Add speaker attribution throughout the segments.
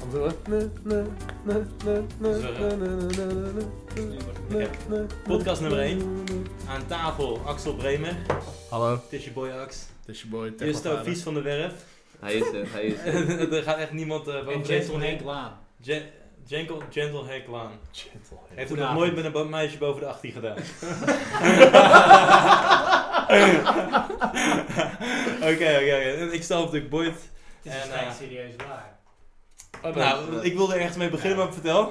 Speaker 1: Dan doen we- Ne, ne, ne, ne, ne, ne, ne, ne, ne, ne, ne, ne, ne,
Speaker 2: Podcast nummer
Speaker 1: ne,
Speaker 2: één.
Speaker 1: ne, ne.
Speaker 2: Aan tafel Axel Bremer.
Speaker 3: Hallo.
Speaker 2: Het is je boy Ax.
Speaker 3: Het is je boy Tech
Speaker 2: Justo Vies van de Werf.
Speaker 4: Hij is er, hij is er.
Speaker 2: er gaat echt niemand eh boven
Speaker 5: En
Speaker 2: deze
Speaker 5: Jason
Speaker 2: heen.
Speaker 5: Henk Laan.
Speaker 2: Gen- Gentle, gentle Hack Laan.
Speaker 1: Gentleman.
Speaker 2: Heeft het nog
Speaker 5: Goedenavond.
Speaker 2: nooit met een bo- meisje boven de 18 gedaan. Oké, oké, oké. Ik stel op de Boyd.
Speaker 5: Het is
Speaker 2: En,
Speaker 5: waarschijnlijk
Speaker 2: eh,
Speaker 5: serieus waar.
Speaker 2: Nou, ik wilde ergens mee beginnen, maar vertel.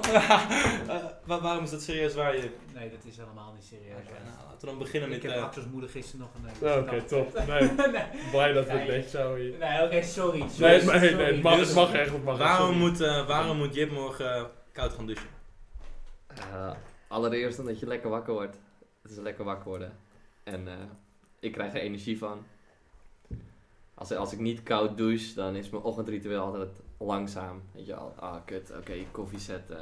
Speaker 2: Eh, wa- waarom is dat serieus waar je...
Speaker 5: Nee, dat is helemaal niet serieus
Speaker 2: Oké,
Speaker 5: waar.
Speaker 2: nou, laten we dan beginnen
Speaker 5: Ik
Speaker 2: met...
Speaker 5: heb
Speaker 2: eh,
Speaker 5: Axel's moeder gisteren nog een... eh,
Speaker 1: Nou, Oké,
Speaker 5: knap-
Speaker 1: top. Nee,
Speaker 5: nee,
Speaker 1: blij dat we het
Speaker 5: Nee.
Speaker 1: netjes houden hier.
Speaker 5: nee oké, sorry.
Speaker 1: Nee,
Speaker 5: sorry,
Speaker 1: nee, nee,
Speaker 5: sorry. Dus
Speaker 1: het mag, het mag echt, het mag echt.
Speaker 2: waarom,
Speaker 1: sorry.
Speaker 2: moet, eh, waarom moet Jip morgen eh, koud gaan douchen?
Speaker 4: Eh, allereerst omdat je lekker wakker wordt. Het is lekker wakker worden. En eh, ik krijg er energie van. Als, als ik niet koud douche, dan is mijn ochtendritueel altijd langzaam. Weet je al, ah kut, oké, koffie zetten.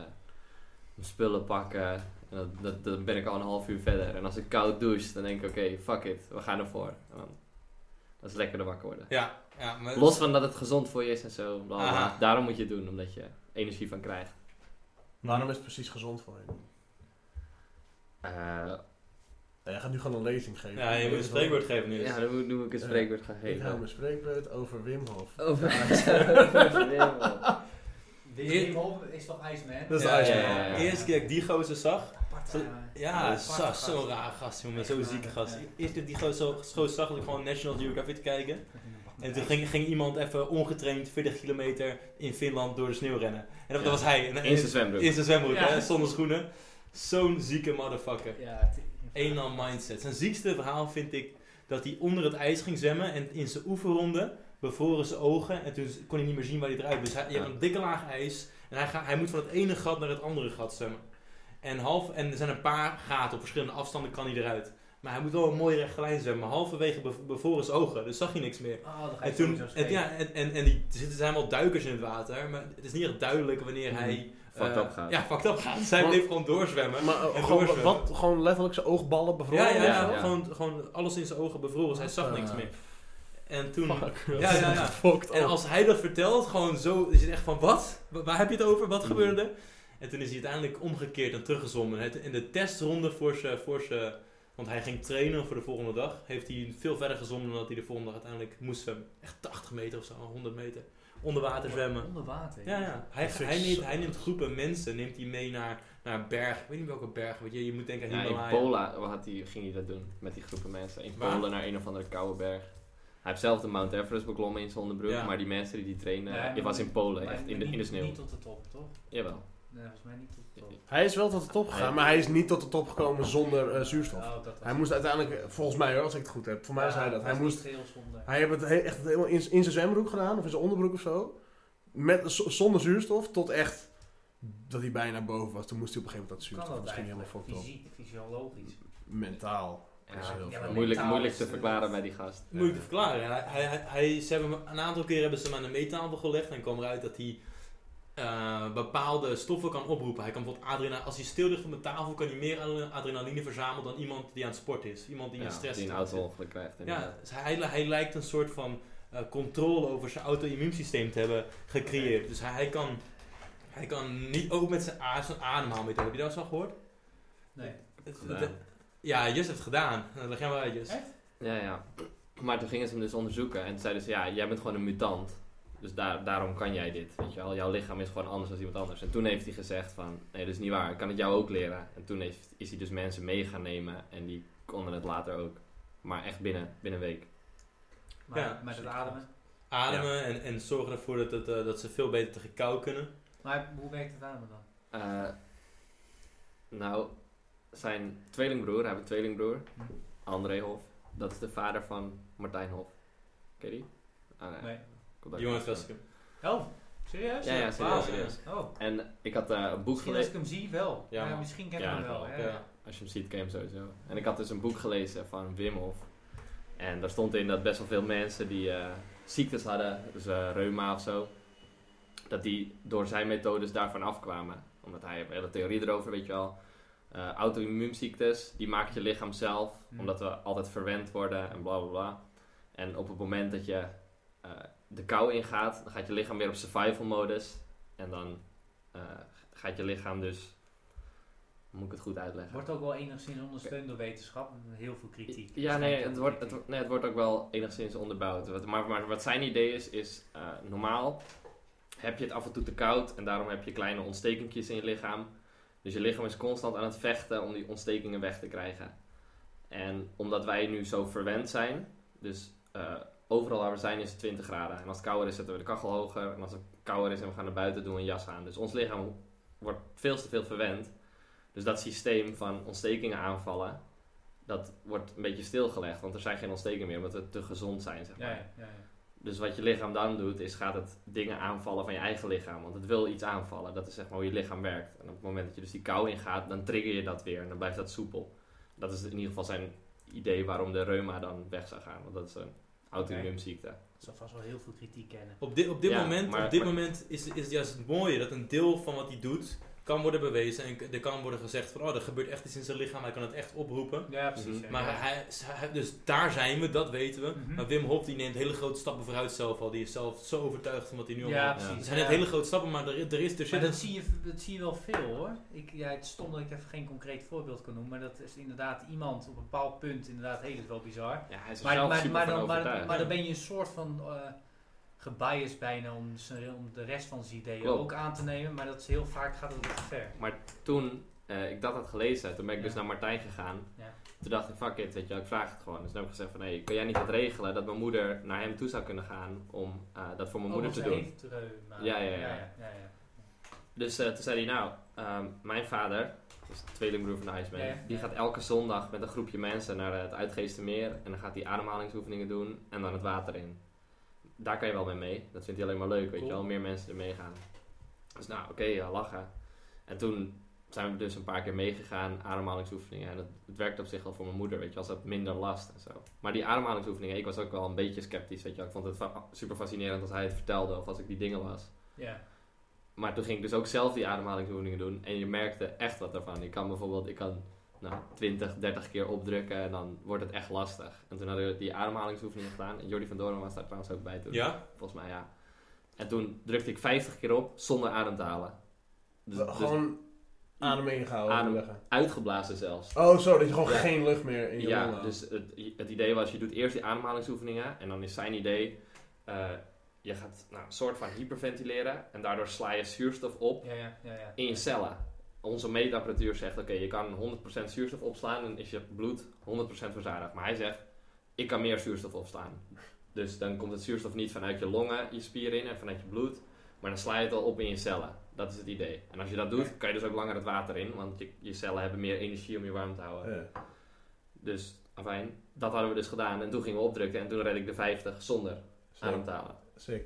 Speaker 4: Mijn spullen pakken. En dat, dat, dan ben ik al een half uur verder. En als ik koud douche, dan denk ik, oké, fuck it, we gaan ervoor. En dan- dat is lekkerder wakker worden.
Speaker 2: Ja, ja maar...
Speaker 4: Los van dat het gezond voor je is en zo. bla, bla, bla.
Speaker 2: Aha.
Speaker 4: Daarom moet je het doen, omdat je energie van krijgt.
Speaker 1: Waarom is het precies gezond voor je?
Speaker 4: Eh,
Speaker 1: Nou, jij gaat nu gewoon een lezing geven.
Speaker 2: Ja, je moet een spreekwoord geven nu.
Speaker 4: ja, dan moet, dan moet ik een
Speaker 1: Ja.
Speaker 4: spreekwoord gaan
Speaker 1: Ik hou
Speaker 4: geven.
Speaker 1: mijn spreekwoord over Wim Hof.
Speaker 4: Over.
Speaker 5: Wim Hof is toch Iceman?
Speaker 1: Dat is
Speaker 2: Ja,
Speaker 1: Iceman.
Speaker 2: ja, ja, ja.
Speaker 5: Ja.
Speaker 2: Eerste keer dat ik die gozer zag.
Speaker 5: Apart, eh,
Speaker 2: Ja,
Speaker 5: apart
Speaker 2: zo-
Speaker 5: gast.
Speaker 2: zo'n raar gast, jongen.
Speaker 5: Echt
Speaker 2: Zo'n
Speaker 5: waar,
Speaker 2: zieke gast.
Speaker 5: ja.
Speaker 2: Eerst Eerste keer dat ik die gozer zo- gozer zag, dat ik gewoon National Geographic te kijken. En toen ging, ging iemand even ongetraind 40 kilometer in Finland door de sneeuw rennen. En dat
Speaker 4: Ja.
Speaker 2: was hij. En, en-
Speaker 4: In zijn zwembroek.
Speaker 2: in zijn zwembroek,
Speaker 5: Ja.
Speaker 2: hè, zonder schoenen. Zo'n zieke motherfucker.
Speaker 5: Ja, Oh, t-
Speaker 2: Eén al mindset. Zijn ziekste verhaal vind ik dat hij onder het ijs ging zwemmen en in zijn oefenronde bevroren zijn ogen en toen kon hij niet meer zien waar hij eruit. Dus hij, je hebt een dikke laag ijs en hij, gaat, hij moet van het ene gat naar het andere gat zwemmen. En, half, en er zijn een paar gaten op verschillende afstanden kan hij eruit. Maar hij moet wel een mooie rechte lijn zwemmen. Halverwege bev- bevroren zijn ogen, dus zag hij niks meer.
Speaker 5: Oh, dan ga je
Speaker 2: En, toen,
Speaker 5: sowieso
Speaker 2: en,
Speaker 5: schelen.
Speaker 2: ja, en, en, en die, er zitten helemaal duikers in het water, maar het is niet echt duidelijk wanneer hij...
Speaker 4: Fucked
Speaker 2: eh,
Speaker 4: up gaat.
Speaker 2: Ja, fucked up gaat. Zij
Speaker 1: Maar-
Speaker 2: bleef gewoon doorzwemmen.
Speaker 1: Maar eh,
Speaker 2: Oh. En
Speaker 1: gewoon,
Speaker 2: doorzwemmen.
Speaker 1: wat, gewoon letterlijk zijn oogballen bevroren?
Speaker 2: Ja, ja, ja,
Speaker 4: Ja, ja.
Speaker 2: Gewoon, gewoon alles in zijn ogen bevroren. dus Hij zag
Speaker 1: Ah.
Speaker 2: niks meer. En toen...
Speaker 1: Fuck.
Speaker 2: Ja, ja, ja.
Speaker 1: Fucked
Speaker 2: En
Speaker 1: up.
Speaker 2: als hij dat vertelt, gewoon zo... Is het echt van, wat? Wa- Waar heb je het over? Wat gebeurde er? En toen is hij uiteindelijk omgekeerd en teruggezommen. Het- In de testronde voor zijn... Voor zijn- want hij ging trainen voor de volgende dag. Heeft hij veel verder gezommen dan dat hij de volgende dag uiteindelijk moest zwemmen. Echt 80 meter of zo, 100 meter. Onder water zwemmen.
Speaker 5: Onder water.
Speaker 2: Ja, ja. Hij,
Speaker 1: Dat vind
Speaker 2: hij,
Speaker 1: ik
Speaker 2: neemt,
Speaker 1: zo-
Speaker 2: hij neemt groepen mensen neemt hij mee naar, naar een berg. Ik weet niet welke berg, want je, je moet denken aan
Speaker 4: Ja, in
Speaker 2: Himalaya.
Speaker 4: Polen had hij, ging hij dat doen met die groepen mensen. In
Speaker 2: Waar?
Speaker 4: Polen naar een of andere koude berg. Hij heeft zelf de Mount Everest beklommen in zijn onderbroek,
Speaker 2: Ja.
Speaker 4: maar die mensen die die trainen,
Speaker 5: Nee,
Speaker 4: die was in Polen,
Speaker 5: Maar
Speaker 4: echt in de,
Speaker 5: niet-
Speaker 4: in de sneeuw.
Speaker 5: Niet tot de top, toch?
Speaker 4: Jawel.
Speaker 5: Nee, volgens mij niet tot de top.
Speaker 1: Hij is wel tot de top gegaan, maar hij is niet tot de top gekomen zonder eh, zuurstof.
Speaker 5: Oh, dat was-
Speaker 1: Hij moest uiteindelijk, eh, volgens mij hoor, als ik het goed heb, voor mij is
Speaker 5: Ja,
Speaker 1: hij dat.
Speaker 5: was
Speaker 1: Hij,
Speaker 5: niet
Speaker 1: moest,
Speaker 5: geel zonder.
Speaker 1: hij heeft het he- echt helemaal in, in zijn zwembroek gedaan, of in zijn onderbroek of zo. Met, z- zonder zuurstof, tot echt dat hij bijna boven was. Toen moest hij op een gegeven moment dat
Speaker 5: kan
Speaker 1: zuurstof.
Speaker 5: dat
Speaker 1: Misschien
Speaker 5: eigenlijk?
Speaker 1: helemaal fucked up.
Speaker 5: Fysiek, fysiologisch.
Speaker 1: Mentaal.
Speaker 4: Ja,
Speaker 1: is heel
Speaker 5: ja,
Speaker 1: veel.
Speaker 5: maar
Speaker 4: moeilijk
Speaker 5: mentaal
Speaker 4: moeilijk
Speaker 5: is,
Speaker 4: te
Speaker 5: eh,
Speaker 4: verklaren bij die gast.
Speaker 2: Moet ik het verklaren? Hij, hij, hij- hij, ze hebben hem- een aantal keer hebben ze hem aan de meettafel gelegd en kwam eruit dat hij eh, bepaalde stoffen kan oproepen. Hij kan bijvoorbeeld adrenaline, als hij stil ligt op de tafel, kan hij meer adre- adrenaline verzamelen dan iemand die aan het sport is. Iemand die
Speaker 4: Ja,
Speaker 2: in stress
Speaker 4: die een
Speaker 2: staat.
Speaker 4: auto-ongeluk krijgt.
Speaker 2: Ja,
Speaker 4: inderdaad.
Speaker 2: dus hij, hij lijkt een soort van eh, controle over zijn auto-immuunsysteem te hebben gecreëerd. Dus hij, hij kan. Hij kan niet ook met zijn, a- zijn ademhaalmethode. Heb je dat eens al gehoord?
Speaker 5: Nee.
Speaker 2: Het-
Speaker 4: Ja.
Speaker 2: het- Ja, Jus heeft het gedaan. Nou, Leg jij maar
Speaker 4: Dus-
Speaker 2: uit, Jus.
Speaker 5: Echt?
Speaker 4: Ja, ja. Maar toen gingen ze hem dus onderzoeken en zeiden ze, ja, jij bent gewoon een mutant. Dus daar, daarom kan jij dit, weet je wel. Jouw lichaam is gewoon anders dan iemand anders. En toen heeft hij gezegd van, nee, dat is niet waar. Ik kan het jou ook leren. En toen heeft, is hij dus mensen mee gaan nemen en die konden het later ook. Maar echt binnen, binnen een week.
Speaker 5: Maar
Speaker 2: Ja.
Speaker 5: met het ademen.
Speaker 2: Ademen en, en zorgen ervoor dat, het, eh, dat ze veel beter tegen kou kunnen.
Speaker 5: Maar hoe werkt het ademen dan?
Speaker 4: Eh, nou, zijn tweelingbroer, hij heeft een tweelingbroer, André Hof. Dat is de vader van Martijn Hof. Ken je die? Ah, nee.
Speaker 5: Nee.
Speaker 4: Komt
Speaker 2: Die
Speaker 4: ook-
Speaker 2: jongen uit Vesticum.
Speaker 5: Oh, serieus?
Speaker 4: Ja, ja,
Speaker 2: Wauw,
Speaker 4: serieus, serieus.
Speaker 5: Oh,
Speaker 4: En ik had eh, een boek
Speaker 5: misschien als
Speaker 4: gelezen.
Speaker 5: ik hem zie wel.
Speaker 2: Ja,
Speaker 5: Ja,
Speaker 2: man.
Speaker 5: misschien ken ik
Speaker 4: Ja,
Speaker 5: hem wel.
Speaker 4: dat
Speaker 5: hè.
Speaker 2: Ja. Ja.
Speaker 4: Als je hem ziet, ken je hem sowieso. En ik had dus een boek gelezen van Wim Hof. En daar stond in dat best wel veel mensen die eh, ziektes hadden, dus eh, reuma of zo, dat die door zijn methodes daarvan afkwamen. Omdat hij heeft een hele theorie erover, weet je wel. Eh Auto-immuunziektes, die maakt je lichaam zelf,
Speaker 5: Hmm.
Speaker 4: omdat we altijd verwend worden en bla bla bla. En op het moment dat je eh, de kou ingaat, dan gaat je lichaam weer op survival modus. En dan eh, gaat je lichaam dus... Moet ik het goed uitleggen?
Speaker 5: Wordt ook wel enigszins ondersteund door wetenschap. Heel veel kritiek.
Speaker 4: Ja, nee het,
Speaker 5: Schijnt
Speaker 4: wordt, het,
Speaker 5: dat kritiek.
Speaker 4: wordt- nee, het wordt ook wel enigszins onderbouwd. Wat- Maar, maar wat zijn idee is, is eh, normaal heb je het af en toe te koud en daarom heb je kleine ontstekingjes in je lichaam. Dus je lichaam is constant aan het vechten om die ontstekingen weg te krijgen. En omdat wij nu zo verwend zijn, dus eh, overal waar we zijn is het 20 graden. En als het kouder is, zetten we de kachel hoger. En als het kouder is en we gaan naar buiten, doen we een jas aan. Dus ons lichaam wordt veel te veel verwend. Dus dat systeem van ontstekingen aanvallen, dat wordt een beetje stilgelegd. Want er zijn geen ontstekingen meer, omdat we te gezond zijn, zeg maar.
Speaker 5: Ja, ja, ja, ja.
Speaker 4: Dus wat je lichaam dan doet, is gaat het dingen aanvallen van je eigen lichaam. Want het wil iets aanvallen. Dat is zeg maar hoe je lichaam werkt. En op het moment dat je dus die kou ingaat, dan trigger je dat weer. En dan blijft dat soepel. Dat is in ieder geval zijn idee waarom de reuma dan weg zou gaan. Want dat is een auto-immuunziekte.
Speaker 5: Ik zal vast wel heel veel kritiek kennen.
Speaker 2: Op dit, op dit
Speaker 4: Ja,
Speaker 2: moment,
Speaker 4: maar-
Speaker 2: op dit
Speaker 4: maar-
Speaker 2: moment is, is het juist het mooie dat een deel van wat hij doet kan worden bewezen en k- er kan worden gezegd van oh, er gebeurt echt iets in zijn lichaam, hij kan het echt oproepen.
Speaker 5: Ja, precies.
Speaker 4: Mhm.
Speaker 5: ja,
Speaker 2: Maar
Speaker 5: ja.
Speaker 2: hij, hij- dus daar zijn we, dat weten we.
Speaker 5: Mhm.
Speaker 2: Maar Wim Hof die neemt hele grote stappen vooruit zelf al, die is zelf zo overtuigd van wat hij nu al
Speaker 5: Ja,
Speaker 2: doet.
Speaker 5: precies.
Speaker 2: Er zijn
Speaker 5: ja.
Speaker 2: net hele grote stappen, maar er, er is er
Speaker 5: Maar
Speaker 2: zit
Speaker 5: dat
Speaker 2: een-
Speaker 5: zie, je, dat zie je wel veel hoor. Ik, ja, het is stom dat ik even geen concreet voorbeeld kan noemen, maar dat is inderdaad iemand op een bepaald punt inderdaad heel wel bizar.
Speaker 4: Ja, hij is er
Speaker 5: Maar,
Speaker 4: zelf
Speaker 5: maar,
Speaker 4: super
Speaker 5: maar,
Speaker 4: van
Speaker 5: dan, maar,
Speaker 4: overtuigd.
Speaker 5: maar dan ben je een soort van eh gebiased bijna om, z'n- om de rest van zijn ideeën
Speaker 4: Klopt.
Speaker 5: ook aan te nemen, maar dat is heel vaak gaat het te ver.
Speaker 4: Toen eh, ik dat had gelezen, toen ben ik
Speaker 5: Ja.
Speaker 4: dus naar Martijn gegaan.
Speaker 5: Ja.
Speaker 4: Toen dacht ik, fuck it, weet je wel, ik vraag het gewoon. Dus toen heb ik gezegd van, hey, kan jij niet wat regelen dat mijn moeder naar hem toe zou kunnen gaan om eh, dat voor mijn
Speaker 5: Ook
Speaker 4: moeder
Speaker 5: als
Speaker 4: te
Speaker 5: hij
Speaker 4: doen?
Speaker 5: heeft reuma.
Speaker 4: Ja, ja, ja.
Speaker 5: ja, ja.
Speaker 4: Dus eh, toen zei hij, nou, ehm, mijn vader, dus de tweelingbroer van de Iceman,
Speaker 5: Ja, ja.
Speaker 4: die gaat elke zondag met een groepje mensen naar eh, het Uitgeestermeer en dan gaat hij ademhalingsoefeningen doen en dan het water in. Daar kan je wel mee mee. Dat vindt hij alleen maar leuk, weet
Speaker 2: Cool.
Speaker 4: je wel. Meer mensen er mee gaan. Dus nou, oké, ja, lachen. En toen zijn we dus een paar keer meegegaan, ademhalingsoefeningen. En het, het werkte op zich al voor mijn moeder, weet je wel. Ze had minder last en zo. Maar die ademhalingsoefeningen, ik was ook wel een beetje sceptisch, weet je wel. Ik vond het fa- super fascinerend als hij het vertelde of als ik die dingen las.
Speaker 5: ja.
Speaker 4: Maar toen ging ik dus ook zelf die ademhalingsoefeningen doen. En je merkte echt wat ervan. Ik kan bijvoorbeeld ik kan, nou, 20, 30 keer opdrukken en dan wordt het echt lastig. En toen hadden we die ademhalingsoefeningen gedaan. En Jordi van Doorn was daar trouwens ook bij toen.
Speaker 2: Ja,
Speaker 4: Volgens mij, ja. En toen drukte ik 50 keer op zonder adem te halen. Dus, dus
Speaker 1: gewoon adem ingehouden.
Speaker 4: Adem.
Speaker 1: leggen.
Speaker 4: uitgeblazen zelfs.
Speaker 1: Oh, zo, dat je gewoon
Speaker 4: Ja.
Speaker 1: geen lucht meer in je
Speaker 4: Ja,
Speaker 1: longen had.
Speaker 4: dus het, het idee was, je doet eerst die ademhalingsoefeningen. En dan is zijn idee, eh, je gaat nou, een soort van hyperventileren. En daardoor sla je zuurstof op
Speaker 5: Ja, ja, ja, ja.
Speaker 4: in je cellen. Onze meetapparatuur zegt, oké, je kan 100% zuurstof opslaan en is je bloed 100% verzadigd. Maar hij zegt, ik kan meer zuurstof opslaan. Dus dan komt het zuurstof niet vanuit je longen, je spieren in en vanuit je bloed. Maar dan sla je het al op in je cellen. Dat is het idee. En als je dat doet, kan je dus ook langer het water in. Want je, je cellen hebben meer energie om je warm te houden.
Speaker 1: Ja.
Speaker 4: Dus, afijn, dat hadden we dus gedaan. En toen gingen we opdrukken en toen red ik de 50 zonder adem
Speaker 1: Sick.
Speaker 4: te halen.
Speaker 1: Sick.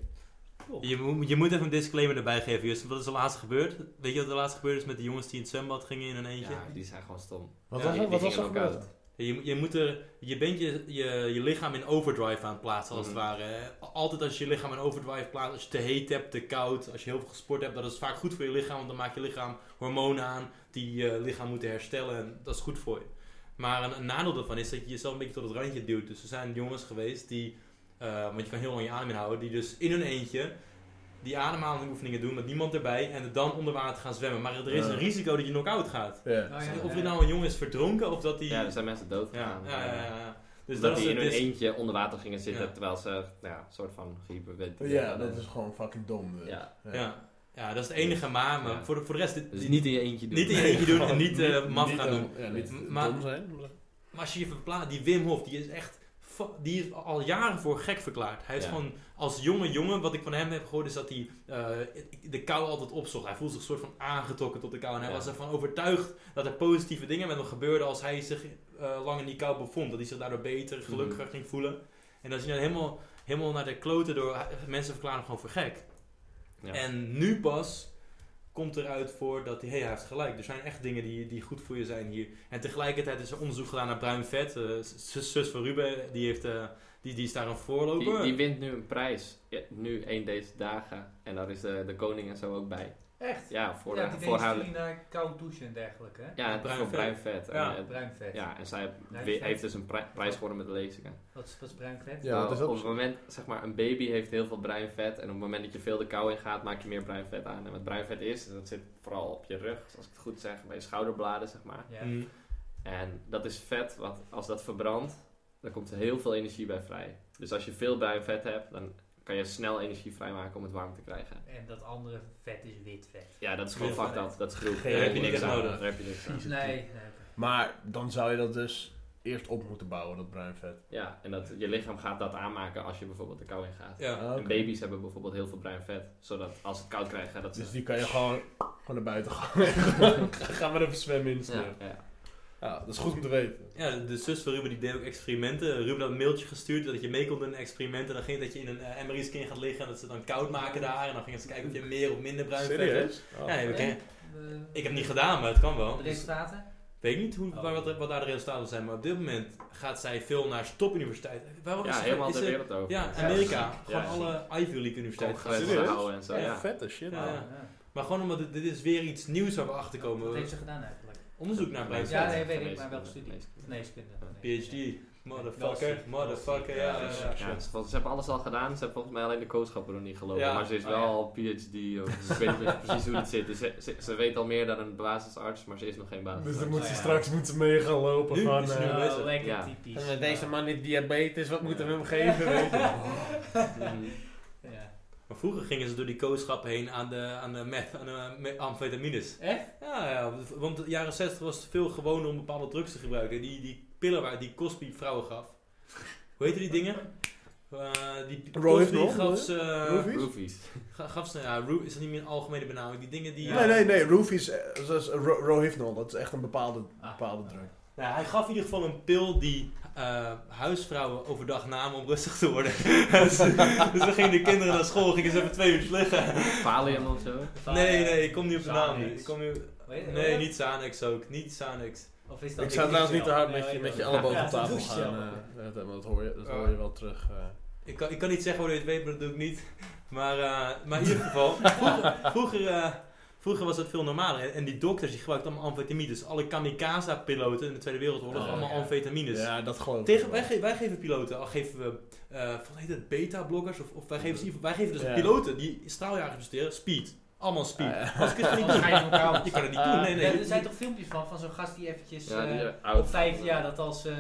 Speaker 2: je, moet- je moet even een disclaimer erbij geven, Justin. Wat is er laatst gebeurd? Weet je wat er laatst gebeurd is met de jongens die in het zwembad gingen in een eentje?
Speaker 4: Ja, die zijn gewoon stom.
Speaker 1: Wat
Speaker 2: Ja,
Speaker 1: was
Speaker 4: die-
Speaker 1: er- wat
Speaker 4: die
Speaker 1: was er
Speaker 4: gingen ook
Speaker 1: gebeurd?
Speaker 2: Je, je, moet er, je bent je, je, je lichaam in overdrive aan het plaatsen, als
Speaker 4: Mhm.
Speaker 2: het ware. hè. Altijd als je je lichaam in overdrive plaatst, als je te heet hebt, te koud, als je heel veel gesport hebt, dat is vaak goed voor je lichaam, want dan maakt je lichaam hormonen aan die je lichaam moeten herstellen en dat is goed voor je. Maar een, een nadeel daarvan is dat je jezelf een beetje tot het randje duwt. Dus er zijn jongens geweest die, eh, want je kan heel lang je adem inhouden, die dus in hun eentje die ademhalingsoefeningen doen met niemand erbij en dan onder water gaan zwemmen. Maar er is
Speaker 1: Ja.
Speaker 2: een risico dat je knock-out gaat.
Speaker 1: Ja.
Speaker 4: Dus
Speaker 5: Oh, ja,
Speaker 2: Of
Speaker 5: ja.
Speaker 2: je nou een jongen is verdronken of dat die...
Speaker 4: Ja, er zijn mensen dood
Speaker 2: Ja,
Speaker 4: gegaan.
Speaker 2: ja, ja. ja, ja.
Speaker 4: Dus
Speaker 2: Dus
Speaker 4: dat
Speaker 2: dat is
Speaker 4: die in
Speaker 2: het. Dus,
Speaker 4: hun eentje onder water gingen zitten
Speaker 2: Ja.
Speaker 4: terwijl ze nou ja, een soort van gehyperventileren.
Speaker 1: Oh Ja, dat is gewoon fucking dom. dus.
Speaker 4: Ja.
Speaker 2: ja. ja, dat is het enige maar. maar
Speaker 4: Ja.
Speaker 2: Voor, de, voor de rest, dit-
Speaker 4: Dus
Speaker 2: dit-
Speaker 4: niet in je eentje doen.
Speaker 2: Niet in je eentje doen en niet eh, maf gaan doen.
Speaker 1: Ja, niet
Speaker 2: Maar-
Speaker 1: dom zijn. maar-
Speaker 2: Maar als je je verplaatst, die Wim Hof, die is echt. fa- Die is al jaren voor gek verklaard. Hij is
Speaker 4: Ja.
Speaker 2: gewoon als jonge jongen, wat ik van hem heb gehoord, is dat hij eh, de kou altijd opzocht. Hij voelde zich een soort van aangetrokken tot de kou. En hij
Speaker 4: Ja.
Speaker 2: was ervan overtuigd dat er positieve dingen met hem gebeurden als hij zich eh, lang in die kou bevond. Dat hij zich daardoor beter, gelukkiger
Speaker 4: Mhm.
Speaker 2: ging voelen. En als hij dan helemaal, helemaal naar de kloten door, mensen verklaren hem gewoon voor gek.
Speaker 4: Ja.
Speaker 2: En nu pas komt eruit voor dat hij, hey, hij heeft gelijk. Er zijn echt dingen die, die goed voor je zijn hier. En tegelijkertijd is er onderzoek gedaan naar bruin vet. Eh, zus, zus van Ruben, die heeft eh, Die, die is daar een voorloper.
Speaker 4: Die, die wint nu een prijs. Ja, nu één deze dagen. En daar is de, de koning en zo ook bij.
Speaker 5: Echt?
Speaker 4: Ja, voor,
Speaker 5: ja,
Speaker 4: haar-
Speaker 5: die
Speaker 4: voor
Speaker 5: denkt
Speaker 4: haar.
Speaker 5: jullie naar eh, koud douchen en dergelijke. Hè?
Speaker 4: Ja,
Speaker 2: Bruin
Speaker 4: voor
Speaker 2: vet.
Speaker 4: bruin vet. En,
Speaker 2: Ja.
Speaker 4: eh,
Speaker 5: Bruin vet.
Speaker 4: ja, en zij
Speaker 5: Bruin
Speaker 4: we-
Speaker 5: vet.
Speaker 4: heeft dus een pri- prijs gewonnen met de lezingen.
Speaker 5: Wat, is, wat is bruin vet?
Speaker 1: Ja,
Speaker 4: Terwijl
Speaker 1: dat is ook
Speaker 4: op het moment, zeg maar, een baby heeft heel veel bruin vet. En op het moment dat je veel de kou in gaat, maak je meer bruin vet aan. En wat bruin vet is, dat zit vooral op je rug, Dus als ik het goed zeg, bij je schouderbladen, zeg maar.
Speaker 5: Ja.
Speaker 2: Mm.
Speaker 4: En dat is vet, wat als dat verbrandt, dan komt er heel veel energie bij vrij. Dus als je veel bruin vet hebt, dan kan je snel energie vrijmaken om het warm te krijgen.
Speaker 5: En dat andere vet is wit vet.
Speaker 4: Ja, dat is gewoon
Speaker 2: Heel
Speaker 4: fucked
Speaker 5: vet.
Speaker 4: up. Dat is groep.
Speaker 2: Daar heb je niks
Speaker 4: aan.
Speaker 2: nodig.
Speaker 4: Daar heb je niks aan.
Speaker 5: Nee, nee, oké.
Speaker 1: Maar dan zou je dat dus eerst op moeten bouwen, dat bruin vet.
Speaker 4: Ja, en dat, je lichaam gaat dat aanmaken als je bijvoorbeeld de kou in gaat.
Speaker 2: Ja.
Speaker 1: Ah, oké.
Speaker 4: En baby's hebben bijvoorbeeld heel veel bruin vet. Zodat als ze het koud krijgen, dat ze...
Speaker 1: Dus die kan je gewoon, gewoon naar buiten gaan. Gaan we even zwemmen in de sneeuw.
Speaker 4: ja,
Speaker 1: Ja.
Speaker 4: ja.
Speaker 1: dat is goed om te weten.
Speaker 2: Ja, de zus van Ruben die deed ook experimenten. Ruben had een mailtje gestuurd dat je mee kon doen in experimenten. Dan ging het dat je in een eh, MRI-scan gaat liggen en dat ze dan koud maken daar. En dan gingen ze kijken of je meer of minder bruin vet hebt.
Speaker 1: Serieus? Oh.
Speaker 2: Ja, nee, we
Speaker 5: En,
Speaker 2: kennen-
Speaker 5: eh,
Speaker 2: ik heb het niet gedaan, maar het kan wel.
Speaker 5: de
Speaker 2: Dus
Speaker 5: resultaten?
Speaker 2: ik weet niet hoe,
Speaker 5: Oh.
Speaker 2: waar, wat, wat daar de resultaten zijn, maar op dit moment gaat zij veel naar topuniversiteit. Waarom
Speaker 4: Ja,
Speaker 2: is ze-
Speaker 4: helemaal
Speaker 2: is
Speaker 4: de
Speaker 2: ze-
Speaker 4: wereld over.
Speaker 2: Ja,
Speaker 4: Dus
Speaker 2: Amerika.
Speaker 4: Ja,
Speaker 2: Gewoon
Speaker 4: ja.
Speaker 2: alle Ivy League universiteiten. gaan
Speaker 4: Congressen
Speaker 2: ze-
Speaker 1: Serieus?
Speaker 4: houden en zo,
Speaker 1: Ja,
Speaker 4: ja.
Speaker 1: vette shit.
Speaker 2: Ja,
Speaker 1: man.
Speaker 2: ja. Maar gewoon omdat dit, dit is weer iets nieuws waar we achter
Speaker 5: Wat
Speaker 2: komen.
Speaker 5: heeft ze gedaan eigenlijk?
Speaker 2: Onderzoek naar bruin
Speaker 5: Ja,
Speaker 2: vet.
Speaker 5: nee, weet ik,
Speaker 4: Geneeskunde,
Speaker 5: maar welke studie?
Speaker 4: geneeskunde.
Speaker 5: Geneeskunde.
Speaker 2: PhD.
Speaker 5: Wel
Speaker 2: Motherfucker.
Speaker 5: ziek,
Speaker 2: Motherfucker, ja.
Speaker 5: wel ziek.
Speaker 2: ja, ja.
Speaker 4: Ja, ze, ze hebben alles al gedaan. Ze hebben volgens mij alleen de coachschap er nog niet gelopen.
Speaker 2: Ja.
Speaker 4: Maar ze is
Speaker 5: Oh,
Speaker 4: wel
Speaker 5: ja.
Speaker 4: al PhD. Of, ik weet niet precies hoe het zit. Dus ze, ze, ze weet al meer dan een basisarts, maar ze is nog geen
Speaker 1: Dus
Speaker 4: basisarts.
Speaker 1: dan moet ze
Speaker 5: Ja, ja.
Speaker 1: straks moet ze mee gaan lopen
Speaker 2: Nu
Speaker 1: van...
Speaker 2: is het
Speaker 1: eh,
Speaker 2: nu.
Speaker 5: Oh,
Speaker 2: bezig.
Speaker 5: lekker
Speaker 4: Ja.
Speaker 5: typisch.
Speaker 1: en deze
Speaker 5: Oh.
Speaker 1: man heeft diabetes, wat moeten we hem geven? Weet je?
Speaker 2: Oh,
Speaker 4: Mhm.
Speaker 5: Ja.
Speaker 2: Maar vroeger gingen ze door die kooschap heen aan de, aan de meth, aan de me- amfetamines.
Speaker 5: Echt?
Speaker 2: Ja, ja, want in de jaren 60 was het veel gewoner om bepaalde drugs te gebruiken. Die, die pillen waar die Cosby vrouwen gaf. Hoe heette die dingen? Eh die
Speaker 1: Roy heeft
Speaker 2: Cosby
Speaker 1: nog,
Speaker 2: gaf ze...
Speaker 1: Roofies?
Speaker 4: Roofies.
Speaker 2: ga- Gaf ze, ja, Roo is dat niet meer een algemene benaming. Die dingen die...
Speaker 5: Ja.
Speaker 1: Nee, nee, nee. Roofies, eh, zoals Ro- Rohypnol, dat is echt een bepaalde,
Speaker 5: Ah.
Speaker 1: bepaalde druk.
Speaker 2: Nou, hij gaf in ieder geval een pil die eh, huisvrouwen overdag namen om rustig te worden. dus, dus dan gingen de kinderen naar school, gingen ze even twee uur liggen.
Speaker 4: Valium of zo.
Speaker 2: Nee, nee, ik kom niet op de naam.
Speaker 5: Xanax.
Speaker 2: Ik kom niet...
Speaker 5: Weet je-
Speaker 2: Nee, niet Xanax ook. Niet Xanax.
Speaker 5: Of is dat
Speaker 1: Ik zou trouwens niet te hard
Speaker 5: Nee,
Speaker 1: met je,
Speaker 5: ik
Speaker 1: met je
Speaker 5: ook.
Speaker 1: elleboog
Speaker 5: Ja,
Speaker 1: op tafel
Speaker 5: dat is
Speaker 1: gaan.
Speaker 5: wel.
Speaker 1: eh, dat- dat hoor je, dat hoor je wel terug. eh.
Speaker 2: Ik kan, ik kan niet zeggen hoe je het weet, maar dat doe ik niet. Maar, eh, maar in ieder geval, vroeger, vroeger, eh, vroeger was dat veel normaler. En, en die dokters die gebruikten allemaal amfetamines. Alle kamikaze-piloten in de Tweede Wereldoorlog,
Speaker 1: Oh,
Speaker 2: allemaal
Speaker 5: ja.
Speaker 2: amfetamines.
Speaker 1: ja, dat geloof ik.
Speaker 2: Tegen,
Speaker 1: wel.
Speaker 2: wij, ge- wij geven piloten, al geven we, eh wat heet het, beta-blokkers? Of, of wij, geven, ze in ieder geval- wij geven dus
Speaker 1: Ja.
Speaker 2: piloten die straaljagers besteden, speed. Allemaal speed.
Speaker 1: Ah,
Speaker 2: Als ik het gewoon niet
Speaker 5: Anders
Speaker 2: doe,
Speaker 5: ga je van elkaar
Speaker 2: je kan het niet doen. Nee, nee.
Speaker 5: Ja, er zijn toch filmpjes van, van zo'n gast die eventjes
Speaker 4: Ja, die
Speaker 5: eh,
Speaker 4: zijn oud.
Speaker 5: op vijf jaar dat als eh,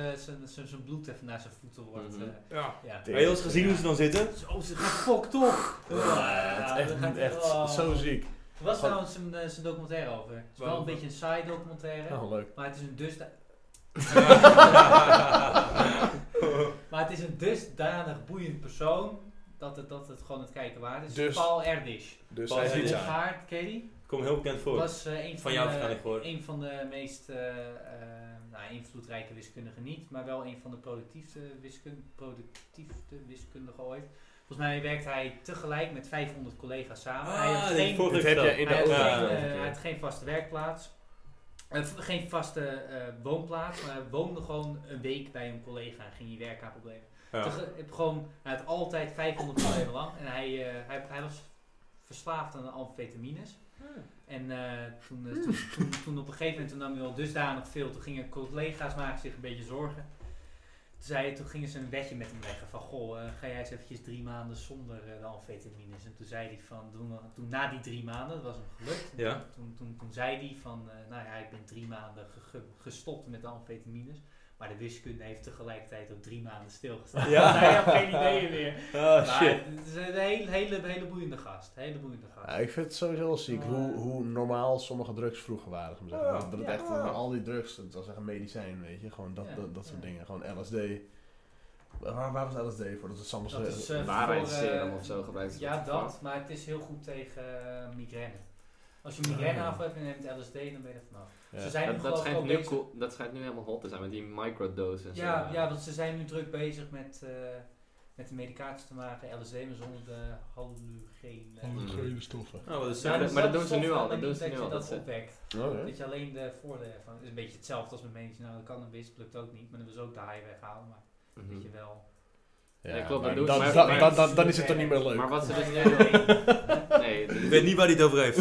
Speaker 5: zijn zijn bloed even naar zijn voeten wordt.
Speaker 4: Mhm.
Speaker 5: eh,
Speaker 2: Ja.
Speaker 5: ja.
Speaker 1: Tering.
Speaker 2: Heb je wel eens gezien hoe ze dan zitten?
Speaker 5: Zo, Oh, ze gaan fokt toch?
Speaker 1: Ja, het is echt, echt zo ziek.
Speaker 5: Er was trouwens een, eh, zijn documentaire over. Het is wel een
Speaker 2: Waarom?
Speaker 5: beetje een saai documentaire,
Speaker 1: Oh, leuk.
Speaker 5: maar het is een dus dusda- maar het is een dusdanig boeiend persoon dat het, dat het gewoon het kijken waard is.
Speaker 1: Dus-
Speaker 5: Paul Erdős.
Speaker 1: Dus
Speaker 2: Pas
Speaker 1: hij is
Speaker 2: in
Speaker 1: niet
Speaker 5: Paul
Speaker 2: dit
Speaker 1: saai.
Speaker 5: Gaard, ken je die?
Speaker 2: Kom heel bekend voor.
Speaker 5: Was eh, een van,
Speaker 2: Van jou
Speaker 5: de,
Speaker 2: waarschijnlijk gehoord.
Speaker 5: een van de meest eh, eh, nou, invloedrijke wiskundigen niet, maar wel een van de productiefste, wiskun- productiefste wiskundigen ooit. Volgens mij werkt hij tegelijk met 500 collega's samen. hij
Speaker 2: Ah,
Speaker 5: had
Speaker 2: dat
Speaker 5: geen,
Speaker 2: vorige
Speaker 1: Dit
Speaker 2: keer
Speaker 1: heb jij
Speaker 2: verteld.
Speaker 1: in de
Speaker 5: hij had
Speaker 1: ogen.
Speaker 2: Ja.
Speaker 5: geen, eh, hij had geen vaste werkplaats. Eh, v- geen vaste eh, woonplaats, maar hij woonde gewoon een week bij een collega en ging hij werken aan problemen.
Speaker 2: Ja.
Speaker 5: Tege- heb gewoon, hij had altijd 500 problemen lang. En hij, eh, hij, hij was verslaafd aan amfetamines. En eh, toen, eh, toen, toen, toen op een gegeven moment toen nam hij al dusdanig veel. Toen gingen collega's maken zich een beetje zorgen. Toen, zei, toen gingen ze een wetje met hem leggen van... Goh, eh, ga jij eens eventjes drie maanden zonder eh, de amfetamines. En toen zei hij van... Toen, eh, toen na die drie maanden, dat was hem gelukt.
Speaker 2: Ja.
Speaker 5: Toen, toen, toen zei hij van... eh, nou ja, ik ben drie maanden ge- ge- gestopt met de amfetamines. Maar de wiskunde heeft tegelijkertijd ook drie maanden stilgestaan.
Speaker 2: Ja.
Speaker 5: Dus hij had geen ideeën meer.
Speaker 4: Oh,
Speaker 2: Ah, shit.
Speaker 5: Maar het is een hele, hele, hele boeiende gast. Hele boeiende gast.
Speaker 1: Ja, ik vind het sowieso wel ziek hoe, hoe normaal sommige drugs vroeger waren. Zeg maar.
Speaker 2: Ja,
Speaker 1: dat het
Speaker 5: ja.
Speaker 1: echt, eh, Al die drugs, het was echt een medicijn, weet je. Gewoon dat,
Speaker 5: Ja,
Speaker 1: dat, dat soort
Speaker 5: ja.
Speaker 1: dingen. Gewoon LSD. Waar, waar was LSD voor? Dat is Samus.
Speaker 5: Dat is, eh,
Speaker 4: waarheidsserum
Speaker 5: voor, eh,
Speaker 4: of zo gebruikt ze
Speaker 5: Ja,
Speaker 4: dat
Speaker 5: dat.
Speaker 4: ervan.
Speaker 5: Maar het is heel goed tegen eh, migraine. Als je migraine
Speaker 1: Ah.
Speaker 5: aanval hebt en je neemt LSD, dan ben je er vanaf.
Speaker 1: Ja.
Speaker 5: Ze zijn
Speaker 4: Oh. Dat, dat,
Speaker 5: nu geloof ik
Speaker 4: schijnt
Speaker 5: ook
Speaker 4: nu
Speaker 5: bezig-
Speaker 4: cool- dat schijnt nu helemaal hot te zijn met die microdoses. en zo.
Speaker 5: Ja, ja, want ze zijn nu druk bezig met, eh, met de medicatie te maken. LSD, maar zonder de halogene...
Speaker 1: Mm.
Speaker 4: Halogene
Speaker 1: stoffen.
Speaker 2: Nou, wat een
Speaker 5: Ja, dus
Speaker 2: circus.
Speaker 4: Maar Oh, dat doen
Speaker 5: is
Speaker 4: ze nu
Speaker 5: wel
Speaker 4: al, dat
Speaker 5: fijn
Speaker 4: doen
Speaker 5: niet
Speaker 4: ze nu
Speaker 5: je
Speaker 4: al,
Speaker 5: Dat
Speaker 4: dat ze-
Speaker 5: opwekt. Dat je alleen de voordelen van... Het is een beetje Nou,
Speaker 1: Hmm.
Speaker 5: hetzelfde als met medicinale cannabis. Het lukt ook niet, maar dan wil ze ook de high weghalen. Maar
Speaker 4: Mhm.
Speaker 5: dat je wel...
Speaker 4: Ja, klopt, dat doe
Speaker 1: dan,
Speaker 4: ik.
Speaker 1: dan-
Speaker 4: Maar-
Speaker 1: dan- dan- dan is het dan niet meer leuk.
Speaker 4: Maar wat ze dus
Speaker 5: Nee,
Speaker 4: nu...
Speaker 5: nee, nee.
Speaker 4: Nee, dus-
Speaker 2: Ik weet niet waar hij het over heeft.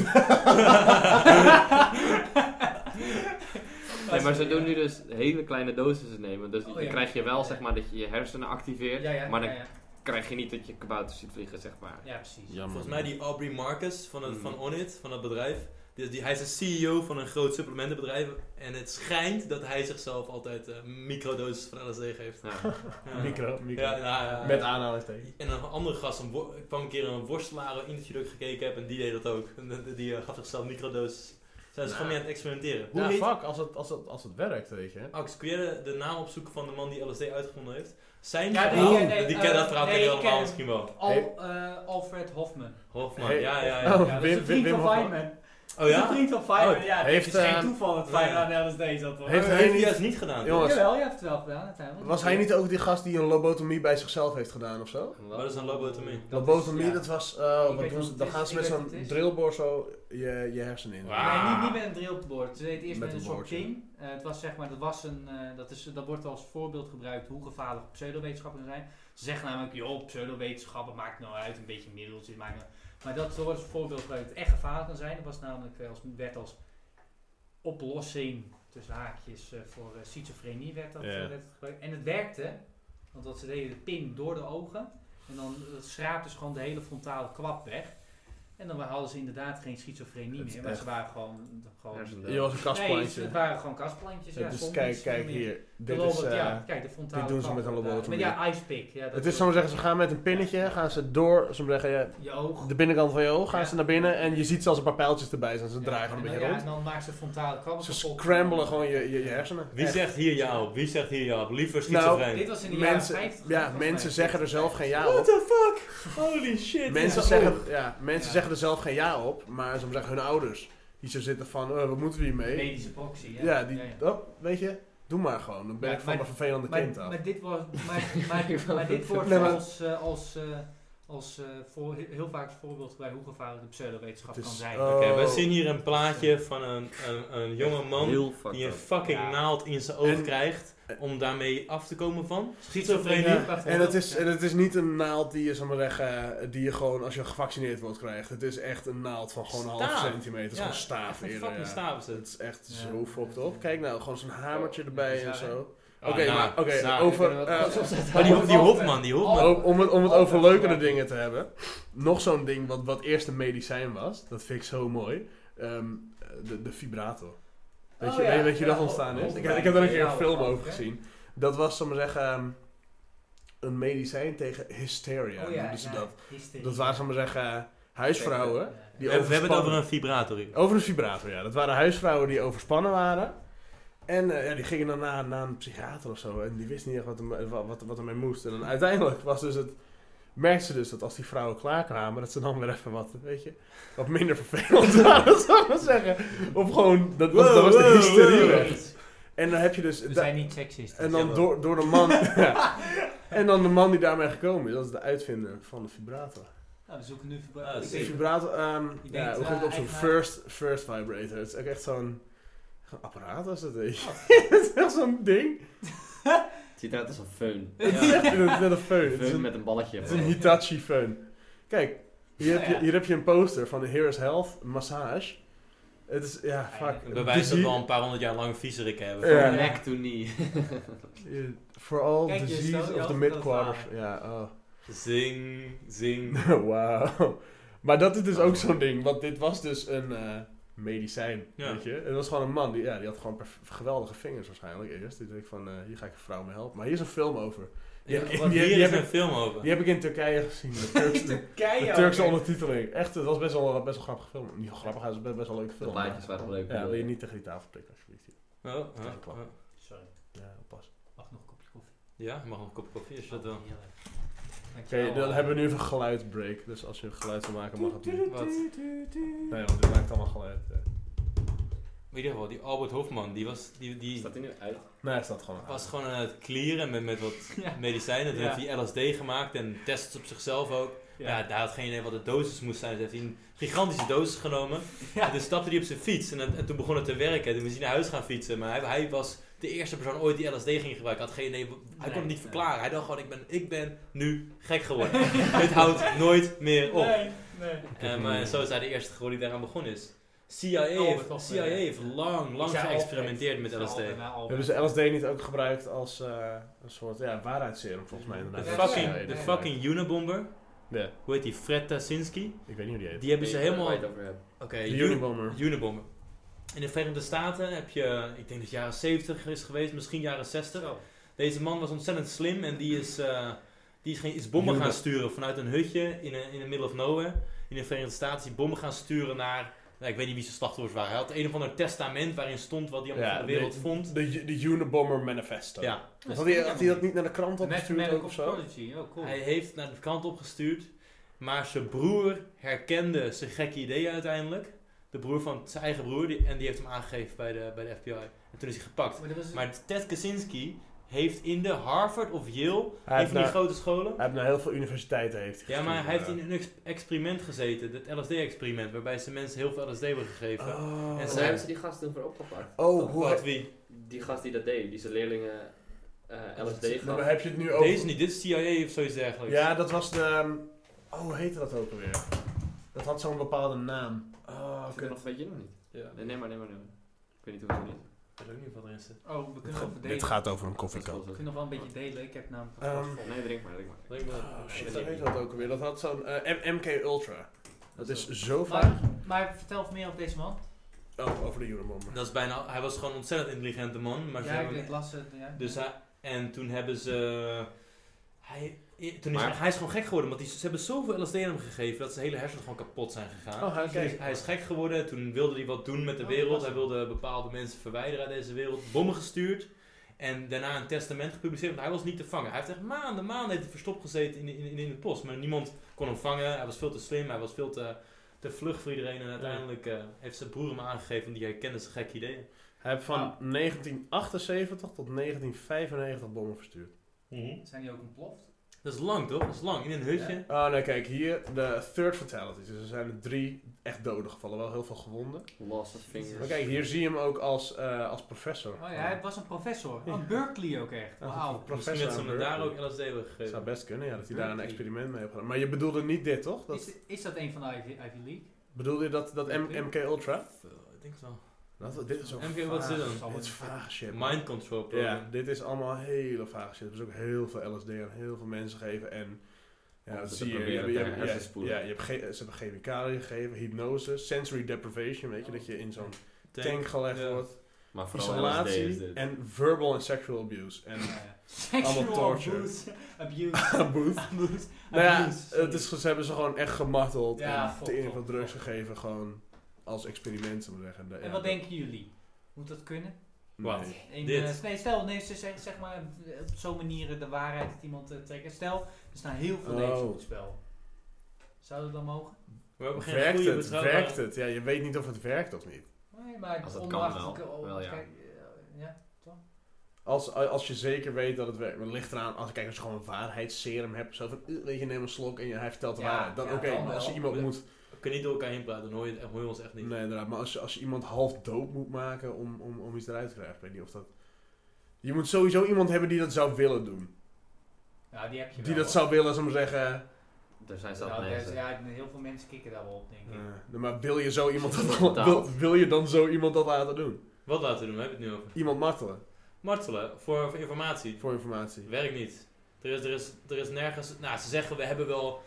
Speaker 4: Nee, maar ze doen nu dus hele kleine doses nemen. Dus
Speaker 5: Oh,
Speaker 4: dan
Speaker 5: ja.
Speaker 4: krijg je wel,
Speaker 5: Ja.
Speaker 4: zeg maar, dat je je hersenen activeert.
Speaker 5: Ja, ja,
Speaker 4: maar
Speaker 5: ja,
Speaker 4: dan
Speaker 5: ja.
Speaker 4: krijg je niet dat je kabouters ziet vliegen, zeg maar.
Speaker 5: Ja, precies.
Speaker 1: Jammer.
Speaker 2: Volgens mij die Aubrey Marcus van, het,
Speaker 4: Mm.
Speaker 2: van Onit, van dat bedrijf. Die, die, hij is een CEO van een groot supplementenbedrijf. En het schijnt dat hij zichzelf altijd eh microdoses van LSD geeft.
Speaker 4: Ja.
Speaker 2: Ja.
Speaker 1: Micro, micro.
Speaker 2: Ja, nou, ja.
Speaker 1: Met aanhalingstekens.
Speaker 2: En een andere gast, een wo- ik kwam een keer een worstelaar een interview dat ik gekeken heb en die deed dat ook. En de- de- Die eh, gaf zichzelf microdoses. Zijn ze gewoon mee aan het experimenteren. Hoe
Speaker 3: Ja,
Speaker 2: heet...
Speaker 3: fuck, als het, als, het, als het werkt, weet je.
Speaker 2: Alex, kun jij de, de naam opzoeken van de man die LSD uitgevonden heeft? Zijn
Speaker 5: Ja,
Speaker 2: verhaal,
Speaker 5: nee, nee,
Speaker 2: die
Speaker 5: eh,
Speaker 2: kent dat verhaal
Speaker 5: nee,
Speaker 2: ken je
Speaker 5: ik
Speaker 2: allemaal
Speaker 5: ken-
Speaker 2: misschien wel.
Speaker 5: Al, eh, Alfred Hofman.
Speaker 2: Hofman,
Speaker 1: Hey.
Speaker 2: ja, ja, ja.
Speaker 1: Oh,
Speaker 5: Ja, dat is
Speaker 1: Wim-
Speaker 5: een vriend
Speaker 1: Wim-
Speaker 5: van
Speaker 1: Wim van-
Speaker 5: Feynman.
Speaker 2: Oh
Speaker 5: Dat is een
Speaker 2: ja?
Speaker 5: vriend van Feynman, ja.
Speaker 1: Heeft,
Speaker 5: het is geen
Speaker 1: eh,
Speaker 5: toeval dat
Speaker 2: nee.
Speaker 5: Feynman aan LSD zat. hoor.
Speaker 1: Heeft
Speaker 2: Heeft
Speaker 1: hij
Speaker 2: hij
Speaker 1: niet-
Speaker 2: juist niet gedaan?
Speaker 1: Jongens.
Speaker 5: Jawel, je hebt het wel gedaan uiteindelijk.
Speaker 1: Was hij niet ook die gast die een lobotomie bij zichzelf heeft gedaan of zo?
Speaker 2: Wat Oh, is een lobotomie?
Speaker 1: Lobotomie,
Speaker 5: ja.
Speaker 1: dat was. eh,
Speaker 5: weet
Speaker 1: wat
Speaker 5: wat
Speaker 1: doen ze,
Speaker 5: het
Speaker 1: dan
Speaker 5: is,
Speaker 1: gaan ze
Speaker 5: ik
Speaker 1: met
Speaker 5: weet wat het
Speaker 1: zo'n
Speaker 5: is.
Speaker 1: drillboor zo je, je hersenen in.
Speaker 2: Wauw.
Speaker 5: Nee, niet, niet met een drillboard. Ze deed
Speaker 1: Met
Speaker 5: eerst met,
Speaker 1: een
Speaker 5: een soort
Speaker 1: boordje.
Speaker 5: ding. Eh, het was zeg maar, dat, was een, eh, dat, is, dat wordt als voorbeeld gebruikt hoe gevaarlijk pseudowetenschappen zijn. Ze zeggen namelijk, joh, pseudowetenschappen maakt nou uit, een beetje middeltjes maakt nou Maar dat wordt als voorbeeld gebruikt dat het echt gevaarlijk kan zijn. Dat was namelijk eh, als, werd als oplossing, tussen haakjes, eh, voor eh, schizofrenie werd dat
Speaker 3: Ja.
Speaker 5: eh, werd het gebruikt. En het werkte, want wat ze deden, de pin door de ogen. En dan eh, schraapte ze gewoon de hele frontale kwap weg. En dan hadden ze inderdaad geen schizofrenie
Speaker 1: Het is
Speaker 5: meer, maar
Speaker 1: echt-
Speaker 5: ze waren gewoon... gewoon
Speaker 1: Je was een
Speaker 5: Nee,
Speaker 1: kastplantje.
Speaker 5: het waren gewoon kastplantjes. Ja,
Speaker 1: dus
Speaker 5: soms
Speaker 1: kijk,
Speaker 5: niet,
Speaker 1: kijk
Speaker 5: soms niet.
Speaker 1: hier.
Speaker 5: De
Speaker 1: Dit
Speaker 5: lobo-
Speaker 1: is, eh,
Speaker 5: ja, kijk, de frontale
Speaker 1: dit doen ze
Speaker 5: kant
Speaker 1: met een
Speaker 5: van de-
Speaker 1: lobotomie.
Speaker 5: Met eh, ja, icepick. Ja, dat
Speaker 1: het
Speaker 5: doe-
Speaker 1: is, zo zeggen, ze gaan met een pinnetje, gaan ze door, ze zeggen, ja,
Speaker 5: Je oog.
Speaker 1: de binnenkant van je oog gaan
Speaker 5: Ja.
Speaker 1: ze naar binnen en je ziet zelfs een paar pijltjes erbij zijn. Ze draaien gewoon een
Speaker 5: Ja,
Speaker 1: beetje
Speaker 5: ja,
Speaker 1: rond.
Speaker 5: en dan maakt ze frontale kwam.
Speaker 1: Ze scramblen gewoon je, je, je hersenen.
Speaker 2: Wie
Speaker 1: Echt.
Speaker 2: zegt hier ja op? Wie zegt hier ja op? Liever
Speaker 1: Nou,
Speaker 2: schizofreen.
Speaker 5: Dit was in de jaren
Speaker 1: mensen,
Speaker 5: 50.
Speaker 1: ja,
Speaker 5: volgens mij.
Speaker 1: mensen zeggen er zelf geen ja
Speaker 2: What
Speaker 1: op.
Speaker 2: the fuck? Holy shit.
Speaker 1: Mensen,
Speaker 2: Ja, oh.
Speaker 1: zeggen, ja, mensen
Speaker 5: Ja.
Speaker 1: zeggen er zelf geen ja op, maar ze zeggen hun ouders. Die zo zitten van, eh, wat moeten we hiermee?
Speaker 5: Medische proxy. Ja,
Speaker 1: Ja, die,
Speaker 5: Ja, ja.
Speaker 1: oh, weet je, doe maar gewoon. Dan ben
Speaker 5: Ja,
Speaker 1: ik van
Speaker 5: maar-
Speaker 1: mijn vervelende
Speaker 5: Maar,
Speaker 1: kind af.
Speaker 5: maar dit was, maar, maar, maar dit wordt
Speaker 1: Nee, maar-
Speaker 5: als, eh, als, eh, als eh, voor, heel vaak als voorbeeld gebruikt hoe gevaarlijk de pseudowetenschap
Speaker 1: Het is-
Speaker 5: kan zijn.
Speaker 1: oh.
Speaker 2: Oké, wij zien hier een plaatje van een, een, een jonge man
Speaker 4: Heel fucked
Speaker 2: die een
Speaker 4: up.
Speaker 2: fucking
Speaker 5: Ja.
Speaker 2: naald in zijn oog
Speaker 1: En-
Speaker 2: krijgt om daarmee af te komen van
Speaker 5: Schizofrenie.
Speaker 2: schizofrenie.
Speaker 1: En het, is, en het is niet een naald die je, zal maar zeggen, die je gewoon als je gevaccineerd wordt krijgt. Het is echt een naald van gewoon een half
Speaker 2: Staaf.
Speaker 1: centimeter. Het is
Speaker 2: Ja,
Speaker 1: gewoon staaf
Speaker 2: Echt een
Speaker 1: eerder.
Speaker 2: fucking
Speaker 1: ja.
Speaker 2: staaf is
Speaker 1: Het
Speaker 2: het.
Speaker 1: is echt
Speaker 5: Ja.
Speaker 1: zo fokt op. Kijk nou, gewoon zo'n hamertje erbij
Speaker 5: Ja,
Speaker 1: en
Speaker 5: dat is waar,
Speaker 1: zo.
Speaker 2: Ah,
Speaker 1: Oké,
Speaker 2: nou,
Speaker 1: maar oké,
Speaker 2: nou.
Speaker 1: over...
Speaker 4: Kunnen we
Speaker 1: eh,
Speaker 4: het wel
Speaker 2: Maar die, die Hofman, die Hofman.
Speaker 1: om- om het, om het over
Speaker 5: Altijd
Speaker 1: leukere
Speaker 5: gebruiken.
Speaker 1: dingen te hebben. Nog zo'n ding wat, wat eerst een medicijn was. Dat vind ik zo mooi. Ehm, de, de vibrator. Weet je,
Speaker 5: Oh, ja.
Speaker 1: weet, weet je hoe dat
Speaker 5: Ja,
Speaker 1: ontstaan is?
Speaker 5: Hofman.
Speaker 1: Ik, heb- ik heb daar een keer een
Speaker 5: Ja,
Speaker 1: film
Speaker 5: Hofman,
Speaker 1: over
Speaker 5: hè?
Speaker 1: gezien. Dat was, zal ik maar zeggen, ehm, een medicijn tegen hysteria.
Speaker 5: Oh ja,
Speaker 1: noemden ze
Speaker 5: ja,
Speaker 1: dat.
Speaker 5: hysterie.
Speaker 1: Dat waren, zal ik maar zeggen, huisvrouwen.
Speaker 5: Ja.
Speaker 1: Die
Speaker 2: We, we hebben het
Speaker 1: overspannen-
Speaker 2: over een vibrator hier.
Speaker 1: over een vibrator, ja. Dat waren huisvrouwen die overspannen waren. En eh, ja, die gingen dan naar, naar een psychiater of zo. En die wist niet echt wat, er, wat, wat- wat ermee moest. En dan uiteindelijk was dus het... Merkte ze dus dat als die vrouwen klaarkwamen, dat ze dan weer even wat, weet je, wat minder vervelend waren, zou ik maar zeggen. Of gewoon, dat was, dat was de hysterie weg. En dan heb je dus...
Speaker 5: We
Speaker 1: da-
Speaker 5: zijn niet seksist.
Speaker 1: en dan
Speaker 2: Ja,
Speaker 1: door, door de man... ja. En dan de man die daarmee gekomen is, dat is de uitvinder van de vibrator.
Speaker 5: Nou, we zoeken nu
Speaker 2: Ah,
Speaker 5: verbruik.
Speaker 2: dat is
Speaker 1: Een
Speaker 2: Zeker.
Speaker 1: vibrator, ehm,
Speaker 5: Ik denk,
Speaker 1: ja, hoe
Speaker 5: eh,
Speaker 1: gaat het op zo'n
Speaker 5: eigenaar-
Speaker 1: first, first vibrator? Het is ook echt zo'n zo'n apparaat als dat is.
Speaker 5: Oh.
Speaker 1: het is echt zo'n ding.
Speaker 4: Het ziet eruit als een föhn.
Speaker 1: Het is echt net net een föhn. Het is
Speaker 4: Föhn
Speaker 1: een,
Speaker 4: met een balletje.
Speaker 1: het is een Hitachi föhn. Kijk, hier heb,
Speaker 5: Nou
Speaker 1: je,
Speaker 5: ja.
Speaker 1: hier heb je een poster van Here is Health Massage. Het is, ja, vaak...
Speaker 5: Eigenlijk
Speaker 2: Bij wijze dat we al een paar honderd jaar lang viezerik hebben.
Speaker 1: Ja.
Speaker 4: Neck to knee.
Speaker 1: For all
Speaker 5: Kijk, je
Speaker 1: disease
Speaker 5: stelt
Speaker 1: of
Speaker 5: je
Speaker 1: the
Speaker 5: altijd
Speaker 1: mid-quarters.
Speaker 5: dat
Speaker 1: Ja, oh.
Speaker 2: Zing, zing.
Speaker 1: Wauw. Maar dat is dus ook zo'n ding, want dit was dus een eh, medicijn,
Speaker 2: Ja.
Speaker 1: weet je. Het was gewoon een man, die, ja, die had gewoon perf- geweldige vingers waarschijnlijk eerst. Die dacht van, eh, hier ga ik een vrouw mee helpen. Maar hier is een film over. Die,
Speaker 2: Ja,
Speaker 1: heb-
Speaker 2: want
Speaker 1: die, heb-
Speaker 2: hier
Speaker 1: die
Speaker 2: is
Speaker 1: heb,
Speaker 2: een
Speaker 1: ik,
Speaker 2: film over.
Speaker 1: die heb ik in Turkije gezien, de Turkse, de
Speaker 5: Turkije.
Speaker 1: Turkse ondertiteling. Echt, het was best wel, best wel grappig film. Niet wel grappig, het was best, best wel een leuke
Speaker 4: De
Speaker 1: film.
Speaker 4: plaatjes waren leuk.
Speaker 1: Ja, wil je niet tegen die tafel prikken alsjeblieft.
Speaker 2: Oh, oh, oh.
Speaker 5: Sorry,
Speaker 1: Ja, pas.
Speaker 5: mag nog een kopje koffie.
Speaker 2: Ja, je mag een kop koffie als je dat wil.
Speaker 5: Heerlijk.
Speaker 1: Oké,
Speaker 5: Dankjewel.
Speaker 1: dan hebben we nu even een geluidbreak. Dus als je een geluid wil maken, mag het niet.
Speaker 2: Wat?
Speaker 1: Nee, want dit maakt allemaal geluid. eh.
Speaker 2: In ieder geval, die Albert Hofman, die, was, die, die
Speaker 4: Staat hij nu uit?
Speaker 1: Nee, het staat gewoon aan.
Speaker 2: was gewoon aan het clearen met, met wat
Speaker 5: Ja.
Speaker 2: medicijnen. Toen
Speaker 5: Ja.
Speaker 2: heeft hij LSD gemaakt en tests op zichzelf ook. Ja. daar had geen idee wat de dosis moest zijn. Dus heeft hij een gigantische dosis genomen.
Speaker 5: Ja.
Speaker 2: En toen stapte hij op zijn fiets en, en toen begon het te werken. Toen moest hij naar huis gaan fietsen. Maar hij, hij was de eerste persoon ooit die LSD ging gebruiken. Had geen idee, hij kon
Speaker 5: Nee,
Speaker 2: het niet
Speaker 5: nee.
Speaker 2: verklaren. Hij dacht gewoon, ik ben, ik ben nu gek geworden. het houdt nooit meer op.
Speaker 5: Nee, nee.
Speaker 2: En maar zo is hij de eerste geworden die daaraan begonnen is. CIA,
Speaker 5: Oh,
Speaker 2: heeft,
Speaker 5: toch,
Speaker 2: CIA
Speaker 5: eh,
Speaker 2: heeft lang, lang
Speaker 5: Ik zei
Speaker 2: geëxperimenteerd met
Speaker 5: altijd,
Speaker 2: LSD.
Speaker 5: altijd bij Albert.
Speaker 1: Hebben ze LSD niet ook gebruikt als eh, een soort ja, waarheidsserum volgens mij
Speaker 2: De
Speaker 1: inderdaad?
Speaker 5: Ja, ja, ja.
Speaker 2: fucking, de fucking Unabomber,
Speaker 1: Ja,
Speaker 2: hoe heet die? Fred Tasinski.
Speaker 1: ik weet niet hoe die heet.
Speaker 2: Die hebben ze helemaal... Oké,
Speaker 1: De
Speaker 5: eh,
Speaker 2: Uni-
Speaker 1: Unibomber.
Speaker 2: Unabomber. In de Verenigde Staten heb je, ik denk dat het jaren 70 is geweest, misschien jaren 60.
Speaker 5: Zo.
Speaker 2: Deze man was ontzettend slim en die is, eh, die is, geen, is bommen
Speaker 1: Unab-
Speaker 2: gaan sturen vanuit een hutje in de in the middle of nowhere. In de Verenigde Staten is die bommen gaan sturen naar, nou, ik weet niet wie zijn slachtoffers waren. Hij had een of ander testament waarin stond wat hij allemaal
Speaker 1: Ja,
Speaker 2: van de wereld
Speaker 1: nee.
Speaker 2: vond.
Speaker 1: De, de Unibomber Manifesto.
Speaker 2: Ja,
Speaker 1: Had hij, had hij dat niet naar de krant opgestuurd
Speaker 5: Mathematical
Speaker 1: ook of zo?
Speaker 5: Prodigy, oh cool.
Speaker 2: Hij heeft naar de kant opgestuurd, maar zijn broer herkende zijn gekke ideeën uiteindelijk. De broer van zijn eigen broer, die, en die heeft hem aangegeven bij de, bij de FBI. En toen is hij gepakt.
Speaker 5: Maar dat was-
Speaker 2: Maar Ted Kaczynski heeft in de Harvard of
Speaker 1: Hij
Speaker 2: Yale, een
Speaker 1: heeft
Speaker 2: van die
Speaker 1: naar,
Speaker 2: grote scholen.
Speaker 1: hij heeft naar heel veel universiteiten heeft hij
Speaker 2: Ja, maar hij heeft
Speaker 1: gestuurd,
Speaker 2: in een ex- experiment gezeten, het LSD-experiment, waarbij ze mensen heel veel LSD hebben gegeven.
Speaker 1: Oh,
Speaker 2: En
Speaker 4: En
Speaker 2: zij-
Speaker 4: daar hebben ze die gast toen voor opgepakt.
Speaker 1: oh
Speaker 4: Toch?
Speaker 1: hoe
Speaker 2: Wat wie?
Speaker 4: Die gast die dat deed, die zijn leerlingen eh, LSD
Speaker 1: Nou,
Speaker 4: gaf.
Speaker 1: maar heb je het nu over...
Speaker 2: Deze niet, dit is CIA of zoiets dergelijks.
Speaker 1: Ja, dat was de... ehm, Oh, hoe heette dat ook alweer? Dat had zo'n bepaalde naam. Oh,
Speaker 4: Of dat weet je nog niet.
Speaker 2: Ja.
Speaker 4: Nee, nee maar, nee maar, nee maar. Ik weet niet hoe het is.
Speaker 2: Ik weet ook niet wat erin zit.
Speaker 5: Oh, we kunnen nog delen.
Speaker 1: Dit gaat over een
Speaker 4: Dat is
Speaker 1: koffiekap.
Speaker 4: wel
Speaker 5: We
Speaker 4: zo.
Speaker 5: kunnen nog wel een beetje delen. Ik heb namelijk
Speaker 1: Ehm,
Speaker 5: een
Speaker 4: Nee, drink maar, drink maar.
Speaker 2: Denk maar-
Speaker 1: Oh shit,
Speaker 2: weet
Speaker 1: hoe
Speaker 2: ik
Speaker 1: heet
Speaker 2: niet.
Speaker 1: dat ook alweer? Dat had zo'n eh, M- MK Ultra. Dat is zo vaak.
Speaker 5: maar, maar vertel meer over deze man.
Speaker 1: Oh, over de Unibomber.
Speaker 2: Dat is bijna, hij was gewoon een ontzettend intelligente man, maar ze
Speaker 5: ja,
Speaker 2: hebben
Speaker 5: ik
Speaker 2: hem
Speaker 5: ik las het. Ja.
Speaker 2: Dus hij, en toen hebben ze. Hij, i- toen is,
Speaker 4: Maar-
Speaker 2: hij is gewoon gek geworden, want die, ze hebben zoveel LSD aan hem gegeven dat zijn hele hersenen gewoon kapot zijn gegaan.
Speaker 1: Oh, hij-
Speaker 2: Dus hij is-
Speaker 1: kijk.
Speaker 2: hij is gek geworden, toen wilde hij wat doen met de
Speaker 5: Oh,
Speaker 2: wereld.
Speaker 5: dat was
Speaker 2: Hij
Speaker 5: hem.
Speaker 2: wilde bepaalde mensen verwijderen uit deze wereld, bommen gestuurd. En daarna een testament gepubliceerd, want hij was niet te vangen. Hij heeft echt maanden, maanden heeft hij verstopt gezeten in, in, in, in de post. Maar niemand kon hem vangen, hij was veel te slim, hij was veel te, te vlug voor iedereen. En uiteindelijk eh, heeft zijn broer hem aangegeven, want die herkende zijn gekke ideeën.
Speaker 1: Hij heeft van
Speaker 5: Ah.
Speaker 1: 1978 tot 1995 bommen verstuurd.
Speaker 5: Zijn die ook ontploft?
Speaker 2: Dat is lang toch? Dat is lang, in een hutje.
Speaker 5: Mhm. Ja.
Speaker 1: Oh nee, kijk, hier de third fatalities. Dus er zijn er drie echt doden gevallen, wel heel veel gewonden.
Speaker 4: Lost of fingers.
Speaker 1: Maar kijk, hier zie je hem ook als, eh, als professor.
Speaker 5: Oh ja, hij was een professor. Aan Berkeley ook echt.
Speaker 1: Ja,
Speaker 5: Wauw.
Speaker 1: pro-
Speaker 2: Misschien
Speaker 1: Professor
Speaker 2: dat ze hem
Speaker 1: Hamburger.
Speaker 2: daar ook LSD hebben
Speaker 1: Het
Speaker 2: gegeven.
Speaker 1: zou best kunnen, ja, dat hij daar een
Speaker 2: Berkeley.
Speaker 1: experiment mee heeft gedaan. Maar je bedoelde niet dit, toch? Dat,
Speaker 5: Is, is dat een van de Ivy, Ivy League?
Speaker 1: bedoelde je dat, dat M- MK Ultra?
Speaker 2: Of, eh, Ik denk het wel.
Speaker 1: Dat, dit is ook
Speaker 2: MK, wat is dit dan?
Speaker 5: Zal
Speaker 1: Dit is
Speaker 5: wel-
Speaker 1: vaag shit. man.
Speaker 2: Mind control program.
Speaker 1: Ja, dit is allemaal hele vage shit. Er is ook heel veel LSD aan heel veel mensen gegeven. En ja,
Speaker 4: Om
Speaker 1: dat
Speaker 4: ze
Speaker 1: zie
Speaker 4: te
Speaker 1: je. je,
Speaker 4: proberen
Speaker 1: hebt- je
Speaker 4: tegen
Speaker 1: hebt-
Speaker 4: hersen
Speaker 1: ja,
Speaker 4: te spoelen.
Speaker 1: ja, je hebt ge- ze hebben chemicaliën gegeven, hypnose, sensory deprivation. Weet je, dat je in zo'n
Speaker 2: Tank.
Speaker 1: tank gelegd
Speaker 2: ja.
Speaker 1: wordt.
Speaker 4: Maar vooral LSD is
Speaker 1: Isolatie
Speaker 4: dit.
Speaker 1: en verbal en sexual abuse. En
Speaker 5: Ja, ja. eh, Sexual
Speaker 1: Allemaal torture.
Speaker 5: abuse. Abuse.
Speaker 1: Abuse.
Speaker 5: Abuse.
Speaker 1: nou ja,
Speaker 5: Abuse.
Speaker 1: het is, ze hebben ze gewoon echt gemarteld.
Speaker 5: Ja,
Speaker 1: en
Speaker 5: fok,
Speaker 1: te veel
Speaker 5: fok,
Speaker 1: drugs
Speaker 5: fok.
Speaker 1: gegeven, gewoon als experiment, zullen we zeggen.
Speaker 5: En wat denken jullie? Moet dat kunnen?
Speaker 2: Wat?
Speaker 5: In,
Speaker 2: Dit.
Speaker 5: eh, nee, stel, nee, ze zeg, zeg maar eh, op zo'n manier de waarheid dat iemand eh, trekken. Stel, er staan heel veel
Speaker 1: Oh.
Speaker 5: levens op het spel. Zou dat dan mogen?
Speaker 2: We hebben geen
Speaker 1: Werkt
Speaker 2: goede
Speaker 1: het?
Speaker 2: betrouwbare-
Speaker 1: Werkt het? Ja, je weet niet of het werkt of niet.
Speaker 5: Nee, maar
Speaker 4: Als het kan
Speaker 5: onwachtelijke-
Speaker 4: wel.
Speaker 5: oh,
Speaker 4: Wel, ja.
Speaker 5: kijk, eh, ja.
Speaker 1: Als, als je zeker weet dat het werkt. Maar het ligt eraan, als, kijk, als je gewoon een waarheidsserum hebt. Zo van, eh, weet je, neem een slok en je, hij vertelt de
Speaker 5: Ja,
Speaker 1: waarheid. Dan
Speaker 5: ja,
Speaker 1: oké,
Speaker 5: dan
Speaker 1: maar als je
Speaker 5: wel.
Speaker 1: iemand
Speaker 2: Ja.
Speaker 1: moet...
Speaker 2: We kunnen niet door elkaar heen praten, dan hoor je, het- hoor je ons echt niet.
Speaker 1: Nee, inderdaad. Maar als, je- als je iemand half dood moet maken om, om, om iets eruit te krijgen. Ik weet niet of dat... Je moet sowieso iemand hebben die dat zou willen doen.
Speaker 5: Ja, die heb je
Speaker 1: Die
Speaker 5: wel,
Speaker 1: dat
Speaker 5: hoor.
Speaker 1: zou willen, zullen we zeggen...
Speaker 4: Er zijn zat eh.
Speaker 5: Nou, daar is-
Speaker 4: mensen.
Speaker 5: ja, heel veel mensen kikken daar wel op, denk ik.
Speaker 1: eh, maar wil je, zo iemand dat, dan-
Speaker 4: Betaald.
Speaker 1: wil, wil je dan zo iemand dat laten doen?
Speaker 2: Wat laten we doen? We hebben het nu over.
Speaker 1: Iemand martelen
Speaker 2: Martelen, voor, voor informatie.
Speaker 1: voor informatie.
Speaker 2: Werkt niet. Er is, er, is, er is nergens... Nou, ze zeggen we hebben wel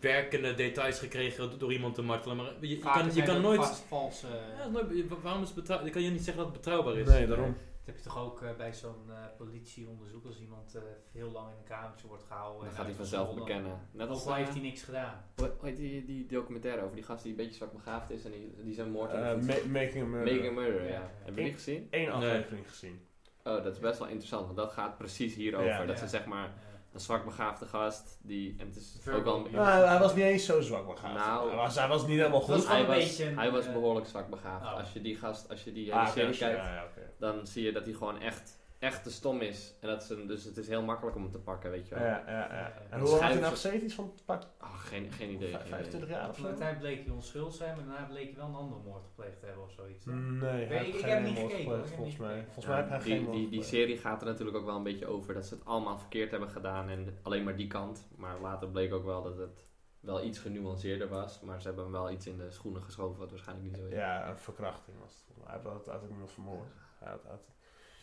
Speaker 2: werkende details gekregen door iemand te martelen, maar je, je
Speaker 5: Vaak
Speaker 2: kan, je
Speaker 5: zijn
Speaker 2: kan
Speaker 5: dat
Speaker 2: nooit...
Speaker 5: vast valse,
Speaker 2: Ja, dat is nooit- je- waarom is het betrouw- Je kan je niet zeggen dat het betrouwbaar is.
Speaker 1: Nee, daarom.
Speaker 5: Dat heb je toch ook eh, bij zo'n eh, politieonderzoek als iemand eh, heel lang in een kamertje wordt gehouden.
Speaker 4: Dan
Speaker 5: en
Speaker 4: gaat hij vanzelf
Speaker 5: uitgescholden.
Speaker 4: bekennen. Net als
Speaker 5: Ook al
Speaker 4: eh,
Speaker 5: heeft hij niks gedaan.
Speaker 4: hoe heet die, die documentaire over die gast die een beetje zwak begaafd is en die, die zijn moord
Speaker 1: Eh,
Speaker 4: heeft
Speaker 1: ma- making a murder.
Speaker 4: Making a Murder, ja.
Speaker 5: Ja.
Speaker 4: Hebben jullie die gezien?
Speaker 1: Eén
Speaker 2: Nee.
Speaker 1: aflevering gezien.
Speaker 4: Oh, dat is best wel interessant, want dat gaat precies hierover.
Speaker 1: Ja.
Speaker 4: Dat
Speaker 5: Ja.
Speaker 4: ze zeg maar een zwak begaafde gast, die, en het is
Speaker 5: Verbal
Speaker 4: ook wel...
Speaker 5: abuse.
Speaker 1: Nou, hij- hij was niet eens zo zwak begaafd.
Speaker 4: Nou.
Speaker 1: hij, was, hij was niet helemaal
Speaker 5: Dat
Speaker 1: goed.
Speaker 5: is
Speaker 4: Hij
Speaker 5: gewoon een
Speaker 4: was,
Speaker 5: beetje een,
Speaker 4: hij was
Speaker 5: eh,
Speaker 4: behoorlijk zwak begaafd.
Speaker 5: oh.
Speaker 4: Als je die gast, als je die hele
Speaker 1: Ah, oké,
Speaker 4: serie
Speaker 1: als je-
Speaker 4: kijkt,
Speaker 1: ja, ja, oké.
Speaker 4: dan zie je dat hij gewoon echt echt te stom is. En dat is een, dus het is heel makkelijk om hem te pakken, weet je
Speaker 1: Ja,
Speaker 4: wel.
Speaker 1: ja, ja. En hoe
Speaker 4: Dus
Speaker 1: lang had
Speaker 4: hij-
Speaker 1: hij nou gezeten? Iets van pak
Speaker 4: Ah, geen, geen idee. geen idee.
Speaker 1: 25 jaar of zo?
Speaker 5: Uiteindelijk bleek hij onschuldig zijn, maar daarna bleek hij wel een andere moord gepleegd te hebben of zoiets.
Speaker 2: Mm.
Speaker 5: hè?
Speaker 1: Nee, hij
Speaker 5: Weet ik-
Speaker 1: heeft
Speaker 5: ik
Speaker 1: geen
Speaker 5: heb niet
Speaker 1: moord
Speaker 5: gekeken, hoor. Ik
Speaker 1: gepleegd
Speaker 5: heb
Speaker 1: volgens
Speaker 5: niet
Speaker 1: mij.
Speaker 5: gekeken.
Speaker 1: Volgens mij heb hij geen
Speaker 4: die,
Speaker 1: moord
Speaker 4: die, die
Speaker 1: gepleegd.
Speaker 4: serie gaat er natuurlijk ook wel een beetje over dat ze het allemaal verkeerd hebben gedaan en alleen maar die kant. Maar later bleek ook wel dat het wel iets genuanceerder was. Maar ze hebben hem wel iets in de schoenen geschoven, wat waarschijnlijk niet zo is.
Speaker 1: Ja, een verkrachting was het. volgens mij. Hij had uiteindelijk iemand vermoord. Hij had- had-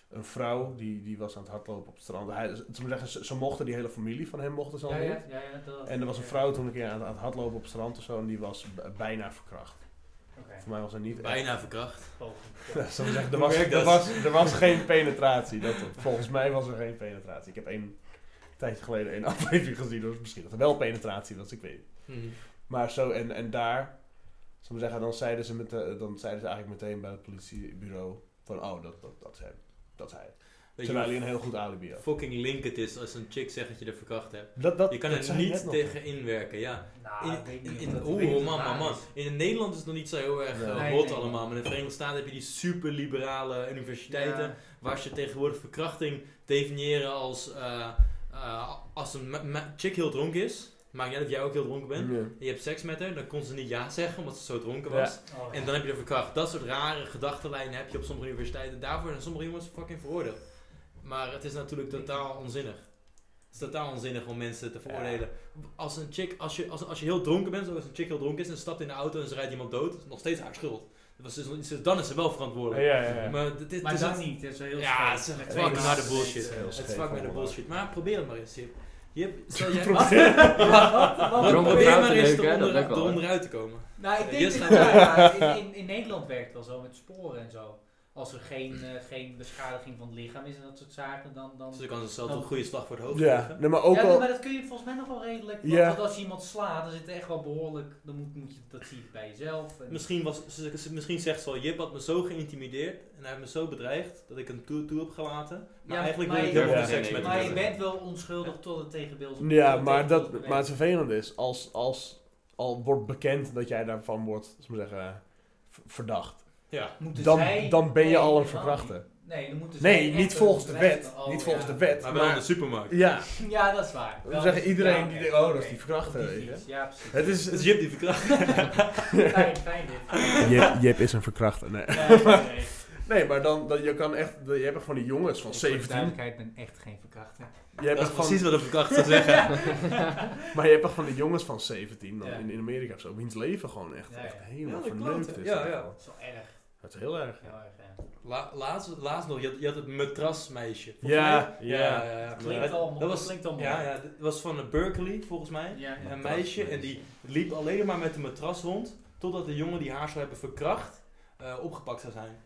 Speaker 1: Een vrouw die, die was aan het hardlopen op het strand. Hij, ze, ze zeggen, ze, ze mochten die hele familie van hem mochten ze al
Speaker 5: Ja,
Speaker 1: niet.
Speaker 5: ja, ja, ja, dat-
Speaker 1: En er was een vrouw toen een keer aan, aan het hardlopen op het strand of zo en die was b- bijna verkracht.
Speaker 5: Oké.
Speaker 1: Voor mij was er niet echt-
Speaker 2: Bijna verkracht.
Speaker 5: Poging.
Speaker 1: Ja, zal ik zeggen, er
Speaker 2: Hoe
Speaker 1: was,
Speaker 2: werkt
Speaker 1: er,
Speaker 2: dat?
Speaker 1: was, er was geen penetratie. Dat, volgens mij was er geen penetratie. Ik heb een tijdje geleden een aflevering gezien. Dus misschien dat er wel penetratie was, ik weet het.
Speaker 2: Hm.
Speaker 1: Maar zo, en, en daar, zal ik zeggen, dan zeiden, ze met de- dan zeiden ze eigenlijk meteen bij het politiebureau van, oh, dat, dat, dat is hem. Dat is hij.
Speaker 2: Weet je
Speaker 1: Terwijl hij
Speaker 2: hoe
Speaker 1: een heel goed alibi had.
Speaker 2: fucking link het is als een chick zegt dat je er verkracht hebt?
Speaker 1: Dat, dat,
Speaker 2: Je kan
Speaker 1: dat
Speaker 2: er
Speaker 1: zei je net
Speaker 2: niet
Speaker 1: nog.
Speaker 2: tegen inwerken, ja.
Speaker 5: Nou, ik
Speaker 2: In,
Speaker 5: weet
Speaker 2: in,
Speaker 5: niet of
Speaker 2: in-
Speaker 5: dat
Speaker 2: oeh,
Speaker 5: weet
Speaker 2: man,
Speaker 5: of waar
Speaker 2: man, man.
Speaker 5: is.
Speaker 2: In Nederland is het nog niet zo heel erg eh,
Speaker 5: Nee.
Speaker 2: hot
Speaker 5: Nee, nee.
Speaker 2: allemaal. Maar in de Verenigde Staten heb je die superliberale universiteiten.
Speaker 5: Ja.
Speaker 2: Waar ze tegenwoordig verkrachting definiëren als... eh, eh, als een ma- ma- chick heel dronken is. Maakt niet uit of jij ook heel dronken bent.
Speaker 1: Ja.
Speaker 2: En je hebt seks met haar. Dan kon ze niet ja zeggen omdat ze zo dronken was.
Speaker 5: Oh,
Speaker 2: En dan heb je er verkracht. Dat soort rare gedachtenlijnen heb je op sommige universiteiten. Daarvoor zijn sommige jongens fucking veroordeeld. Maar het is natuurlijk totaal onzinnig. Het is totaal onzinnig om mensen te veroordelen. Als een chick, als je, als, als je heel dronken bent, zoals een chick heel dronken is, en stapt in de auto en ze rijdt iemand dood, is nog steeds haar schuld. Dat was dus- dus dan is ze wel
Speaker 1: Ja,
Speaker 2: verantwoordelijk.
Speaker 1: ja, ja.
Speaker 2: Maar dit, dit
Speaker 5: Maar
Speaker 2: is
Speaker 5: dat
Speaker 2: het-
Speaker 5: niet, dat is wel heel
Speaker 2: Ja,
Speaker 5: scheef.
Speaker 2: het is echt
Speaker 5: Met
Speaker 2: fucking
Speaker 5: twee
Speaker 2: harde
Speaker 5: maanden
Speaker 2: bullshit.
Speaker 5: steeds, eh,
Speaker 1: Heel
Speaker 2: Het is
Speaker 1: scheef
Speaker 2: vaak met de
Speaker 1: allemaal.
Speaker 2: bullshit. Maar probeer het maar eens. Je, hebt- je, hebt- stel, jij,
Speaker 1: Probeer-
Speaker 4: Waarom
Speaker 2: probeer
Speaker 4: vrouw
Speaker 2: maar
Speaker 4: te
Speaker 2: eens
Speaker 4: neuken, hè? Dat
Speaker 2: eronder,
Speaker 4: lukt wel, hè?
Speaker 2: eronder uit te komen.
Speaker 5: Nou, ik denk
Speaker 2: Yes,
Speaker 5: dat-
Speaker 2: gaat
Speaker 5: ja, ja, in, in, in Nederland werkt het wel zo met sporen en zo. Als er geen, eh, geen beschadiging van het lichaam is en dat soort zaken, dan... dan...
Speaker 2: Dus dan kan ze zelf een goede slag voor het hoofd
Speaker 1: Ja,
Speaker 2: krijgen.
Speaker 1: nee, maar ook
Speaker 5: ja,
Speaker 1: al...
Speaker 5: maar dat kun je volgens mij nog wel redelijk. Want,
Speaker 1: Ja.
Speaker 5: want als je iemand slaat, dan zit er echt wel behoorlijk. Dan moet, moet je dat zie je bij jezelf. En,
Speaker 2: Misschien, was, ze- ze- misschien zegt ze wel, Jip had me zo geïntimideerd en hij heeft me zo bedreigd dat ik hem toe, toe heb gelaten. Maar
Speaker 5: Ja,
Speaker 2: eigenlijk
Speaker 5: maar
Speaker 2: wil ik
Speaker 5: je-
Speaker 2: heel veel
Speaker 1: Ja.
Speaker 2: seks met
Speaker 4: Nee,
Speaker 2: hem
Speaker 5: maar je
Speaker 2: hebben.
Speaker 5: bent wel onschuldig tot het tegenbeeld. is-
Speaker 1: Ja,
Speaker 5: tot het
Speaker 1: maar, dat,
Speaker 5: tegenbeeld is
Speaker 1: maar het vervelende is, als, als al wordt bekend dat jij daarvan wordt, zullen we zeggen, v- verdacht,
Speaker 2: Ja.
Speaker 5: Moeten zij-
Speaker 1: dan, dan ben je
Speaker 5: nee,
Speaker 1: al een
Speaker 5: helemaal
Speaker 1: verkrachter.
Speaker 5: niet. Nee, dan moeten zij
Speaker 1: Nee,
Speaker 5: echt
Speaker 1: niet
Speaker 5: een
Speaker 1: volgens de
Speaker 5: bedrijf-
Speaker 1: wet.
Speaker 5: oh,
Speaker 1: Niet
Speaker 5: ja.
Speaker 1: volgens de wet.
Speaker 2: Maar wel dus- in de
Speaker 1: Maar,
Speaker 2: supermarkt.
Speaker 1: ja,
Speaker 5: Ja, dat is waar.
Speaker 1: we
Speaker 5: Wel,
Speaker 1: zeggen
Speaker 5: ja,
Speaker 1: iedereen
Speaker 5: oké.
Speaker 1: die denkt, oh, dat is die
Speaker 5: Oké.
Speaker 1: verkrachter.
Speaker 5: Op
Speaker 1: weet je.
Speaker 5: fiets, Ja, precies.
Speaker 1: Het is...
Speaker 2: Het is Dus, Jip die verkracht.
Speaker 5: Fijn, fijn dit.
Speaker 1: Jip, Jip is een verkrachter, nee.
Speaker 5: Nee, nee, nee.
Speaker 1: Nee, maar dan, dan je kan echt, je hebt echt van die jongens van
Speaker 5: Ik, voor de
Speaker 1: 17.
Speaker 5: duidelijkheid ben echt geen verkrachter.
Speaker 1: Je hebt
Speaker 2: Dat
Speaker 1: echt
Speaker 2: is
Speaker 1: van-
Speaker 2: precies wat een verkracht zou zeggen.
Speaker 1: maar je hebt echt van die jongens van 17 dan
Speaker 5: Ja.
Speaker 1: in, in Amerika of zo, wiens leven gewoon echt,
Speaker 5: Ja, ja.
Speaker 1: echt helemaal
Speaker 2: Ja, dat
Speaker 1: verneukt
Speaker 2: klopt,
Speaker 1: is.
Speaker 2: ja, ja.
Speaker 5: Dat is wel erg.
Speaker 1: Dat is heel erg.
Speaker 5: Heel erg, ja.
Speaker 2: La- laatst, laatst nog, je had, je had het matrasmeisje. volgens
Speaker 1: Ja,
Speaker 2: mij.
Speaker 1: ja.
Speaker 2: ja, ja, ja.
Speaker 5: Klinkt
Speaker 2: Dat-
Speaker 5: al-
Speaker 2: dat was,
Speaker 5: klinkt al mooi.
Speaker 2: Ja, ja, dat was van eh, Berkeley volgens mij.
Speaker 5: Ja, ja.
Speaker 2: Een meisje en die liep alleen maar met een matras rond totdat de jongen die haar zou hebben verkracht eh, opgepakt zou zijn.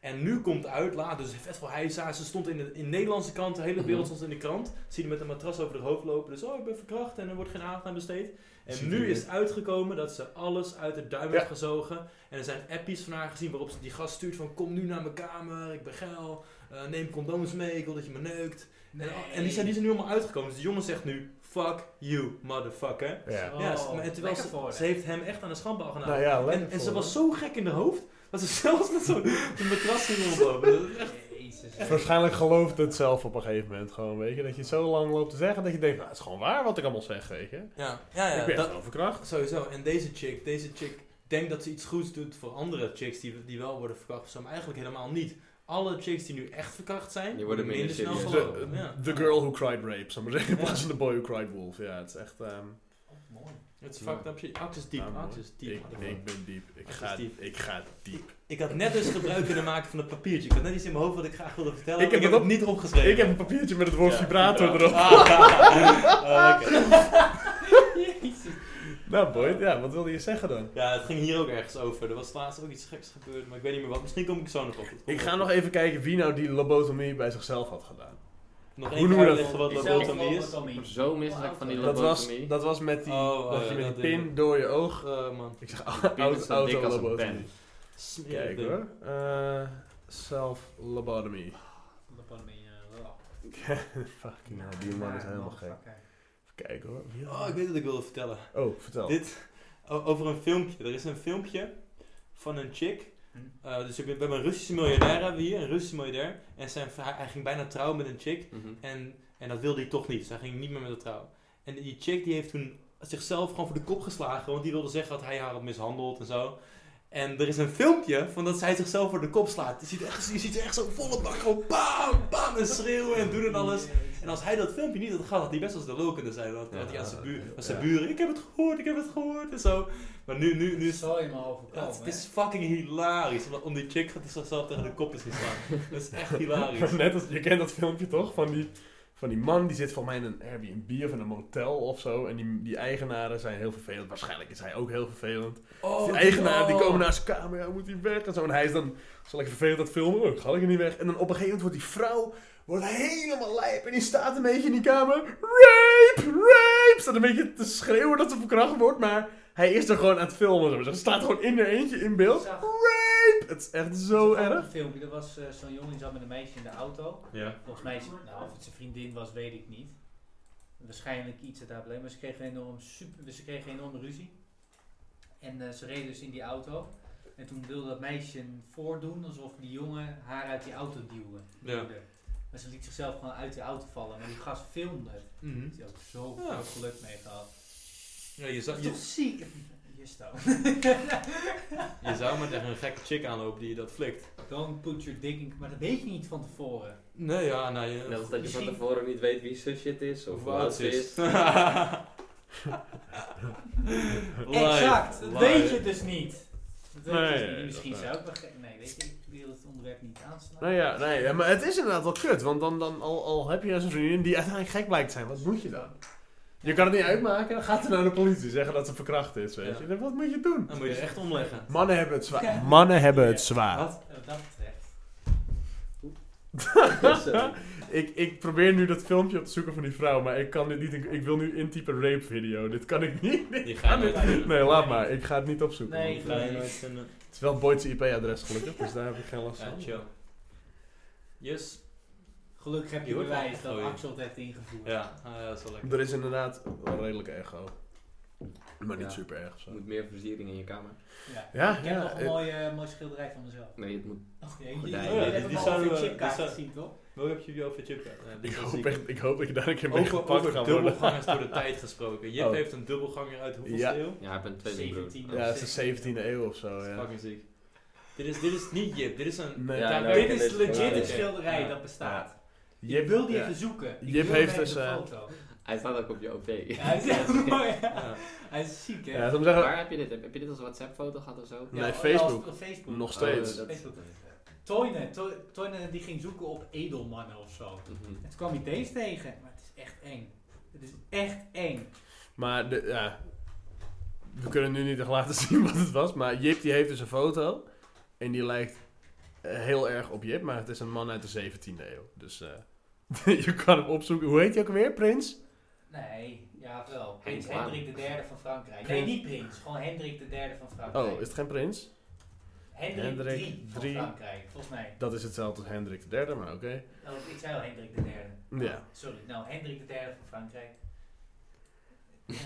Speaker 2: En nu komt uit, laat, dus vet veel hijza. Ze stond in de in Nederlandse krant, de hele wereld stond in de krant. Zie je met een matras over haar hoofd lopen. Dus, oh, ik ben verkracht en er wordt geen aandacht aan besteed. En nu is het uitgekomen dat ze alles uit de duim heeft
Speaker 1: Ja.
Speaker 2: gezogen. En er zijn appies van haar gezien waarop ze die gast stuurt van... Kom nu naar mijn kamer, ik ben geil. eh, neem condooms mee, ik wil dat je me neukt. En, al- en die, zijn, die zijn nu allemaal uitgekomen. Dus de jongen zegt nu, fuck you, motherfucker.
Speaker 1: Ja.
Speaker 5: Oh,
Speaker 2: Ja, ze- maar en terwijl
Speaker 5: lekker voor
Speaker 2: ze,
Speaker 5: haar.
Speaker 2: ze heeft hem echt aan de schandpaal gedaan.
Speaker 1: Nou ja, lekker
Speaker 2: en, en ze
Speaker 1: voor
Speaker 2: was
Speaker 1: haar.
Speaker 2: zo gek in de hoofd dat ze zelfs met zo'n zo'n matras ging rondlopen. Dat is echt-
Speaker 5: Jezus.
Speaker 1: Waarschijnlijk gelooft het zelf op een gegeven moment gewoon, weet je. Dat je het zo lang loopt te zeggen dat je denkt, nou, het is gewoon waar wat ik allemaal zeg, weet je.
Speaker 2: Ja, ja, ja.
Speaker 1: ik ben
Speaker 2: dat-
Speaker 1: gewoon verkracht.
Speaker 2: sowieso. En deze chick, deze chick denkt dat ze iets goeds doet voor andere chicks die, die wel worden verkracht. of Zo, maar eigenlijk helemaal niet. Alle chicks die nu echt verkracht zijn,
Speaker 4: Die worden minder
Speaker 2: snel
Speaker 4: serieus.
Speaker 1: De,
Speaker 2: gelopen. Ja.
Speaker 1: the girl who cried rape, zou ik maar zeggen, in plaats van de boy who cried wolf. Ja, het is echt... ehm,
Speaker 5: Mooi.
Speaker 2: Het is fucked up shit. Ax is diep,
Speaker 1: nou,
Speaker 2: Ax
Speaker 1: mooi.
Speaker 2: is diep.
Speaker 1: Ik, ik ben diep. Ik
Speaker 2: Ax is
Speaker 1: ga
Speaker 2: diep.
Speaker 1: diep. Ik ga diep.
Speaker 2: Ik had net eens gebruik kunnen maken van het papiertje. Ik had net iets in mijn hoofd wat ik graag wilde vertellen.
Speaker 1: Ik
Speaker 2: maar
Speaker 1: heb
Speaker 2: ik heb
Speaker 1: het
Speaker 2: het niet opgeschreven.
Speaker 1: Ik heb een papiertje met het woord
Speaker 2: Ja,
Speaker 1: vibrator erop.
Speaker 2: Ah, oké.
Speaker 5: Jezus.
Speaker 1: Nou, Boyd, ja, wat wilde je zeggen dan?
Speaker 2: Ja, het ging hier ook ergens over. Er was laatst ook iets geks gebeurd, maar ik weet niet meer wat. Misschien kom ik zo nog op. Het komt
Speaker 1: Ik ga
Speaker 2: wel.
Speaker 1: nog even kijken wie nou die lobotomie bij zichzelf had gedaan.
Speaker 2: nog
Speaker 1: hoe
Speaker 2: één keer
Speaker 1: noemen we
Speaker 2: uitleggen
Speaker 1: dat?
Speaker 2: wat lobotomie is.
Speaker 5: Lobotomie.
Speaker 4: Zo misselijk van die
Speaker 5: Oh,
Speaker 1: Dat was,
Speaker 4: lobotomie.
Speaker 1: dat was met die,
Speaker 2: Oh, oh
Speaker 1: dat
Speaker 2: ja,
Speaker 1: je met
Speaker 2: dat
Speaker 1: die
Speaker 2: ding.
Speaker 1: pin door je oog...
Speaker 2: Eh, man.
Speaker 1: Ik zeg
Speaker 4: pin is zo dik als een
Speaker 1: auto-lobotomie.
Speaker 4: pen.
Speaker 2: Smerig
Speaker 1: Kijk
Speaker 2: ding.
Speaker 1: hoor. Eh, Self-lobotomy.
Speaker 5: Lobotomie, eh, wel.
Speaker 1: Fucking hell, Nou, die man is helemaal gek. Even kijken hoor. Wie had
Speaker 2: Oh, ik weet wat ik wilde vertellen.
Speaker 1: Oh, vertel.
Speaker 2: Dit, o- over een filmpje. Er is een filmpje van een chick Eh, dus ik ben, we hebben een Russische miljonair hebben we hier, een Russische miljardair. En zijn, hij, hij ging bijna trouwen met een chick.
Speaker 4: Mhm.
Speaker 2: En, en dat wilde hij toch niet. Dus hij ging niet meer met haar trouwen. En die chick die heeft toen zichzelf gewoon voor de kop geslagen. Want die wilde zeggen dat hij haar had mishandeld en zo. En er is een filmpje van dat zij zichzelf voor de kop slaat. Je ziet echt, je ziet echt zo'n volle bak gewoon bam, bam en schreeuwen en doen en alles. En als hij dat filmpje niet had gehad, had hij best wel eens de lul kunnen zijn. Dan had- had hij aan zijn, buur, aan zijn buren, ik heb het gehoord, ik heb het gehoord en zo. Maar nu, nu, nu
Speaker 5: Nu
Speaker 2: is
Speaker 5: zal je me
Speaker 1: Oh,
Speaker 2: ja, het,
Speaker 5: overkomen.
Speaker 2: het is fucking hilarisch, omdat om die chick gaat hij zichzelf tegen de kop is geslaan. Dat is echt hilarisch.
Speaker 1: Net als, je kent dat filmpje toch? Van die, van die man die zit volgens mij in een Airbnb of in een motel of zo. En die, die eigenaren zijn heel vervelend. Waarschijnlijk is hij ook heel vervelend.
Speaker 2: Oh,
Speaker 1: die eigenaren die
Speaker 2: oh.
Speaker 1: komen naar zijn kamer, ja, moet hij weg en zo. En hij is dan, zal ik vervelend dat filmen? Oh, Ga ik er niet weg. En dan op een gegeven moment wordt die vrouw wordt helemaal lijp en die staat een beetje in die kamer. Rape, rape! Staat een beetje te schreeuwen dat ze verkracht wordt, maar hij is er gewoon aan het filmen. Ze staat gewoon in haar eentje in beeld.
Speaker 5: Zag-
Speaker 1: Rape! Het is echt zo
Speaker 5: zag ook
Speaker 1: erg.
Speaker 5: Een filmpje, er was eh, zo'n jongen die zat met een meisje in de auto. Volgens mij, is het- nou, of het zijn vriendin was, weet ik niet. Waarschijnlijk iets dat daar bleef, maar ze kregen een enorm super, ze kregen een enorme ruzie. En eh, ze reden dus in die auto. En toen wilde dat meisje voordoen alsof die jongen haar uit die auto duwde.
Speaker 2: Ja.
Speaker 5: Maar ze liet zichzelf gewoon uit die auto vallen. Maar die gast filmde. het.
Speaker 2: Mhm.
Speaker 5: Die had zo
Speaker 2: Ja.
Speaker 5: veel geluk mee gehad.
Speaker 2: Ja, je,
Speaker 5: Dat
Speaker 2: zou,
Speaker 5: is
Speaker 2: je,
Speaker 5: toch ziek? Hier staan.
Speaker 2: je zou maar tegen een gekke chick aanlopen die je dat flikt.
Speaker 5: Don't put your dick in... Maar dat weet je niet van tevoren.
Speaker 2: Nee, ja, nou
Speaker 4: Net
Speaker 2: je...
Speaker 4: als dat je van
Speaker 5: Misschien-
Speaker 4: tevoren niet weet wie zijn shit is of hoe oud ze is.
Speaker 5: exact. Dat weet je dus niet. Dat weet
Speaker 1: Nee,
Speaker 5: je
Speaker 1: nee,
Speaker 5: dus niet.
Speaker 1: dat
Speaker 5: Misschien
Speaker 1: is
Speaker 5: zou ik... wel ge- Nee, weet je, ik wil het onderwerp niet aanslaan.
Speaker 1: Nou ja, nee, ja, maar het is inderdaad wel kut, want dan, dan al, al heb je zo'n vriendin die uiteindelijk gek blijkt te zijn, wat moet je dan? Je kan het niet uitmaken, dan gaat ze naar de politie zeggen dat ze verkracht is, weet
Speaker 2: Ja.
Speaker 1: je. Wat moet je doen?
Speaker 2: Dan moet je echt omleggen.
Speaker 1: Mannen hebben het zwaar.
Speaker 5: Ja.
Speaker 1: Mannen hebben het
Speaker 5: Ja.
Speaker 1: zwaar.
Speaker 2: Wat?
Speaker 5: Wat dat betreft.
Speaker 4: Sorry.
Speaker 1: Ik, ik probeer nu dat filmpje op te zoeken van die vrouw, maar ik kan dit niet. Ik wil nu intypen rape video. Dit kan ik niet.
Speaker 2: Die ga je nooit vinden.
Speaker 1: Nee, laat maar. Ik ga het niet opzoeken.
Speaker 5: Nee,
Speaker 1: want,
Speaker 2: Die ga
Speaker 1: eh,
Speaker 2: je nooit vinden.
Speaker 1: het is wel Boyd's IP-adres gelukkig, dus daar heb ik geen last
Speaker 2: Ja,
Speaker 1: van.
Speaker 2: chill. Yes.
Speaker 5: Gelukkig heb
Speaker 2: Je
Speaker 5: je
Speaker 2: hoort
Speaker 5: bewijs
Speaker 2: wel.
Speaker 5: dat
Speaker 2: Oh, ja.
Speaker 5: Axel het heeft ingevoerd.
Speaker 2: Ja, ah, ja, dat is wel lekker.
Speaker 1: Er is inderdaad wel redelijk echo. Maar niet
Speaker 4: Ja.
Speaker 1: super erg of zo.
Speaker 4: Er moet meer versiering in je kamer.
Speaker 5: Ja.
Speaker 1: Ja,
Speaker 5: Ik heb
Speaker 1: ja.
Speaker 5: nog een
Speaker 1: eh,
Speaker 5: mooie, mooie schilderij van mezelf.
Speaker 4: Nee, het moet...
Speaker 5: Oh,
Speaker 4: Gordijnen.
Speaker 2: Oh ja,
Speaker 5: die,
Speaker 2: die-
Speaker 5: die,
Speaker 2: die
Speaker 5: zouden
Speaker 2: zouden we-
Speaker 5: we chipkaart
Speaker 2: die zou-
Speaker 5: gezien, toch?
Speaker 2: Welke heb je wel voor Chipka?
Speaker 1: ik, hoop echt, ik hoop dat je daar een keer mee
Speaker 2: Over,
Speaker 1: gepakt
Speaker 2: over
Speaker 1: gaat worden.
Speaker 2: dubbelgangers door de tijd gesproken. Jip
Speaker 1: Oh.
Speaker 2: heeft een dubbelganger uit hoeveel
Speaker 1: Ja.
Speaker 2: eeuw?
Speaker 4: Ja, ik ben tweeling broer.
Speaker 5: 17.
Speaker 1: Ja, het is de 17e eeuw of zo.
Speaker 2: Dat is
Speaker 1: Ja.
Speaker 2: fucking ziek. Dit is, dit is niet Jip, dit is een...
Speaker 1: Nee.
Speaker 4: Ja,
Speaker 2: daar-
Speaker 4: nou, ik
Speaker 5: Dit
Speaker 4: ken
Speaker 5: is
Speaker 4: deze
Speaker 5: legit
Speaker 4: verhaal.
Speaker 5: een schilderij
Speaker 2: Ja.
Speaker 5: dat bestaat.
Speaker 1: Jip-
Speaker 5: Ik wil die
Speaker 1: ja.
Speaker 5: even zoeken. Ik
Speaker 1: Jip
Speaker 5: wil
Speaker 1: heeft
Speaker 5: even
Speaker 1: dus,
Speaker 5: een
Speaker 1: eh,
Speaker 5: foto.
Speaker 4: Hij staat ook op je OP.
Speaker 5: Ja, hij is echt mooi.
Speaker 2: Ja.
Speaker 5: Hij is ziek, hè?
Speaker 1: Ja, zou ik zeggen,
Speaker 4: Waar heb je dit? Heb, heb je dit als WhatsApp-foto gehad of zo?
Speaker 1: nee,
Speaker 5: als-
Speaker 1: Facebook.
Speaker 5: als- Facebook.
Speaker 1: nog steeds.
Speaker 4: Oh, dat is-
Speaker 5: Facebook. Toyne, To- Toyne die ging zoeken op edelmannen of zo.
Speaker 4: Mhm.
Speaker 5: En toen kwam hij deze tegen. Maar het is echt eng. Het is echt eng.
Speaker 1: Maar de, ja, we kunnen nu niet echt laten zien wat het was. Maar Jip die heeft dus een foto. En die lijkt eh, heel erg op Jip. Maar het is een man uit de 17e eeuw. Dus eh, je kan hem opzoeken. Hoe heet hij ook weer? Prins?
Speaker 5: Nee, ja wel. Prins
Speaker 4: Henk Haan.
Speaker 5: Hendrik III van Frankrijk. Nee,
Speaker 1: Prins-
Speaker 5: niet prins. Gewoon Hendrik III van Frankrijk.
Speaker 1: Oh, is het geen prins?
Speaker 5: Hendrik,
Speaker 1: Hendrik
Speaker 5: III van
Speaker 1: III.
Speaker 5: Frankrijk, volgens mij.
Speaker 1: Dat is hetzelfde als Hendrik III, maar oké.
Speaker 5: Oh, ik zei al Hendrik III.
Speaker 1: Ja.
Speaker 5: Sorry, nou Hendrik III van Frankrijk. Eh,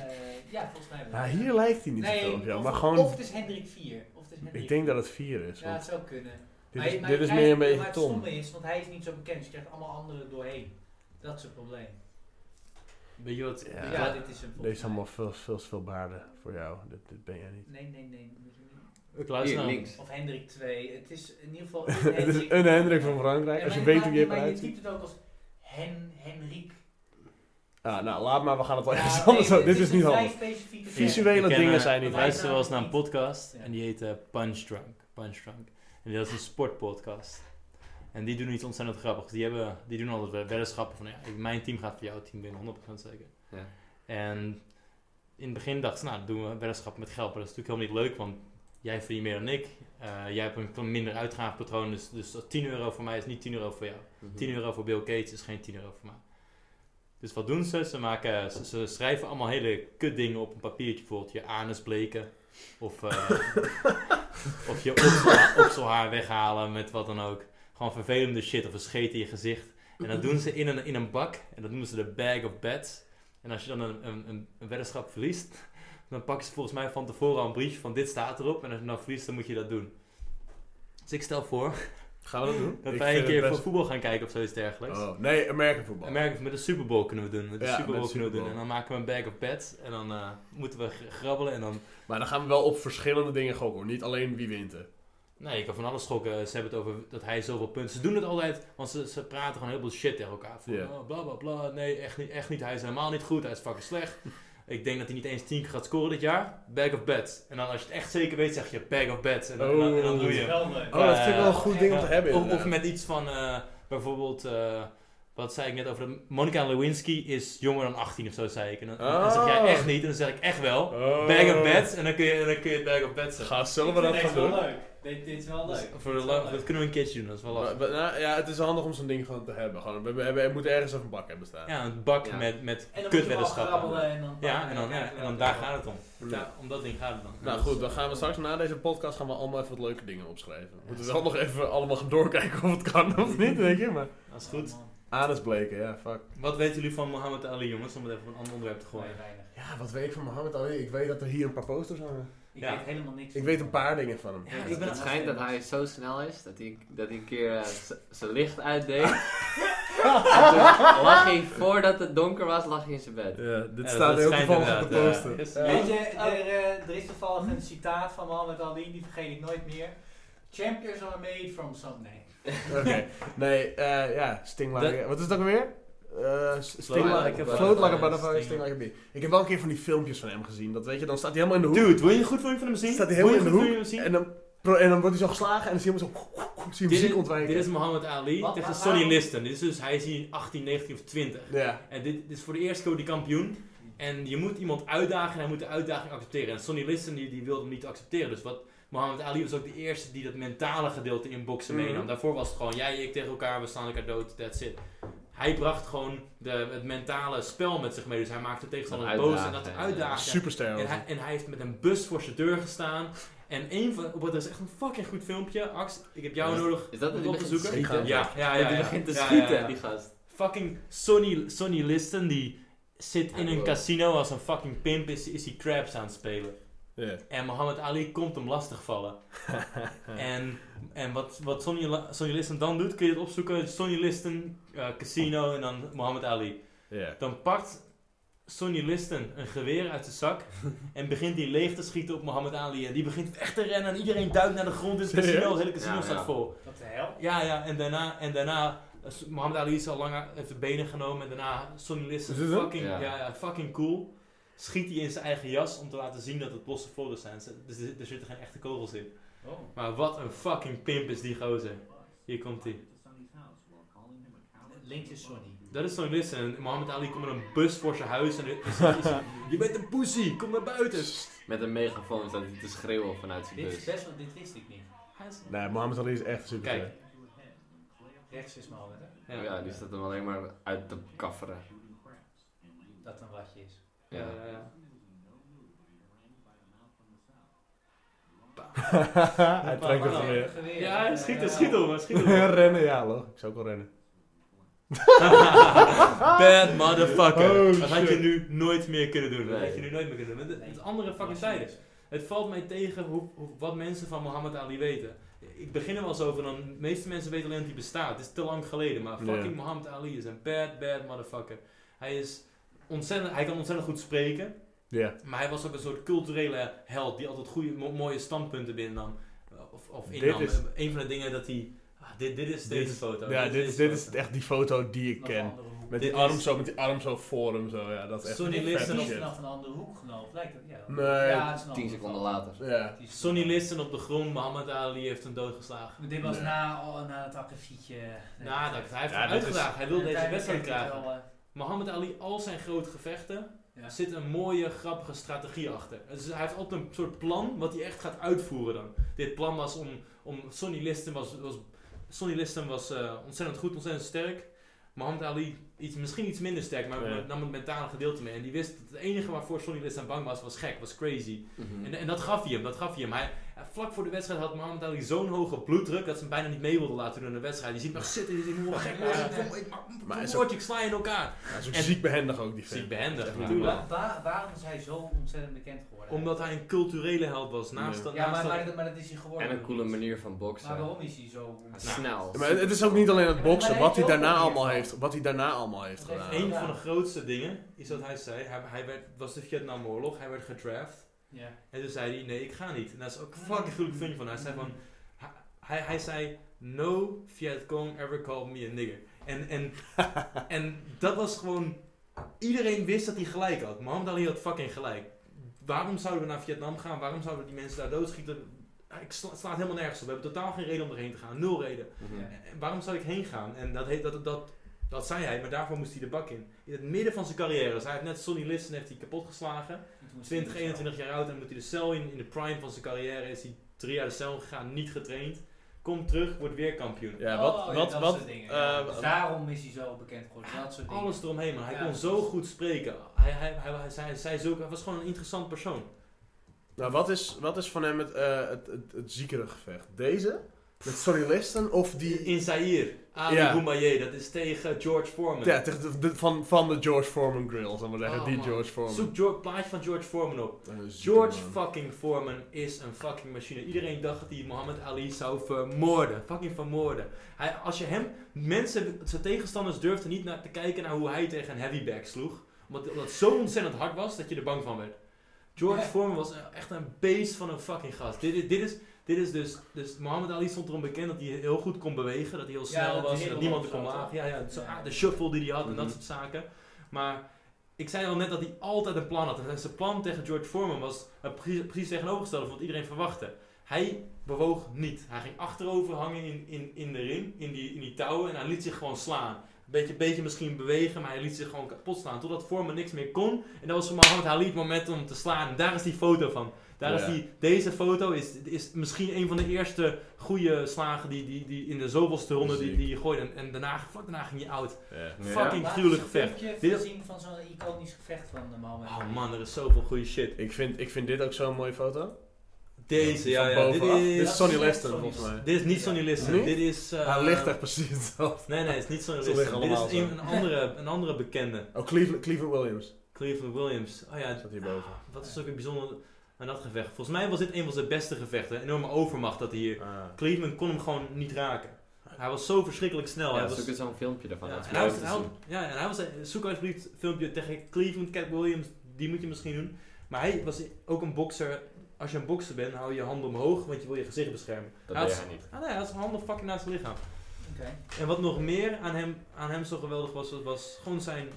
Speaker 5: ja, volgens mij wel.
Speaker 1: Ja, Ah, hier lijkt hij niet
Speaker 5: Nee,
Speaker 1: zo veel op jou.
Speaker 5: of-
Speaker 1: Maar
Speaker 5: Of
Speaker 1: gewoon,
Speaker 5: het is Hendrik IV. Of het is Hendrik
Speaker 1: ik denk dat het vier is.
Speaker 5: Ja,
Speaker 1: want
Speaker 5: het zou kunnen.
Speaker 1: dit
Speaker 5: Maar-
Speaker 1: is,
Speaker 5: maar
Speaker 1: dit is
Speaker 5: hij-
Speaker 1: meer een
Speaker 5: Maar
Speaker 1: beetje
Speaker 5: het
Speaker 1: Tom.
Speaker 5: stomme is, want hij is niet zo bekend. Dus je krijgt allemaal anderen doorheen. Dat is het probleem. Dus
Speaker 2: Weet je wat?
Speaker 1: Ja.
Speaker 5: Ja, dit is een
Speaker 1: Deze is allemaal veel, veel, veel baarden voor jou. Dit, dit ben jij niet.
Speaker 5: Nee, nee, nee. dat moet je niet.
Speaker 2: Ik
Speaker 4: Hier,
Speaker 2: luister nou.
Speaker 4: links.
Speaker 5: Of Hendrik II. Het is in ieder geval...
Speaker 1: het is een Hendrik van Frankrijk.
Speaker 5: Ja,
Speaker 1: Als je
Speaker 5: maar
Speaker 1: weet
Speaker 5: maar-
Speaker 1: hoe Jip
Speaker 5: Maar je
Speaker 1: eruit ziet.
Speaker 5: typt het ook als Hen, Henrik.
Speaker 1: Ah, nou, laat maar. We gaan het wel
Speaker 5: Ja,
Speaker 1: ergens
Speaker 5: nee,
Speaker 1: anders doen. Dit is
Speaker 5: een
Speaker 1: niet
Speaker 5: vrij
Speaker 1: handig.
Speaker 5: specifieke term.
Speaker 1: Visuele
Speaker 2: Ik ken,
Speaker 1: dingen
Speaker 2: eh,
Speaker 1: zijn niet
Speaker 2: Ik
Speaker 5: wij
Speaker 1: handig.
Speaker 2: luisterde
Speaker 5: zijn
Speaker 2: wel eens naar een
Speaker 5: niet-
Speaker 2: podcast
Speaker 5: Ja.
Speaker 2: en die heet eh, Punch Drunk. Punch Drunk. En dat is een sportpodcast. En die doen iets ontzettend grappigs. Die, hebben, die doen altijd wel- weddenschappen van ja, ik- mijn team gaat voor jouw team winnen, 100% zeker.
Speaker 4: Ja.
Speaker 2: En in het begin dacht ze, nou, dan doen we weddenschappen met geld. Maar dat is natuurlijk helemaal niet leuk, want jij verdient meer dan ik. Eh, jij hebt een kle- minder uitgavenpatroon, dus, dus 10 euro voor mij is niet 10 euro voor jou.
Speaker 4: Mhm.
Speaker 2: 10 euro voor Bill Gates is geen 10 euro voor mij. Dus wat doen ze? Ze, maken, ze, ze schrijven allemaal hele kutdingen op een papiertje. Bijvoorbeeld je anus bleken. Of, eh, of je opsel- opselhaar weghalen met wat dan ook. Gewoon vervelende shit of een scheet in je gezicht. En dat doen ze in een, in een bak. En dat noemen ze de bag of bats. En als je dan een, een, een, een weddenschap verliest... dan pakken ze volgens mij van tevoren al een briefje van dit staat erop. En als je nou verliest, dan moet je dat doen. Dus ik stel voor
Speaker 1: Gaan we dat doen?
Speaker 2: dat
Speaker 1: Ik
Speaker 2: wij een
Speaker 1: vind
Speaker 2: keer
Speaker 1: het
Speaker 2: voor
Speaker 1: best-
Speaker 2: voetbal gaan kijken of zoiets dergelijks.
Speaker 1: Oh, nee, American voetbal.
Speaker 2: Amerika met de Super Bowl kunnen we doen. Met de
Speaker 1: Ja,
Speaker 2: Super
Speaker 1: met
Speaker 2: Bowl
Speaker 1: de
Speaker 2: kunnen we
Speaker 1: Super
Speaker 2: doen. En dan maken we een bag of bets. En dan eh, moeten we g- grabbelen. En dan.
Speaker 1: Maar dan gaan we wel op verschillende dingen gokken. hoor. Niet alleen wie wint er.
Speaker 2: Nee, je kan van alles schokken. Ze hebben het over dat hij zoveel punten. Ze doen het altijd, want ze, ze praten gewoon heel veel shit tegen elkaar. Van,
Speaker 1: Ja.
Speaker 2: oh, bla bla bla. Nee, echt niet, echt niet. Hij is helemaal niet goed. Hij is fucking slecht. Ik denk dat hij niet eens 10 keer gaat scoren dit jaar. Bag of bets. En dan als je het echt zeker weet, zeg je bag of bets. En dan, en dan, en dan doe je.
Speaker 5: Wel leuk.
Speaker 1: Oh, dat vind ik wel een goed ding om te
Speaker 2: Ja,
Speaker 1: hebben.
Speaker 2: Of, of
Speaker 1: inderdaad.
Speaker 2: met iets van eh, bijvoorbeeld, eh, wat zei ik net over de, Monica Lewinsky is jonger dan 18 of zo, zei ik. En dan, dan zeg jij
Speaker 1: Oh.
Speaker 2: echt niet, en dan zeg ik echt wel.
Speaker 1: Oh.
Speaker 2: Bag of beds, en dan kun je, dan kun je het bag of beds zeggen.
Speaker 1: Gast, zullen we
Speaker 5: Ik
Speaker 1: dat
Speaker 5: vind
Speaker 1: gaan
Speaker 5: deze wel
Speaker 1: doen?
Speaker 5: leuk. Dit, dit is wel
Speaker 2: Dus
Speaker 5: leuk.
Speaker 2: voor
Speaker 5: Dit
Speaker 2: de
Speaker 5: is
Speaker 2: love,
Speaker 5: wel
Speaker 2: dat
Speaker 5: leuk.
Speaker 2: kunnen we een keertje doen, dat is wel
Speaker 1: Maar-
Speaker 2: lastig.
Speaker 1: maar- nou, ja, het is handig om zo'n ding gewoon te hebben. Gewoon, we, hebben- we moeten ergens even een bak hebben staan.
Speaker 2: Ja, een bak
Speaker 4: Ja.
Speaker 2: met, met
Speaker 5: En dan moet je wel
Speaker 2: kutweddenschappen.
Speaker 5: grabbelen en dan...
Speaker 2: Ja, en dan, ja, en dan daar gaat het om.
Speaker 1: Ja.
Speaker 2: Ja, om dat ding gaat het dan.
Speaker 1: Nou goed, dan gaan we straks na deze podcast gaan we allemaal even wat leuke dingen opschrijven. We moeten wel nog even allemaal gaan doorkijken of het kan of niet, denk ik. Maar...
Speaker 2: Dat is
Speaker 5: Oh
Speaker 2: goed.
Speaker 1: Anus bleken, ja, fuck.
Speaker 2: Wat weten jullie van Mohammed Ali, jongens? Om het even op een ander onderwerp te
Speaker 5: Gewoon
Speaker 2: gooien.
Speaker 5: weinig.
Speaker 1: Ja, wat weet ik van Mohammed Ali? Ik weet dat er hier een paar posters hangen.
Speaker 5: Ik
Speaker 2: Ja.
Speaker 5: weet helemaal niks.
Speaker 1: Ik weet een paar dingen van hem.
Speaker 2: Ja, ik
Speaker 5: ik ben
Speaker 4: het schijnt dat hij zo snel is dat hij, dat hij een keer eh, z- zijn licht uitdeed. en toen lag hij voordat het donker was, lag hij in zijn bed.
Speaker 1: Ja, Eh, dit
Speaker 2: Ja,
Speaker 1: staat
Speaker 2: dat
Speaker 1: heel
Speaker 2: schijnt
Speaker 1: toevallig op de
Speaker 2: inderdaad,
Speaker 1: poster.
Speaker 2: ja. Yes.
Speaker 1: Ja.
Speaker 5: Weet je, er, eh, er is toevallig een citaat van Mohammed Ali, die vergeet ik nooit meer. Champions are made from some nee.
Speaker 1: Oké, nee, eh, ja, Sting Like a- Wat is dat ook weer? Eh, s- sting
Speaker 4: Like a
Speaker 1: like a
Speaker 4: Butterfly,
Speaker 1: Float like a butterfly,
Speaker 2: Sting
Speaker 1: sting like a bee. Ik heb wel een keer van die filmpjes van hem gezien. Dat weet je, dan staat hij helemaal in de hoek.
Speaker 2: Dude, wil je een goed filmpje van hem zien?
Speaker 1: Staat hij
Speaker 2: Wil je
Speaker 1: helemaal in de
Speaker 2: een goed filmpje van hem
Speaker 1: hoek.
Speaker 2: zien?
Speaker 1: En dan, pro- en dan wordt hij zo geslagen en dan zie je hem zo... Zie je hem
Speaker 2: Dit is,
Speaker 1: ziek ontwijken.
Speaker 2: dit is Muhammad Ali
Speaker 5: Wat?
Speaker 2: tegen
Speaker 5: Waarom?
Speaker 2: Sonny Liston. Dit is dus, hij is hier 18, 19 of 20.
Speaker 1: Ja.
Speaker 2: En dit, dit is voor de eerste keer die kampioen. En je moet iemand uitdagen en hij moet de uitdaging accepteren. En Sonny Liston die, die wilde hem niet accepteren. Dus wat Muhammad Ali was ook de eerste die dat mentale gedeelte in boksen
Speaker 1: Mhm.
Speaker 2: meenam. Daarvoor was het gewoon jij, ik tegen elkaar, we slaan elkaar dood, that's it. Hij bracht gewoon de, het mentale spel met zich mee. Dus hij maakte de tegenstander
Speaker 4: Uitdagen,
Speaker 2: boos en dat
Speaker 4: ja.
Speaker 2: uitdagen.
Speaker 1: Superster.
Speaker 2: En
Speaker 1: was
Speaker 2: hij, en hij heeft met een bus voor zijn deur gestaan. En een van. Oh, dat is echt een fucking goed filmpje. Ax, ik heb jou
Speaker 4: Is-
Speaker 2: nodig
Speaker 4: Is
Speaker 2: om
Speaker 4: dat dat
Speaker 2: het
Speaker 4: hij
Speaker 2: op te
Speaker 4: begint te
Speaker 2: zoeken.
Speaker 1: Ik ga-
Speaker 4: schieten?
Speaker 2: Ja, ja, ja.
Speaker 4: Dat
Speaker 2: ja,
Speaker 4: hij
Speaker 2: ja.
Speaker 4: begint te
Speaker 2: Ja, ja,
Speaker 4: schieten,
Speaker 2: ja.
Speaker 4: die gast.
Speaker 2: Fucking Sonny, Sonny Liston die zit in
Speaker 4: Ja,
Speaker 2: een
Speaker 4: bro.
Speaker 2: casino als een fucking pimp. Is, is hij craps aan het spelen.
Speaker 1: het. Ja.
Speaker 2: En Muhammad Ali komt hem lastigvallen. en en wat, wat Sonny, La- Sonny Liston dan doet, kun je het opzoeken. Sonny Liston, eh, casino en dan Muhammad Ali.
Speaker 1: Ja.
Speaker 2: Dan pakt Sonny Liston een geweer uit zijn zak en begint die leeg te schieten op Muhammad Ali. En die begint echt te rennen en iedereen duikt naar de grond. Dus het casino,
Speaker 1: Serieus?
Speaker 2: het hele casino
Speaker 4: Ja,
Speaker 2: staat
Speaker 4: ja.
Speaker 2: vol.
Speaker 5: Wat de hel?
Speaker 2: Ja, ja, en daarna, en daarna eh, S- Muhammad Ali is al lang a- heeft de benen genomen. En daarna Sonny Liston,
Speaker 1: Is dit hem?
Speaker 2: fucking, ja.
Speaker 4: Ja.
Speaker 2: ja, fucking cool, schiet hij in zijn eigen jas om te laten zien dat het losse vogels zijn. Ze- Dus er, er zitten geen echte kogels in.
Speaker 5: Oh.
Speaker 2: Maar wat een fucking pimp is die gozer. Hier komt hij.
Speaker 5: Links is Sonny.
Speaker 2: Dat is zo'n listen. En Mohammed Ali komt met een bus voor zijn huis en er is- is- is- je bent een pussy, kom naar buiten.
Speaker 4: Met een megafoon zat hij te schreeuwen vanuit zijn
Speaker 5: Dit is
Speaker 4: bus.
Speaker 5: best wel, dit wist ik niet.
Speaker 2: Hij is-
Speaker 1: Nee, Mohammed Ali is echt een superster.
Speaker 2: Kijk.
Speaker 5: Rechts is Mohammed, hè?
Speaker 4: Ja, die staat hem alleen maar uit te kafferen.
Speaker 5: Dat een watje is.
Speaker 2: Ja,
Speaker 4: Ja.
Speaker 2: ja, ja.
Speaker 1: hij trekt het
Speaker 2: Oh,
Speaker 1: weer.
Speaker 5: Geweer.
Speaker 2: Ja, schiet er, schiet op, schiet op.
Speaker 1: rennen, ja, log. Ik zou ook wel rennen.
Speaker 2: Bad motherfucker.
Speaker 1: Oh,
Speaker 2: dat had je
Speaker 1: shit.
Speaker 2: nu nooit meer kunnen doen. Dat
Speaker 4: Nee.
Speaker 2: had je nu nooit meer kunnen doen. Het, het is andere fucking tijden.
Speaker 5: tijden.
Speaker 2: Het valt mij tegen hoe, hoe- wat mensen van Muhammad Ali weten. Ik begin er wel eens over, dan de meeste mensen weten alleen dat hij bestaat. Het is te lang geleden, maar fucking
Speaker 1: Ja.
Speaker 2: Muhammad Ali is een bad, bad motherfucker. Hij, is ontzettend, hij kan ontzettend goed spreken.
Speaker 1: Ja.
Speaker 2: Maar hij was ook een soort culturele held die altijd goede, mo- mooie standpunten binnam. Of, of
Speaker 1: Dit
Speaker 2: innam.
Speaker 1: is-
Speaker 2: Een van de dingen dat hij. Ah, dit, dit is
Speaker 1: Dit
Speaker 2: deze
Speaker 1: is-
Speaker 2: foto.
Speaker 1: Ja, dit is, dit is
Speaker 2: foto.
Speaker 1: echt die foto die ik
Speaker 5: Vanaf een
Speaker 1: ken.
Speaker 5: andere hoek.
Speaker 1: Met die
Speaker 2: Dit
Speaker 1: arm
Speaker 2: is-
Speaker 1: zo, met die arm zo voor hem zo. Ja, dat is echt
Speaker 2: Sonny
Speaker 5: Ik
Speaker 1: vette
Speaker 5: weet
Speaker 2: Liston
Speaker 5: niet
Speaker 2: op-
Speaker 1: shit.
Speaker 5: vanaf een andere hoek genomen. Lijkt het, ja.
Speaker 1: Nee,
Speaker 5: Ja, het is een
Speaker 4: Tien
Speaker 5: andere
Speaker 4: seconden
Speaker 5: foto.
Speaker 4: later.
Speaker 1: Ja.
Speaker 5: Het is-
Speaker 2: Sonny Liston op de grond, Muhammad Ali heeft hem doodgeslagen.
Speaker 5: Dit was
Speaker 1: Nee.
Speaker 5: na, oh, na het akkefietje. Nee.
Speaker 2: Nou, dat, hij heeft
Speaker 1: Ja,
Speaker 2: hem
Speaker 1: dit is-
Speaker 2: uitgedaagd. Hij wil deze
Speaker 5: Uiteindelijk
Speaker 2: wedstrijd
Speaker 5: heeft hij
Speaker 2: krijgen.
Speaker 5: wel, eh,
Speaker 2: Muhammad Ali, al zijn grote gevechten,
Speaker 5: Ja.
Speaker 2: zit een mooie, grappige strategie achter. Dus hij heeft altijd een soort plan wat hij echt gaat uitvoeren dan. Dit plan was om, om Sonny Liston was, was, Sonny Liston was eh, ontzettend goed, ontzettend sterk. Muhammad Ali iets, misschien iets minder sterk, maar
Speaker 1: Ja.
Speaker 2: nam het mentale gedeelte mee. En die wist dat het enige waarvoor Sonny Liston bang was, was gek, was crazy.
Speaker 1: Hm.
Speaker 4: Mhm.
Speaker 2: En, en dat gaf hij hem, dat gaf hij hem. Hij, vlak voor de wedstrijd had Mohamed Ali zo'n hoge bloeddruk dat ze hem bijna niet mee wilden laten doen aan de wedstrijd. Je ziet hem echt zitten, je ziet hem hoe gek worden.
Speaker 5: Ja.
Speaker 2: Kom, ik maak-
Speaker 1: Maar hij is
Speaker 2: kom, word je, ik sla je in elkaar.
Speaker 1: Hij is ook
Speaker 2: En-
Speaker 1: ziek behendig ook, die
Speaker 2: Ziek
Speaker 1: vent.
Speaker 2: behendig,
Speaker 1: Ja.
Speaker 2: natuurlijk.
Speaker 5: Wa- wa- waarom is hij zo ontzettend bekend geworden?
Speaker 2: Omdat hij een culturele held was. Naast,
Speaker 1: Ja.
Speaker 2: dat-
Speaker 5: ja,
Speaker 2: naast
Speaker 5: maar,
Speaker 2: dat-
Speaker 5: maar, dat- maar dat is hij geworden.
Speaker 4: En een coole manier van
Speaker 5: Maar
Speaker 4: boksen.
Speaker 5: waarom is hij zo ontzettend-
Speaker 4: Snel.
Speaker 1: Ja, maar het, het is ook niet alleen het boksen,
Speaker 5: Maar
Speaker 1: wat hij
Speaker 5: hij heeft
Speaker 1: daarna
Speaker 5: ook
Speaker 1: allemaal
Speaker 5: weer-
Speaker 1: heeft, wat hij daarna allemaal heeft
Speaker 5: Dat heeft
Speaker 1: gedaan.
Speaker 2: Een
Speaker 5: Ja.
Speaker 2: van de grootste dingen is dat hij zei, hij, hij werd, was de Vietnamoorlog, hij werd gedraft.
Speaker 5: Ja.
Speaker 2: En toen zei hij, nee, ik ga niet. En dat is ook fucking gruwelijk filmpje van. Hij zei van, hij- hij, hij zei, no Vietcong ever called me a nigger. En, en, en dat was gewoon, iedereen wist dat hij gelijk had. Mohammed Ali had fucking gelijk. Waarom zouden we naar Vietnam gaan? Waarom zouden we die mensen daar doodschieten? Ik sla, het slaat helemaal nergens op. We hebben totaal geen reden om erheen te gaan. Nul reden.
Speaker 4: Mhm.
Speaker 5: Ja.
Speaker 2: En waarom zou ik heen gaan? En dat, he- dat, dat, dat zei hij, maar daarvoor moest hij de bak in. In het midden van zijn carrière. Dus hij heeft net Sonny Liston heeft hij kapot geslagen.
Speaker 5: En toen is hij
Speaker 2: 20, 21 jaar oud en moet hij de cel in. In de prime van zijn carrière is hij drie jaar de cel gegaan, niet getraind. Komt terug, wordt weer kampioen.
Speaker 1: Ja,
Speaker 5: Oh,
Speaker 1: wat,
Speaker 5: ja,
Speaker 1: wat,
Speaker 5: dat
Speaker 1: wat,
Speaker 5: soort dingen, ja.
Speaker 1: eh,
Speaker 5: Dus daarom is hij zo bekend geworden. Dat soort dingen.
Speaker 2: Alles eromheen, maar hij
Speaker 5: Ja,
Speaker 2: kon
Speaker 5: precies.
Speaker 2: zo goed spreken. Hij, hij, hij, hij, zei- hij zei zulke- hij was gewoon een interessant persoon.
Speaker 1: nou, wat, is, wat is van hem het, eh, het, het, het ziekere gevecht? Deze? Met Sonny Liston of die...
Speaker 2: In Zaire, Ali
Speaker 1: Ja.
Speaker 2: Boumaier, dat is tegen George Foreman.
Speaker 1: Ja, tegen de- de- van, van de George Foreman grill, zal ik maar zeggen.
Speaker 2: Oh,
Speaker 1: die
Speaker 2: man.
Speaker 1: George Foreman.
Speaker 2: Zoek George, plaatje van George Foreman op.
Speaker 1: Eh, zieke
Speaker 2: George
Speaker 1: man.
Speaker 2: fucking Foreman is een fucking machine. Iedereen dacht dat hij Muhammad Ali zou vermoorden. Fucking vermoorden. Hij, als je hem... Mensen, zijn tegenstanders durfden niet naar, te kijken naar hoe hij tegen een heavyback sloeg. Omdat, omdat het zo ontzettend hard was dat je er bang van werd. George
Speaker 5: Ja.
Speaker 2: Foreman was een- echt een beest van een fucking gast. Dit, is- dit, is, dit is dus... Dus Muhammad Ali stond erom bekend dat hij heel goed kon bewegen. Dat hij heel
Speaker 5: Ja,
Speaker 2: snel
Speaker 5: dat
Speaker 2: was.
Speaker 5: hij
Speaker 2: En dat
Speaker 5: heel
Speaker 2: niemand
Speaker 5: hoog
Speaker 2: hem kon
Speaker 5: zat,
Speaker 2: lagen. Ja, ja, zo-
Speaker 5: Ja.
Speaker 2: ah, de shuffle die hij had en dat
Speaker 4: Mhm.
Speaker 2: soort zaken. Maar ik zei al net dat hij altijd een plan had. En zijn plan tegen George Foreman was het precies, precies tegenovergestelde van wat iedereen verwachtte. Hij bewoog niet. Hij ging achterover hangen in, in, in de ring, in die, in die touwen. En hij liet zich gewoon slaan. Een beetje, beetje misschien bewegen, maar hij liet zich gewoon kapot slaan. Totdat Foreman niks meer kon. En dat was voor Mohammed Ali het moment om te slaan. En daar is die foto van. Daar is
Speaker 1: Ja.
Speaker 2: die, deze foto is, is misschien een van de eerste goede slagen die, die, die in de zoveelste ronde die,
Speaker 1: Ziek.
Speaker 2: die je gooide. En, en daarna, vlak daarna ging hij oud.
Speaker 1: Ja.
Speaker 2: Fucking
Speaker 5: Laat
Speaker 2: gruwelijk
Speaker 5: eens een
Speaker 2: gevecht.
Speaker 5: filmpje
Speaker 2: Dit-
Speaker 5: voorzien van zo'n iconisch gevecht van de Mohammed.
Speaker 2: Oh man, er is zoveel goede shit.
Speaker 1: Ik vind, ik vind dit ook zo'n mooie foto.
Speaker 2: Deze, ja,
Speaker 1: Van
Speaker 2: ja. Dit
Speaker 1: bovenaf. Dit
Speaker 2: is,
Speaker 1: is Sonny
Speaker 5: Ja,
Speaker 1: Liston,
Speaker 5: Sonny
Speaker 1: volgens mij.
Speaker 2: dit is niet Sonny Liston.
Speaker 1: Nee?
Speaker 2: Dit is... eh,
Speaker 1: Hij ligt echt precies hetzelfde.
Speaker 2: Nee, nee, het is niet Sonny
Speaker 1: Ze liggen
Speaker 2: Liston. Dit is
Speaker 1: allemaal
Speaker 2: een, een, andere, een andere bekende.
Speaker 1: Oh, Cleveland, Cleveland Williams.
Speaker 2: Cleveland Williams. Oh ja,
Speaker 1: Zat hierboven.
Speaker 2: ah, wat is ook weer bijzonder aan dat gevecht. Volgens mij was dit een van zijn beste gevechten. Enorme overmacht dat hij hier...
Speaker 1: Ah.
Speaker 2: Cleveland kon hem gewoon niet raken. Hij was zo verschrikkelijk snel.
Speaker 4: Ja,
Speaker 2: hij was,
Speaker 4: zoek eens zo'n filmpje ervan.
Speaker 2: ja,
Speaker 4: dat is
Speaker 2: en hij
Speaker 4: mooi
Speaker 2: was,
Speaker 4: om te
Speaker 2: hij-
Speaker 4: zien.
Speaker 2: ja, en hij was... Zoek alsjeblieft een filmpje tegen Cleveland Cat Williams. Die moet je misschien doen. Maar hij was ook een bokser. Als je een bokser bent, hou je je handen omhoog, want je wil je gezicht beschermen.
Speaker 4: Dat
Speaker 2: Hij
Speaker 4: deed
Speaker 2: was-
Speaker 4: hij niet.
Speaker 2: Ah nee, hij had zijn handen fucking naast zijn lichaam.
Speaker 5: Oké.
Speaker 2: En wat nog meer aan hem, aan hem zo geweldig was, was, was gewoon zijn...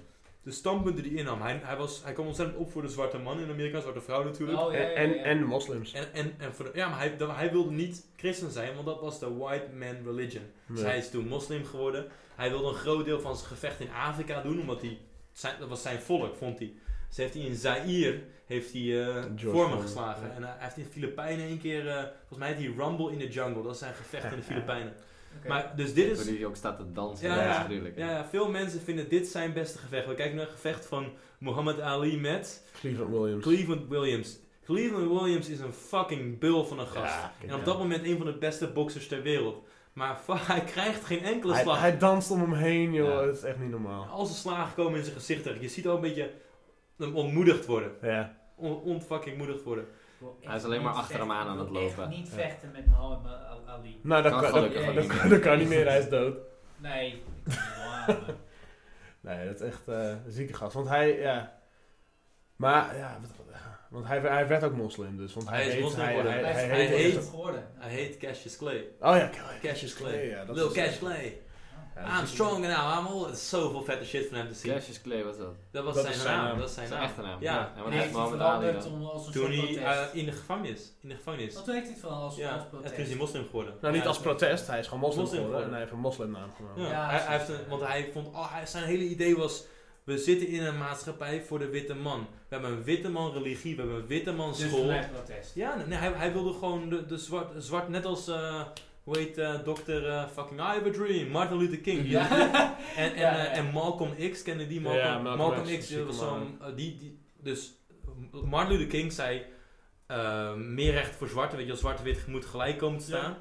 Speaker 2: De standpunten die hij innam. Hij, hij, was, hij kwam ontzettend op voor de zwarte man in Amerika, zwarte vrouw natuurlijk.
Speaker 5: Oh, ja, ja, ja,
Speaker 1: En, en,
Speaker 5: ja.
Speaker 1: en moslims.
Speaker 2: En, en, en voor de- ja, maar hij, dan- hij wilde niet christen zijn, want dat was de white man religion. Dus hij
Speaker 1: Ja.
Speaker 2: is toen moslim geworden. Hij wilde een groot deel van zijn gevecht in Afrika doen, omdat hij, zijn, dat was zijn volk, vond hij. Dus heeft hij in Zaire heeft hij, eh
Speaker 1: George
Speaker 2: vormen
Speaker 1: Foreman,
Speaker 2: geslagen.
Speaker 1: ja.
Speaker 2: En eh, hij hij heeft in de Filipijnen één keer, eh, volgens mij heet hij Rumble in the Jungle. Dat is zijn gevecht in de Filipijnen.
Speaker 5: Oké.
Speaker 2: Maar, dus dit is,
Speaker 4: Toen hij ook staat te dansen.
Speaker 2: Ja,
Speaker 4: dat is
Speaker 2: ja.
Speaker 4: gruwelijk.
Speaker 2: ja, ja, veel mensen vinden dit zijn beste gevecht. We kijken naar een gevecht van Muhammad Ali met
Speaker 1: Cleveland Williams.
Speaker 2: Cleveland Williams. Cleveland Williams is een fucking bul van een gast.
Speaker 1: Ja,
Speaker 2: en op dat moment een van de beste boxers ter wereld. Maar fa- hij krijgt geen enkele
Speaker 1: hij,
Speaker 2: slag.
Speaker 1: hij danst om hem heen, joh.
Speaker 4: Ja.
Speaker 1: Dat is echt niet normaal.
Speaker 2: Al zijn slagen komen in zijn gezicht terug. Je ziet al een beetje hem ontmoedigd worden.
Speaker 1: Ja.
Speaker 2: On ontfucking moedigd worden.
Speaker 5: Ik wil echt
Speaker 4: Hij is alleen maar
Speaker 5: niet
Speaker 4: achter hem
Speaker 5: vechten.
Speaker 4: aan aan het
Speaker 5: Ik wil echt
Speaker 4: lopen.
Speaker 5: niet
Speaker 1: Ja.
Speaker 5: vechten met Mohammed Al- Ali.
Speaker 1: Nou, dat
Speaker 4: Kan
Speaker 1: kan, dat,
Speaker 4: gelukkig
Speaker 1: dat,
Speaker 5: ook niet
Speaker 1: kan,
Speaker 4: meer.
Speaker 1: dat kan niet meer. Hij is dood.
Speaker 5: Nee, ik kan het niet aan.
Speaker 1: Nee, dat is echt eh, een zieke gast. Want hij, ja... Maar, ja... wat- wat- want hij, hij werd ook moslim, dus. Want hij,
Speaker 2: Hij is
Speaker 1: heet-
Speaker 2: moslim
Speaker 1: hij,
Speaker 2: geworden.
Speaker 1: hij,
Speaker 5: Hij
Speaker 1: hij,
Speaker 5: is-
Speaker 1: heet...
Speaker 5: hij is
Speaker 2: heet-
Speaker 5: het geworden.
Speaker 2: Hij heet Cassius Clay.
Speaker 1: Oh ja, Kelly.
Speaker 2: Cassius Clay.
Speaker 1: Ja, dat
Speaker 2: Lil
Speaker 1: is-
Speaker 2: Cash Clay.
Speaker 5: Oh.
Speaker 1: Ja, dat
Speaker 2: I'm
Speaker 1: is-
Speaker 2: strong now. I'm all... Het is Zoveel vette shit van hem te zien.
Speaker 4: Cassius Clay was dat.
Speaker 2: Dat was
Speaker 1: Dat
Speaker 2: zijn,
Speaker 1: is zijn
Speaker 2: naam.
Speaker 1: naam.
Speaker 2: Dat is zijn
Speaker 4: Zijn
Speaker 2: naam.
Speaker 4: echte naam.
Speaker 2: Ja.
Speaker 4: En wat
Speaker 5: Nee,
Speaker 4: heeft
Speaker 5: heeft hij
Speaker 4: Mohammed Ali
Speaker 5: veranderd
Speaker 4: dan?
Speaker 5: om als een
Speaker 2: Toen
Speaker 5: soort
Speaker 2: hij
Speaker 5: protest.
Speaker 2: eh, in de gevangenis. In de gevangenis.
Speaker 5: Wat heeft hij het van als, als
Speaker 2: Ja. En toen is
Speaker 5: protest?
Speaker 2: hij moslim geworden.
Speaker 1: Nou, niet
Speaker 2: Ja,
Speaker 1: als protest. Hij is gewoon moslim
Speaker 2: Moslim
Speaker 1: geworden. En
Speaker 2: geworden.
Speaker 1: hij heeft een moslimnaam genomen.
Speaker 2: Ja,
Speaker 5: Ja,
Speaker 2: hij, hij heeft
Speaker 5: precies.
Speaker 2: een, want hij vond, oh, hij, zijn hele idee was, we zitten in een maatschappij voor de witte man. We hebben een witte man religie, we hebben een witte man
Speaker 5: Dus
Speaker 2: school.
Speaker 5: gelijk protest.
Speaker 2: Ja, nee, nee, hij, hij wilde gewoon de, de zwart, zwart, net als, eh, hoe heet eh dokter eh, fucking I have a dream, Martin Luther King. Die-
Speaker 5: Ja.
Speaker 2: En, en,
Speaker 5: Ja,
Speaker 2: eh,
Speaker 5: ja.
Speaker 2: en Malcolm X, kende
Speaker 1: Ja,
Speaker 2: die Malcolm?
Speaker 1: ja, Malcolm
Speaker 2: Malcolm
Speaker 1: X,
Speaker 2: X,
Speaker 1: zieke
Speaker 2: was
Speaker 1: man.
Speaker 2: zo'n, eh, die, die, dus Martin Luther eh, King zei, eh, meer recht voor zwarte. Weet je, wel, zwart-wit moet gelijk komen te
Speaker 1: Ja.
Speaker 2: staan.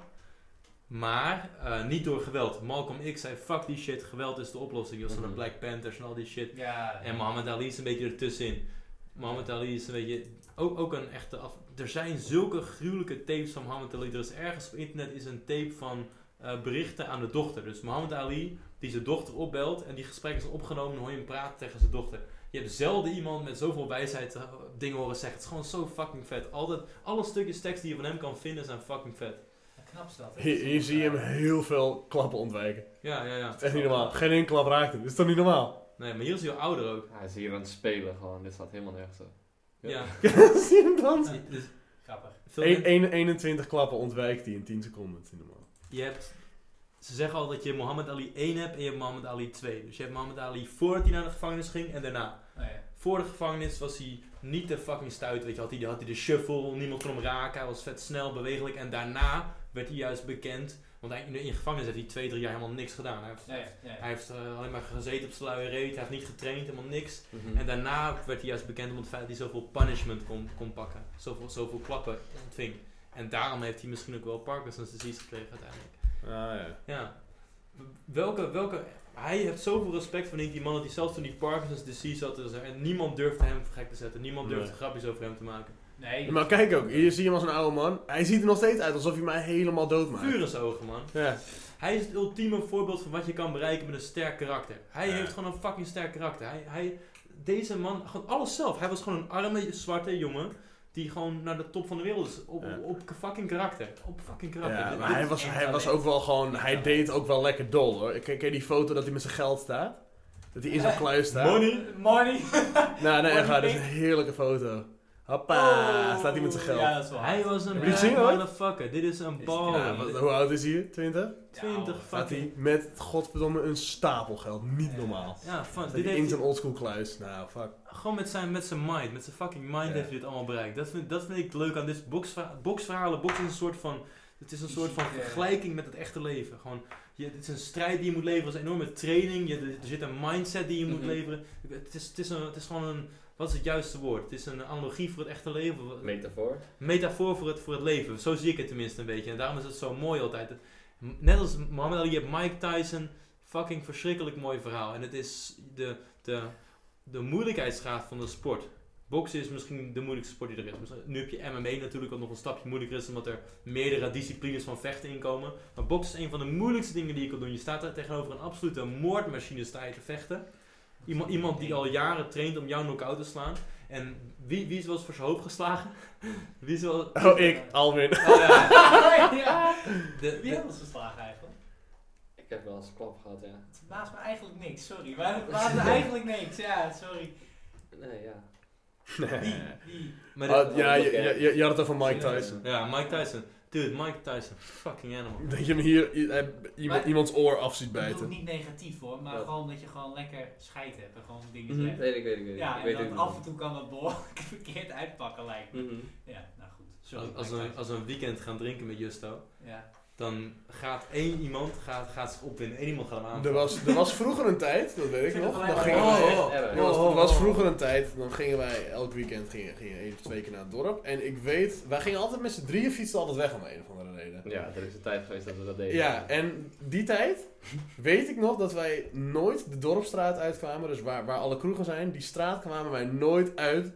Speaker 2: Maar eh, niet door geweld. Malcolm X zei: fuck die shit, geweld is de oplossing. Joh, zo'n
Speaker 4: Mhm.
Speaker 2: Black Panthers en al die shit.
Speaker 5: Ja.
Speaker 2: En Muhammad Ali is een beetje ertussenin. Muhammad Ali is een beetje. Ook, ook een echte af. Er zijn zulke gruwelijke tapes van Muhammad Ali. Er is ergens op internet is een tape van eh, berichten aan de dochter. Dus Muhammad Ali die zijn dochter opbelt en die gesprekken zijn opgenomen en hoor je hem praten tegen zijn dochter. Je hebt zelden iemand met zoveel wijsheid eh, dingen horen zeggen. Het is gewoon zo fucking vet. Altijd, alle stukjes tekst die je van hem kan vinden zijn fucking vet.
Speaker 5: Knap is dat. hè?
Speaker 1: Hier, hier zie je hem heel veel klappen ontwijken.
Speaker 2: Ja, ja, ja.
Speaker 1: Het is echt niet normaal. Geen enkele klap raakt hem. Dat is toch niet normaal?
Speaker 2: Nee, maar hier is hij al ouder ook.
Speaker 4: Hij is hier aan het spelen gewoon, dit staat helemaal nergens op. Ja.
Speaker 2: Ja.
Speaker 1: zie je hem dan?
Speaker 2: Dus
Speaker 5: Grappig.
Speaker 2: veel
Speaker 1: Eén- één- 21 klappen ontwijkt hij in 10 seconden. Dat is niet normaal.
Speaker 2: Je hebt, ze zeggen al dat je Muhammad Ali 1 hebt en je hebt Muhammad Ali 2. Dus je hebt Muhammad Ali voordat hij naar de gevangenis ging en daarna.
Speaker 5: Nou ja.
Speaker 2: Voor de gevangenis was hij niet te fucking stuit. Weet je, had hij, had hij de shuffle, niemand kon hem raken. Hij was vet snel, bewegelijk. En daarna werd hij juist bekend. Want hij, in de in de gevangenis heeft hij 2, 3 jaar helemaal niks gedaan. Hij heeft,
Speaker 5: Ja, ja, ja.
Speaker 2: hij heeft eh, alleen maar gezeten op zijn luie reet. Hij heeft niet getraind, helemaal niks.
Speaker 4: Mm.
Speaker 5: Mhm.
Speaker 2: En daarna werd hij juist bekend om het feit dat hij zoveel punishment kon, kon pakken. Zoveel, zoveel klappen ontving. En daarom heeft hij misschien ook wel Parkinson's disease gekregen uiteindelijk.
Speaker 1: Ah ja.
Speaker 2: Ja. Welke, welke... Hij heeft zoveel respect voor die man dat hij zelfs toen hij Parkinson's disease had, dus, en niemand durfde hem voor gek te zetten. Niemand durfde
Speaker 1: Nee.
Speaker 2: grapjes over hem te maken.
Speaker 5: Nee.
Speaker 1: Maar kijk ook, hier zie je hem als een oude man. Hij ziet er nog steeds uit alsof hij mij helemaal dood maakt.
Speaker 2: Vuur in zijn ogen, man.
Speaker 1: Ja.
Speaker 2: Hij is het ultieme voorbeeld van wat je kan bereiken met een sterk karakter. Hij
Speaker 1: Ja.
Speaker 2: heeft gewoon een fucking sterk karakter. Hij, hij, deze man, gewoon alles zelf. Hij was gewoon een arme zwarte jongen die gewoon naar de top van de wereld is. Op,
Speaker 1: Ja.
Speaker 2: op fucking karakter. Op fucking karakter.
Speaker 1: Ja,
Speaker 2: Dit-
Speaker 1: maar
Speaker 2: dit
Speaker 1: hij
Speaker 2: is
Speaker 1: was,
Speaker 2: echt
Speaker 1: hij was
Speaker 2: talent.
Speaker 1: ook wel gewoon, hij
Speaker 2: Ja.
Speaker 1: deed ook wel lekker dol hoor. Ken, ken je die foto dat hij met zijn geld staat? Dat hij in zijn kluis staat?
Speaker 2: Money.
Speaker 5: Money.
Speaker 1: Nou, nee, echt waar, dat is een
Speaker 5: Money.
Speaker 1: heerlijke foto. Hoppa, staat hij met zijn geld.
Speaker 5: Oh, Ja, dat is wel
Speaker 2: Hij
Speaker 5: hard.
Speaker 2: was
Speaker 1: Heb
Speaker 2: een
Speaker 1: je die
Speaker 2: bad
Speaker 1: gezien ooit?
Speaker 2: motherfucker. Dit is een
Speaker 5: Is-
Speaker 2: bal.
Speaker 1: Ja, wat- hoe oud is hij? 20?
Speaker 5: Ja,
Speaker 2: 20
Speaker 5: ouwe.
Speaker 1: Staat
Speaker 2: fucking...
Speaker 1: hij met, godverdomme, een stapel geld. Niet
Speaker 5: Ja.
Speaker 1: normaal.
Speaker 2: Ja, fuck.
Speaker 1: Staat
Speaker 2: Dit
Speaker 1: hij in
Speaker 2: heeft
Speaker 1: zijn
Speaker 2: hij-
Speaker 1: oldschool kluis. Nou, fuck.
Speaker 2: gewoon met zijn, met zijn mind, met zijn fucking mind
Speaker 1: Ja.
Speaker 2: heeft hij dit allemaal bereikt. Dat vind, dat vind ik leuk aan dit boxverha- boxverhalen. Box is een soort van, het is een soort van
Speaker 5: Ja.
Speaker 2: vergelijking met het echte leven. Gewoon, je, het is een strijd die je moet leveren, het is een enorme training. Je, er zit een mindset die je moet
Speaker 4: Mhm.
Speaker 2: leveren. Het is, het, is een, het is gewoon een, wat is het juiste woord? Het is een analogie voor het echte leven. Wat-
Speaker 4: Metafoor.
Speaker 2: metafoor voor het, voor het leven. Zo zie ik het tenminste een beetje. En daarom is het zo mooi altijd. Het- Net als Muhammad Ali, je hebt Mike Tyson. Fucking verschrikkelijk mooi verhaal. En het is de, de, de moeilijkheidsgraad van de sport. Boksen is misschien de moeilijkste sport die er is. Misschien- Nu heb je MMA natuurlijk wat nog een stapje moeilijker is, omdat er meerdere disciplines van vechten inkomen. Maar boksen is een van de moeilijkste dingen die je kan doen. Je staat daar tegenover een absolute moordmachine sta je te vechten. Iemand, iemand die al jaren traint om jou knock-out te slaan. En wie, wie is wel eens voor zijn hoofd geslagen? Wie is wel...
Speaker 1: Oh, ik, Alwin.
Speaker 2: Oh ja.
Speaker 5: ja.
Speaker 2: De-
Speaker 5: Wie
Speaker 2: de-
Speaker 5: hebben ons geslagen eigenlijk?
Speaker 4: Ik heb wel eens een klap gehad, ja.
Speaker 5: Het baast me eigenlijk niks, sorry. Maar het baast me eigenlijk niks, ja, sorry.
Speaker 4: Nee, ja.
Speaker 5: Die, die.
Speaker 2: maar de-
Speaker 1: Ah, ja, je, je, je- je had het over Mike Tyson.
Speaker 2: ja, Mike Tyson. Dude, Mike Tyson. Fucking animal.
Speaker 1: Dat je hem hier i- eh, iemand,
Speaker 5: Maar-
Speaker 1: iemands oor af ziet
Speaker 5: Ik bedoel
Speaker 1: bijten.
Speaker 5: niet negatief hoor, maar
Speaker 4: Wat?
Speaker 5: gewoon dat je gewoon lekker scheid hebt en gewoon dingen
Speaker 4: Mhm.
Speaker 5: zegt.
Speaker 4: Weet ik, weet ik, weet ik.
Speaker 5: Hm. Ja,
Speaker 4: ik
Speaker 5: en
Speaker 4: weet het
Speaker 5: dan
Speaker 4: niet.
Speaker 5: af en toe kan dat behoorlijk verkeerd uitpakken lijkt me.
Speaker 4: Mhm.
Speaker 5: Ja, nou goed. Sorry.
Speaker 2: Als, als,
Speaker 5: Mike
Speaker 2: we, als we een weekend gaan drinken met Justo,
Speaker 5: Tyson. Ja.
Speaker 2: dan gaat één iemand gaat, gaat zich opwinden. Eén iemand gaat hem
Speaker 1: Er
Speaker 2: aanvallen.
Speaker 1: was, er was vroeger een tijd, dat weet ik
Speaker 5: vind
Speaker 1: nog.
Speaker 5: het
Speaker 1: Dan
Speaker 5: alleen
Speaker 1: gingen
Speaker 5: maar-
Speaker 1: wij
Speaker 4: Oh,
Speaker 1: echt-
Speaker 4: echt erg.
Speaker 1: Er was,
Speaker 2: Oh,
Speaker 1: er was
Speaker 2: oh, oh.
Speaker 1: vroeger een tijd, dan gingen wij elk weekend gingen, gingen één of twee keer naar het dorp. En ik weet, wij gingen altijd met z'n drieën fietsen altijd weg om een of andere reden.
Speaker 4: Ja, er is een tijd geweest dat we dat deden.
Speaker 1: Ja, en die tijd weet ik nog dat wij nooit de dorpstraat uitkwamen. Dus waar, waar alle kroegen zijn, die straat kwamen wij nooit uit.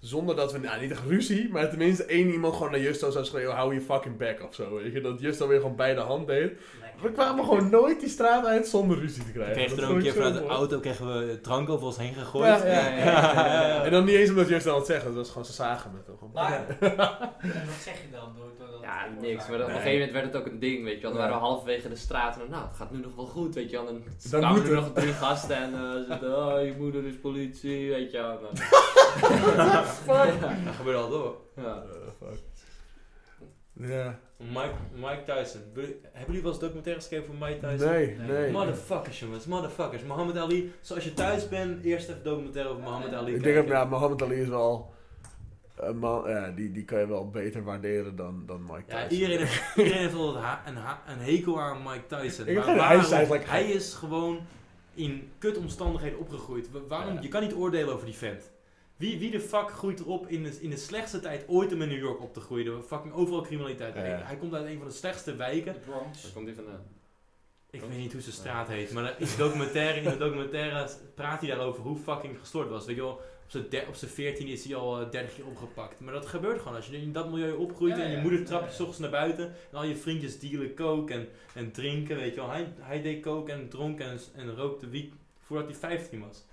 Speaker 1: Zonder dat we, nou niet echt ruzie, maar tenminste één iemand gewoon naar Justo zou schreeuwen: hou je fucking back of zo. Weet je, dat Justo weer gewoon bij de hand deed.
Speaker 5: Lekker.
Speaker 1: We kwamen gewoon nooit die straat uit zonder ruzie te
Speaker 2: We
Speaker 1: krijgen.
Speaker 2: kregen
Speaker 1: Dat
Speaker 2: er ook een
Speaker 1: vond ik
Speaker 2: keer
Speaker 1: zo
Speaker 2: vanuit de
Speaker 1: mooi.
Speaker 2: auto kregen we drank over ons heen gegooid.
Speaker 1: Ja, ja. Nou,
Speaker 5: Ja, ja, ja, ja.
Speaker 1: En dan niet eens omdat Justo aan het zeggen, dat was gewoon ze zagen met hem. Gewoon,
Speaker 5: Maar, en wat zeg je dan door, door dat?
Speaker 4: Ja,
Speaker 5: door
Speaker 4: niks.
Speaker 5: dat-
Speaker 4: Maar op een
Speaker 1: Nee.
Speaker 4: gegeven moment werd het ook een ding, weet je wel. Dan waren we
Speaker 1: Ja.
Speaker 4: halverwege de straat en dan, nou, het gaat nu nog wel goed, weet je wel. Dan,
Speaker 1: Dan
Speaker 4: kwamen
Speaker 1: moet
Speaker 4: er
Speaker 1: het.
Speaker 4: nog drie gasten en eh, ze zeiden, oh, je moeder is politie, weet je wel. Nou, En dan-
Speaker 2: Dat gebeurde al door.
Speaker 4: ja.
Speaker 1: eh, fuck. Ja.
Speaker 2: Mike, Mike Tyson. Wil- Hebben jullie wel eens documentaires gekeken van Mike Tyson?
Speaker 1: Nee,
Speaker 5: Nee.
Speaker 1: nee.
Speaker 2: Motherfuckers, jongens, motherfuckers. Mohammed Ali, zoals je thuis bent, eerst even documentaire over Mohammed Ali.
Speaker 1: Ik denk dat ja, Mohammed Ali is wel een man, ja, die, die kan je wel beter waarderen dan, dan Mike Tyson.
Speaker 2: Ja, iedereen heeft, iedereen heeft wel een, ha- een, ha- een hekel aan Mike Tyson.
Speaker 1: Ik heb
Speaker 2: Maar
Speaker 1: geen- hij is
Speaker 2: waarom?
Speaker 1: eigenlijk-
Speaker 2: hij is gewoon in kutomstandigheden opgegroeid. Wa- Waarom?
Speaker 1: Ja.
Speaker 2: Je kan niet oordelen over die vent. Wie, wie de fuck groeit erop in de, in de slechtste tijd ooit om in New York op te groeien? Door fucking overal criminaliteit.
Speaker 1: Ja.
Speaker 2: Hij- Hij komt uit een van de slechtste wijken.
Speaker 5: De Bronx.
Speaker 4: Waar komt die vandaan?
Speaker 2: Ik
Speaker 4: Toch?
Speaker 2: weet niet hoe zijn straat heet, maar in de documentaire, in de documentaire praat hij daarover hoe fucking gestoord was. Weet je wel, op zijn der- op zijn 14 is hij al eh, 30 jaar opgepakt. Maar dat gebeurt gewoon als je in dat milieu opgroeit
Speaker 5: Ja,
Speaker 2: en je
Speaker 5: ja,
Speaker 2: moeder
Speaker 5: ja,
Speaker 2: trapt je
Speaker 5: ja.
Speaker 2: s ochtends naar buiten en al je vriendjes dealen coke en, en drinken, weet je wel. Hij, hij deed coke en dronk en, en rookte wiet voordat hij 15 was.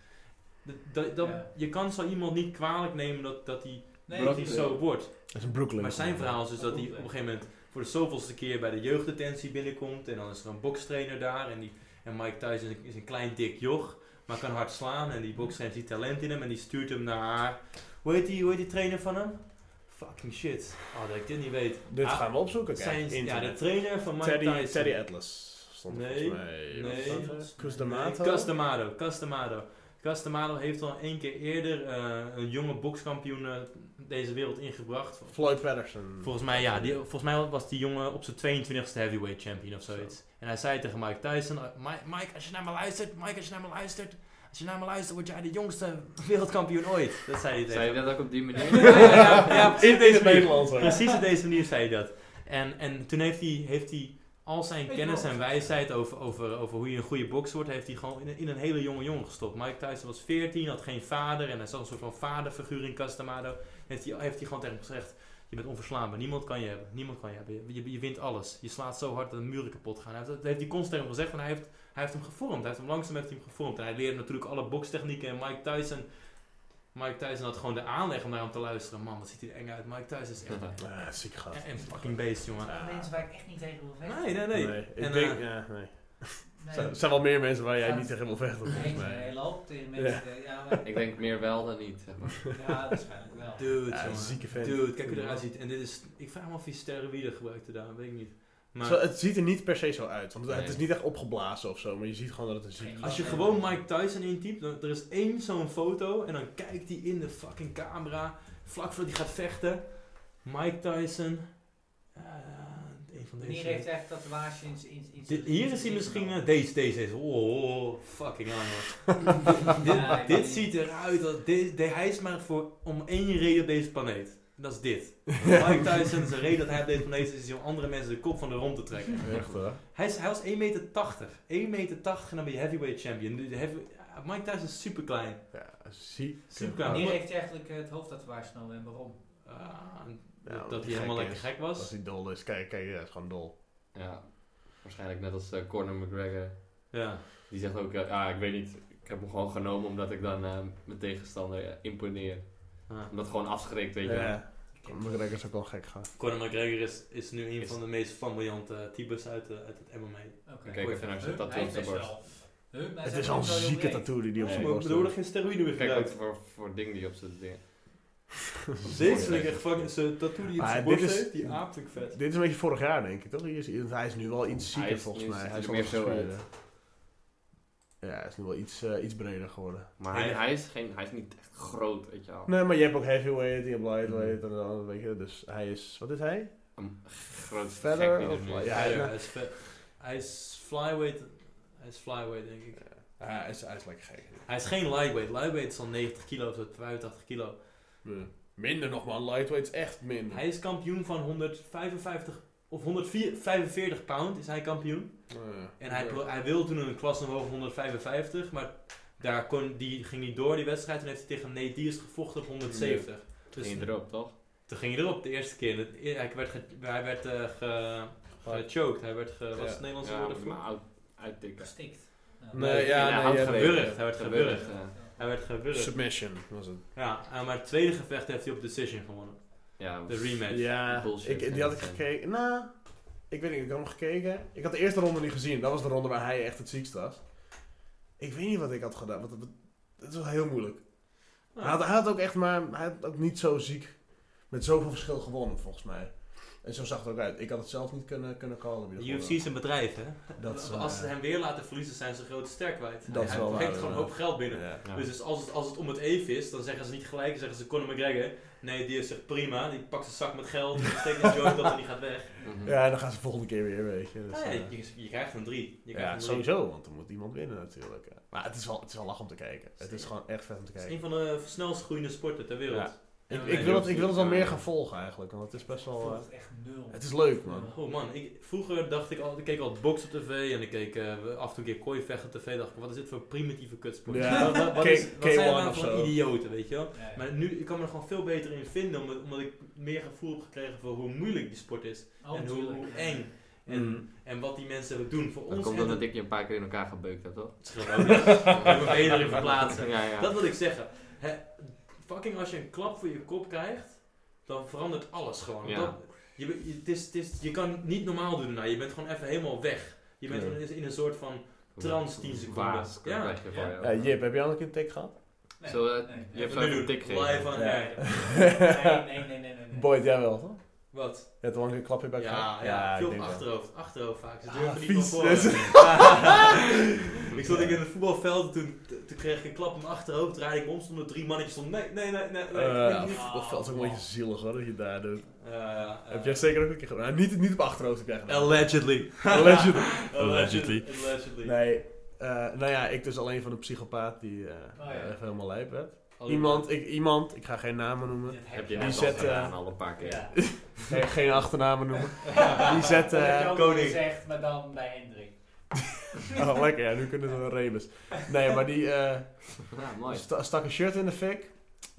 Speaker 2: Dat, dat, dat-
Speaker 5: Ja.
Speaker 2: Je kan zo iemand niet kwalijk nemen dat, dat hij
Speaker 5: Nee,
Speaker 1: Bronx.
Speaker 2: dat
Speaker 5: dat
Speaker 2: hij
Speaker 5: is-
Speaker 2: zo wordt.
Speaker 1: Dat is een Brooklyn.
Speaker 2: Maar zijn verhaal is dus dat
Speaker 5: Dat
Speaker 2: hij op
Speaker 5: klopt,
Speaker 2: een gegeven moment voor de zoveelste keer bij de jeugddetentie binnenkomt. En dan is er een bokstrainer daar. En, die, en Mike Tyson is een, is een klein dik joch, maar kan hard slaan. En die bokstrainer ziet talent in hem en die stuurt hem naar... Hoe heet die, hoe heet die trainer van hem? Fucking shit. Oh, dat ik dit niet weet.
Speaker 1: Dit
Speaker 2: Ah,
Speaker 1: gaan we opzoeken. Kijk,
Speaker 2: Zijn, ja, de
Speaker 1: internet.
Speaker 2: trainer van Mike
Speaker 1: Teddy,
Speaker 2: Tyson.
Speaker 1: Teddy Atlas stond er
Speaker 2: Nee,
Speaker 1: volgens mij.
Speaker 2: nee.
Speaker 1: Cusdamato.
Speaker 2: Castamado, Castamado. Castamado heeft al één keer eerder eh, een jonge bokskampioen eh, deze wereld ingebracht.
Speaker 1: Floyd Patterson.
Speaker 2: Volgens mij, ja, die, volgens mij was die jongen op zijn 22e heavyweight champion of zoiets. En hij zei tegen Mike Tyson: eh, Mike, Mike, als je naar me luistert, Mike, als je naar me luistert, als je naar me luistert, word jij de jongste wereldkampioen ooit. Dat zei hij tegen
Speaker 4: Zei je dat ook op die
Speaker 2: ja,
Speaker 4: manier?
Speaker 2: ja, ja, ja, precies op
Speaker 1: in
Speaker 2: deze
Speaker 1: het
Speaker 2: manier.
Speaker 1: Nederlands. hè.
Speaker 2: Precies op deze manier zei hij dat. En, en toen heeft hij, heeft hij al zijn
Speaker 5: Weet je
Speaker 2: kennis
Speaker 5: wel.
Speaker 2: en wijsheid over, over, over hoe je een goede boks wordt, heeft hij gewoon in, een- in een hele jonge jongen gestopt. Mike Tyson was 14, had geen vader en hij zat een soort van vaderfiguur in Castamado. Heeft hij, heeft hij gewoon tegen hem gezegd, je bent onverslaanbaar, niemand kan je hebben, niemand kan je hebben. Je, je, je wint alles, je slaat zo hard dat de muren kapot gaan. Hij heeft, dat heeft hij constant tegen hem gezegd en hij heeft, hij heeft hem gevormd, hij heeft hem langzaam heeft hij hem gevormd. En hij leerde natuurlijk alle bokstechnieken en Mike Tyson... Mike Tyson had gewoon de aanleg om naar hem te luisteren. Man, wat ziet hij er eng uit. Mike Tyson is echt een
Speaker 1: Ah, ziek gast. Ah.
Speaker 2: en fucking beest, jongen.
Speaker 5: dat zijn mensen waar ik echt niet tegen wil vechten.
Speaker 2: Nee, nee, nee.
Speaker 1: Nee, ik
Speaker 2: En,
Speaker 1: denk,
Speaker 2: eh,
Speaker 1: ja, nee.
Speaker 5: Nee.
Speaker 1: Er zijn wel meer mensen waar jij
Speaker 5: Ja.
Speaker 1: niet tegen wil vechten,
Speaker 5: Nee,
Speaker 1: volgens
Speaker 5: een
Speaker 1: mij.
Speaker 5: hele hoop tegen mensen. eh, Ja, ja, maar,
Speaker 4: Ik denk meer wel dan niet. zeg maar.
Speaker 5: ja waarschijnlijk wel.
Speaker 2: Dude,
Speaker 1: Ja,
Speaker 2: jongen.
Speaker 1: een zieke vent.
Speaker 2: Dude, kijk hoe hij eruit ziet. En dit is... Ik vraag me af wie steroïden gebruikte daar. Weet ik niet. Maar
Speaker 1: Zo, het ziet er niet per se zo uit, want het
Speaker 4: Nee.
Speaker 1: is niet echt opgeblazen of zo, maar je ziet gewoon dat het een zieke
Speaker 5: Nee,
Speaker 2: als je
Speaker 5: Ja.
Speaker 2: gewoon Mike Tyson intypt... Dan, er is één zo'n foto. En dan kijkt hij in de fucking camera. Vlak voordat hij gaat vechten. Mike Tyson. Eh, een van deze.
Speaker 5: Hier heeft hij echt tatoeage in zijn- in in zijn...
Speaker 2: Dit- hier is hij misschien... eh, deze, deze, deze. Oh, oh, oh, fucking hell, man.
Speaker 5: Ja, ik weet
Speaker 2: Dit
Speaker 5: niet.
Speaker 2: ziet eruit als. de- de- hij is maar voor, om één reden op deze planeet. En dat is dit. Mike Tyson is de reden dat hij op deze planeet is, is om andere mensen de kop van de romp te trekken.
Speaker 1: Echt hoor.
Speaker 2: Hij, is, hij was 1,80 meter. 1,80 meter en dan ben je heavyweight champion. De- de heavy- ja, Mike Tyson is super klein.
Speaker 1: Ja, ziek.
Speaker 2: Ziek
Speaker 5: En
Speaker 2: aan.
Speaker 5: Hier heeft hij eigenlijk eh, het hoofdtatoeage genomen en waarom?
Speaker 1: Ja,
Speaker 2: Ah, dat hij
Speaker 1: gek
Speaker 2: helemaal
Speaker 1: is.
Speaker 2: lekker gek
Speaker 1: Als
Speaker 2: was.
Speaker 1: hij dol is, kijk, kijk, ja, het is gewoon dol.
Speaker 4: Ja, waarschijnlijk net als eh, Conor McGregor.
Speaker 2: Ja.
Speaker 4: Die zegt ook, eh, ah, ik weet niet, ik heb hem gewoon genomen omdat ik dan eh, mijn tegenstander eh, imponeer.
Speaker 2: Ah.
Speaker 4: Omdat gewoon afschrikt, weet je wel.
Speaker 1: Ja, McGregor is ook wel gek gaan.
Speaker 2: Conor McGregor is, is nu een
Speaker 4: Is-
Speaker 2: van de meest flamboyante types uit, eh, uit het MMA.
Speaker 5: Oké.
Speaker 4: Ik kijk even naar zijn
Speaker 5: Huh?
Speaker 4: tattoo
Speaker 5: Hij
Speaker 4: op zijn
Speaker 5: is best
Speaker 4: borst.
Speaker 5: wel- Huh? Maar hij
Speaker 1: Het
Speaker 5: is
Speaker 1: is
Speaker 5: wel
Speaker 1: al een
Speaker 5: zo heel
Speaker 1: zieke
Speaker 5: breed.
Speaker 1: tattoo die hij op
Speaker 2: Nee,
Speaker 1: zijn
Speaker 2: maar
Speaker 1: borst eh,
Speaker 2: er worden
Speaker 1: heeft.
Speaker 2: geen steroïden meer
Speaker 4: Kijk wat
Speaker 2: gebruikt.
Speaker 4: voor, voor ding die op zijn ding.
Speaker 2: Dit vind ik echt fucking... Zijn tattoo die op
Speaker 1: Maar
Speaker 2: zijn
Speaker 1: dit
Speaker 2: borst
Speaker 1: is-
Speaker 2: heeft, die aapt ik vet.
Speaker 1: Dit is een beetje vorig jaar, denk ik, toch? Hier is, hij is nu wel iets
Speaker 4: Hij
Speaker 1: zieker,
Speaker 4: is-
Speaker 1: volgens
Speaker 4: nu is
Speaker 1: mij.
Speaker 4: het
Speaker 1: Hij is
Speaker 4: natuurlijk
Speaker 1: wel
Speaker 4: meer zo
Speaker 1: wat gescheurder. Ja, hij is nu wel iets, eh, iets breder geworden.
Speaker 4: Maar
Speaker 2: Nee,
Speaker 4: hij,
Speaker 2: nee.
Speaker 4: hij, is geen, hij is niet echt groot, weet je wel.
Speaker 1: Nee, maar je hebt ook heavyweight, je hebt lightweight en dan, weet je. Dus hij is, wat is hij?
Speaker 4: Een groot
Speaker 1: Verder
Speaker 4: gek die er
Speaker 1: of-
Speaker 4: nu is.
Speaker 1: ja,
Speaker 2: hij,
Speaker 1: hij-
Speaker 2: hij is vet. Hij is flyweight. Hij is flyweight, denk ik.
Speaker 1: hij, is, hij is lekker gek.
Speaker 2: Hij is geen lightweight. Lightweight is al 90 kilo of zo, 85 kilo.
Speaker 1: Minder nog, man. Lightweight is echt minder.
Speaker 2: Hij is kampioen van 155 of 145 pound is hij kampioen. En hij, pro- hij wil toen een klas omhoog 155, maar daar kon, die, ging niet door die wedstrijd. Toen heeft hij tegen Nate Diaz gevochten op 170. Dus
Speaker 4: Ging erop, toch?
Speaker 2: toen ging hij erop de eerste keer. Dat- eh, Hij werd, ge, hij werd eh, ge- gechoked. Hij werd, ge, wat is het Nederlandse
Speaker 4: Ja,
Speaker 2: woord
Speaker 4: maar
Speaker 2: voor?
Speaker 4: uit, uittikken.
Speaker 5: Gestikt. Ja.
Speaker 1: Nee, ja,
Speaker 4: hij
Speaker 1: nee,
Speaker 4: had
Speaker 1: ja.
Speaker 2: Gewurgd, hij werd gewurgd.
Speaker 4: Gewurgd, ja.
Speaker 2: Hij werd gewurgd.
Speaker 1: Submission was het.
Speaker 2: Ja, eh, maar het tweede gevecht heeft hij op decision gewonnen.
Speaker 4: Ja,
Speaker 2: De rematch.
Speaker 1: Ja,
Speaker 4: Bullshit,
Speaker 1: ik, die had ik
Speaker 4: ja.
Speaker 1: gekeken. Nou, ik weet niet, ik had hem gekeken. Ik had de eerste ronde niet gezien. Dat was de ronde waar hij echt het ziekst was. Ik weet niet wat ik had gedaan. Want het, het was heel moeilijk.
Speaker 2: Nou,
Speaker 1: Hij, had, hij had ook echt maar. Hij had ook niet zo ziek. Met zoveel verschil gewonnen, volgens mij. En zo zag het ook uit. Ik had het zelf niet kunnen, kunnen callen. wie
Speaker 2: De
Speaker 1: dat
Speaker 2: UFC
Speaker 1: won.
Speaker 2: is een bedrijf, hè?
Speaker 1: Dat is,
Speaker 2: als ze
Speaker 1: eh,
Speaker 2: hem weer laten verliezen, zijn ze een grote ster kwijt.
Speaker 1: Dat is
Speaker 2: hij
Speaker 1: wel
Speaker 2: brengt
Speaker 1: waar,
Speaker 2: gewoon een
Speaker 1: ja.
Speaker 2: hoop geld binnen.
Speaker 1: ja.
Speaker 4: Ja.
Speaker 2: Dus als het, als het om het even is, dan zeggen ze niet gelijk, dan zeggen ze Conor McGregor. Nee, die is echt prima, die pakt zijn zak met geld, die steekt een joint op en die gaat weg.
Speaker 4: Mhm.
Speaker 1: ja, en dan gaan ze de volgende keer weer, weet je. Dus,
Speaker 2: Ah, ja,
Speaker 1: eh,
Speaker 2: je, je krijgt een drie. Je krijgt
Speaker 1: ja,
Speaker 2: een drie.
Speaker 1: sowieso, want er moet iemand winnen natuurlijk. eh. Maar het is wel, het is wel lach om te kijken. Het is
Speaker 2: Zeker.
Speaker 1: gewoon echt vet om te
Speaker 2: Het is
Speaker 1: kijken.
Speaker 2: een van de snelst groeiende sporten ter wereld.
Speaker 1: Ja.
Speaker 2: En
Speaker 1: Ik,
Speaker 2: dan-
Speaker 1: ik, wil het, ik wil het wel
Speaker 4: Ja.
Speaker 2: eh,
Speaker 1: meer gaan volgen eigenlijk, want het is best
Speaker 5: Ik
Speaker 1: wel...
Speaker 5: vond
Speaker 1: eh,
Speaker 5: het echt nul.
Speaker 1: het is leuk, man.
Speaker 2: Oh man, ik, vroeger dacht ik al, ik keek al box op tv en ik keek eh, af en toe een keer kooivechten op tv. Dacht ik, wat is dit voor primitieve kutsport?
Speaker 1: Ja.
Speaker 2: Wat, wat, wat
Speaker 1: K-
Speaker 2: is, wat zijn
Speaker 1: K1
Speaker 2: er nou
Speaker 1: of
Speaker 2: voor
Speaker 1: zo.
Speaker 2: idioten, weet je wel?
Speaker 5: Ja, ja.
Speaker 2: Maar nu, ik kan me er gewoon veel beter in vinden, omdat, omdat ik meer gevoel heb gekregen voor hoe moeilijk die sport is.
Speaker 5: Oh,
Speaker 2: en hoe,
Speaker 5: tuurlijk.
Speaker 2: hoe eng. En,
Speaker 1: Mm.
Speaker 2: en wat die mensen doen voor
Speaker 4: Mm. Dat
Speaker 2: ons.
Speaker 4: komt
Speaker 2: en
Speaker 4: omdat ik je een paar keer in elkaar gebeukt heb, toch?
Speaker 2: Het scheelt ook niet. Ik heb mijn benen erin verplaatsen.
Speaker 4: Ja, ja.
Speaker 2: Dat wil ik zeggen. Hè, fucking als je een klap voor je kop krijgt, dan verandert alles gewoon.
Speaker 4: Ja.
Speaker 2: Dat, je, be- je, het is, het is, je kan niet normaal doen daarna. Je bent gewoon even helemaal weg. Je bent
Speaker 1: Ja.
Speaker 2: in, in een soort van... trans 10 seconden.
Speaker 4: Waas,
Speaker 2: Ja.
Speaker 4: krijg je
Speaker 2: Ja.
Speaker 4: van
Speaker 1: Ja,
Speaker 4: jou.
Speaker 1: Jip, heb jij al een keer een tik gehad?
Speaker 5: Nee,
Speaker 4: Zo, eh,
Speaker 5: nee.
Speaker 4: je hebt
Speaker 2: Even
Speaker 4: zo'n
Speaker 2: nu,
Speaker 4: tik gegeven.
Speaker 2: Live aan
Speaker 1: Ja.
Speaker 2: air.
Speaker 5: Nee, nee, nee, nee. nee, nee.
Speaker 1: Boyd, jij wel, toch?
Speaker 2: Wat?
Speaker 1: Je hebt al een keer een klapje
Speaker 2: Ja,
Speaker 1: bij
Speaker 2: ja,
Speaker 1: ik
Speaker 2: veel op
Speaker 1: denk wel.
Speaker 2: achterhoofd. Achterhoofd vaak. Ze
Speaker 1: Ah,
Speaker 2: durven niet
Speaker 1: vies.
Speaker 2: van voren. ik stond ik in het voetbalveld, toen, toen kreeg ik een klap op mijn achterhoofd, draaide ik me om, stonden er drie mannetjes om. Nee, nee, nee, nee. nee.
Speaker 1: Eh,
Speaker 2: Eh,
Speaker 1: pff, dat veld is ook een beetje zielig hoor, dat je daar doet.
Speaker 2: eh,
Speaker 1: heb jij zeker ook een keer gedaan? Nou, niet, niet op achterhoofd heb jij gedaan.
Speaker 2: Allegedly.
Speaker 1: Allegedly.
Speaker 2: Allegedly. Allegedly.
Speaker 1: Nee, eh, nou ja, ik dus alleen van een psychopaat die eh,
Speaker 5: Oh, ja.
Speaker 1: even helemaal lijp werd.
Speaker 2: Allee.
Speaker 1: Iemand ik, iemand, ik ga geen namen noemen.
Speaker 5: Dit
Speaker 4: Heb
Speaker 1: Die
Speaker 4: je net
Speaker 5: net
Speaker 4: al
Speaker 1: zet, eh,
Speaker 4: gedaan, al een paar keer.
Speaker 5: Ja.
Speaker 1: Nee, geen achternamen noemen. Die zet...
Speaker 5: Dat heb je
Speaker 1: eh,
Speaker 5: ook
Speaker 2: koning.
Speaker 5: gezegd, maar dan bij Hendrik.
Speaker 1: oh, lekker, ja, nu kunnen ze een rebus. Nee, maar die eh,
Speaker 4: Ja, Nou, mooi.
Speaker 1: sta- stak een shirt in de fik.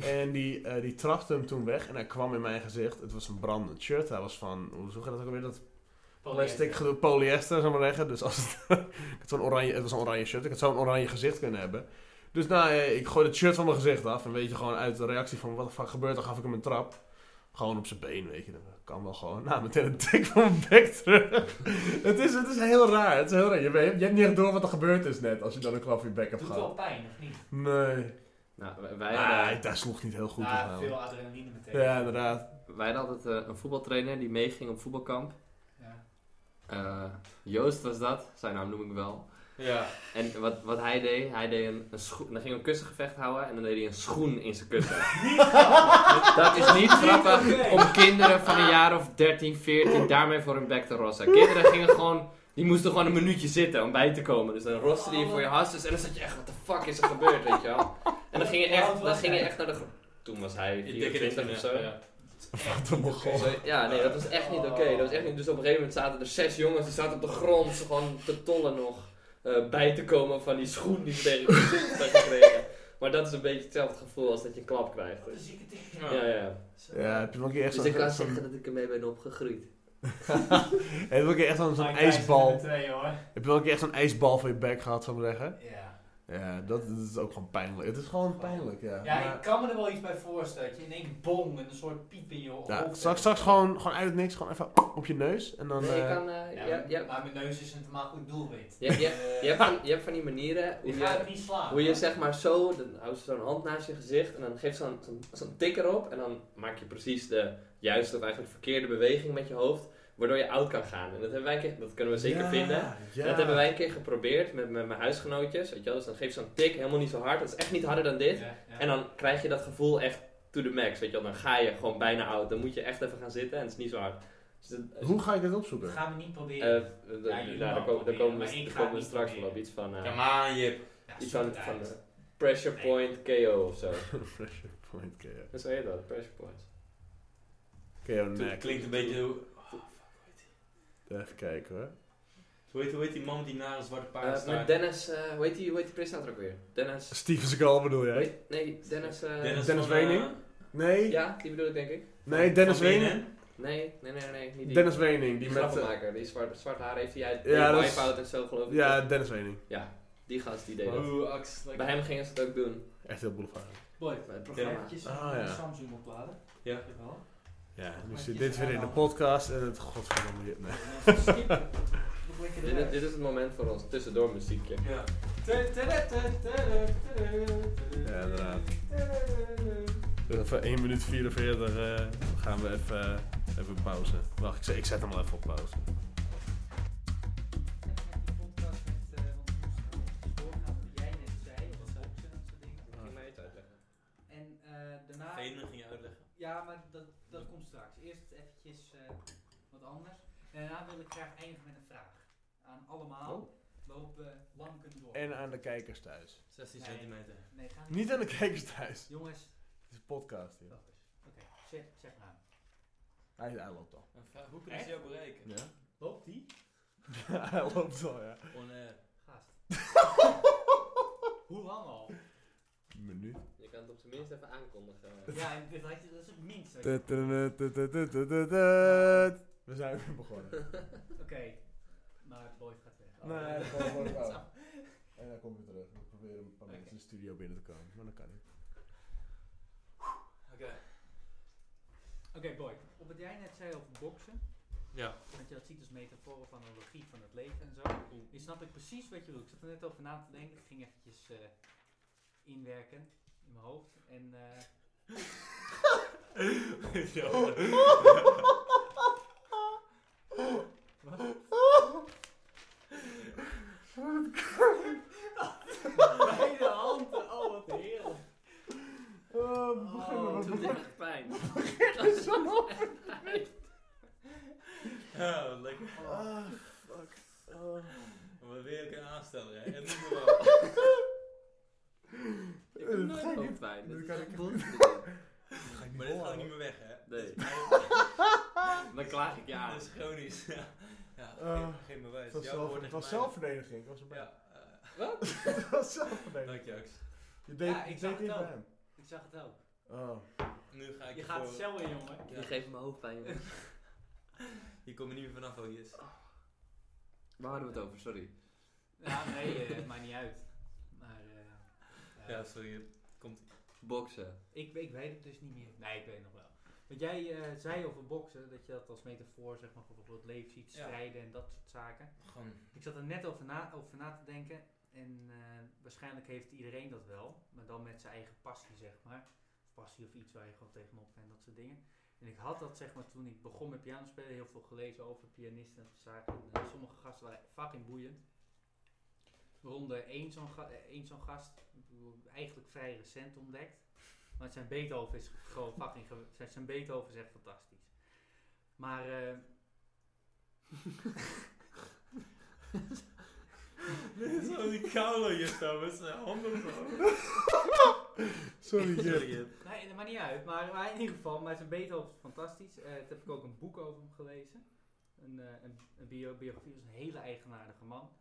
Speaker 1: En die, eh, die trapte hem toen weg. En hij kwam in mijn gezicht. Het was een brandend shirt. Hij was van... Hoe zoek je dat ook alweer? Dat Plastic gedoe, polyester, zou ik maar zeggen. Dus als het, ik had zo'n oranje, het was een oranje shirt, ik had zo'n oranje gezicht kunnen hebben. Dus nou, eh, ik gooi het shirt van mijn gezicht af. En weet je, gewoon uit de reactie van wat de fuck gebeurt, dan gaf ik hem een trap. Gewoon op zijn been, weet je. Dat kan wel gewoon. Nou, meteen een tik van mijn bek terug. het, is, het is heel raar. Het is heel raar. Je, weet, je hebt niet echt door wat er gebeurd is net, als je dan een klap in je bek hebt
Speaker 5: Doet wel
Speaker 1: gehad.
Speaker 5: pijn, of niet?
Speaker 1: Nee.
Speaker 4: Nou, wij- wij, hadden-
Speaker 1: Ah, daar sloeg niet heel goed op.
Speaker 5: Ah,
Speaker 1: aan.
Speaker 5: veel adrenaline meteen.
Speaker 1: Ja, inderdaad.
Speaker 4: wij hadden altijd eh, een voetbaltrainer die meeging op voetbalkamp.
Speaker 5: Ja.
Speaker 4: Eh, Joost was dat, zijn naam noem ik wel.
Speaker 2: Ja.
Speaker 4: En wat, wat hij deed, hij deed een, een schoen. Dan ging hij een kussengevecht houden en dan deed hij een schoen in zijn kussen. dat is niet grappig
Speaker 5: oké.
Speaker 4: om kinderen van een jaar of 13, 14 daarmee voor hun bek te rossen. Kinderen gingen gewoon. Die moesten gewoon een minuutje zitten om bij te komen. Dus dan roste die voor je hasses en dan zat je echt, wat de fuck is er gebeurd, weet je wel. En dan ging je echt, dan ging je echt naar de gro- Toen was hij
Speaker 2: Ik denk
Speaker 4: 24 of zo.
Speaker 2: Ja.
Speaker 1: Wat een mogol.
Speaker 4: Zo, ja, nee, dat was echt niet oké. Dat was echt niet. Dus op een gegeven moment zaten er zes jongens, die zaten op de grond, ze gewoon te tollen nog eh, bij te komen van die schoen die ze tegen hun gezicht hadden gekregen. Maar dat is een beetje hetzelfde gevoel als dat je een klap krijgt. Dus,
Speaker 5: Wat een zieke ding.
Speaker 4: Ja, ja.
Speaker 1: Ja, heb je wel een keer echt
Speaker 4: Dus ik kan
Speaker 1: zo'n-
Speaker 4: zeggen dat ik ermee ben opgegroeid.
Speaker 1: heb je wel een keer echt zo'n zo'n
Speaker 5: Mike Tyson
Speaker 1: ijsbal
Speaker 5: nummer twee, hoor.
Speaker 1: Heb je wel een keer echt zo'n ijsbal van je bek gehad, zou ik maar zeggen?
Speaker 5: Ja.
Speaker 1: Ja, dat, dat is ook gewoon pijnlijk. Het is gewoon pijnlijk, ja.
Speaker 5: ja,
Speaker 1: Maar-
Speaker 5: ik kan me er wel iets bij voorstellen. Dat je in één bong en een soort piep in je hoofd.
Speaker 1: ja,
Speaker 5: hebt.
Speaker 1: straks, straks gewoon, gewoon uit het niks, gewoon even op je neus. En dan...
Speaker 4: Nee, je
Speaker 1: eh,
Speaker 4: kan... eh,
Speaker 5: Ja,
Speaker 4: ja, ja.
Speaker 5: Maar mijn neus is een makkelijk doelwit.
Speaker 4: Je, je,
Speaker 5: Eh,
Speaker 4: je, hebt van, je hebt van die manieren hoe
Speaker 5: Ik ga
Speaker 4: je,
Speaker 5: het niet slaan.
Speaker 4: hoe je zeg maar zo, dan houdt ze zo'n hand naast je gezicht en dan geeft ze zo'n zo'n- zo'n tik erop en dan maak je precies de juiste of eigenlijk verkeerde beweging met je hoofd, waardoor je oud kan gaan. En dat, hebben wij een keer, dat kunnen we zeker
Speaker 1: ja,
Speaker 4: vinden.
Speaker 1: ja.
Speaker 4: Dat hebben wij een keer geprobeerd met, met mijn huisgenootjes. Weet je wel? Dus dan geef je zo'n tik, helemaal niet zo hard. Dat is echt niet harder dan dit.
Speaker 5: Ja, ja.
Speaker 4: En dan krijg je dat gevoel echt to the max. Weet je wel? Dan ga je gewoon bijna oud. Dan moet je echt even gaan zitten en het is niet zo hard. Dus dat-
Speaker 1: Hoe ga ik dit
Speaker 5: Dat
Speaker 1: opzoeken?
Speaker 5: gaan we niet
Speaker 4: eh,
Speaker 5: proberen.
Speaker 4: eh,
Speaker 5: Ja,
Speaker 4: nou,
Speaker 5: jullie
Speaker 4: daar,
Speaker 5: mogen
Speaker 4: komen, daar komen we,
Speaker 5: proberen, maar ik
Speaker 4: daar
Speaker 5: ga
Speaker 4: komen we
Speaker 5: niet
Speaker 4: straks wel
Speaker 5: proberen.
Speaker 4: op. Iets van, eh,
Speaker 2: Come on, Jip.
Speaker 5: Ja,
Speaker 4: iets
Speaker 5: zoek
Speaker 4: van,
Speaker 5: het
Speaker 4: van
Speaker 5: uit.
Speaker 4: eh, pressure
Speaker 5: Nee.
Speaker 4: point KO of zo.
Speaker 1: Pressure point, oké, ja.
Speaker 4: Dat zo heet dat, pressure point.
Speaker 1: Oké, ja,
Speaker 2: Toen-
Speaker 1: nek.
Speaker 2: Klinkt een beetje... Hoe
Speaker 1: Even kijken hoor.
Speaker 2: heet, hoe heet die man die naar een zwarte
Speaker 4: Eh,
Speaker 2: paard
Speaker 4: met
Speaker 2: staat?
Speaker 4: Dennis, eh, hoe, heet die, hoe heet die presentator ook weer? Dennis...
Speaker 1: Steven Seagal bedoel
Speaker 4: hoe
Speaker 1: jij?
Speaker 4: heet- nee, Dennis... eh,
Speaker 1: Dennis
Speaker 2: van, eh,
Speaker 1: Wening? Nee,
Speaker 4: Ja, die bedoel ik denk ik.
Speaker 1: nee, Dennis
Speaker 2: van
Speaker 1: Wening.
Speaker 2: BNN?
Speaker 4: Nee, nee, nee, nee. Niet die.
Speaker 1: Dennis Wening, die
Speaker 4: Die
Speaker 1: met... eh,
Speaker 4: grappenmaker, die zwart, zwart haar heeft hij uit
Speaker 1: Ja,
Speaker 4: ja,
Speaker 1: dat is-
Speaker 4: Wipeout en zo geloof ik.
Speaker 1: Ja, Oh. Dennis Wening.
Speaker 4: Die gast die deed dat.
Speaker 2: Oeh, Ax. lekker.
Speaker 4: Bij hem gingen ze het ook doen,
Speaker 1: Echt heel boulevard.
Speaker 5: Boy,
Speaker 4: bij het
Speaker 5: kun je
Speaker 4: programma.
Speaker 5: eventjes
Speaker 1: Ah,
Speaker 5: een
Speaker 1: ja.
Speaker 5: Samsung opladen?
Speaker 2: Ja.
Speaker 5: Jawel.
Speaker 1: Ja, nu
Speaker 5: Maar
Speaker 1: zit
Speaker 5: je
Speaker 1: dit
Speaker 5: is
Speaker 1: weer in de
Speaker 5: allemaal-
Speaker 1: podcast en het... Godverdomme, je- nee.
Speaker 5: Skip. Doe lekker
Speaker 4: Dit, is-
Speaker 5: eruit.
Speaker 4: dit is het moment voor ons tussendoor muziekje.
Speaker 2: Ja.
Speaker 5: Tudu, tudu, tudu, tudu, tudu.
Speaker 1: Ja, inderdaad.
Speaker 5: Tudu.
Speaker 1: Even 1 minuut 44 eh, gaan we even... eh, Even pauze. Wacht, ik zet, ik zet hem al even op pauze.
Speaker 5: En eh, daarna...
Speaker 2: Venen ging je uitleggen.
Speaker 5: Ja, maar dat, dat komt straks. Eerst eventjes eh, wat anders. En daarna wil ik graag eindigen met een vraag. Aan allemaal.
Speaker 1: Oh.
Speaker 5: We hopen lang kunnen door.
Speaker 1: En aan de kijkers thuis.
Speaker 2: 16
Speaker 5: Nee.
Speaker 2: centimeter.
Speaker 5: Nee, ga
Speaker 1: Eh, Niet aan de kijkers thuis.
Speaker 5: Jongens,
Speaker 1: Het is een podcast hier.
Speaker 5: dat is. Oké, zeg, zeg maar.
Speaker 1: Hij, hij loopt al.
Speaker 2: Een vraag, hoe kunnen ze jou bereiken?
Speaker 3: Ja?
Speaker 5: Loopt die?
Speaker 1: hij loopt al, ja.
Speaker 2: On air.
Speaker 5: Gast. Hoe lang al?
Speaker 1: Menu.
Speaker 4: Je kan het op zijn minst even aankondigen.
Speaker 5: Ja, en dit had je, dat is het minste. wat je-
Speaker 1: We zijn weer begonnen.
Speaker 5: Oké, maar het boy gaat weg. Oh,
Speaker 1: Nee,
Speaker 5: ja.
Speaker 1: dat kan gewoon
Speaker 5: Zo.
Speaker 1: wel. En dan kom je terug. We proberen een paar mensen in de studio binnen te komen, maar dat kan niet.
Speaker 2: Oké.
Speaker 5: Oké, boy. Op wat jij net zei over boksen,
Speaker 2: Ja.
Speaker 5: dat je dat ziet als metafoor van een logie van het leven en zo.
Speaker 2: Oeh.
Speaker 5: Nu snap ik precies wat je bedoelt. Ik zat er net over na te denken. Ik ging eventjes eh, inwerken in mijn hoofd. En eh, beide handen. Oh, wat heerlijk.
Speaker 1: Oh, begin maar,
Speaker 5: Oh,
Speaker 1: wat
Speaker 4: Toen deed het pijn.
Speaker 2: Ja, lekker.
Speaker 1: Ah, fuck. Oh.
Speaker 2: Maar weer ook een aansteller, hè? En niet normaal.
Speaker 4: Ik heb
Speaker 1: Dat ga
Speaker 4: nooit
Speaker 1: ik niet- dat
Speaker 4: hoofdpijn. Dat is
Speaker 1: kan
Speaker 4: echt
Speaker 1: ik-
Speaker 4: bullshit.
Speaker 1: Dat ga ik niet
Speaker 2: Maar dit gaat
Speaker 1: volhouden.
Speaker 2: niet meer weg, hè?
Speaker 4: Nee.
Speaker 2: Dit is mijn-
Speaker 4: Dan klaag ik je aan.
Speaker 2: Dat is chronisch. Ja, ja
Speaker 1: Eh,
Speaker 2: geen, geen bewijs.
Speaker 1: Het was,
Speaker 2: Jouw
Speaker 1: zelf,
Speaker 2: woord
Speaker 1: het
Speaker 2: tegen
Speaker 1: was
Speaker 2: mij.
Speaker 1: zelfverdediging. Ik was erbij.
Speaker 2: Ja. eh,
Speaker 1: het was zelfverdediging.
Speaker 2: dank je, Ax.
Speaker 1: Je deed,
Speaker 5: Ja, ik
Speaker 1: je deed
Speaker 5: zag het
Speaker 1: niet
Speaker 5: ook.
Speaker 1: bij hem.
Speaker 5: Ik zag het ook.
Speaker 1: Oh.
Speaker 2: Nu ga ik
Speaker 5: Je gaat
Speaker 2: voor-
Speaker 5: het zelf in, jongen.
Speaker 4: Je geeft me hoofdpijn, jongen.
Speaker 2: Je komt er niet meer vanaf hoe die is.
Speaker 4: Waar hadden we het over? Sorry.
Speaker 5: Ja, nee, eh, het maakt niet uit. Maar eh, ja.
Speaker 2: Ja, sorry. het Komt
Speaker 4: Boksen.
Speaker 5: Ik, ik weet het dus niet meer. Nee, ik weet het nog wel. Want jij eh, zei over boksen, dat je dat als metafoor zeg maar, voor bijvoorbeeld leven ziet,
Speaker 2: Ja.
Speaker 5: strijden en dat soort zaken.
Speaker 2: gewoon...
Speaker 5: Ik zat er net over na, over na te denken. En eh, waarschijnlijk heeft iedereen dat wel. Maar dan met zijn eigen passie, zeg maar. Of passie of iets waar je gewoon tegenop bent, dat soort dingen. En ik had dat, zeg maar, toen ik begon met piano spelen, heel veel gelezen over pianisten en dat soort zaken. En, eh, sommige gasten waren fucking boeiend. Waaronder één zo'n, ga- eh, één zo'n gast, ik bedoel, eigenlijk vrij recent ontdekt. Maar zijn Beethoven is gewoon fucking... ge- zijn- Zijn Beethoven is echt fantastisch. Maar... eh,
Speaker 2: Dit is wel die koude hier staan met zijn handen zo.
Speaker 1: Sorry, Jip.
Speaker 2: Sorry, Jip.
Speaker 5: Nee, dat maakt niet uit. Maar, maar in ieder geval, maar zijn Beethoven is fantastisch. Eh toen heb ik ook een boek over hem gelezen. Een, eh, een, een bio- biografie. Dat is een hele eigenaardige man.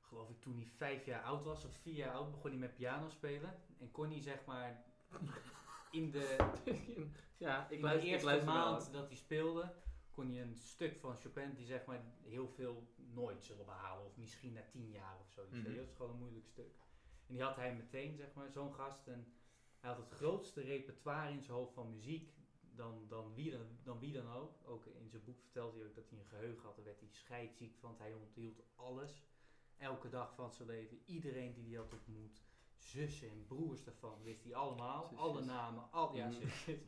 Speaker 5: Geloof ik toen hij vijf jaar oud was, of vier jaar oud, begon hij met piano spelen. En kon hij zeg maar in de,
Speaker 4: ja, ik
Speaker 5: in de
Speaker 4: luister, ik
Speaker 5: eerste
Speaker 4: luister wel.
Speaker 5: maand dat hij speelde, kon hij een stuk van Chopin die zeg maar heel veel nooit zullen behalen. Of misschien na tien jaar of zoiets.
Speaker 2: Mhm.
Speaker 5: Weet je, Dat is gewoon een moeilijk stuk. En die had hij meteen, zeg maar, zo'n gast. En hij had het grootste repertoire in zijn hoofd van muziek dan, dan, wie, dan, dan wie dan ook. Ook in zijn boek vertelde hij ook dat hij een geheugen had. Daar werd hij scheidziek, want hij onthield alles. Elke dag van zijn leven. Iedereen die hij had ontmoet. Zussen en broers daarvan wist hij allemaal.
Speaker 4: Zusjes.
Speaker 5: Alle namen. Al, ja,
Speaker 4: Mhm.
Speaker 5: zusjes.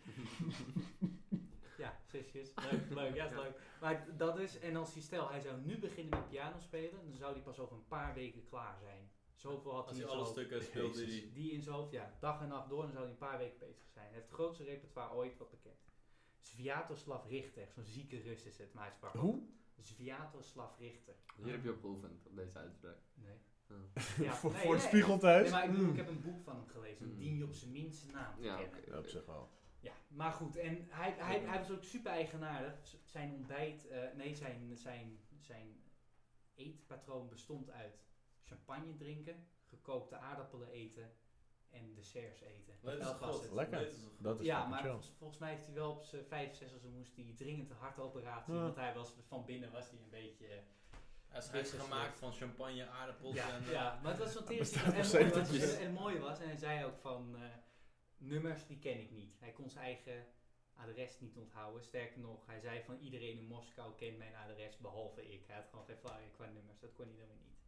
Speaker 5: ja, zusjes. Leuk, leuk. Ja, is
Speaker 4: Ja.
Speaker 5: leuk. Maar d- dat is, en als hij stel, hij zou nu beginnen met piano spelen, dan zou hij pas over een paar weken klaar zijn. Zoveel had
Speaker 2: Als
Speaker 5: hij
Speaker 2: hij
Speaker 5: in zijn
Speaker 2: alle
Speaker 5: hoofd.
Speaker 2: stukken speelt die hij...
Speaker 5: Die in zijn hoofd, ja, dag en nacht door, dan zou hij een paar weken bezig zijn. Hij heeft het grootste repertoire ooit wat bekend. Sviatoslav Richter, zo'n zieke Rus is het, maar hij sprak
Speaker 1: Hoe?
Speaker 5: Sviatoslav Richter.
Speaker 4: Hier heb je op geoefend, op deze uitspraak.
Speaker 5: Nee.
Speaker 4: Ja.
Speaker 5: Ja,
Speaker 1: voor
Speaker 5: nee,
Speaker 1: voor de
Speaker 5: nee.
Speaker 1: spiegel thuis.
Speaker 5: Nee, maar ik, bedoel, ik
Speaker 1: Mm.
Speaker 5: heb een boek van hem gelezen, dan
Speaker 4: Mm.
Speaker 5: dien je op zijn minst zijn naam te
Speaker 4: Ja,
Speaker 5: kennen.
Speaker 4: oké.
Speaker 1: Ja, op zich wel.
Speaker 5: Ja, maar goed, en hij, hij, hij was ook super eigenaardig. Z- Zijn ontbijt, eh, nee, zijn, zijn, zijn eetpatroon bestond uit champagne drinken, gekookte aardappelen eten en desserts eten.
Speaker 2: Leuk is
Speaker 5: Dat
Speaker 2: het
Speaker 5: was
Speaker 2: goed.
Speaker 5: het.
Speaker 1: Lekker.
Speaker 2: Leuk is het goed.
Speaker 1: Dat is
Speaker 5: ja,
Speaker 1: fucking
Speaker 5: maar
Speaker 1: chill.
Speaker 5: volgens, volgens mij heeft hij wel op zijn 65 zo moest hij dringend een hartoperatie.
Speaker 1: Ja.
Speaker 5: Want hij was van binnen was hij een beetje. eh,
Speaker 2: Hij is gisteren gemaakt van champagne, aardappels
Speaker 5: ja,
Speaker 2: en... eh,
Speaker 5: ja, maar het was zo'n tering.
Speaker 1: bestaat
Speaker 5: En,
Speaker 1: nog
Speaker 5: mooi was-
Speaker 1: zeteltjes.
Speaker 5: en mooi was, en hij zei ook van eh, nummers die ken ik niet. Hij kon zijn eigen adres niet onthouden. Sterker nog, hij zei van iedereen in Moskou kent mijn adres behalve ik. Hij had gewoon geen flauw idee qua nummers, dat kon hij dan weer niet.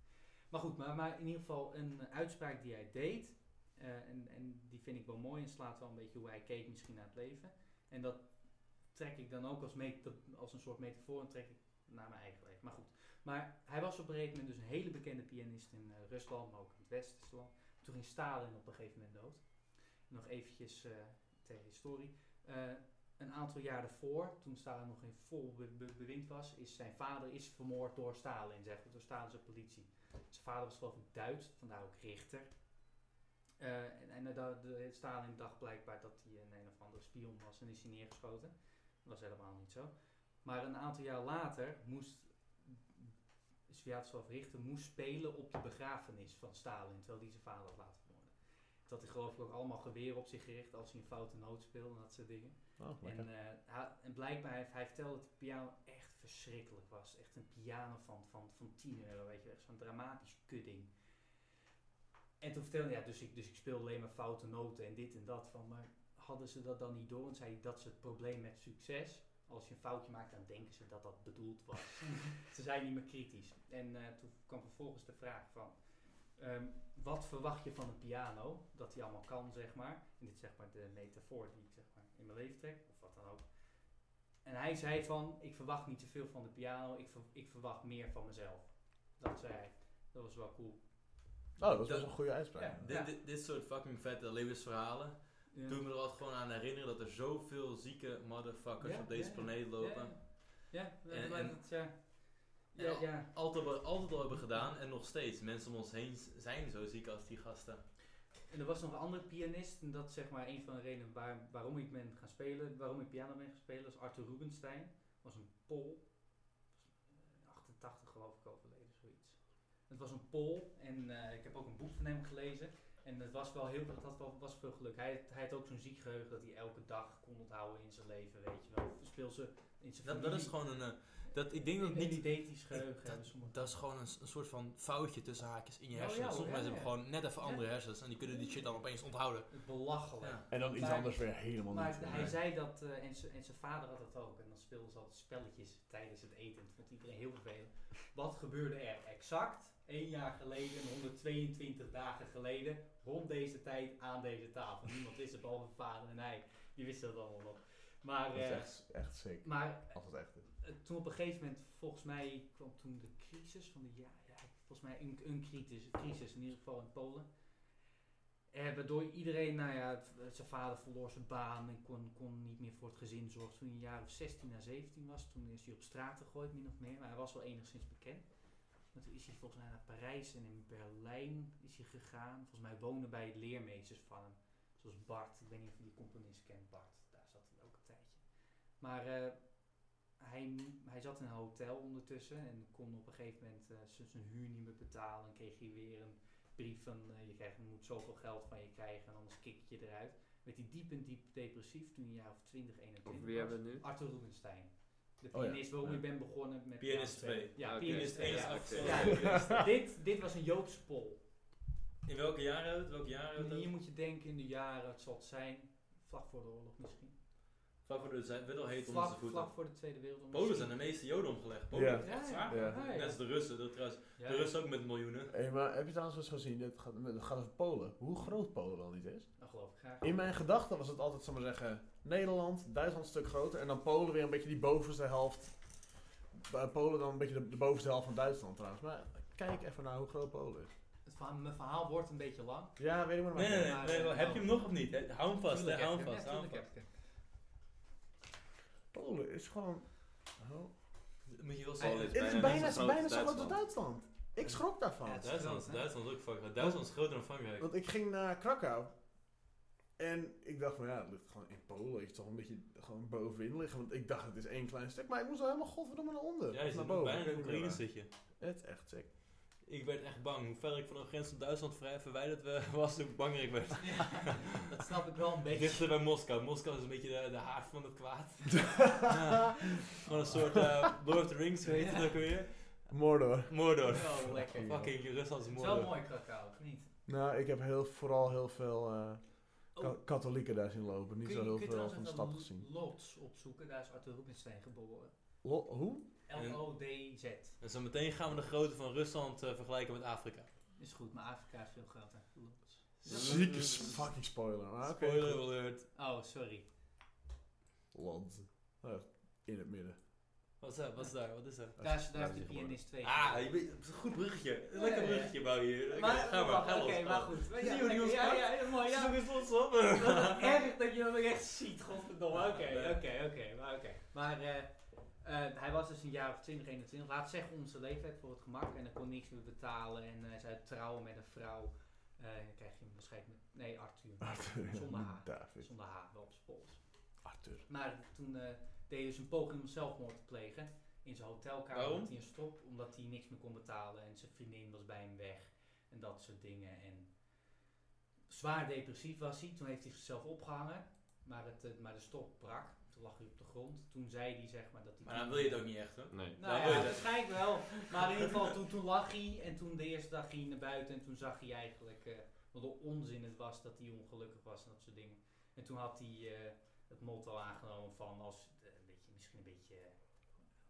Speaker 5: Maar goed, maar, maar in ieder geval een eh, uitspraak die hij deed. eh, en, en die vind ik wel mooi en slaat wel een beetje hoe hij keek misschien naar het leven. En dat trek ik dan ook als, meta- als een soort metafoor en trek ik naar mijn eigen leven. Maar goed. Maar hij was op een gegeven moment dus een hele bekende pianist in eh, Rusland, maar ook in het West-Rusland. Toen ging Stalin op een gegeven moment dood. Nog eventjes eh, ter historie. Eh, een aantal jaar daarvoor, toen Stalin nog in vol be- be- bewind was, is zijn vader is vermoord door Stalin, zeg maar, door Stalinse politie. Zijn vader was geloof ik Duits, vandaar ook Richter. Eh, en en de, de, Stalin dacht blijkbaar dat hij een een of andere spion was en is hij neergeschoten. Dat was helemaal niet zo. Maar een aantal jaar later moest Sviatoslav Richter moest spelen op de begrafenis van Stalin, terwijl hij zijn vader had laten vermoorden. Dat hij geloof ik ook allemaal geweren op zich gericht als hij een foute noot speelde en dat soort dingen.
Speaker 1: Oh,
Speaker 5: En, eh, hij- en blijkbaar, heeft, hij vertelde dat de piano echt verschrikkelijk was. Echt een piano van, van, van 10 euro, weet je. Echt zo'n dramatisch kudding. En toen vertelde hij, ja, dus ik, dus ik speel alleen maar foute noten en dit en dat. Van, maar hadden ze dat dan niet door? En zei hij, dat is het probleem met succes. Als je een foutje maakt, dan denken ze dat dat bedoeld was. ze zijn niet meer kritisch. En eh, toen kwam vervolgens de vraag van... ehm, wat verwacht je van een piano? Dat hij allemaal kan, zeg maar. En dit is zeg maar de metafoor die ik zeg maar in mijn leven trek, of wat dan ook. En hij zei van, ik verwacht niet zoveel van de piano, ik, ver- ik verwacht meer van mezelf. Dat zei hij. Dat was wel cool.
Speaker 1: Oh, dat is
Speaker 2: Dat-
Speaker 1: wel een goede uitspraak.
Speaker 5: Ja.
Speaker 2: Dit, dit, dit soort fucking vette levensverhalen
Speaker 5: Ja.
Speaker 2: doen me er altijd gewoon aan herinneren dat er zoveel zieke motherfuckers
Speaker 5: Ja,
Speaker 2: op deze
Speaker 5: ja, ja.
Speaker 2: planeet lopen.
Speaker 5: Ja, ja,
Speaker 2: En-
Speaker 5: ja,
Speaker 2: en-
Speaker 5: dat, ja.
Speaker 2: en
Speaker 5: Ja,
Speaker 2: al-
Speaker 5: ja.
Speaker 2: Altijd, al- altijd al hebben gedaan en nog steeds. Mensen om ons heen z- zijn zo ziek als die gasten.
Speaker 5: En er was nog een andere pianist, en dat is zeg maar een van de redenen waar, waarom ik ben gaan spelen, waarom ik piano ben gaan spelen, is Arthur Rubinstein. was een Pool. Was, eh, 88 geloof ik overleden, zoiets. Het was een Pool en eh, ik heb ook een boek van hem gelezen. En het was wel heel, dat had wel, was veel geluk. Hij, hij had ook zo'n ziek geheugen dat hij elke dag kon onthouden in zijn leven, weet je wel. Speel ze in zijn
Speaker 2: Dat, dat
Speaker 5: familie.
Speaker 2: is gewoon een. eh, dat, ik denk dat het
Speaker 5: En- en
Speaker 2: niet.
Speaker 5: identisch geheugen hebben
Speaker 2: Dat,
Speaker 5: sommige
Speaker 2: dat is gewoon een, s- een soort van foutje tussen haakjes in je
Speaker 5: Oh,
Speaker 2: hersenen.
Speaker 5: ja,
Speaker 2: Sommige
Speaker 5: ja,
Speaker 2: mensen
Speaker 5: ja.
Speaker 2: hebben gewoon net even andere hersens en die kunnen die shit dan opeens onthouden.
Speaker 5: Belachelijk.
Speaker 2: Ja.
Speaker 1: En dan iets
Speaker 5: Maar-
Speaker 1: anders weer helemaal
Speaker 5: Maar
Speaker 1: niet.
Speaker 5: hij zei dat, eh, en z- en zijn vader had dat ook, en dan speelden ze altijd spelletjes tijdens het eten. Dat vond iedereen heel vervelend. Wat gebeurde er exact één jaar geleden en 122 dagen geleden rond deze tijd aan deze tafel? Niemand wist het, behalve mijn vader en hij. Die wisten dat allemaal nog. Maar,
Speaker 1: dat is
Speaker 5: eh,
Speaker 1: echt, echt sick.
Speaker 5: maar
Speaker 1: Als het echt is.
Speaker 5: eh, toen op een gegeven moment, volgens mij kwam toen de crisis van de ja, ja volgens mij een, een crisis, crisis in ieder geval in Polen. Eh, waardoor iedereen, nou ja, het- eh, zijn vader verloor zijn baan en kon, kon niet meer voor het gezin zorgen. Toen hij een jaar of 16 à 17 was, toen is hij op straat gegooid, min of meer. Maar hij was wel enigszins bekend. Maar toen is hij volgens mij naar Parijs en in Berlijn is hij gegaan. Volgens mij woonden bij leermeesters van hem. Zoals Bart, ik weet niet of je die componist kent, Bart. Daar zat hij ook een tijdje. Maar eh, hij, hij zat in een hotel ondertussen en kon op een gegeven moment eh, z- zijn huur niet meer betalen. En kreeg hij weer een brief van eh, je, krijgt, je moet zoveel geld van je krijgen en anders kik ik je eruit. Werd hij diep en diep depressief toen hij een jaar of 20, 21
Speaker 4: Over wie
Speaker 5: was.
Speaker 4: hebben we het nu?
Speaker 5: Arthur Rubinstein. De
Speaker 1: Oh ja.
Speaker 5: pianist waarom
Speaker 1: Ja.
Speaker 5: ik ben begonnen met...
Speaker 2: Pianist 2.
Speaker 5: pianospelen. Ja,
Speaker 4: Ah, oké.
Speaker 5: pianist 2.
Speaker 4: Pianist
Speaker 5: Ja.
Speaker 4: acteur.
Speaker 5: Ja, dus
Speaker 2: Pianist.
Speaker 5: dit, dit was een Joods pol.
Speaker 2: In welke jaren hebben we het? Welke jaren
Speaker 5: En
Speaker 2: hebben we
Speaker 5: hier
Speaker 2: het?
Speaker 5: moet je denken in de jaren, het zal het zijn, vlak voor de oorlog misschien.
Speaker 2: Vlak voor de, zijn werd al heet onder
Speaker 5: vlak,
Speaker 2: zijn voeten.
Speaker 5: vlak voor de Tweede Wereldoorlog.
Speaker 2: Polen zijn
Speaker 5: misschien.
Speaker 2: de meeste joden omgelegd. Polen
Speaker 1: Ja.
Speaker 2: is echt
Speaker 5: Ja,
Speaker 2: zwaar.
Speaker 5: ja,
Speaker 1: Ja.
Speaker 5: ja, ja.
Speaker 2: Net als de Russen, dat trouwens.
Speaker 5: Ja.
Speaker 2: De Russen ook met miljoenen.
Speaker 1: Hé, maar heb je trouwens eens gezien, het gaat, het gaat over Polen, hoe groot Polen wel niet is?
Speaker 5: Dat geloof ik graag.
Speaker 1: In mijn gedachten was het altijd, zal ik maar zeggen, Nederland, Duitsland een stuk groter en dan Polen weer een beetje die bovenste helft. Eh, Polen dan een beetje de, de bovenste helft van Duitsland trouwens, maar kijk even naar hoe groot Polen is.
Speaker 5: Het verhaal, mijn verhaal wordt een beetje lang.
Speaker 1: Ja, weet ik maar.
Speaker 2: Nee, nee, nee.
Speaker 5: maar-
Speaker 2: nee, wel, heb je hem nog of niet? Hè, Hou hem vast, hè,
Speaker 5: Tuurlijk
Speaker 2: hou hem
Speaker 5: heb ik
Speaker 2: vast.
Speaker 5: hem,
Speaker 2: hou hem
Speaker 5: tuurlijk
Speaker 2: vast.
Speaker 5: heb ik hem.
Speaker 1: Polen is gewoon... Oh.
Speaker 2: Moet je wel
Speaker 4: Polen
Speaker 2: zeggen.
Speaker 4: is
Speaker 1: Het is
Speaker 4: Bijna
Speaker 1: bijna,
Speaker 4: net zo
Speaker 1: bijna, zo
Speaker 4: groot als
Speaker 1: groot als
Speaker 4: Duitsland.
Speaker 1: Duitsland. Ik schrok daarvan.
Speaker 5: Ja, het is
Speaker 2: Duitsland,
Speaker 5: groot, hè?
Speaker 2: Duitsland is ook fucking groot. Duitsland is groter dan Frankrijk.
Speaker 1: Want ik ging naar Krakau. En ik dacht van ja, het ligt gewoon in Polen. Je toch een beetje gewoon bovenin liggen. Want ik dacht het is één klein stuk. Maar ik moest al helemaal godverdomme naar onder.
Speaker 2: Ja, je
Speaker 1: Of
Speaker 2: zit
Speaker 1: naar
Speaker 2: nog
Speaker 1: boven.
Speaker 2: bijna in
Speaker 1: Ik weet niet
Speaker 2: Oekraïne
Speaker 1: meer
Speaker 2: zit je.
Speaker 1: waar. Het is echt sick.
Speaker 2: Ik werd echt bang. Hoe verder ik van de grens van Duitsland vrij verwijderd we- was, hoe banger ik werd.
Speaker 5: Dat snap ik wel een beetje.
Speaker 2: Dichter bij Moskou. Moskou is een beetje de, de haard van het kwaad. ja. Gewoon een soort eh, Lord of the Rings, weet je dat ook weer?
Speaker 1: Mordor.
Speaker 2: Mordor.
Speaker 5: Wel lekker. Het
Speaker 2: Fucking Rusland is
Speaker 5: is wel
Speaker 2: Mordor.
Speaker 5: mooi Krakau, of niet?
Speaker 1: Nou, ik heb heel, vooral heel veel eh,
Speaker 5: Oh.
Speaker 1: ka- katholieken daar zien lopen. Niet
Speaker 5: Kun je-
Speaker 1: zo heel
Speaker 5: kun je
Speaker 1: veel
Speaker 5: trouwens
Speaker 1: van de
Speaker 5: even
Speaker 1: stad gezien.
Speaker 5: Lotz opzoeken, daar is Arthur Rubinstein geboren.
Speaker 1: Lo- hoe?
Speaker 5: Eh, L-O-D-Z.
Speaker 2: En zo meteen gaan we de grootte van Rusland eh, vergelijken met Afrika.
Speaker 5: Is goed, maar Afrika is veel groter. Lotz.
Speaker 1: Zieke s- fucking spoiler. Maar Ah, oké,
Speaker 2: Spoiler
Speaker 1: goed.
Speaker 2: alert.
Speaker 5: Oh, sorry.
Speaker 1: Land. Nou, in het midden.
Speaker 2: Wat is dat? Wat is daar? Wat is dat?
Speaker 5: Daar is, daar is
Speaker 1: Ja,
Speaker 5: de
Speaker 1: dat is
Speaker 5: pianist 2.
Speaker 2: Ah, je bent- het is een goed bruggetje. Een lekker
Speaker 5: Ja, ja, ja.
Speaker 2: bruggetje bouw je. hier. Oké,
Speaker 5: maar,
Speaker 2: ga maar, ga
Speaker 5: Oké,
Speaker 2: los. Ah, ga
Speaker 5: maar
Speaker 2: los.
Speaker 5: goed. Ja,
Speaker 2: Zie je hoe die
Speaker 5: ja,
Speaker 2: ons
Speaker 5: ja,
Speaker 2: pakt?
Speaker 5: ja, helemaal,
Speaker 2: Ze
Speaker 5: ja.
Speaker 2: zoeken trots op.
Speaker 5: Dat is erg dat je dat ook echt ziet, godverdomme. Oké,
Speaker 2: Ja.
Speaker 5: oké, oké. Maar, oké. maar eh, eh, hij was dus een jaar of 20, 21. Laat zeggen onze leeftijd voor het gemak. En hij kon niks meer betalen. En hij zou trouwen met een vrouw. Eh, dan krijg je hem waarschijnlijk... met- Nee, Arthur.
Speaker 1: Arthur.
Speaker 5: Zonder haar.
Speaker 1: David.
Speaker 5: Zonder H, wel op zijn pols.
Speaker 1: Arthur.
Speaker 5: Maar toen eh deed hij dus een poging om zelfmoord te plegen. In zijn hotelkamer
Speaker 2: Waarom?
Speaker 5: had hij een strop, omdat hij niks meer kon betalen. En zijn vriendin was bij hem weg. En dat soort dingen. En zwaar depressief was hij. Toen heeft hij zichzelf opgehangen. Maar, het, eh, maar de strop brak. Toen lag hij op de grond. Toen zei hij zeg maar dat hij...
Speaker 2: Maar dan wil je het ook niet echt, hè?
Speaker 4: Nee.
Speaker 5: Nou
Speaker 2: Dan
Speaker 5: ja,
Speaker 2: wil je het.
Speaker 5: waarschijnlijk wel. Maar in ieder geval, toen, toen lag hij. En toen de eerste dag ging hij naar buiten. En toen zag hij eigenlijk eh, wat een onzin het was dat hij ongelukkig was en dat soort dingen. En toen had hij eh, het motto aangenomen van als eh, een beetje, misschien een beetje. eh,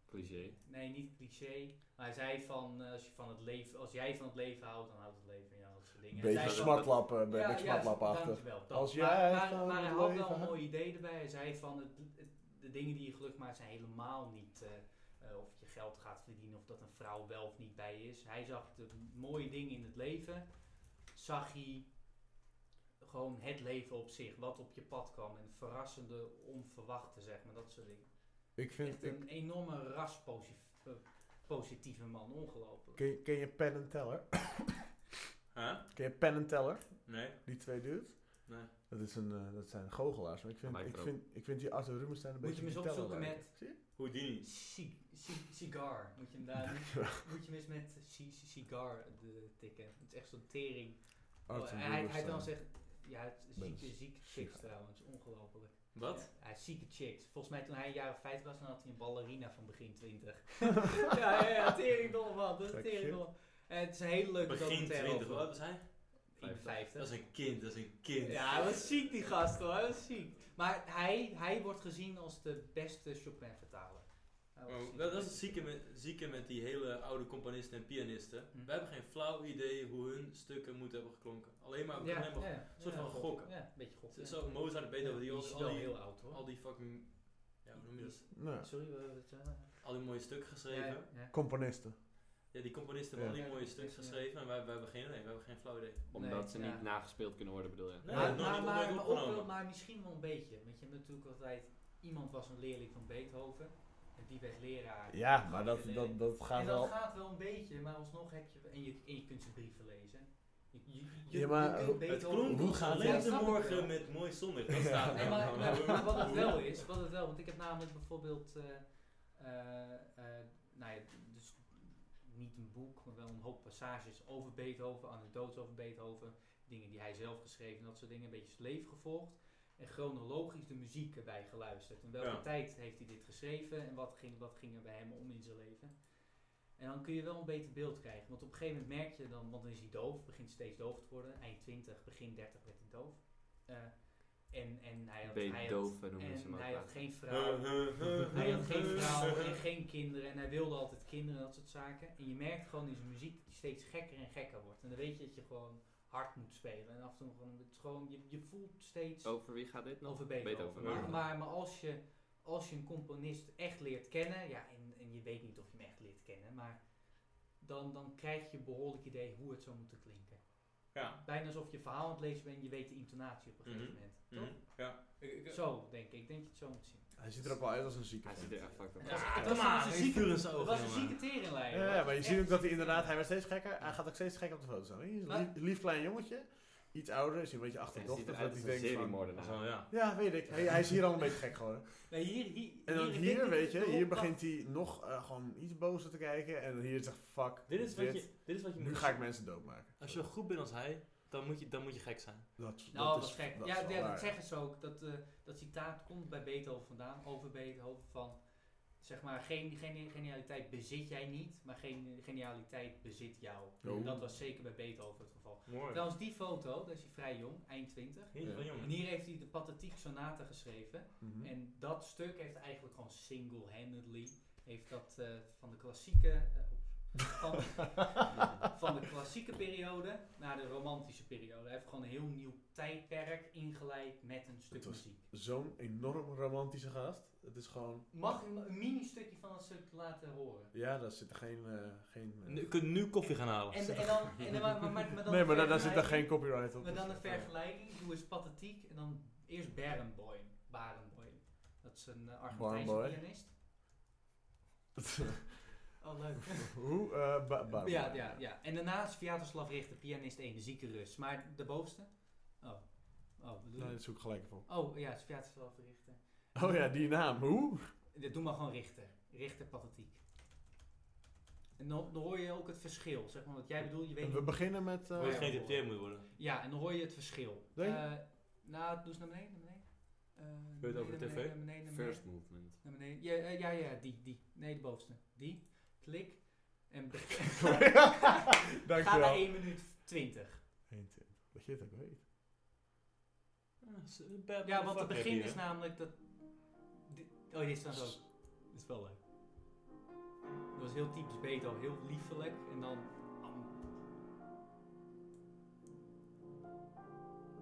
Speaker 4: Cliché.
Speaker 5: Nee, niet cliché. Maar hij zei van eh, als, je van het leven, als jij van het leven houdt, dan houdt het leven van jou dat soort dingen.
Speaker 1: Beetje
Speaker 5: Hij zei-
Speaker 1: smartlap, eh, ben ik smartlap achter.
Speaker 5: Dankjewel. Dat.
Speaker 1: Als
Speaker 5: maar,
Speaker 1: jij
Speaker 5: maar,
Speaker 1: van
Speaker 5: maar
Speaker 1: het
Speaker 5: hij had wel
Speaker 1: leven
Speaker 5: een
Speaker 1: houdt.
Speaker 5: mooi idee erbij. Hij zei van het, het- de dingen die je gelukkig maakt zijn helemaal niet eh, eh, of je geld gaat verdienen of dat een vrouw wel of niet bij je is. Hij zag de mooie dingen in het leven. Zag hij gewoon het leven op zich, wat op je pad kwam en verrassende, onverwachte zeg maar dat soort dingen.
Speaker 1: Ik
Speaker 5: Echt
Speaker 1: vind... Ik,
Speaker 5: een enorme ras positief- eh, positieve man, ongelooflijk.
Speaker 1: ken, je- ken je Pen en Teller?
Speaker 2: Huh?
Speaker 1: Ken je Pen en Teller?
Speaker 2: Nee?
Speaker 1: Die twee dudes?
Speaker 2: Nee.
Speaker 1: Dat, is een, eh, dat zijn goochelaars. Maar ik vind,
Speaker 4: Lijkt
Speaker 1: ik,
Speaker 4: erop.
Speaker 1: vind, ik vind die Arthur Rubenstein een
Speaker 5: Moet je
Speaker 1: beetje...
Speaker 5: hem eens
Speaker 1: die Teller
Speaker 5: opzoeken
Speaker 1: lijken. Zie
Speaker 5: met-
Speaker 1: je?
Speaker 2: Houdini.
Speaker 5: Ci- ci- Cigar. Moet je hem daar moet je hem eens met ci- ci- cigar de tikken. Het is echt zo'n tering. Oh,
Speaker 1: Arthur
Speaker 5: hij, hij dan
Speaker 1: Rubenstein.
Speaker 5: zegt. Ja, het is
Speaker 1: Ben
Speaker 5: zieke,
Speaker 1: een
Speaker 5: zieke
Speaker 1: cigar.
Speaker 5: chicks trouwens, ongelooflijk.
Speaker 2: Wat?
Speaker 5: Ja, hij is zieke chicks. Volgens mij toen hij een jaar of vijf was, dan had hij een ballerina van begin twintig. ja, ja, ja, teringdol man, dat is
Speaker 1: Gek
Speaker 5: teringdol. En het is een hele leuke
Speaker 2: Begin
Speaker 5: documentaire
Speaker 2: 20, hoe
Speaker 5: over-
Speaker 2: oud was hij?
Speaker 5: in de 50.
Speaker 2: Dat is een kind, dat is een kind.
Speaker 5: Ja, hij was ziek die gast hoor, hij was ziek. Maar hij, hij wordt gezien als de beste Chopin-vertaler. Hij wordt
Speaker 2: Oh,
Speaker 5: gezien
Speaker 2: dat, dat
Speaker 5: als
Speaker 2: is het zieke met, zieke met die hele oude componisten en pianisten.
Speaker 5: Hm.
Speaker 2: Wij hebben geen flauw idee hoe hun stukken moeten hebben geklonken. Alleen maar, we kunnen helemaal-
Speaker 5: een
Speaker 2: soort van gokken.
Speaker 5: Ja, een beetje gokken.
Speaker 2: Zo- Zo Mozart, Beethoven, die,
Speaker 5: is
Speaker 2: al,
Speaker 5: wel
Speaker 2: al, die, Oh,
Speaker 5: heel oud hoor.
Speaker 2: al die fucking... Ja, hoe noem je dat?
Speaker 1: Nou,
Speaker 5: Sorry, we hebben het eh,
Speaker 2: Al die mooie stukken geschreven. Ja,
Speaker 5: ja, ja.
Speaker 1: componisten.
Speaker 2: die componisten hebben
Speaker 1: Ja.
Speaker 2: al die mooie
Speaker 5: Ja,
Speaker 2: stukken
Speaker 5: ja.
Speaker 2: geschreven. En wij, wij hebben geen idee, wij hebben geen flauw idee.
Speaker 4: Omdat
Speaker 5: Nee,
Speaker 4: ze
Speaker 5: ja.
Speaker 4: niet nagespeeld kunnen worden, bedoel je?
Speaker 2: Nee,
Speaker 5: maar,
Speaker 2: nog
Speaker 5: maar,
Speaker 2: niet
Speaker 5: maar,
Speaker 2: onder-
Speaker 5: maar,
Speaker 2: opgenomen.
Speaker 5: ook wel- maar misschien wel een beetje. Want je hebt natuurlijk altijd... Iemand was een leerling van Beethoven. En die werd leraar.
Speaker 1: Ja, maar dat, dat, dat gaat
Speaker 5: en dat
Speaker 1: wel...
Speaker 5: gaat wel een beetje. Maar alsnog heb je... En je, en je kunt zijn brieven lezen. Je, je, je,
Speaker 1: Ja, maar
Speaker 5: je kunt
Speaker 1: hoe-
Speaker 2: Het
Speaker 5: Beethoven-
Speaker 2: klonk
Speaker 1: Hoe
Speaker 2: hoe
Speaker 1: gaat
Speaker 2: gaat
Speaker 5: Ja, snap ik
Speaker 2: morgen
Speaker 5: wel.
Speaker 2: met mooi zonnig. Dat staat er.
Speaker 5: Nee, maar,
Speaker 2: Nou,
Speaker 5: maar-
Speaker 2: hoe-
Speaker 5: maar wat het
Speaker 2: hoe-
Speaker 5: wel is, wat het wel, want ik heb namelijk bijvoorbeeld, eh, eh, eh, nou ja, dus niet een boek, maar wel een hoop passages over Beethoven, anekdotes over Beethoven, dingen die hij zelf geschreven, en dat soort dingen, een beetje zijn leven gevolgd en chronologisch de muziek erbij geluisterd. In welke
Speaker 2: Ja.
Speaker 5: tijd heeft hij dit geschreven en wat ging, wat ging er bij hem om in zijn leven? En dan kun je wel een beter beeld krijgen. Want op een gegeven moment merk je dan, want dan is hij doof, begint steeds doof te worden. Eind 20, begin 30 werd hij doof. Eh, en, en hij had, hij had,
Speaker 4: Beethoven noemen ze hem
Speaker 5: en
Speaker 4: ook.
Speaker 5: hij had
Speaker 4: later.
Speaker 5: geen vrouw. Hij had geen vrouw en geen kinderen en hij wilde altijd kinderen en dat soort zaken. En je merkt gewoon in zijn muziek dat hij steeds gekker en gekker wordt. En dan weet je dat je gewoon hard moet spelen. En af en toe gewoon, het is gewoon je, je voelt steeds
Speaker 4: Over wie gaat dit nog?
Speaker 5: over Beethoven. Maar, maar, maar als, je, als je een componist echt leert kennen, ja, en, en je weet niet of je hem echt leert kennen, maar dan, dan krijg je behoorlijk idee hoe het zou moeten klinken.
Speaker 2: Ja.
Speaker 5: Bijna alsof je verhaal aan het lezen bent en je weet de intonatie op een gegeven
Speaker 2: Mhm.
Speaker 5: moment.
Speaker 2: Mhm,
Speaker 5: Toch?
Speaker 2: Ja. Ik- ik-
Speaker 5: Zo, denk ik. Ik denk dat je het zo moet zien.
Speaker 1: Hij ziet er ook wel uit als een zieke.
Speaker 4: Hij ziet er echt fucked up
Speaker 5: Ja,
Speaker 4: uit.
Speaker 5: dat
Speaker 2: come
Speaker 5: was
Speaker 2: on,
Speaker 5: een zieke-
Speaker 2: vuur in zijn
Speaker 5: Dat
Speaker 2: ogen,
Speaker 5: was een
Speaker 2: Oh, jongen.
Speaker 5: zieke teringlijn.
Speaker 1: Ja, ja, maar je ziet ook dat hij
Speaker 5: Echt.
Speaker 1: inderdaad, hij werd steeds gekker. Hij gaat ook steeds gekker op de foto staan. Hij is een lief,
Speaker 5: Maar-
Speaker 1: lief klein jongetje. Iets ouder, is een beetje
Speaker 4: Hij ziet
Speaker 1: achterdochtig.
Speaker 4: eruit
Speaker 1: Dat
Speaker 4: als
Speaker 1: hij
Speaker 4: een
Speaker 1: denkt van...
Speaker 2: Dat is wel,
Speaker 4: seriemoordenaar.
Speaker 2: ja.
Speaker 1: Ja, weet ik. Hij, hij is hier al een beetje gek geworden.
Speaker 5: Nee, hier, hier,
Speaker 1: En dan
Speaker 5: ik
Speaker 1: hier,
Speaker 5: denk
Speaker 1: weet je,
Speaker 5: dat-
Speaker 1: hier begint hij nog eh, gewoon iets bozer te kijken. En hier zegt fuck,
Speaker 2: Dit is wat je, dit is wat je
Speaker 1: nu
Speaker 2: moet
Speaker 1: ga ik mensen doodmaken.
Speaker 2: Als je zo goed bent als hij, dan moet je, dan moet je gek zijn.
Speaker 1: Dat,
Speaker 5: Nou, dat,
Speaker 1: is
Speaker 5: is gek.
Speaker 1: dat
Speaker 5: ja,
Speaker 1: is wel
Speaker 5: ja,
Speaker 1: waar.
Speaker 5: dat zeggen ze ook. Dat, eh, dat citaat komt bij Beethoven vandaan, over Beethoven van... Zeg maar, geen, geen genialiteit bezit jij niet, maar geen genialiteit bezit jou.
Speaker 1: Oh.
Speaker 5: En Dat was zeker bij Beethoven het geval.
Speaker 2: Mooi.
Speaker 5: Trouwens, die foto, daar is hij vrij jong, eind 20.
Speaker 2: Niet van
Speaker 5: En
Speaker 2: jongen.
Speaker 5: hier heeft hij de Pathetiek Sonata geschreven.
Speaker 1: Mhm.
Speaker 5: En dat stuk heeft eigenlijk gewoon single-handedly... Heeft dat eh, van de klassieke... eh, oeps, Van, van de klassieke periode naar de romantische periode. Hij heeft gewoon een heel nieuw tijdperk ingeleid met een stuk
Speaker 1: Het was-
Speaker 5: muziek.
Speaker 1: Zo'n enorm romantische gast. Het is gewoon...
Speaker 5: Mag ik een mini stukje van het stuk laten horen?
Speaker 1: Ja, daar zit geen... eh, geen eh,
Speaker 2: Je kunt nu koffie gaan halen.
Speaker 5: En, en dan, en, dan- maar, maar, maar, maar dan
Speaker 1: nee,
Speaker 5: een
Speaker 1: maar daar, daar zit dan geen
Speaker 5: vergelijking.
Speaker 1: copyright op.
Speaker 5: Maar dan
Speaker 1: dus-
Speaker 5: een vergelijking. Doe eens pathetiek en dan eerst Barenboim. Barenboim. Dat is een eh, Argentijnse
Speaker 1: Barenboim.
Speaker 5: pianist. Oh, leuk.
Speaker 1: Hoe? eh ba- ba-
Speaker 5: ja, ja, ja. En daarnaast Sviatoslav Richter, pianist 1, de zieke Rus. Maar de bovenste? Oh. Oh, bedoel
Speaker 1: Nee,
Speaker 5: je?
Speaker 1: dat Nou, zoek ik gelijk even op.
Speaker 5: Oh, ja, Sviatoslav Richter.
Speaker 1: Oh ja, die naam. Hoe?
Speaker 5: Ja, Doe maar gewoon Richter. Richter pathetiek. En dan, dan hoor je ook het verschil, zeg maar. Wat jij bedoelt, je weet
Speaker 1: We
Speaker 5: niet-
Speaker 1: beginnen met... eh,
Speaker 2: Wil je geïnterpreteerd moet worden.
Speaker 5: Ja, en dan hoor je het verschil.
Speaker 1: Denk je?
Speaker 5: Eh, nou, doe eens naar beneden, naar beneden. Eh, naar
Speaker 2: het over de
Speaker 5: beneden,
Speaker 2: tv?
Speaker 5: Naar beneden, naar beneden.
Speaker 4: First movement.
Speaker 5: Naar beneden. Ja, eh, ja, ja, die, die. Nee, de bovenste. Die. Klik. En begin. Ga naar
Speaker 1: Dankjewel.
Speaker 5: 1 minuut 20.
Speaker 1: Eén tip. Dat je het ook weet.
Speaker 5: Ja, want het begin is namelijk dat... Dit- Oh, dit staat ook. Dit is wel leuk. Dat was heel typisch Beethoven. Heel liefelijk. En dan... nou-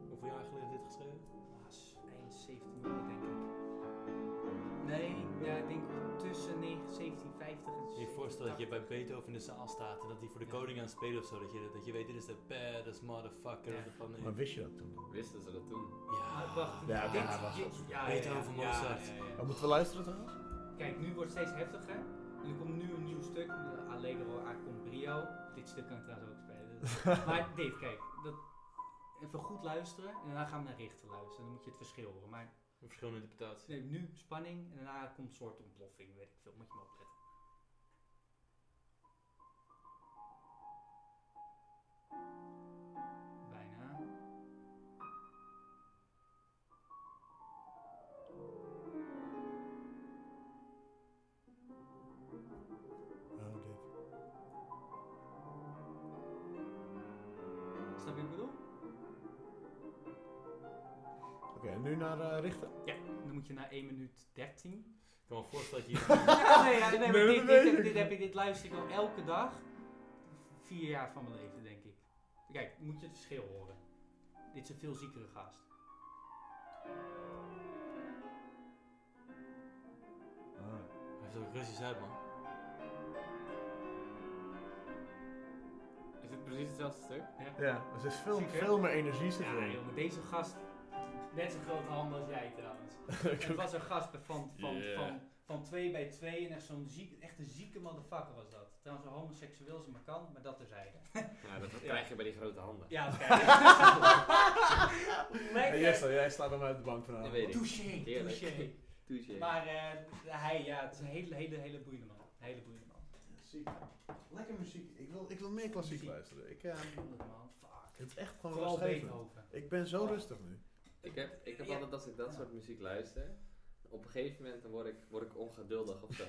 Speaker 2: Hoeveel jaar geleden is dit geschreven?
Speaker 5: Ah, s- eind 1700 denk ik. Nee, ja, ik denk tussen 1750 en...
Speaker 2: Je je voorstelt dat je bij Beethoven in de zaal staat en dat hij voor de
Speaker 5: Ja.
Speaker 2: koning aan het spelen of zo. Dat je, dat je weet, dit is de baddest motherfucker
Speaker 5: Ja.
Speaker 2: van...
Speaker 1: Maar wist je dat toen?
Speaker 4: Wisten ze dat toen?
Speaker 5: Maar
Speaker 2: Ja.
Speaker 5: Ah, wacht,
Speaker 1: Ja,
Speaker 5: dit-
Speaker 1: ja, wacht,
Speaker 5: dit-
Speaker 1: wacht.
Speaker 5: ja, ja,
Speaker 2: Beethoven,
Speaker 5: ja, ja,
Speaker 2: Mozart.
Speaker 5: ja, ja.
Speaker 1: Oh, moeten we luisteren trouwens?
Speaker 5: Kijk, nu wordt het steeds heftiger. En er komt nu een nieuw stuk, de Allegro a con brio. Dit stuk kan ik trouwens ook spelen. Dat- maar dit, kijk, dat, even goed luisteren en daarna gaan we naar richten luisteren. Dan moet je het verschil horen. Maar
Speaker 2: Een verschillende interpretatie.
Speaker 5: neem nu spanning en daarna komt een soort ontploffing, weet ik veel. Moet je maar opletten. Bijna.
Speaker 1: Oh, dit.
Speaker 5: Snap je wat ik bedoel?
Speaker 1: Oké, en nu naar eh, richten.
Speaker 5: Ja. Dan moet je naar 1 minuut 13.
Speaker 2: Ik kan me voorstellen dat je...
Speaker 5: Ja, nee, ja, nee, maar
Speaker 1: Nee,
Speaker 5: dit,
Speaker 1: dat
Speaker 5: dit,
Speaker 1: weet
Speaker 5: heb,
Speaker 1: ik.
Speaker 5: dit, heb ik, dit luister ik al elke dag. Vier jaar van mijn leven, denk ik. Kijk, moet je het verschil horen. Dit is een veel ziekere gast.
Speaker 1: Oh.
Speaker 2: Hij heeft ook Russisch uit, man.
Speaker 4: Is het precies hetzelfde stuk?
Speaker 5: Ja,
Speaker 1: Ja, dus er is veel,
Speaker 5: Ziek, hè?
Speaker 1: veel meer energie zit
Speaker 5: ja
Speaker 1: erin.
Speaker 5: joh, maar deze gast... Net zo'n grote handen als jij trouwens. Het was een gast bij- van, van,
Speaker 4: Yeah.
Speaker 5: van, van 2 bij 2 en echt zo'n ziek, echt een zieke motherfucker was dat. Trouwens, een homoseksueel is maar kan, maar dat terzijde.
Speaker 4: Ja, dat krijg je bij die grote handen.
Speaker 5: Ja, oké.
Speaker 1: Hey,
Speaker 5: Lekker.
Speaker 1: Jester, jij staat bij mij uit de bank vanavond.
Speaker 4: Dat weet ik.
Speaker 5: Touché,
Speaker 4: Heerlijk.
Speaker 5: touché.
Speaker 4: Touché.
Speaker 5: Maar eh, hij, ja, het is een hele, hele, hele boeiende man. Een hele boeiende man.
Speaker 1: Ziek. Lekker muziek. Ik wil, ik wil meer klassiek
Speaker 5: Muziek.
Speaker 1: luisteren. Ik, eh,
Speaker 5: Boeiende man, fuck.
Speaker 1: het is echt gewoon
Speaker 5: Vooral
Speaker 1: rustgevend.
Speaker 5: Beethoven.
Speaker 1: Ik ben zo
Speaker 5: Oh.
Speaker 1: rustig nu.
Speaker 4: Ik heb, ik heb
Speaker 5: Ja.
Speaker 4: altijd als ik dat
Speaker 5: Ja.
Speaker 4: soort muziek luister, op een gegeven moment dan word ik, word ik ongeduldig of zo.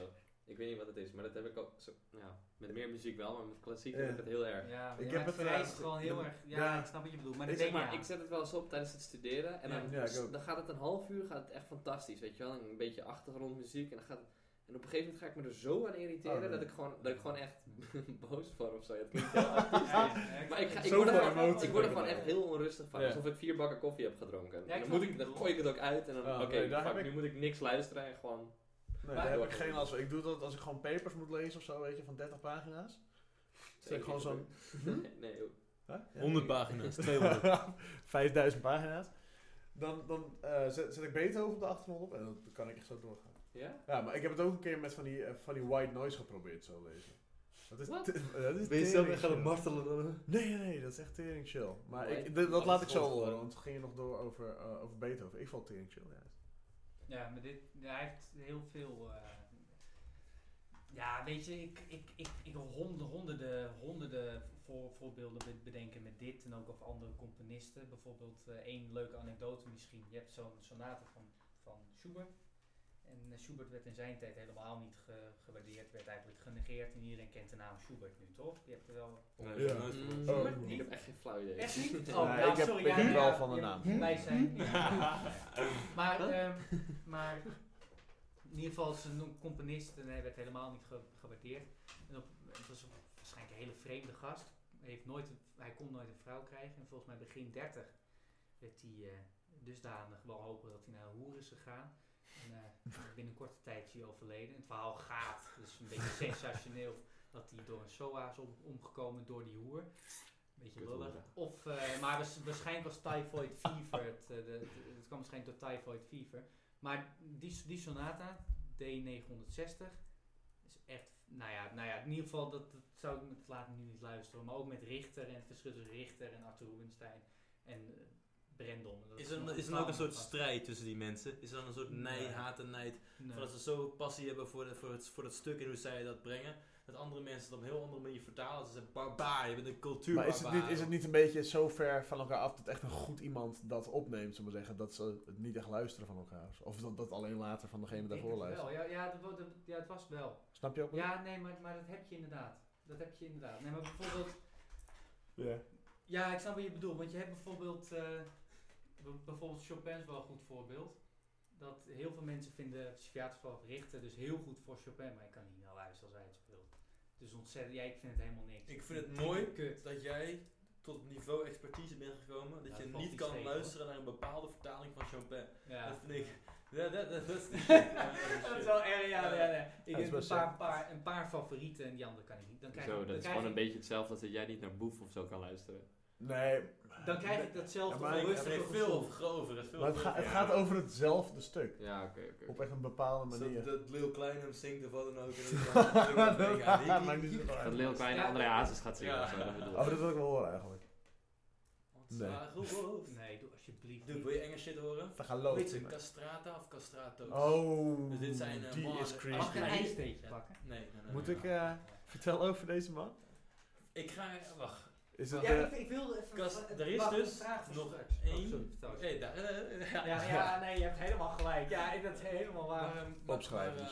Speaker 4: ik weet niet wat het is, maar dat heb ik ook zo, nou, met meer muziek wel, maar met klassiek heb
Speaker 1: Ja.
Speaker 4: ik het heel erg.
Speaker 5: Ja,
Speaker 1: Ik heb
Speaker 5: ja,
Speaker 1: het
Speaker 5: het vereist
Speaker 1: laatst-
Speaker 5: gewoon heel
Speaker 1: de-
Speaker 5: erg. Ja,
Speaker 1: ja.
Speaker 5: ik snap wat je bedoelt. Maar dat
Speaker 1: Ik
Speaker 5: weet
Speaker 4: Zeg
Speaker 5: ik
Speaker 4: maar,
Speaker 5: ja.
Speaker 4: ik zet het wel eens op tijdens het studeren en dan,
Speaker 1: Ja, ik ook.
Speaker 4: dan gaat het een half uur, gaat het echt fantastisch, weet je wel. Een beetje achtergrondmuziek en dan gaat het- en op een gegeven moment ga ik me er zo aan irriteren
Speaker 1: Oh, nee.
Speaker 4: dat, ik gewoon, dat ik gewoon echt boos word of zo. Dat klinkt heel artistisch. Maar ik, ga, ik,
Speaker 1: Zoveel
Speaker 4: word er gewoon,
Speaker 1: emotie
Speaker 4: ik word er
Speaker 1: erbij.
Speaker 4: gewoon echt heel onrustig van.
Speaker 1: Ja.
Speaker 4: Alsof ik vier bakken koffie heb gedronken. En
Speaker 5: Ja, ik
Speaker 4: dan,
Speaker 5: snap
Speaker 4: moet ik,
Speaker 5: wat je
Speaker 4: dan
Speaker 5: bedoelt.
Speaker 4: gooi ik het ook uit en dan,
Speaker 1: Ah,
Speaker 4: oké,
Speaker 1: nee, daar
Speaker 4: fuck,
Speaker 1: heb ik-
Speaker 4: nu moet ik niks luisteren en gewoon...
Speaker 1: Nee,
Speaker 5: Maar-
Speaker 1: daar heb ik geen last van. Ik doe dat als ik gewoon papers moet lezen of zo, weet je, van 30 pagina's. Zet ik gewoon zo'n...
Speaker 4: Nee, nee, joh.
Speaker 1: Huh? Ja.
Speaker 2: 100 pagina's, 200.
Speaker 1: 5000 pagina's. Dan, dan eh, zet, zet ik Beethoven op de achtergrond op en dan kan ik echt zo doorgaan.
Speaker 4: Ja?
Speaker 1: Ja, maar ik heb het ook een keer met van die, eh, van die white noise geprobeerd zo lezen. Dat is,
Speaker 4: Wat?
Speaker 1: te- dat is
Speaker 2: Ben je zelf
Speaker 1: tering
Speaker 2: echt gaan
Speaker 1: chill.
Speaker 2: martelen dan?
Speaker 1: Nee, nee, nee, dat is echt tering chill. Maar
Speaker 4: White
Speaker 1: ik, dat- dat
Speaker 4: noise
Speaker 1: laat ik zo
Speaker 4: gewoon.
Speaker 1: horen, want toen ging je nog door over, eh, over Beethoven. Ik vond tering chill, juist.
Speaker 5: Ja, maar dit, hij heeft heel veel. eh, ja, weet je, ik, ik, ik, ik honderden, honderden, honderden voor, voorbeelden be- bedenken met dit en ook over andere componisten. Bijvoorbeeld eh, één leuke anekdote misschien. Je hebt zo'n sonate van, van Schubert. En eh, Schubert werd in zijn tijd helemaal niet ge- gewaardeerd, werd eigenlijk genegeerd en iedereen kent de naam Schubert nu, toch? Je hebt er wel...
Speaker 1: Ja.
Speaker 4: Mm,
Speaker 1: Oh,
Speaker 4: ik
Speaker 5: niet.
Speaker 4: heb echt geen flauw idee.
Speaker 5: Echt niet? nou,
Speaker 1: Oh, Nee, ja, ik heb- sorry, ik ja, weet ja, wel ja. van de naam.
Speaker 5: Wij
Speaker 2: Hm?
Speaker 5: zijn. Maar, ehm, maar in ieder geval, ze noemt componist en hij werd helemaal niet ge- gewaardeerd. En op, het was op waarschijnlijk een hele vreemde gast. Hij, heeft nooit een, hij kon nooit een vrouw krijgen. En volgens mij begin 30 werd hij eh, dusdanig wel hopen dat hij naar een hoer is gegaan. En eh, binnen een korte tijd is hij overleden. En het verhaal gaat, dus een beetje sensationeel, dat hij door een SOA is om- omgekomen door die hoer. Beetje
Speaker 4: Kuthoer.
Speaker 5: lullig. Of, eh, maar waars- waarschijnlijk was typhoid fever. Het, eh, de- het- het kwam waarschijnlijk door typhoid fever. Maar die, die Sonata, D960, is echt, nou ja, nou ja, in ieder geval, dat, dat zou ik met laten nu niet luisteren. Maar ook met Richter en het verschil tussen Richter en Arthur Rubinstein en eh, Brendon. Dat
Speaker 2: Is er,
Speaker 5: nog
Speaker 2: dan- is er dan ook een soort
Speaker 5: taal-
Speaker 2: strijd tussen die mensen? Is er dan een soort
Speaker 5: Nee.
Speaker 2: nee, haat en nijd?
Speaker 5: Nee.
Speaker 2: Van dat ze zo passie hebben voor, de- voor, het, voor dat stuk en hoe zij dat brengen. Dat andere mensen het op een heel andere manier vertalen. Dat ze zeggen, barbaar, je bent een
Speaker 1: Maar
Speaker 2: cultuurbarbaar.
Speaker 1: is het, niet, is het niet een beetje zo ver van elkaar af dat echt een goed iemand dat opneemt, zullen we zeggen, dat ze het niet echt luisteren van elkaar? Of dat, dat alleen later van degene
Speaker 5: Ik denk
Speaker 1: daarvoor
Speaker 5: het wel.
Speaker 1: luistert?
Speaker 5: Ja, ja, dat wo- dat- ja, het was wel.
Speaker 1: Snap je ook?
Speaker 5: Ja, nee, maar, maar dat heb je inderdaad. Dat heb je inderdaad. Nee, maar bijvoorbeeld...
Speaker 1: Ja.
Speaker 5: Ja, ik snap wat je bedoelt. Want je hebt bijvoorbeeld... eh, b- bijvoorbeeld Chopin is wel een goed voorbeeld. Dat heel veel mensen vinden psychiatrisch verlof richten dus heel goed voor Chopin. Maar ik kan niet naar luisteren als hij het speelt. Dus ontzettend... Ja, ik vind het helemaal niks.
Speaker 2: Ik vind het mooi
Speaker 5: Kut.
Speaker 2: dat jij tot op niveau expertise bent gekomen. Dat
Speaker 5: Ja,
Speaker 2: je
Speaker 5: dat valt
Speaker 2: niet
Speaker 5: niet
Speaker 2: kan
Speaker 5: tegen,
Speaker 2: luisteren naar een bepaalde vertaling van Chopin.
Speaker 5: Ja.
Speaker 2: Dat vind ik... Dat, dat, dat, dat is de shit. Ja, dat is de
Speaker 5: Dat is
Speaker 2: shit.
Speaker 5: wel erg, ja. ja, ja. Ik
Speaker 1: dat is
Speaker 5: heb
Speaker 1: wel
Speaker 5: een paar,
Speaker 1: sick.
Speaker 5: paar, een paar favorieten en die andere kan ik niet. Dan krijg,
Speaker 4: Zo,
Speaker 5: ik,
Speaker 4: dat
Speaker 5: dan
Speaker 4: is
Speaker 5: krijg
Speaker 4: gewoon een
Speaker 5: ik-
Speaker 4: beetje hetzelfde als dat jij niet naar Boef of zo kan luisteren.
Speaker 1: Nee,
Speaker 5: dan krijg ik
Speaker 2: Ja,
Speaker 5: datzelfde
Speaker 2: maar ik
Speaker 5: onrustige
Speaker 2: heb er
Speaker 5: gevoel.
Speaker 2: veel grover. is veel
Speaker 1: maar het, ga- het
Speaker 2: grover.
Speaker 1: gaat over hetzelfde stuk.
Speaker 4: Ja, oké, oké.
Speaker 1: Op echt een bepaalde
Speaker 2: Zo
Speaker 1: manier.
Speaker 2: Dat Lil Klein hem zingt of wat dan ook.
Speaker 1: dat maakt niet
Speaker 2: niet.
Speaker 1: zoveel
Speaker 4: Dat
Speaker 1: uit.
Speaker 4: Lil Klein
Speaker 5: Ja.
Speaker 4: andere hazes gaat zingen
Speaker 2: Ja.
Speaker 4: of zo, dat bedoel ik.
Speaker 1: Oh, dat wil ik wel horen eigenlijk. Nee.
Speaker 5: Nee, doe alsjeblieft
Speaker 2: Doe,
Speaker 5: niet.
Speaker 2: wil je enge shit horen?
Speaker 1: We gaan
Speaker 2: Hoe heet
Speaker 1: lopen.
Speaker 2: ze? Castrata of Castrato?
Speaker 1: Oh,
Speaker 2: Dus dit zijn, eh,
Speaker 1: die
Speaker 2: mannen.
Speaker 1: is
Speaker 5: Mag ik
Speaker 1: creepy.
Speaker 5: een
Speaker 2: Mag ik-
Speaker 5: ijsteetje pakken?
Speaker 2: Nee, nee, nee.
Speaker 1: Moet
Speaker 2: nee.
Speaker 1: ik eh, vertellen over deze man?
Speaker 2: Ik ga... eh, Wacht.
Speaker 1: Is
Speaker 5: Ja,
Speaker 1: het,
Speaker 5: ik,
Speaker 1: eh,
Speaker 5: ik wilde even...
Speaker 2: Kas-
Speaker 5: wa-
Speaker 2: er is
Speaker 5: wacht,
Speaker 2: dus
Speaker 5: een vraag voor
Speaker 2: nog
Speaker 5: straks.
Speaker 2: één-
Speaker 5: Oh, sorry, vertel eens.
Speaker 2: Hé, daar... eh, eh, ja.
Speaker 5: ja, ja, nee, je hebt helemaal gelijk. Ja, dat is helemaal waar.
Speaker 2: Maar, ehm, maar-
Speaker 1: opschrijven?
Speaker 2: maar,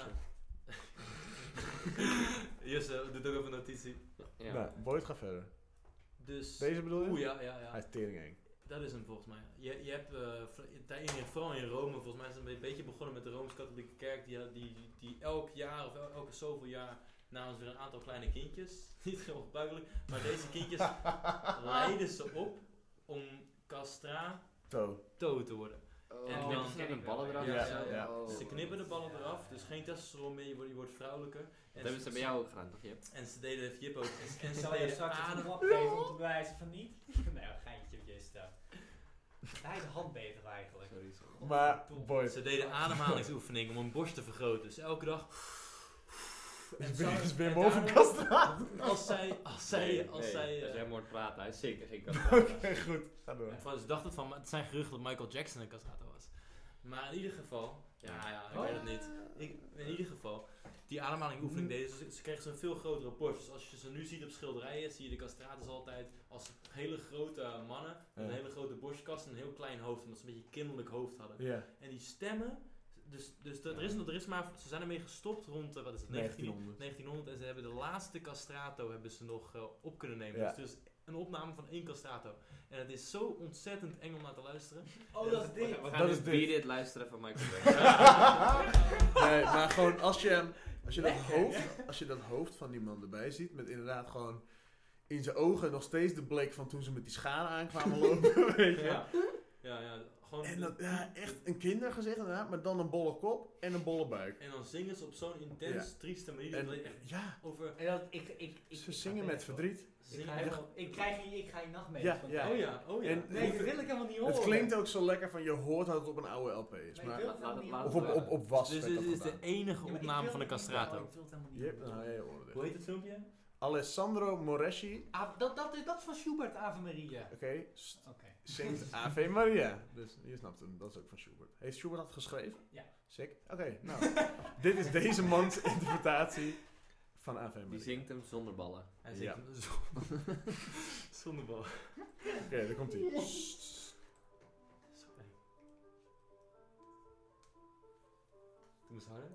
Speaker 1: dus,
Speaker 2: eh,
Speaker 1: joh.
Speaker 2: Jesse, doe toch even een notitie.
Speaker 4: Ja.
Speaker 1: Nou, Boyd gaat verder.
Speaker 2: Dus...
Speaker 1: Deze bedoel je?
Speaker 2: Oeh, ja, ja, ja.
Speaker 1: Hij is teringeng.
Speaker 2: Dat is hem volgens mij. Je, je hebt eh, vla- daar in- vooral in Rome, volgens mij is het een beetje begonnen met de Rooms-Katholieke Kerk, die, die, die elk jaar of el- elke zoveel jaar namens weer een aantal kleine kindjes, niet heel gebruikelijk, maar deze kindjes leiden ze op om castrato
Speaker 1: Zo.
Speaker 2: te worden.
Speaker 4: Oh,
Speaker 2: En
Speaker 4: en
Speaker 2: dan-
Speaker 4: dan de ballen eraf.
Speaker 2: Ja,
Speaker 4: of
Speaker 2: ja,
Speaker 4: zo?
Speaker 1: ja.
Speaker 4: Oh.
Speaker 2: Ze knippen de ballen
Speaker 5: Ja.
Speaker 2: eraf, dus geen testosteron meer, je wordt, je wordt vrouwelijker.
Speaker 4: Dat hebben ze bij jou ook gedaan, toch? Jip?
Speaker 2: En ze deden Jip ook. En,
Speaker 5: En
Speaker 2: en ze
Speaker 5: zou je
Speaker 2: deden
Speaker 5: straks een
Speaker 2: adem.
Speaker 5: klap geven om te bewijzen van niet? Nee, een geintje op je stem. Hij is handbeter eigenlijk.
Speaker 4: Sorry, sorry.
Speaker 1: Maar,
Speaker 5: Godverdomme.
Speaker 1: Boyd.
Speaker 2: Ze deden ademhalingsoefening om hun borst te vergroten. Dus elke dag.
Speaker 1: Dus
Speaker 2: zo-
Speaker 1: ben je weer
Speaker 2: en
Speaker 1: boven
Speaker 2: daarom-
Speaker 1: Kastraat?
Speaker 2: Als zij, als zij,
Speaker 4: Nee,
Speaker 2: als
Speaker 4: nee,
Speaker 2: zij... eh,
Speaker 4: Als jij moord praat, hij is zeker geen
Speaker 1: Oké, goed. Ga door.
Speaker 2: ik was- dacht het van, maar het zijn geruchten dat Michael Jackson een castrato was. Maar in ieder geval... Ja, ja, ik weet het niet. Ik, in ieder geval, die ademhalingoefening
Speaker 1: Mm.
Speaker 2: deden ze, ze kregen ze een veel grotere borst. Dus als je ze nu ziet op schilderijen, zie je de castratus altijd als hele grote mannen. Met een
Speaker 1: Ja.
Speaker 2: hele grote borstkast en een heel klein hoofd, omdat ze een beetje een kinderlijk hoofd hadden.
Speaker 1: Ja,
Speaker 2: En die stemmen, dus, dus dat- er, is, nog- er is maar, ze zijn ermee gestopt rond, eh, wat is het,
Speaker 1: 1900.
Speaker 2: 1900? 1900 en ze hebben de laatste castrato hebben ze nog eh, op kunnen nemen.
Speaker 1: Ja.
Speaker 2: Dus, dus een opname van één castrato. En het is zo ontzettend eng om naar te luisteren.
Speaker 5: Oh, dat is dit.
Speaker 4: We
Speaker 1: Dat
Speaker 4: gaan
Speaker 1: is
Speaker 4: nu
Speaker 1: dit.
Speaker 4: Beat It luisteren van Michael Jackson.
Speaker 1: Nee, maar gewoon als je, als, je dat hoofd, als je dat hoofd van die man erbij ziet, met inderdaad gewoon in zijn ogen nog steeds de blik van toen ze met die schade aankwamen lopen, weet je.
Speaker 2: Ja, ja, ja gewoon...
Speaker 1: En dat, ja, echt een kindergezicht inderdaad, maar dan een bolle kop en een bolle buik.
Speaker 2: en dan zingen ze op zo'n intens trieste manier. dat je
Speaker 1: En
Speaker 2: echt
Speaker 1: ja,
Speaker 2: over...
Speaker 5: En dat, ik, ik, ik,
Speaker 1: ze
Speaker 5: ik-
Speaker 1: zingen met verdriet.
Speaker 5: Ik,
Speaker 2: Zingen.
Speaker 5: ga helemaal- ik krijg hier, ik ga hier nachtmerries
Speaker 1: Ja,
Speaker 5: van
Speaker 1: ja.
Speaker 2: Oh ja, oh ja.
Speaker 1: En-
Speaker 5: Nee, dat wil ik helemaal niet horen.
Speaker 1: Het klinkt ook zo lekker van je hoort dat het op een oude LP is.
Speaker 5: Nee, ik
Speaker 1: Maar,
Speaker 5: wil het helemaal niet
Speaker 4: Laat-
Speaker 1: of
Speaker 4: laat-
Speaker 5: horen.
Speaker 1: op, op, op was.
Speaker 2: dus
Speaker 1: werd
Speaker 2: dit
Speaker 1: dat
Speaker 2: is de
Speaker 1: gedaan.
Speaker 2: enige
Speaker 5: Ja, maar ik
Speaker 2: opname
Speaker 5: wil
Speaker 2: van de
Speaker 5: het niet horen,
Speaker 2: castrato.
Speaker 5: Ik wil het helemaal niet
Speaker 1: Je hebt nou,
Speaker 5: horen.
Speaker 1: ja, je hoorde dit.
Speaker 2: Hoe heet het filmpje?
Speaker 1: Alessandro Moreschi,
Speaker 5: Ah, dat, dat, is- dat is van Schubert, Ave Maria.
Speaker 1: oké, st-
Speaker 5: Oké.
Speaker 1: zingt Ave Maria. Dus je snapt hem, dat is ook van Schubert. Heeft Schubert dat geschreven?
Speaker 5: Ja.
Speaker 1: Sick. Oké, nou. dit is deze mans interpretatie van Ave Maria.
Speaker 4: Die zingt hem zonder ballen.
Speaker 2: Hij zingt
Speaker 1: Ja.
Speaker 2: hem zonder- zonder bal.
Speaker 1: Oké, daar komt hij.
Speaker 2: Zo eng. Doe eens harder.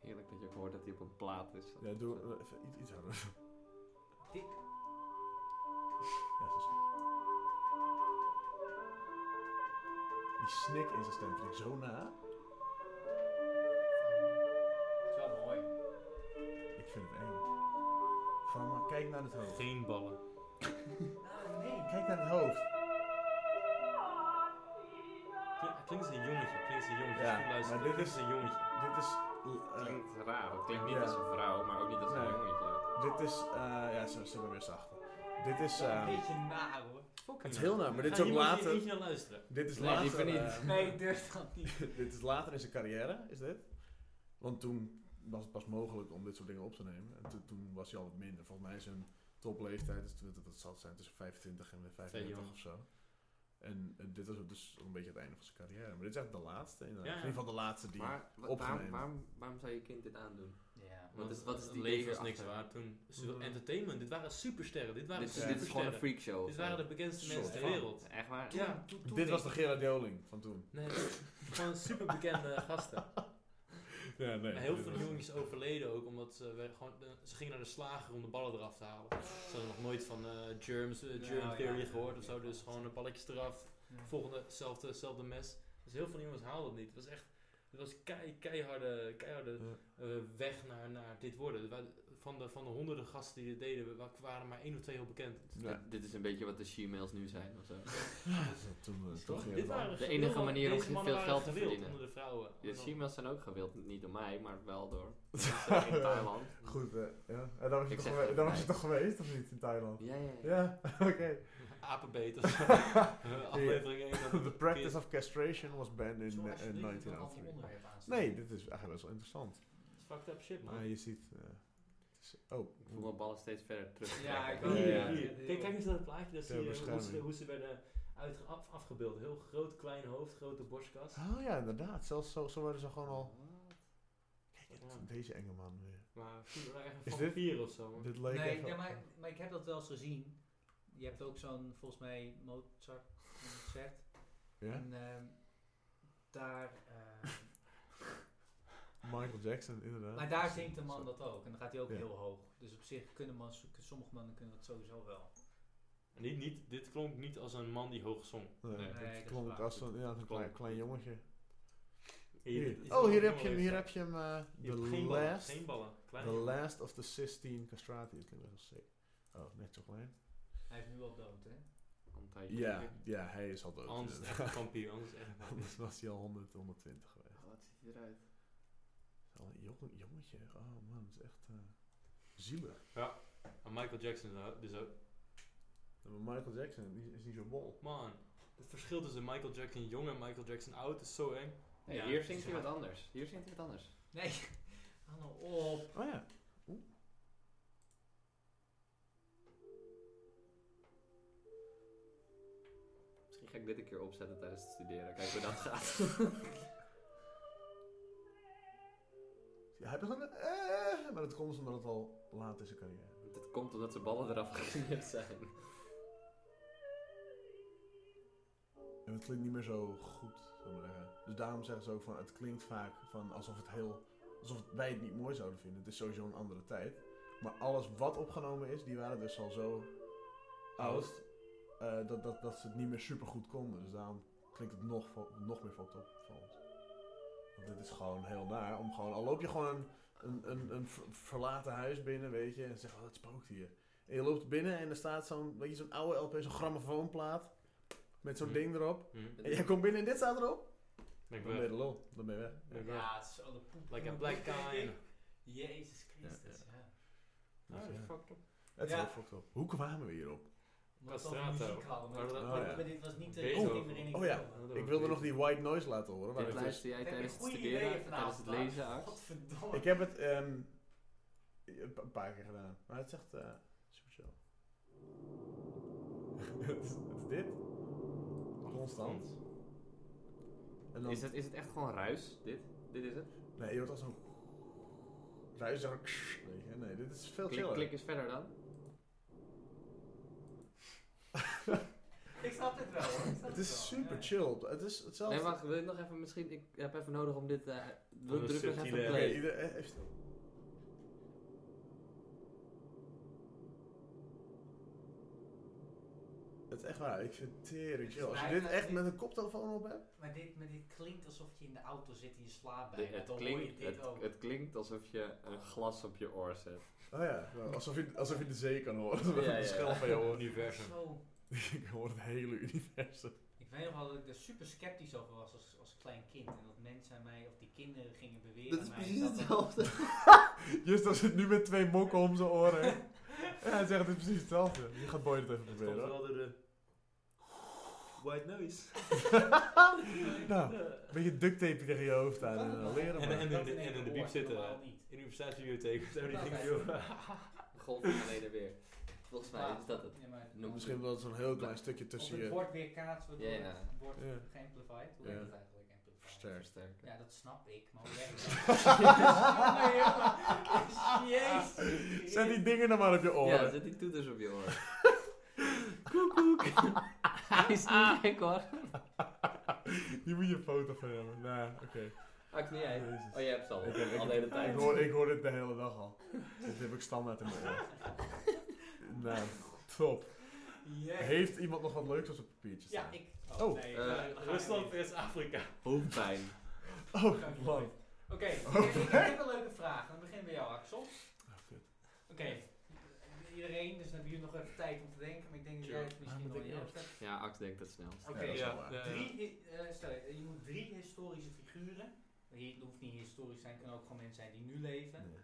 Speaker 4: Heerlijk dat je ook hoort dat hij op een plaat is.
Speaker 1: Ja, doe eh, even iets, iets harder. Ja,
Speaker 5: Dit-
Speaker 1: zo is het. Die snik in zijn stem vind ik zo na.
Speaker 5: Zo.
Speaker 1: Kijk naar het hoofd.
Speaker 2: Geen ballen.
Speaker 5: Ah, nee.
Speaker 1: Kijk naar het hoofd.
Speaker 2: Klink- Klinkt als een jongetje, klinkt als een jongetje.
Speaker 1: Ja,
Speaker 2: Goed luisteren,
Speaker 1: maar dit
Speaker 2: klinkt als een jongetje.
Speaker 1: Dit is... eh,
Speaker 4: Klinkt raar. Het klinkt niet
Speaker 1: Ja.
Speaker 4: als een vrouw, maar ook niet als een
Speaker 1: Nee.
Speaker 4: jongetje.
Speaker 1: dit is... eh, ja, zo zit maar weer zacht. Dit is... eh,
Speaker 5: Een beetje naar hoor.
Speaker 6: Het is heel naar, maar dit is
Speaker 2: Ga
Speaker 6: ook
Speaker 2: iemand hier
Speaker 6: later.
Speaker 2: eentje naar luisteren.
Speaker 1: dit is
Speaker 4: Nee, die
Speaker 1: later...
Speaker 4: vind ik
Speaker 1: eh,
Speaker 5: Nee, durf dat niet.
Speaker 1: dit is later in zijn carrière, is dit. Want toen was het pas mogelijk om dit soort dingen op te nemen. En toen- toen was hij al wat minder. Volgens mij zijn topleeftijd, is, dat, dat zal het zijn tussen 25 en 35
Speaker 2: jong.
Speaker 1: of zo. En eh, dit was ook dus een beetje het einde van zijn carrière. Maar dit is echt de laatste. inderdaad.
Speaker 2: Ja, ja.
Speaker 1: In ieder geval de laatste die...
Speaker 4: Maar wa-
Speaker 1: opgenomen.
Speaker 4: waarom, waarom, waarom zou je kind dit aandoen?
Speaker 5: Ja.
Speaker 4: Wat is- wat is
Speaker 2: het
Speaker 4: die
Speaker 2: leven
Speaker 4: leven
Speaker 2: was niks
Speaker 4: achter?
Speaker 2: waard toen. Ze wil
Speaker 6: Mhm.
Speaker 2: Entertainment, dit waren supersterren, dit waren
Speaker 4: Dit, is-
Speaker 2: supersterren.
Speaker 4: dit is gewoon een freakshow.
Speaker 2: Dit waren de bekendste
Speaker 1: Soort
Speaker 2: mensen ter
Speaker 1: van.
Speaker 2: wereld.
Speaker 4: Echt waar?
Speaker 2: Ja,
Speaker 1: dit was de Gerard Joling van toen.
Speaker 2: nee, gewoon superbekende gasten.
Speaker 1: Ja, nee.
Speaker 2: Maar heel veel jongens overleden ook, omdat ze, we- gewoon, eh, ze gingen naar de slager om de ballen eraf te halen. Ze hadden nog nooit van eh, germs, eh, germ
Speaker 5: Ja,
Speaker 2: theory
Speaker 5: ja.
Speaker 2: gehoord of zo, dus gewoon de balletjes eraf.
Speaker 5: Ja.
Speaker 2: Volgende, zelfde, zelfde mes. Dus heel veel jongens haalden het niet. Het was echt, het was kei, keiharde, keiharde eh, weg naar, naar dit worden. Wa- Van de, van de honderden gasten die dit deden, wa- waren maar één of twee heel bekend.
Speaker 1: Ja.
Speaker 4: Dit- Dit is een beetje wat de she-mails nu zijn of zo.
Speaker 1: Toen, eh, toen
Speaker 2: Toch?
Speaker 1: ging
Speaker 2: Dit
Speaker 1: het al.
Speaker 2: waren
Speaker 4: De enige
Speaker 2: gewilde-
Speaker 4: manier om
Speaker 2: deze
Speaker 4: veel
Speaker 2: mannen waren
Speaker 4: geld te
Speaker 2: gewild
Speaker 4: verdienen.
Speaker 2: onder de vrouwen.
Speaker 4: Ja,
Speaker 2: Omdat-
Speaker 4: she-mails zijn ook gewild. Niet door mij, maar wel door mensen in Thailand.
Speaker 1: Goed, eh, ja. En dan was, je
Speaker 4: Ik
Speaker 1: toch,
Speaker 4: zeg
Speaker 1: gewe-
Speaker 4: het
Speaker 1: dan was
Speaker 4: niet.
Speaker 1: je toch geweest, of niet, in Thailand?
Speaker 4: Ja, ja, ja.
Speaker 1: Ja, oké.
Speaker 2: Apenbeet of zo. Eh, Aflevering 1.
Speaker 1: The practice of castration was banned in,
Speaker 5: Zo,
Speaker 1: eh,
Speaker 5: alsjeblieft,
Speaker 1: in
Speaker 5: je moet een ander
Speaker 1: 1903.
Speaker 5: onderwerp aansnijden.
Speaker 1: Nee, dit is eigenlijk best wel interessant.
Speaker 2: Fucked up shit, man.
Speaker 1: Maar je ziet... eh, het is- oh,
Speaker 4: Ik voel mijn ballen steeds verder terug.
Speaker 5: Ja, ik
Speaker 2: Hier,
Speaker 5: ook.
Speaker 4: Ja, ja.
Speaker 2: hier. Kijk, kijk eens naar het plaatje. Dat
Speaker 1: Ter
Speaker 2: zie je hoe
Speaker 1: bescherming.
Speaker 2: ze, hoe ze werden uitge- af- afgebeeld. Heel groot, klein hoofd, grote borstkas.
Speaker 1: Oh ja, inderdaad. Zelfs zo, zo werden ze gewoon al... Kijk,
Speaker 2: Ja.
Speaker 1: deze enge man weer.
Speaker 2: Maar vroeger waren echt
Speaker 1: Is
Speaker 2: een
Speaker 1: dit-
Speaker 2: vampier of zo. man.
Speaker 1: Dit leek
Speaker 5: nee,
Speaker 1: even...
Speaker 5: ja, maar, maar ik heb dat wel eens gezien. Je hebt ook zo'n, volgens mij, Mozart concert.
Speaker 1: Ja?
Speaker 5: En ehm, daar... ehm,
Speaker 1: Michael Jackson, inderdaad.
Speaker 5: maar daar zingt een man
Speaker 1: Zo.
Speaker 5: dat ook. En dan gaat hij ook
Speaker 1: Ja.
Speaker 5: heel hoog. Dus op zich kunnen man, sommige mannen kunnen dat sowieso wel.
Speaker 2: En Niet, niet, dit klonk niet als een man die hoog zong.
Speaker 1: Nee,
Speaker 2: Nee,
Speaker 5: dat
Speaker 1: dat
Speaker 5: is
Speaker 1: klonk
Speaker 5: waar.
Speaker 1: als een, ja, een klein,
Speaker 2: Klonk.
Speaker 1: klein jongetje.
Speaker 2: Hier,
Speaker 1: Hier.
Speaker 2: is
Speaker 1: Oh, hier
Speaker 2: een
Speaker 1: heb je hem, hier
Speaker 2: jongen
Speaker 1: heb je hem. eh,
Speaker 2: die
Speaker 1: the
Speaker 2: heeft geen ballen,
Speaker 1: last,
Speaker 2: geen ballen. Klein.
Speaker 1: the last of the Sistine Castrati. Dat klinkt best wel sick. Oh, net zo klein.
Speaker 5: Hij is nu al dood, hè?
Speaker 1: Ja, ja, hij is al dood. dus.
Speaker 2: Anders is het echt een vampier. Anders is het echt een vampier.
Speaker 1: Anders was hij al 100, 120 geweest.
Speaker 4: Wat ziet hij eruit?
Speaker 1: Al een jong- jongetje. Oh man, dat is echt eh, zielig.
Speaker 2: En Michael Jackson is dus ook.
Speaker 1: Maar Michael Jackson die is niet zo bol.
Speaker 2: Man, het verschil tussen Michael Jackson jong en Michael Jackson oud is zo eng.
Speaker 4: Nee,
Speaker 2: Ja,
Speaker 4: hier
Speaker 2: het
Speaker 4: zingt
Speaker 2: is
Speaker 4: hij
Speaker 2: waar.
Speaker 4: wat anders. Hier zingt hij wat anders.
Speaker 5: Nee, hou nou op.
Speaker 1: Oh ja. Oeh.
Speaker 4: Misschien ga ik dit een keer opzetten tijdens het studeren. Kijk hoe dat gaat.
Speaker 1: Ja, hij begint met, eh, maar dat komt omdat het al laat is in zijn carrière.
Speaker 4: Dit komt omdat zijn ballen eraf gesmeerd zijn.
Speaker 1: En het klinkt niet meer zo goed, zou ik maar zeggen. Dus daarom zeggen ze ook van, het klinkt vaak van alsof het heel... Alsof wij het niet mooi zouden vinden. Het is sowieso een andere tijd. Maar alles wat opgenomen is, die waren dus al zo oud... eh, dat, dat, dat ze het niet meer super goed konden. Dus daarom klinkt het nog, vo- nog meer fucked op voor ons. Want dit is gewoon heel naar. Om gewoon, al loop je gewoon een, een, een, een ver- verlaten huis binnen, weet je. En zeg, oh, het spookt hier. En je loopt binnen en er staat zo'n, weet je, zo'n oude LP, zo'n grammofoonplaat. Met zo'n
Speaker 2: Hm.
Speaker 1: ding erop.
Speaker 2: Hm.
Speaker 1: En jij komt binnen en dit staat erop?
Speaker 2: Denk
Speaker 1: Dan
Speaker 2: wel.
Speaker 1: ben je de lol. Dan ben je weg.
Speaker 2: Denk wel.
Speaker 5: Ja, het is alle poep.
Speaker 2: Like a
Speaker 5: van
Speaker 2: black
Speaker 5: de boek,
Speaker 2: guy.
Speaker 5: denk ik. Jezus Christus, ja.
Speaker 2: Ah,
Speaker 1: Dus ja,
Speaker 2: fucked up.
Speaker 1: Het is
Speaker 5: Ja.
Speaker 1: heel fucked up. Hoe kwamen we hierop?
Speaker 5: Omdat we
Speaker 2: Castrato.
Speaker 5: over muziek hadden, maar,
Speaker 2: Oh,
Speaker 5: dit-
Speaker 2: ja.
Speaker 5: maar- maar dit was niet de
Speaker 2: Beethoven.
Speaker 5: richting waarin ik
Speaker 1: Oh, ja.
Speaker 5: wilde.
Speaker 1: Ik wilde nog die white noise laten horen. Maar
Speaker 4: Dit
Speaker 1: het is,
Speaker 4: luister jij
Speaker 5: Ik heb
Speaker 4: tijdens
Speaker 5: een
Speaker 4: het
Speaker 5: goede
Speaker 4: studeren,
Speaker 5: ideeën
Speaker 4: tijdens het
Speaker 5: vanavond,
Speaker 4: lezen,
Speaker 5: Lars.
Speaker 4: Ax.
Speaker 5: Godverdomme.
Speaker 1: ik heb het ehm, een pa- een paar keer gedaan. Maar het is echt eh, super chill. het, is, het is dit. Constant. En dan,
Speaker 4: Is het, is het echt gewoon ruis, dit? Dit is het?
Speaker 1: Nee, je hoort als een... Ruis dan... Weet je, Nee, dit is veel
Speaker 4: Klik,
Speaker 1: chiller.
Speaker 4: klik eens verder dan.
Speaker 5: Ik snap het wel hoor. Ik snap
Speaker 1: Het
Speaker 5: wel,
Speaker 1: is super
Speaker 5: ja.
Speaker 1: chill. Het is hetzelfde.
Speaker 4: Nee, wacht, wil je nog even misschien... Ik heb even nodig om dit... eh wil
Speaker 2: Om
Speaker 4: druk
Speaker 2: een
Speaker 4: nog even
Speaker 2: subtiele-
Speaker 1: Oké,
Speaker 4: play.
Speaker 1: ieder eh, heeft... Dat is echt waar. Ik vind het tering chill. Als je
Speaker 5: Maar-
Speaker 1: dit
Speaker 5: maar
Speaker 1: echt
Speaker 5: dit-
Speaker 1: met een koptelefoon op hebt.
Speaker 5: Maar dit, maar dit klinkt alsof je in de auto zit en je slaapt
Speaker 4: De-
Speaker 5: bijna.
Speaker 4: het,
Speaker 5: Dan hoor je
Speaker 4: klinkt,
Speaker 5: dit
Speaker 4: het,
Speaker 5: ook.
Speaker 4: het klinkt alsof je een glas op je oor zet.
Speaker 1: Oh ja, nou, alsof je, alsof je de zee kan horen. Dat
Speaker 4: Ja,
Speaker 1: ja,
Speaker 4: ja.
Speaker 1: een schel van je hoort.
Speaker 2: Universum.
Speaker 5: Zo.
Speaker 1: Ik hoor het hele universum.
Speaker 5: Ik weet nog wel dat ik er super sceptisch over was als, als klein kind. En dat mensen aan mij, of die kinderen gingen beweren
Speaker 4: Dat is
Speaker 5: aan
Speaker 4: precies
Speaker 5: mij, dat dat-
Speaker 4: hetzelfde.
Speaker 1: Justus zit nu met twee mokken om zijn oren. Ja, hij zegt het precies hetzelfde. Je gaat Boy het even
Speaker 2: Het
Speaker 1: proberen.
Speaker 2: komt
Speaker 1: hoor.
Speaker 2: wel door de... White noise.
Speaker 1: Nou, een beetje duct tape tegen je hoofd aan.
Speaker 5: Kan
Speaker 1: En
Speaker 5: het
Speaker 1: dan
Speaker 5: nog?
Speaker 1: leren
Speaker 2: En-
Speaker 1: maar.
Speaker 2: en-
Speaker 5: Dat
Speaker 2: in de-
Speaker 5: één
Speaker 2: en in de
Speaker 5: woord,
Speaker 2: bieb zitten.
Speaker 5: normaal niet.
Speaker 2: In de universiteitsbibliotheek. Zo die dingen, joh.
Speaker 4: Golf van heen en weer. Volgens mij is dat het.
Speaker 5: Ja, maar
Speaker 4: Noem
Speaker 1: Misschien wel zo'n heel klein stukje
Speaker 5: Of
Speaker 1: tussen
Speaker 5: het
Speaker 1: je.
Speaker 5: wordt weer kaats, waardoor
Speaker 4: Ja, ja.
Speaker 5: het wordt
Speaker 1: Ja.
Speaker 5: geamplified. Hoe
Speaker 1: Ja.
Speaker 5: heet het eigenlijk? Amplified.
Speaker 1: Versterkt.
Speaker 4: Versterken.
Speaker 5: Ja, dat snap ik, maar hoe werkt dat? Jezus.
Speaker 1: Zet die dingen dan maar op je
Speaker 4: Ja,
Speaker 1: oren.
Speaker 4: zet die toeters op je oor. koek, koek. Hij is niet gek hoor.
Speaker 1: Hier moet je een foto van hebben. Nou, oké.
Speaker 4: Ach, niet jij.
Speaker 1: Jezus.
Speaker 4: Oh, jij hebt ze al.
Speaker 1: Ik heb- ik
Speaker 4: al
Speaker 1: heb-
Speaker 4: de hele tijd.
Speaker 1: Ik hoor, ik hoor dit de hele dag al. Dit heb ik standaard in mijn oor. Nou, top.
Speaker 5: Jezus.
Speaker 1: Heeft iemand nog wat leuks op zijn papiertje
Speaker 5: Ja,
Speaker 1: staan?
Speaker 5: ik.
Speaker 1: Oh,
Speaker 5: nee,
Speaker 4: eh,
Speaker 5: we gaan
Speaker 2: Rusland
Speaker 5: even.
Speaker 2: versus Afrika.
Speaker 4: Hoofdpijn.
Speaker 1: Oh, man.
Speaker 5: Oké, ik- ik heb een leuke vraag. Dan beginnen we bij jou, Axel.
Speaker 1: Oh,
Speaker 5: Oké. Iedereen, dus dan hebben jullie nog even tijd om te denken, maar ik denk dat jij het misschien
Speaker 1: Ah,
Speaker 5: nog
Speaker 1: moet
Speaker 5: niet
Speaker 1: ik
Speaker 5: hebt.
Speaker 4: Ja, Ax denkt het snel.
Speaker 5: Oké,
Speaker 1: Ja, dat is
Speaker 2: ja.
Speaker 1: wel waar.
Speaker 2: Ja.
Speaker 5: Drie, hi- eh, stel je, je moet drie historische figuren. Hier het hoeft niet historisch te zijn, het kunnen ook gewoon mensen zijn die nu leven.
Speaker 1: Nee.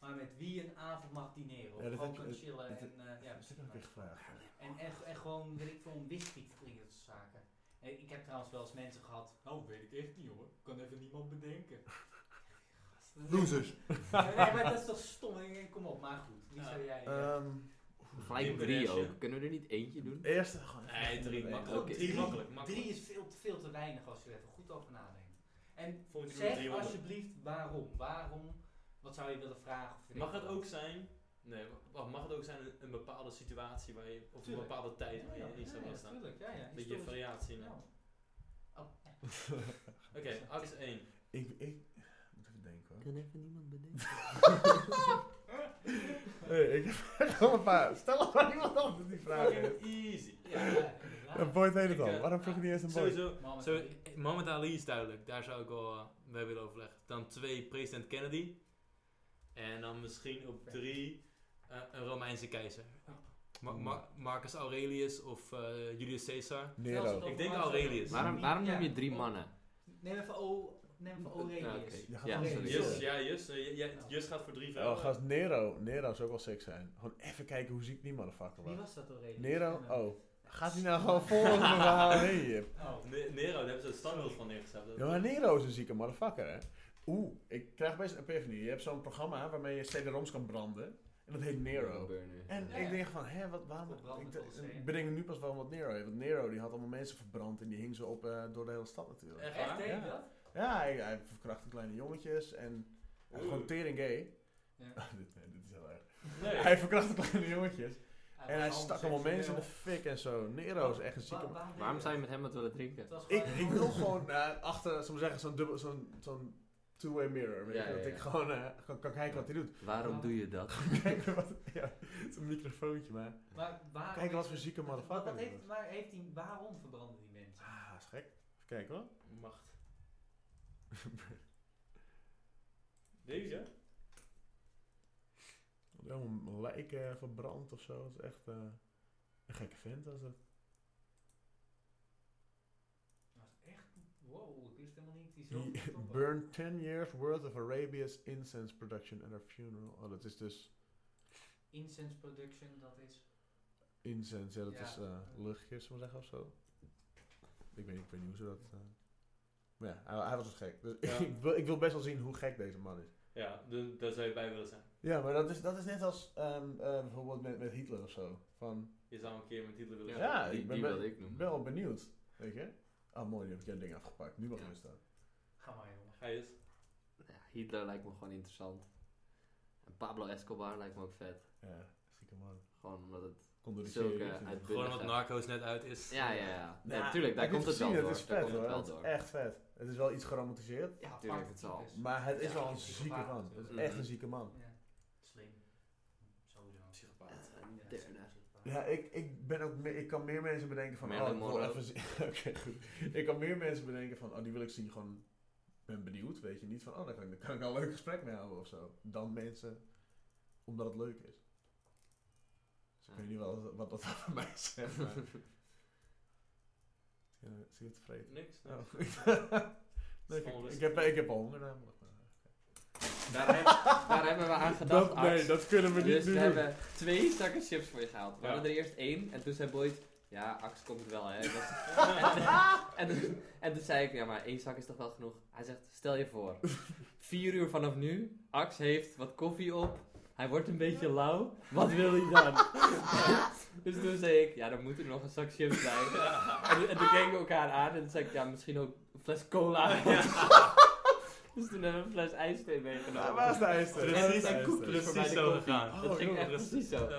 Speaker 5: Maar met wie een avond mag dineren. Of
Speaker 1: Ja, dat
Speaker 5: gewoon
Speaker 1: heb je-
Speaker 5: kunnen
Speaker 1: dat-
Speaker 5: chillen
Speaker 1: dat-
Speaker 5: en, eh, ja,
Speaker 1: Dat is ook
Speaker 5: precies.
Speaker 1: weer gevraagd.
Speaker 5: en, en, en gewoon, weet ik veel, een whisky te drinken, dat soort zaken. Eh, Ik heb trouwens wel eens mensen gehad. Oh, weet ik echt niet hoor. Ik kan even niemand bedenken. Gast, dat is- Nee, maar dat is toch stom? Ik denk, Kom op, maar goed. Wie
Speaker 2: Ja.
Speaker 5: zou jij... eh,
Speaker 1: Ehm
Speaker 4: Gelijk drie ook. Kunnen we er niet eentje doen?
Speaker 1: eerst gewoon. even
Speaker 2: Nee, drie
Speaker 1: even-
Speaker 2: makkelijk.
Speaker 4: Oké.
Speaker 2: Drie makkelijk. makkelijk.
Speaker 5: Drie is veel, veel te weinig als je er even goed over nadenkt. En
Speaker 2: Volgens mij
Speaker 5: zeg
Speaker 2: 300.
Speaker 5: alsjeblieft waarom. Waarom? Wat zou je willen vragen? Of weet
Speaker 2: Mag
Speaker 5: ik
Speaker 2: het
Speaker 5: wat?
Speaker 2: ook zijn... Nee, wacht, mag het ook zijn een, een bepaalde situatie waar je... Of
Speaker 5: Tuurlijk.
Speaker 2: een bepaalde tijd
Speaker 5: Ja,
Speaker 2: waar
Speaker 5: ja,
Speaker 2: je in
Speaker 5: ja,
Speaker 2: zou
Speaker 5: ja,
Speaker 2: willen staan?
Speaker 5: tuurlijk, ja, ja.
Speaker 2: Dat je
Speaker 5: historisch-
Speaker 2: variatie in
Speaker 5: Ja.
Speaker 2: hebt.
Speaker 5: Oh, ja.
Speaker 2: Oké, Ax 1.
Speaker 1: Ik, ik moet even denken hoor.
Speaker 4: kan even niemand bedenken.
Speaker 1: Hey, ik heb echt wel een paar. Stel maar iemand anders die vraag heeft.
Speaker 2: Fucking easy.
Speaker 5: Ja, inderdaad.
Speaker 1: Een boy weet het
Speaker 2: Ik,
Speaker 1: al.
Speaker 2: eh,
Speaker 1: Waarom vroeg ik niet eens een boy?
Speaker 2: Sowieso.
Speaker 5: Mohammed
Speaker 2: Zo,
Speaker 5: Ali.
Speaker 2: eh, Mohammed Ali is duidelijk, daar zou ik wel eh, bij willen overleggen. Dan twee, president Kennedy. En dan misschien op drie, eh, een Romeinse keizer. Ma- Ma- Marcus Aurelius of eh, Julius Caesar.
Speaker 5: Zelfs
Speaker 1: Nero.
Speaker 5: het
Speaker 2: Ik denk
Speaker 5: over-
Speaker 2: Aurelius.
Speaker 4: Waarom, waarom
Speaker 5: Ja.
Speaker 4: noem je drie mannen?
Speaker 5: Neem even O... Neem even
Speaker 4: Ja,
Speaker 5: Aurelius.
Speaker 4: oké.
Speaker 1: Je gaat
Speaker 4: Ja,
Speaker 1: dan
Speaker 5: sorry.
Speaker 2: Jus,
Speaker 1: Yes,
Speaker 2: ja, Jus. Eh, ja, Jus gaat voor drie
Speaker 1: Oh,
Speaker 2: vrouwen.
Speaker 1: gast, Nero. Nero zou ook wel sick zijn. Gewoon even kijken hoe ziek die motherfucker
Speaker 5: Wie
Speaker 1: was.
Speaker 5: was dat Aurelius?
Speaker 1: Nero?
Speaker 5: Ik ben-
Speaker 1: Oh. Gaat hij nou gewoon vol op mijn verhaal heen? Jip?
Speaker 5: Oh.
Speaker 2: Ne- Nero, daar hebben ze het standbeeld van neergezet. Dat-
Speaker 1: Ja, maar Nero is een zieke motherfucker, hè? Oeh, ik krijg best een epiphany. Je hebt zo'n programma waarmee je CD-ROMs kan branden. En dat heet Nero.
Speaker 4: Burner.
Speaker 1: En
Speaker 5: Ja,
Speaker 1: ik
Speaker 5: ja.
Speaker 1: denk van, hè, wat, waarom...
Speaker 5: Verbrand
Speaker 1: Ik,
Speaker 5: met alles, hè?
Speaker 1: ik bedenk nu pas waarom wat Nero heeft. Want Nero die had allemaal mensen verbrand en die hing ze op eh, door de hele stad natuurlijk.
Speaker 2: Echt
Speaker 5: Echt,
Speaker 2: waar?
Speaker 5: deed
Speaker 1: Ja.
Speaker 5: dat?
Speaker 1: Ja, hij, hij verkrachtte kleine jongetjes en... hij was
Speaker 2: Oeh.
Speaker 1: Gewoon tering gay.
Speaker 5: Ja.
Speaker 1: dit, nee, dit is heel erg.
Speaker 2: Nee.
Speaker 1: Hij verkrachtte kleine jongetjes. en hij stak allemaal mensen in de fik en zo. Nero is echt een zieke...
Speaker 5: Wa-
Speaker 1: man.
Speaker 4: Waarom zou je
Speaker 5: deed
Speaker 4: met hem wat willen
Speaker 5: hij
Speaker 4: drinken?
Speaker 5: dat? Het was
Speaker 1: Ik,
Speaker 5: gewoon-
Speaker 1: ik wil gewoon eh, achter, zullen we zeggen, zo'n dubbel... Zo'n, zo'n two-way mirror. Weet
Speaker 4: Ja,
Speaker 1: je,
Speaker 4: ja,
Speaker 1: dat
Speaker 4: ja.
Speaker 1: ik gewoon eh, gewoon kan kijken wat hij doet.
Speaker 4: Waarom doe je dat?
Speaker 1: Kijken wat... Ja, het is een microfoontje, maar...
Speaker 5: Maar waarom...
Speaker 1: Kijk, wat voor zieke
Speaker 5: Wat-
Speaker 1: motherfucker
Speaker 5: wat
Speaker 1: dat
Speaker 5: heeft,
Speaker 1: was.
Speaker 5: waar heeft hij, waarom verbranden die mensen?
Speaker 1: Ah, is gek. Even kijken hoor.
Speaker 2: Macht. Deze?
Speaker 1: Helemaal lijken eh, verbrand of zo. Dat is echt eh, een gekke vent als dat.
Speaker 5: Dat was echt... Wow, ik wist helemaal niet. Die zo
Speaker 1: He
Speaker 5: top was.
Speaker 1: burned 10 years worth of Arabia's incense production at her funeral. Oh, dat is dus
Speaker 5: Incense production, dat is...
Speaker 1: incense. Ja, dat
Speaker 5: Ja.
Speaker 1: is eh, luchtjes, zullen we zeggen of zo. Ik weet, niet- ik weet niet hoe ze dat. eh, Maar ja, hij, hij was dus gek. Dus
Speaker 2: Ja.
Speaker 1: ik, wil, ik wil best wel zien hoe gek deze man is.
Speaker 2: Ja, de- daar zou je bij willen zijn.
Speaker 1: Ja, maar dat is, dat is net als ehm, eh, bijvoorbeeld met, met Hitler of zo. Van,
Speaker 2: Je zou een keer met Hitler willen
Speaker 1: ja,
Speaker 4: Ja,
Speaker 2: zijn.
Speaker 4: die-
Speaker 1: ik ben
Speaker 4: die
Speaker 1: wel-
Speaker 4: wilde ik noemen.
Speaker 1: wel benieuwd. Weet je? Ah, mooi, nu heb ik jouw ding afgepakt. Nu mag ik staan.
Speaker 5: Ga maar, jongen.
Speaker 2: Ga je eens.
Speaker 4: Ja, Hitler lijkt me gewoon interessant. En Pablo Escobar lijkt me ook vet.
Speaker 1: Ja, zieke man.
Speaker 4: Gewoon omdat het...
Speaker 1: Komt door die
Speaker 4: Zulke
Speaker 1: serie.
Speaker 4: uit-
Speaker 2: Gewoon wat narco's net uit is.
Speaker 4: Ja, ja, ja. Nee,
Speaker 1: Nou,
Speaker 4: tuurlijk, daar
Speaker 1: heb je
Speaker 4: komt het wel
Speaker 1: gezien?
Speaker 4: door.
Speaker 1: Het is
Speaker 4: daar
Speaker 1: vet
Speaker 4: komt
Speaker 1: hoor.
Speaker 4: het wel
Speaker 1: Het is
Speaker 4: door.
Speaker 1: echt vet. Het is wel iets geromantiseerd,
Speaker 5: Ja,
Speaker 4: tuurlijk,
Speaker 5: apart
Speaker 4: het zal.
Speaker 5: dus.
Speaker 1: maar het is
Speaker 5: Ja,
Speaker 1: wel
Speaker 5: het
Speaker 1: een
Speaker 5: is
Speaker 1: zieke
Speaker 5: gevaarlijk
Speaker 1: man.
Speaker 4: Mm,
Speaker 1: Het is
Speaker 5: natuurlijk.
Speaker 1: echt een zieke man.
Speaker 5: Ja. Slim. Sowieso.
Speaker 2: Psychopaat.
Speaker 5: Ja,
Speaker 4: Derde.
Speaker 5: psychopaat.
Speaker 1: Ja, ik, ik, ben ook me- ik kan meer mensen bedenken van...
Speaker 4: Marilyn
Speaker 1: oh, ik wil
Speaker 4: Monroe.
Speaker 1: even zien. Oké, goed. Ik kan meer mensen bedenken van, oh, die wil ik zien. Gewoon, ben benieuwd, weet je. Niet van, oh, daar kan ik, daar kan ik al een leuk gesprek mee houden of zo. Dan mensen, omdat het leuk is. Dus ik
Speaker 4: Ja.
Speaker 1: weet niet wat, wat dat voor mij zegt, maar... Ja, Zie je het vreten?
Speaker 2: Niks.
Speaker 1: Oh.
Speaker 2: niks.
Speaker 1: nee,
Speaker 2: Gewoon
Speaker 1: ik, ik,
Speaker 2: rustig.
Speaker 1: heb, ik heb al honger namelijk. maar-
Speaker 4: Daar, heb- daar hebben we aan gedacht,
Speaker 7: Dat,
Speaker 4: Aks.
Speaker 7: nee, dat kunnen we niet
Speaker 4: Dus
Speaker 7: nu
Speaker 4: we
Speaker 7: doen.
Speaker 4: hebben twee zakken chips voor je gehaald. We
Speaker 7: Ja.
Speaker 4: hadden er eerst één en toen zei Boyd, ja, Ax komt het wel hè. Dat is- en, toen- en toen zei ik, ja maar één zak is toch wel genoeg. Hij zegt, stel je voor, vier uur vanaf nu, Ax heeft wat koffie op, hij wordt een beetje lauw, wat wil hij dan? dus toen zei ik, ja dan moet er nog een zak chips bij. en, en toen keken we elkaar aan en toen zei ik, ja misschien ook een fles cola. dus toen hebben we een fles ijsthee meegenomen.
Speaker 1: Ah, waar is de ijster?
Speaker 2: Precies,
Speaker 1: Waar is de
Speaker 2: en
Speaker 1: ijster?
Speaker 4: koekjes. voor mij
Speaker 2: Precies
Speaker 4: de
Speaker 2: zo
Speaker 4: koffie.
Speaker 2: gegaan.
Speaker 4: Dat ging
Speaker 1: joh.
Speaker 4: echt precies zo.
Speaker 2: Eh,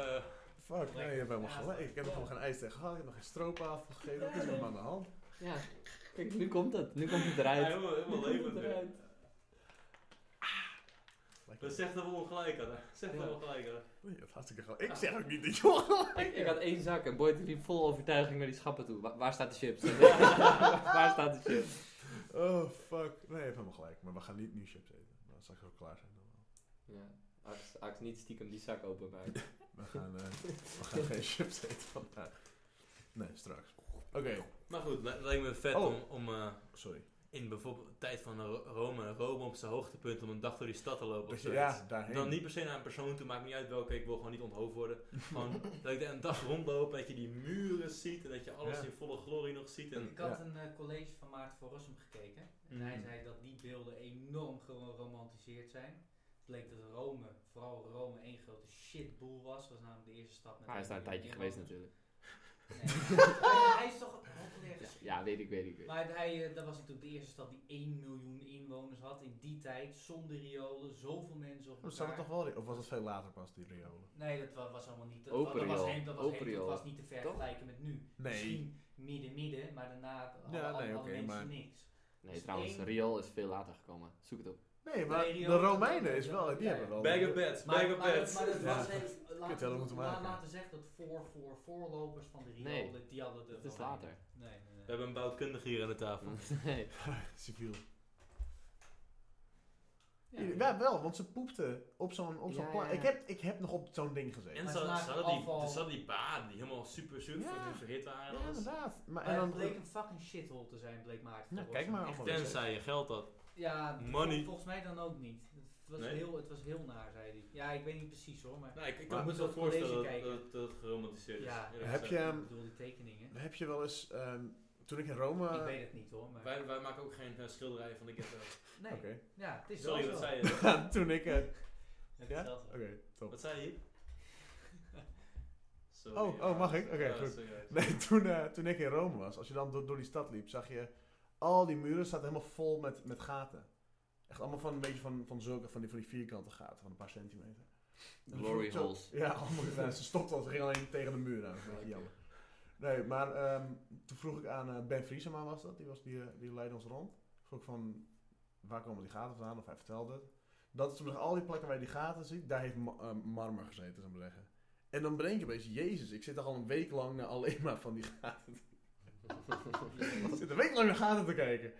Speaker 1: Fuck, nee, je hebt helemaal gelijk. Ik heb nog helemaal geen ijs tegen gehad. Ik heb nog geen stroop afgegeven. Wat is met me aan de hand?
Speaker 4: Ja, kijk, nu komt het. Nu komt het
Speaker 2: ja,
Speaker 4: eruit.
Speaker 2: helemaal helemaal
Speaker 4: Nu komt
Speaker 2: levend.
Speaker 4: het
Speaker 2: weer.
Speaker 4: eruit.
Speaker 1: Lekker.
Speaker 2: Dat zegt dat we ongelijk hadden. Zegt dat we
Speaker 4: Ja.
Speaker 2: ongelijk hadden.
Speaker 1: Oei, dat hartstikke gelijk. Ik zeg ook niet dat jongen.
Speaker 4: Ik, ik had één zak en Boyd liep vol overtuiging naar die schappen toe. Wa- waar staat de chips? waar staat de chips?
Speaker 1: Oh, fuck. Nee, je hebt helemaal gelijk. Maar we gaan niet nu chips eten. Dan zal ik ook klaar zijn. Dan wel.
Speaker 4: Ja, Ax, Ax niet stiekem die zak openmaken.
Speaker 1: We gaan, eh, we gaan geen chips eten vandaag. Nee, straks. Oké,
Speaker 2: Maar goed, het lijkt me vet
Speaker 1: Oh.
Speaker 2: om, om eh,
Speaker 1: sorry.
Speaker 2: in bijvoorbeeld de tijd van Ro- Rome, Rome op zijn hoogtepunt, om een dag door die stad te lopen
Speaker 1: Dus,
Speaker 2: of zoiets.
Speaker 1: ja, daarheen.
Speaker 2: Dan niet per se naar een persoon toe, maakt niet uit welke, ik wil gewoon niet onthoofd worden. Gewoon dat ik daar een dag rondloop, dat je die muren ziet en dat je alles
Speaker 1: Ja.
Speaker 2: in volle glorie nog ziet. En,
Speaker 5: Ik had
Speaker 1: Ja.
Speaker 5: een eh, college van Maarten van Rossum gekeken. En
Speaker 2: Mhm.
Speaker 5: hij zei dat die beelden enorm geromantiseerd zijn. Het bleek dat Rome, vooral Rome, één grote shitboel was. Dat was namelijk de eerste stap.
Speaker 4: Maar hij is daar een tijdje geweest natuurlijk.
Speaker 5: natuurlijk. hij, hij is toch een populair
Speaker 4: Ja,
Speaker 5: geschiedenis.
Speaker 4: Dus, ja, weet ik, weet ik, weet ik.
Speaker 5: Maar hij, eh, dat was natuurlijk de eerste stad die 1 miljoen inwoners had in die tijd. Zonder riolen, zoveel mensen op
Speaker 1: Maar Zal het
Speaker 5: elkaar.
Speaker 1: Oh, toch wel, of was het veel later pas, die riolen?
Speaker 5: Nee, dat wa- was allemaal niet... Dat,
Speaker 4: Open
Speaker 5: dat was,
Speaker 4: riool.
Speaker 5: heen, dat, was
Speaker 4: Open
Speaker 5: heen, dat
Speaker 4: riool.
Speaker 5: was niet te vergelijken met nu.
Speaker 1: Nee.
Speaker 5: Misschien midden-midden, maar daarna hadden
Speaker 1: Ja,
Speaker 5: alle
Speaker 1: nee,
Speaker 5: alle
Speaker 1: oké,
Speaker 5: mensen
Speaker 1: maar-
Speaker 5: niks.
Speaker 4: Nee,
Speaker 5: Dus
Speaker 4: trouwens,
Speaker 5: één-
Speaker 4: Riol is veel later gekomen. Zoek het op.
Speaker 1: Nee, maar
Speaker 5: Nee,
Speaker 1: de
Speaker 5: riolen-
Speaker 1: Romeinen is wel, die
Speaker 5: Ja,
Speaker 1: hebben wel...
Speaker 2: bag of beds,
Speaker 5: Maar,
Speaker 2: bag of
Speaker 5: maar,
Speaker 2: beds.
Speaker 5: maar dat
Speaker 1: Oh. Ja.
Speaker 5: was even-
Speaker 1: Kut, hadden we moeten
Speaker 5: laten, we
Speaker 1: maken.
Speaker 5: laten zeggen dat voor, voor, voorlopers van de
Speaker 4: Nee.
Speaker 5: riolen, die hadden de
Speaker 4: Het is
Speaker 5: Romeinen.
Speaker 4: later.
Speaker 5: Nee, nee, nee.
Speaker 2: We hebben een bouwkundige hier aan de
Speaker 1: Mm.
Speaker 2: tafel.
Speaker 4: Nee.
Speaker 1: Civiel.
Speaker 4: Ja.
Speaker 1: Ja, ja, wel, want ze poepten op zo'n op zo'n
Speaker 4: Ja,
Speaker 1: pla-
Speaker 4: ja, ja.
Speaker 1: Ik, heb, ik heb nog op zo'n ding gezeten.
Speaker 2: En
Speaker 5: Maar
Speaker 2: ze
Speaker 5: ze
Speaker 2: hadden- ze
Speaker 5: maken
Speaker 2: hadden die-
Speaker 5: afval.
Speaker 2: ze hadden die baden die helemaal super super
Speaker 1: Ja.
Speaker 2: verhit waren. en
Speaker 1: Ja,
Speaker 2: alles.
Speaker 1: inderdaad. Maar,
Speaker 5: Maar
Speaker 1: en dan
Speaker 5: het bleek een fucking shithole te zijn, bleek Maarten.
Speaker 1: Ja,
Speaker 5: van
Speaker 1: kijk
Speaker 5: Rossum.
Speaker 1: maar. allemaal weer
Speaker 2: Tenzij je geld had.
Speaker 5: Ja, vol-
Speaker 2: Money.
Speaker 5: volgens mij dan ook niet. Het was,
Speaker 2: Nee?
Speaker 5: heel, het was heel naar, zei hij. Ja, ik weet niet precies hoor, maar...
Speaker 2: Nou, ik, ik
Speaker 1: Maar
Speaker 2: kan me
Speaker 5: moet
Speaker 2: zo
Speaker 5: dat college
Speaker 2: voorstellen dat,
Speaker 5: kijken.
Speaker 2: dat, dat het geromantiseerd is.
Speaker 5: Ja.
Speaker 2: eerlijk
Speaker 1: Heb
Speaker 2: gezegd.
Speaker 1: je ehm,
Speaker 5: ik bedoel, die tekeningen.
Speaker 1: Heb je wel eens, ehm, toen ik in
Speaker 5: ik
Speaker 1: Rome...
Speaker 5: weet het niet hoor, maar...
Speaker 2: Wij, wij maken ook geen eh, schilderijen van de ghetto.
Speaker 5: nee,
Speaker 1: Oké.
Speaker 5: ja, het is
Speaker 2: Sorry,
Speaker 5: wel
Speaker 2: wat
Speaker 5: zo.
Speaker 2: zei je?
Speaker 1: toen ik... eh,
Speaker 5: Het is
Speaker 1: ja?
Speaker 5: wel
Speaker 1: Oké,
Speaker 5: zo.
Speaker 1: top.
Speaker 2: Wat zei je? Sorry,
Speaker 1: Oh, oh, mag ik? Oké,
Speaker 2: Ja,
Speaker 1: goed.
Speaker 2: sorry.
Speaker 1: Nee, toen, eh, toen ik in Rome was, als je dan door, door die stad liep, zag je... Al die muren zaten helemaal vol met, met gaten. Echt allemaal van een beetje van, van zulke, van die, van die vierkante gaten, van een paar centimeter. En dan
Speaker 4: Glory
Speaker 1: voel ik zo-
Speaker 4: holes.
Speaker 1: Ja, allemaal gedaan. Ze stopte al, ze ging alleen tegen de muur aan. Dat is een beetje jammer. Nee, maar ehm, toen vroeg ik aan eh, Ben Vriesema was dat, die, was, die, eh, die leidde ons rond. Vroeg ik van, waar komen die gaten vandaan? Of hij vertelde het. Dat is toen nog al die plekken waar je die gaten ziet, daar heeft ma- eh, marmer gezeten, zou ik maar zeggen. En dan bedenk je opeens, jezus, ik zit toch al een week lang naar alleen maar van die gaten. ik zit een week lang naar gaten te kijken.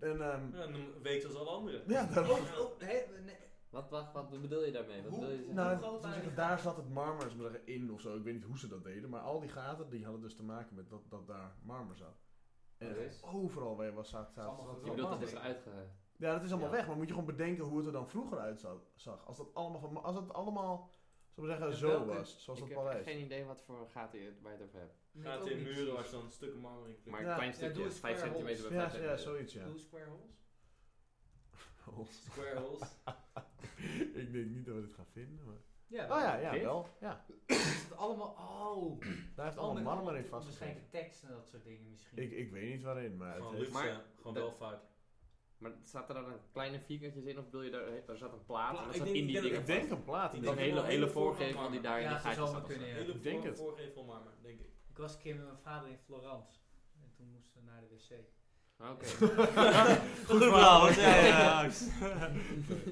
Speaker 1: En ehm,
Speaker 2: Ja, een week zoals alle anderen.
Speaker 1: ja, daarom.
Speaker 5: Oh, oh, hè, nee.
Speaker 4: Wat, wat, wat bedoel je daarmee? Wat
Speaker 5: Hoe-
Speaker 4: wil je zeggen?
Speaker 1: Nou,
Speaker 5: groot
Speaker 1: laten we
Speaker 5: waren
Speaker 1: zeggen,
Speaker 5: die
Speaker 1: daar
Speaker 5: gaten?
Speaker 1: zat het marmer zou ik maar zeggen, in of zo. Ik weet niet hoe ze dat deden. Maar al die gaten die hadden dus te maken met dat, dat daar marmer zat. En
Speaker 4: Oké.
Speaker 1: overal waar je was zat, zat,
Speaker 5: Allemaal
Speaker 1: zat
Speaker 4: je
Speaker 5: groot.
Speaker 4: bedoelt
Speaker 1: marmer.
Speaker 4: dat is eruit ge...
Speaker 1: Ja, dat is allemaal
Speaker 4: Ja.
Speaker 1: weg. Maar moet je gewoon bedenken hoe het er dan vroeger uit zat- zag. Als dat allemaal, van, als dat allemaal zou ik maar
Speaker 4: En
Speaker 1: zeggen, zo
Speaker 4: welke-
Speaker 1: was. Zoals
Speaker 4: Ik
Speaker 1: dat
Speaker 4: heb echt
Speaker 1: paleis.
Speaker 4: geen idee wat voor gaten je, waar je het over hebt.
Speaker 5: Nee,
Speaker 2: Gaat
Speaker 5: ook
Speaker 2: in
Speaker 5: niet
Speaker 2: muren waar
Speaker 5: precies.
Speaker 2: ze dan stukken marmer in klikken.
Speaker 4: Maar een
Speaker 1: Ja.
Speaker 4: klein
Speaker 5: Ja, doe
Speaker 4: stukje,
Speaker 5: eens
Speaker 4: 5
Speaker 5: square
Speaker 4: centimeter bij 5
Speaker 1: Ja, ja,
Speaker 4: centimeter.
Speaker 1: zoiets ja. Oh,
Speaker 5: Blue square holes?
Speaker 2: Square holes.
Speaker 1: ik denk niet dat we dit gaan vinden. Maar...
Speaker 5: Ja,
Speaker 1: Oh ja, ja,
Speaker 4: Dit?
Speaker 1: wel. Ja.
Speaker 5: Is het allemaal... Oh!
Speaker 1: Daar heeft allemaal marmer in vastgezeten.
Speaker 5: Waarschijnlijk tekst en dat soort dingen misschien.
Speaker 1: Ik, ik weet niet waarin, maar het
Speaker 2: Gewoon
Speaker 1: heeft-
Speaker 2: luxe,
Speaker 4: Maar-
Speaker 2: gewoon wel vaak.
Speaker 4: Maar zaten er dan kleine vierkantjes in of bedoel je daar, er zat een plaat
Speaker 2: Pla- ik
Speaker 4: en dat zat
Speaker 2: denk-
Speaker 4: in
Speaker 2: ik
Speaker 4: die
Speaker 2: denk-
Speaker 4: dingen
Speaker 1: Ik denk een plaat.
Speaker 2: Ik
Speaker 4: Dat
Speaker 2: denk
Speaker 1: Ik
Speaker 4: hele,
Speaker 2: wel
Speaker 4: hele
Speaker 2: hele
Speaker 4: voorgevel
Speaker 2: voorkant,
Speaker 4: die daar in
Speaker 5: ja,
Speaker 4: die
Speaker 5: het zou
Speaker 4: gaatjes zat.
Speaker 5: zomaar
Speaker 4: of zo.
Speaker 5: kunnen, ja.
Speaker 2: Hele
Speaker 1: Ik denk
Speaker 2: voor-
Speaker 1: het.
Speaker 2: voorgevel marmer, denk ik.
Speaker 5: Ik was een keer met mijn vader in Florence. En toen moesten we naar de wc.
Speaker 4: Oké.
Speaker 2: Goed verhaal, hoor. Ja, ja, ja.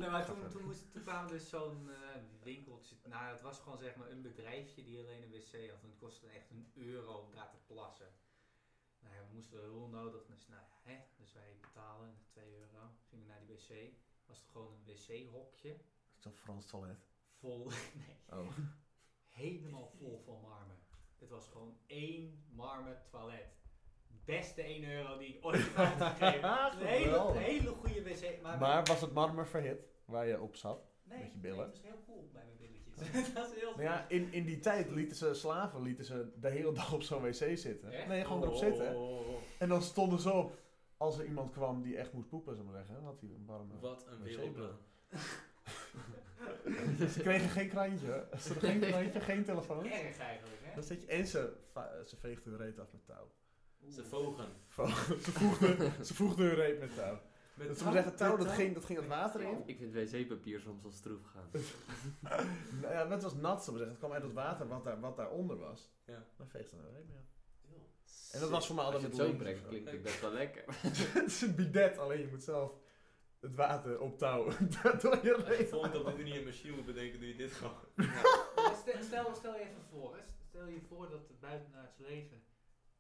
Speaker 5: Nee, maar toen, toen, moest, toen kwam dus zo'n eh, winkeltje. Nou, het was gewoon zeg maar een bedrijfje die alleen een wc had. En het kostte echt een euro om daar te plassen. Nou ja, we moesten een rol nodig. Dus, nou, ja, hè, dus wij betalen 2 euro. Gingen we naar die wc. Was het gewoon een wc-hokje.
Speaker 1: Zo'n Frans toilet.
Speaker 5: Vol, nee,
Speaker 1: Oh.
Speaker 5: helemaal vol van marmer. Het was gewoon één marmer toilet. Beste 1 euro die ik ooit heb uitgegeven. Een hele, een
Speaker 1: Geweldig.
Speaker 5: hele goede wc. Maar,
Speaker 1: Maar was het marmer verhit waar je op zat?
Speaker 5: Nee,
Speaker 1: Met je billen?
Speaker 5: nee, het was heel cool bij mijn billetjes. dat is heel
Speaker 1: Nou ja, in, in die tijd lieten ze slaven lieten ze de hele dag op zo'n wc zitten.
Speaker 5: Echt? Oh.
Speaker 1: Nee, gewoon erop zitten. En dan stonden ze op. Als er iemand kwam die echt moest poepen, zou ik maar zeggen, dan had hij een warme.
Speaker 2: Wat een
Speaker 1: Wc
Speaker 2: wereldbrand.
Speaker 1: Ze kregen geen krantje. Ze hadden geen krantje, geen telefoon.
Speaker 5: Erg eigenlijk, hè?
Speaker 1: Dan zit je, en ze, va- ze veegden hun reet af met touw.
Speaker 5: Oeh.
Speaker 2: Ze vogen.
Speaker 1: ze, voegden, ze voegden hun reet met touw.
Speaker 2: Met
Speaker 1: Dat ze maar zeggen, touw, dat ging, dat ging het water in.
Speaker 4: Ik vind wc-papier soms als troef gaan.
Speaker 1: Nou ja, het was nat, zo zeggen. Het kwam uit het water wat, daar, wat daaronder was.
Speaker 2: Ja.
Speaker 1: Dan veegde ze hun reet mee af.
Speaker 4: En
Speaker 1: dat was voor mij
Speaker 4: Als
Speaker 1: altijd
Speaker 4: je
Speaker 1: met
Speaker 4: het zo
Speaker 1: links of
Speaker 4: brengt,
Speaker 1: zo.
Speaker 4: klinkt het best wel lekker.
Speaker 1: het is een bidet, alleen je moet zelf het water op touw door je
Speaker 2: Als je
Speaker 1: reet.
Speaker 2: volgende op dit manier een machine moet bedenken, doe je dit gewoon.
Speaker 5: Stel, stel, stel je even voor, hè. stel je voor dat het buitenaards leven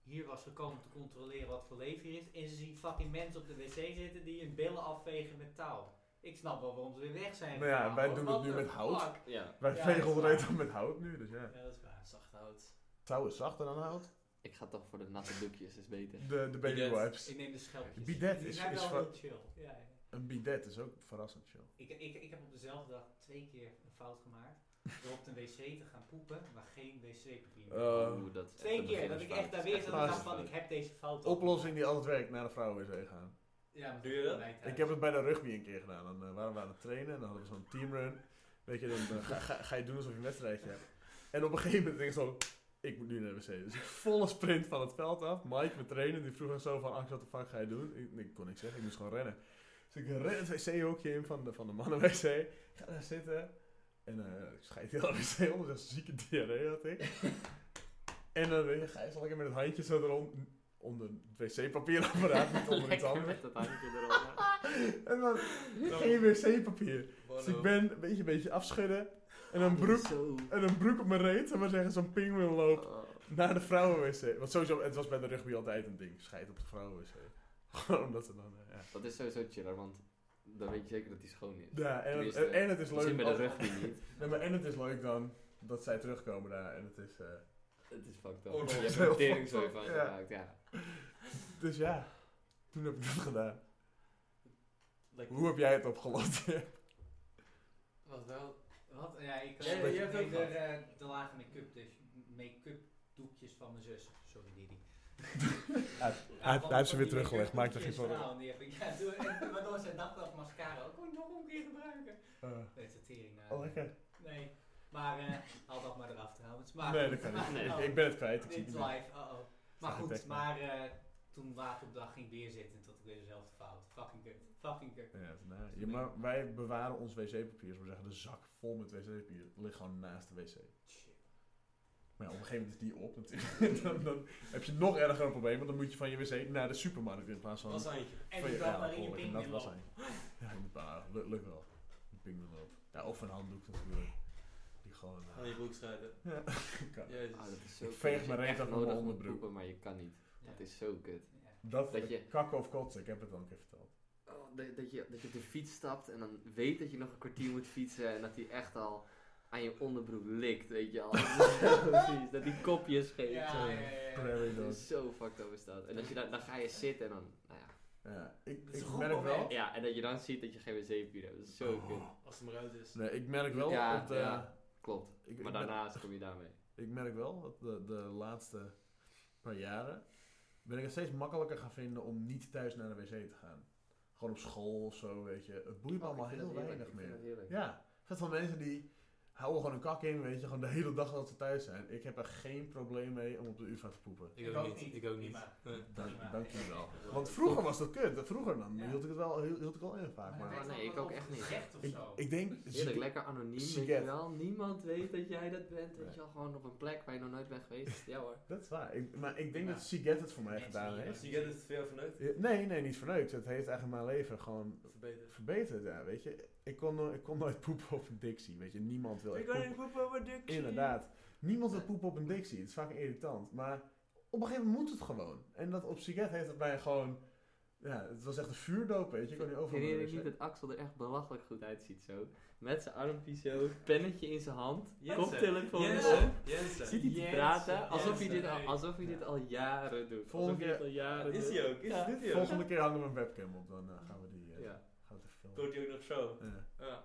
Speaker 5: hier was gekomen om te controleren wat voor leven hier is. En ze zien fucking mensen op de wc zitten die hun billen afvegen met touw. Ik snap wel waarom ze weer weg zijn.
Speaker 1: Nou ja,
Speaker 5: gegaan,
Speaker 1: wij
Speaker 5: hoor.
Speaker 1: doen het
Speaker 5: What
Speaker 1: nu
Speaker 5: the
Speaker 1: met hout.
Speaker 5: fuck?
Speaker 4: Ja.
Speaker 1: Wij
Speaker 5: Ja,
Speaker 1: vegen
Speaker 5: dat
Speaker 1: de
Speaker 5: is
Speaker 1: reet
Speaker 5: waar.
Speaker 1: dan met hout nu, dus ja.
Speaker 5: Ja, dat is waar.
Speaker 2: Zacht hout.
Speaker 1: Touw is zachter dan hout.
Speaker 4: Ik ga toch voor de natte doekjes, is beter.
Speaker 1: De, de baby
Speaker 2: Bidet.
Speaker 1: wipes.
Speaker 5: Ik neem de schelpjes.
Speaker 1: Bidet
Speaker 5: Die
Speaker 1: is-
Speaker 5: zijn
Speaker 1: is
Speaker 5: wel
Speaker 1: van-
Speaker 5: heel chill. Ja, ja.
Speaker 1: Een bidet is ook verrassend chill.
Speaker 5: Ik, ik, ik heb op dezelfde dag twee keer een fout gemaakt. Door op de wc te gaan poepen, maar geen wc-papier.
Speaker 1: Oh.
Speaker 5: meer.
Speaker 1: Eh,
Speaker 4: Oeh, Oh, dat is echt
Speaker 5: Twee
Speaker 4: een
Speaker 5: keer dat ik
Speaker 4: beginnersfout.
Speaker 5: echt daar weer zat en
Speaker 1: waar.
Speaker 5: dacht van ik heb deze fout al.
Speaker 1: Oplossing die altijd werkt, naar de vrouwenwc gaan.
Speaker 5: Ja, maar
Speaker 2: Doe je dat?
Speaker 5: bij mij thuis.
Speaker 1: Ik heb het bij de rugby een keer gedaan. Dan eh, waren we aan het trainen en dan hadden we zo'n teamrun. Weet je, dan eh, ga, ga, ga je doen alsof je een wedstrijdje hebt. En op een gegeven moment denk ik zo, ik moet nu naar de wc. Dus ik volle sprint van het veld af. Mike, mijn trainer, die vroeg ons zo van, Anx, wat de fuck ga je doen? Ik, ik kon niks zeggen, ik moest gewoon rennen. Dus ik ren het wc-hokje in van de, van de mannen-wc. Ik ga daar zitten. En eh ik scheid heel de wc onder, zo'n zieke diarree had ik. En dan eh, ga je zo lekker met het handje zo erom, onder het wc-papierapparaat, niet onder iets
Speaker 4: Lekker
Speaker 1: anders.
Speaker 4: met dat handje erop.
Speaker 1: En dan geen wc-papier. Dus ik ben een beetje, een beetje afschudden. En
Speaker 5: Ah,
Speaker 1: een
Speaker 5: dus-
Speaker 1: broek,
Speaker 4: Zo.
Speaker 1: en een broek op mijn reet. En we zeggen zo'n pinguïn loop
Speaker 4: Oh.
Speaker 1: naar de vrouwenwc. Want sowieso, het was bij de rugby altijd een ding. Scheid op de vrouwenwc. Gewoon omdat ze dan... eh, Ja,
Speaker 4: Dat is sowieso chiller, want dan weet je zeker dat die schoon is.
Speaker 1: ja en, het,
Speaker 4: Tenminste,
Speaker 1: en, en het is
Speaker 4: Die zit
Speaker 1: leuk.
Speaker 4: bij de
Speaker 1: als-
Speaker 4: rugby niet.
Speaker 1: Nee, maar en het is leuk dan dat zij terugkomen daar. En het is... eh,
Speaker 4: Het is fucked up.
Speaker 2: Oh,
Speaker 4: je
Speaker 2: dat
Speaker 4: hebt
Speaker 2: is
Speaker 4: er
Speaker 1: heel
Speaker 4: een teringzooi
Speaker 1: fucked
Speaker 4: van
Speaker 1: up, ja.
Speaker 4: gemaakt, ja.
Speaker 1: dus ja, toen heb ik dat gedaan.
Speaker 2: Lekker.
Speaker 1: Hoe heb jij het opgelost? Eh,
Speaker 2: Wat wel?
Speaker 5: Wat? Ja, ik
Speaker 2: Jij- jij hebt
Speaker 5: neem
Speaker 2: ook
Speaker 5: er, eh, de lage make-up dus, make-up doekjes van mijn zus. Sorry Didi.
Speaker 1: hij heeft ze weer teruggelegd, maak
Speaker 5: maakt
Speaker 1: er geen zorgen.
Speaker 5: Die heb ik, ja, toen- en waardoor zij dacht dat mascara ook kon ik nog een keer gebruiken.
Speaker 1: Eh,
Speaker 5: Nee, de tering. nou.
Speaker 1: oh, lekker.
Speaker 5: Nee, maar eh, haal dat maar eraf trouwens. Maar, Oh,
Speaker 1: Nee, dat kan niet.
Speaker 4: Nee.
Speaker 1: Ik- Ik ben het kwijt. Ik zie
Speaker 5: Dit
Speaker 1: het
Speaker 5: is
Speaker 1: niet.
Speaker 5: live, uh oh. Maar
Speaker 1: Staat
Speaker 5: goed,
Speaker 1: getekend.
Speaker 5: maar eh, toen later op de dag ging ik weer zitten en tot ik weer dezelfde fout. Fucking kut. Fucking kut.
Speaker 1: Ja, nou, ja, maar wij bewaren ons wc-papier, zo zeggen, de zak vol met wc-papier ligt gewoon naast de wc.
Speaker 5: Shit.
Speaker 1: Maar ja, op een gegeven moment is die op natuurlijk. dan, dan heb je nog erger een probleem, want dan moet je van je wc naar de supermarkt in plaats van...
Speaker 2: Was eentje.
Speaker 5: En
Speaker 1: van
Speaker 5: ik
Speaker 1: je-
Speaker 5: dacht
Speaker 1: ja,
Speaker 5: maar in je
Speaker 1: behoorlijk, en
Speaker 5: pink
Speaker 1: dat was hij. Ja, maar lu- lukt wel. Een pingwinloop. Ja, of een handdoek natuurlijk. Die gewoon... eh,
Speaker 2: Aan je broek schuiven.
Speaker 1: Ja, kan.
Speaker 2: Jezus.
Speaker 4: Ah, dat is zo
Speaker 1: Ik
Speaker 4: kut.
Speaker 1: veeg
Speaker 4: Als je
Speaker 1: mijn reet
Speaker 4: echt
Speaker 1: af met mijn
Speaker 4: nodig moet
Speaker 1: onderbroek.
Speaker 4: poepen, maar je kan niet. Dat is zo kut.
Speaker 1: Dat,
Speaker 4: Dat je-
Speaker 1: kakken of kotsen, ik heb het al een keer verteld.
Speaker 4: Oh, dat, dat je, dat je op de fiets stapt en dan weet dat je nog een kwartier moet fietsen en dat hij echt al aan je onderbroek likt, weet je al. Precies, dat die kopjes geeft.
Speaker 5: Ja, ja, ja. ja.
Speaker 1: Prairie
Speaker 4: Dat
Speaker 1: dog.
Speaker 4: is zo fucked up is dat. En dat je dan, dan ga je zitten en dan, nou ja.
Speaker 1: Ja, ik,
Speaker 5: Dat is
Speaker 1: ik
Speaker 5: een goed
Speaker 1: merk wel...
Speaker 5: moment.
Speaker 4: Ja, en dat je dan ziet dat je geen wc-papier hebt. Dat is zo
Speaker 1: Oh.
Speaker 4: kut.
Speaker 2: Als het maar uit is.
Speaker 1: Nee, ik merk wel
Speaker 4: Ja,
Speaker 1: dat... eh,
Speaker 4: ja. Klopt.
Speaker 1: ik- ik
Speaker 4: Maar
Speaker 1: ben-
Speaker 4: daarnaast kom je daarmee.
Speaker 1: Ik merk wel dat de, de laatste paar jaren ben ik het steeds makkelijker gaan vinden om niet thuis naar de wc te gaan.
Speaker 4: Oh,
Speaker 5: Oh,
Speaker 1: Gewoon op school of zo, weet je. Het boeit me allemaal heel weinig meer. Ja, er zijn wel mensen die Hou er gewoon een kak in, weet je. Gewoon de hele dag dat ze thuis zijn. Ik heb er geen probleem mee om op de UvA te poepen.
Speaker 2: Ik ook niet. Ik ook niet.
Speaker 5: Prima.
Speaker 2: Nee.
Speaker 1: Dank,
Speaker 5: Prima.
Speaker 1: dank je wel. Want vroeger was dat kut. Vroeger dan
Speaker 5: Ja.
Speaker 1: hield ik het wel, hield, hield ik al heel vaak.
Speaker 5: Maar
Speaker 1: Maar
Speaker 5: weet
Speaker 4: Oh, nee,
Speaker 5: wel
Speaker 4: ik ook
Speaker 5: of
Speaker 4: echt
Speaker 5: het is
Speaker 4: niet.
Speaker 5: Recht of
Speaker 1: ik,
Speaker 5: zo.
Speaker 1: ik denk...
Speaker 4: Heerlijk, lekker anoniem, weet
Speaker 1: Siget.
Speaker 4: je wel. Niemand weet dat jij dat bent. Weet
Speaker 1: Nee.
Speaker 4: je wel, gewoon op een plek waar je nog nooit bent geweest. Ja hoor.
Speaker 1: Dat is waar. Ik- maar ik denk
Speaker 5: Ja.
Speaker 1: dat Siget het voor mij
Speaker 5: Mensen
Speaker 1: gedaan
Speaker 5: die-
Speaker 1: heeft.
Speaker 2: Zie jij het veel vanuit?
Speaker 1: Ja, Nee, nee, niet verneukt. Het heeft eigenlijk mijn leven gewoon
Speaker 2: Verbeterd.
Speaker 1: verbeterd. Ja, weet je. Ik kon, no- ik kon nooit poepen op een Dixie. Weet je, niemand wil echt poepen. Inderdaad. Niemand wil poepen op een Dixie. Het is vaak irritant. Maar op een gegeven moment moet het gewoon. En dat op Siget heeft het mij gewoon... Ja, het was echt een vuurdoop, weet je. Ik kon niet overal
Speaker 4: Vind
Speaker 1: naar
Speaker 4: je
Speaker 1: de
Speaker 4: niet
Speaker 1: wc.
Speaker 4: dat Axel er echt belachelijk goed uitziet zo? Met zijn armpjes zo, pennetje in zijn hand, koptelefoon op.
Speaker 2: Jensen.
Speaker 4: Ziet
Speaker 2: Jensen.
Speaker 4: hij te
Speaker 5: Yes,
Speaker 4: praten alsof
Speaker 5: yes,
Speaker 4: hij dit al,
Speaker 5: nee.
Speaker 4: alsof hij dit al jaren doet.
Speaker 1: Volgende
Speaker 4: alsof hij dit al jaren
Speaker 2: Is
Speaker 4: doet.
Speaker 2: hij ook? Is
Speaker 4: Ja.
Speaker 2: dit hij ook?
Speaker 1: Volgende keer hangen we een webcam op. Dan eh, gaan we die... eh,
Speaker 4: Ja.
Speaker 1: gaan we het even filmen.
Speaker 2: Komt hij ook nog zo?
Speaker 1: Ja.
Speaker 2: Ja.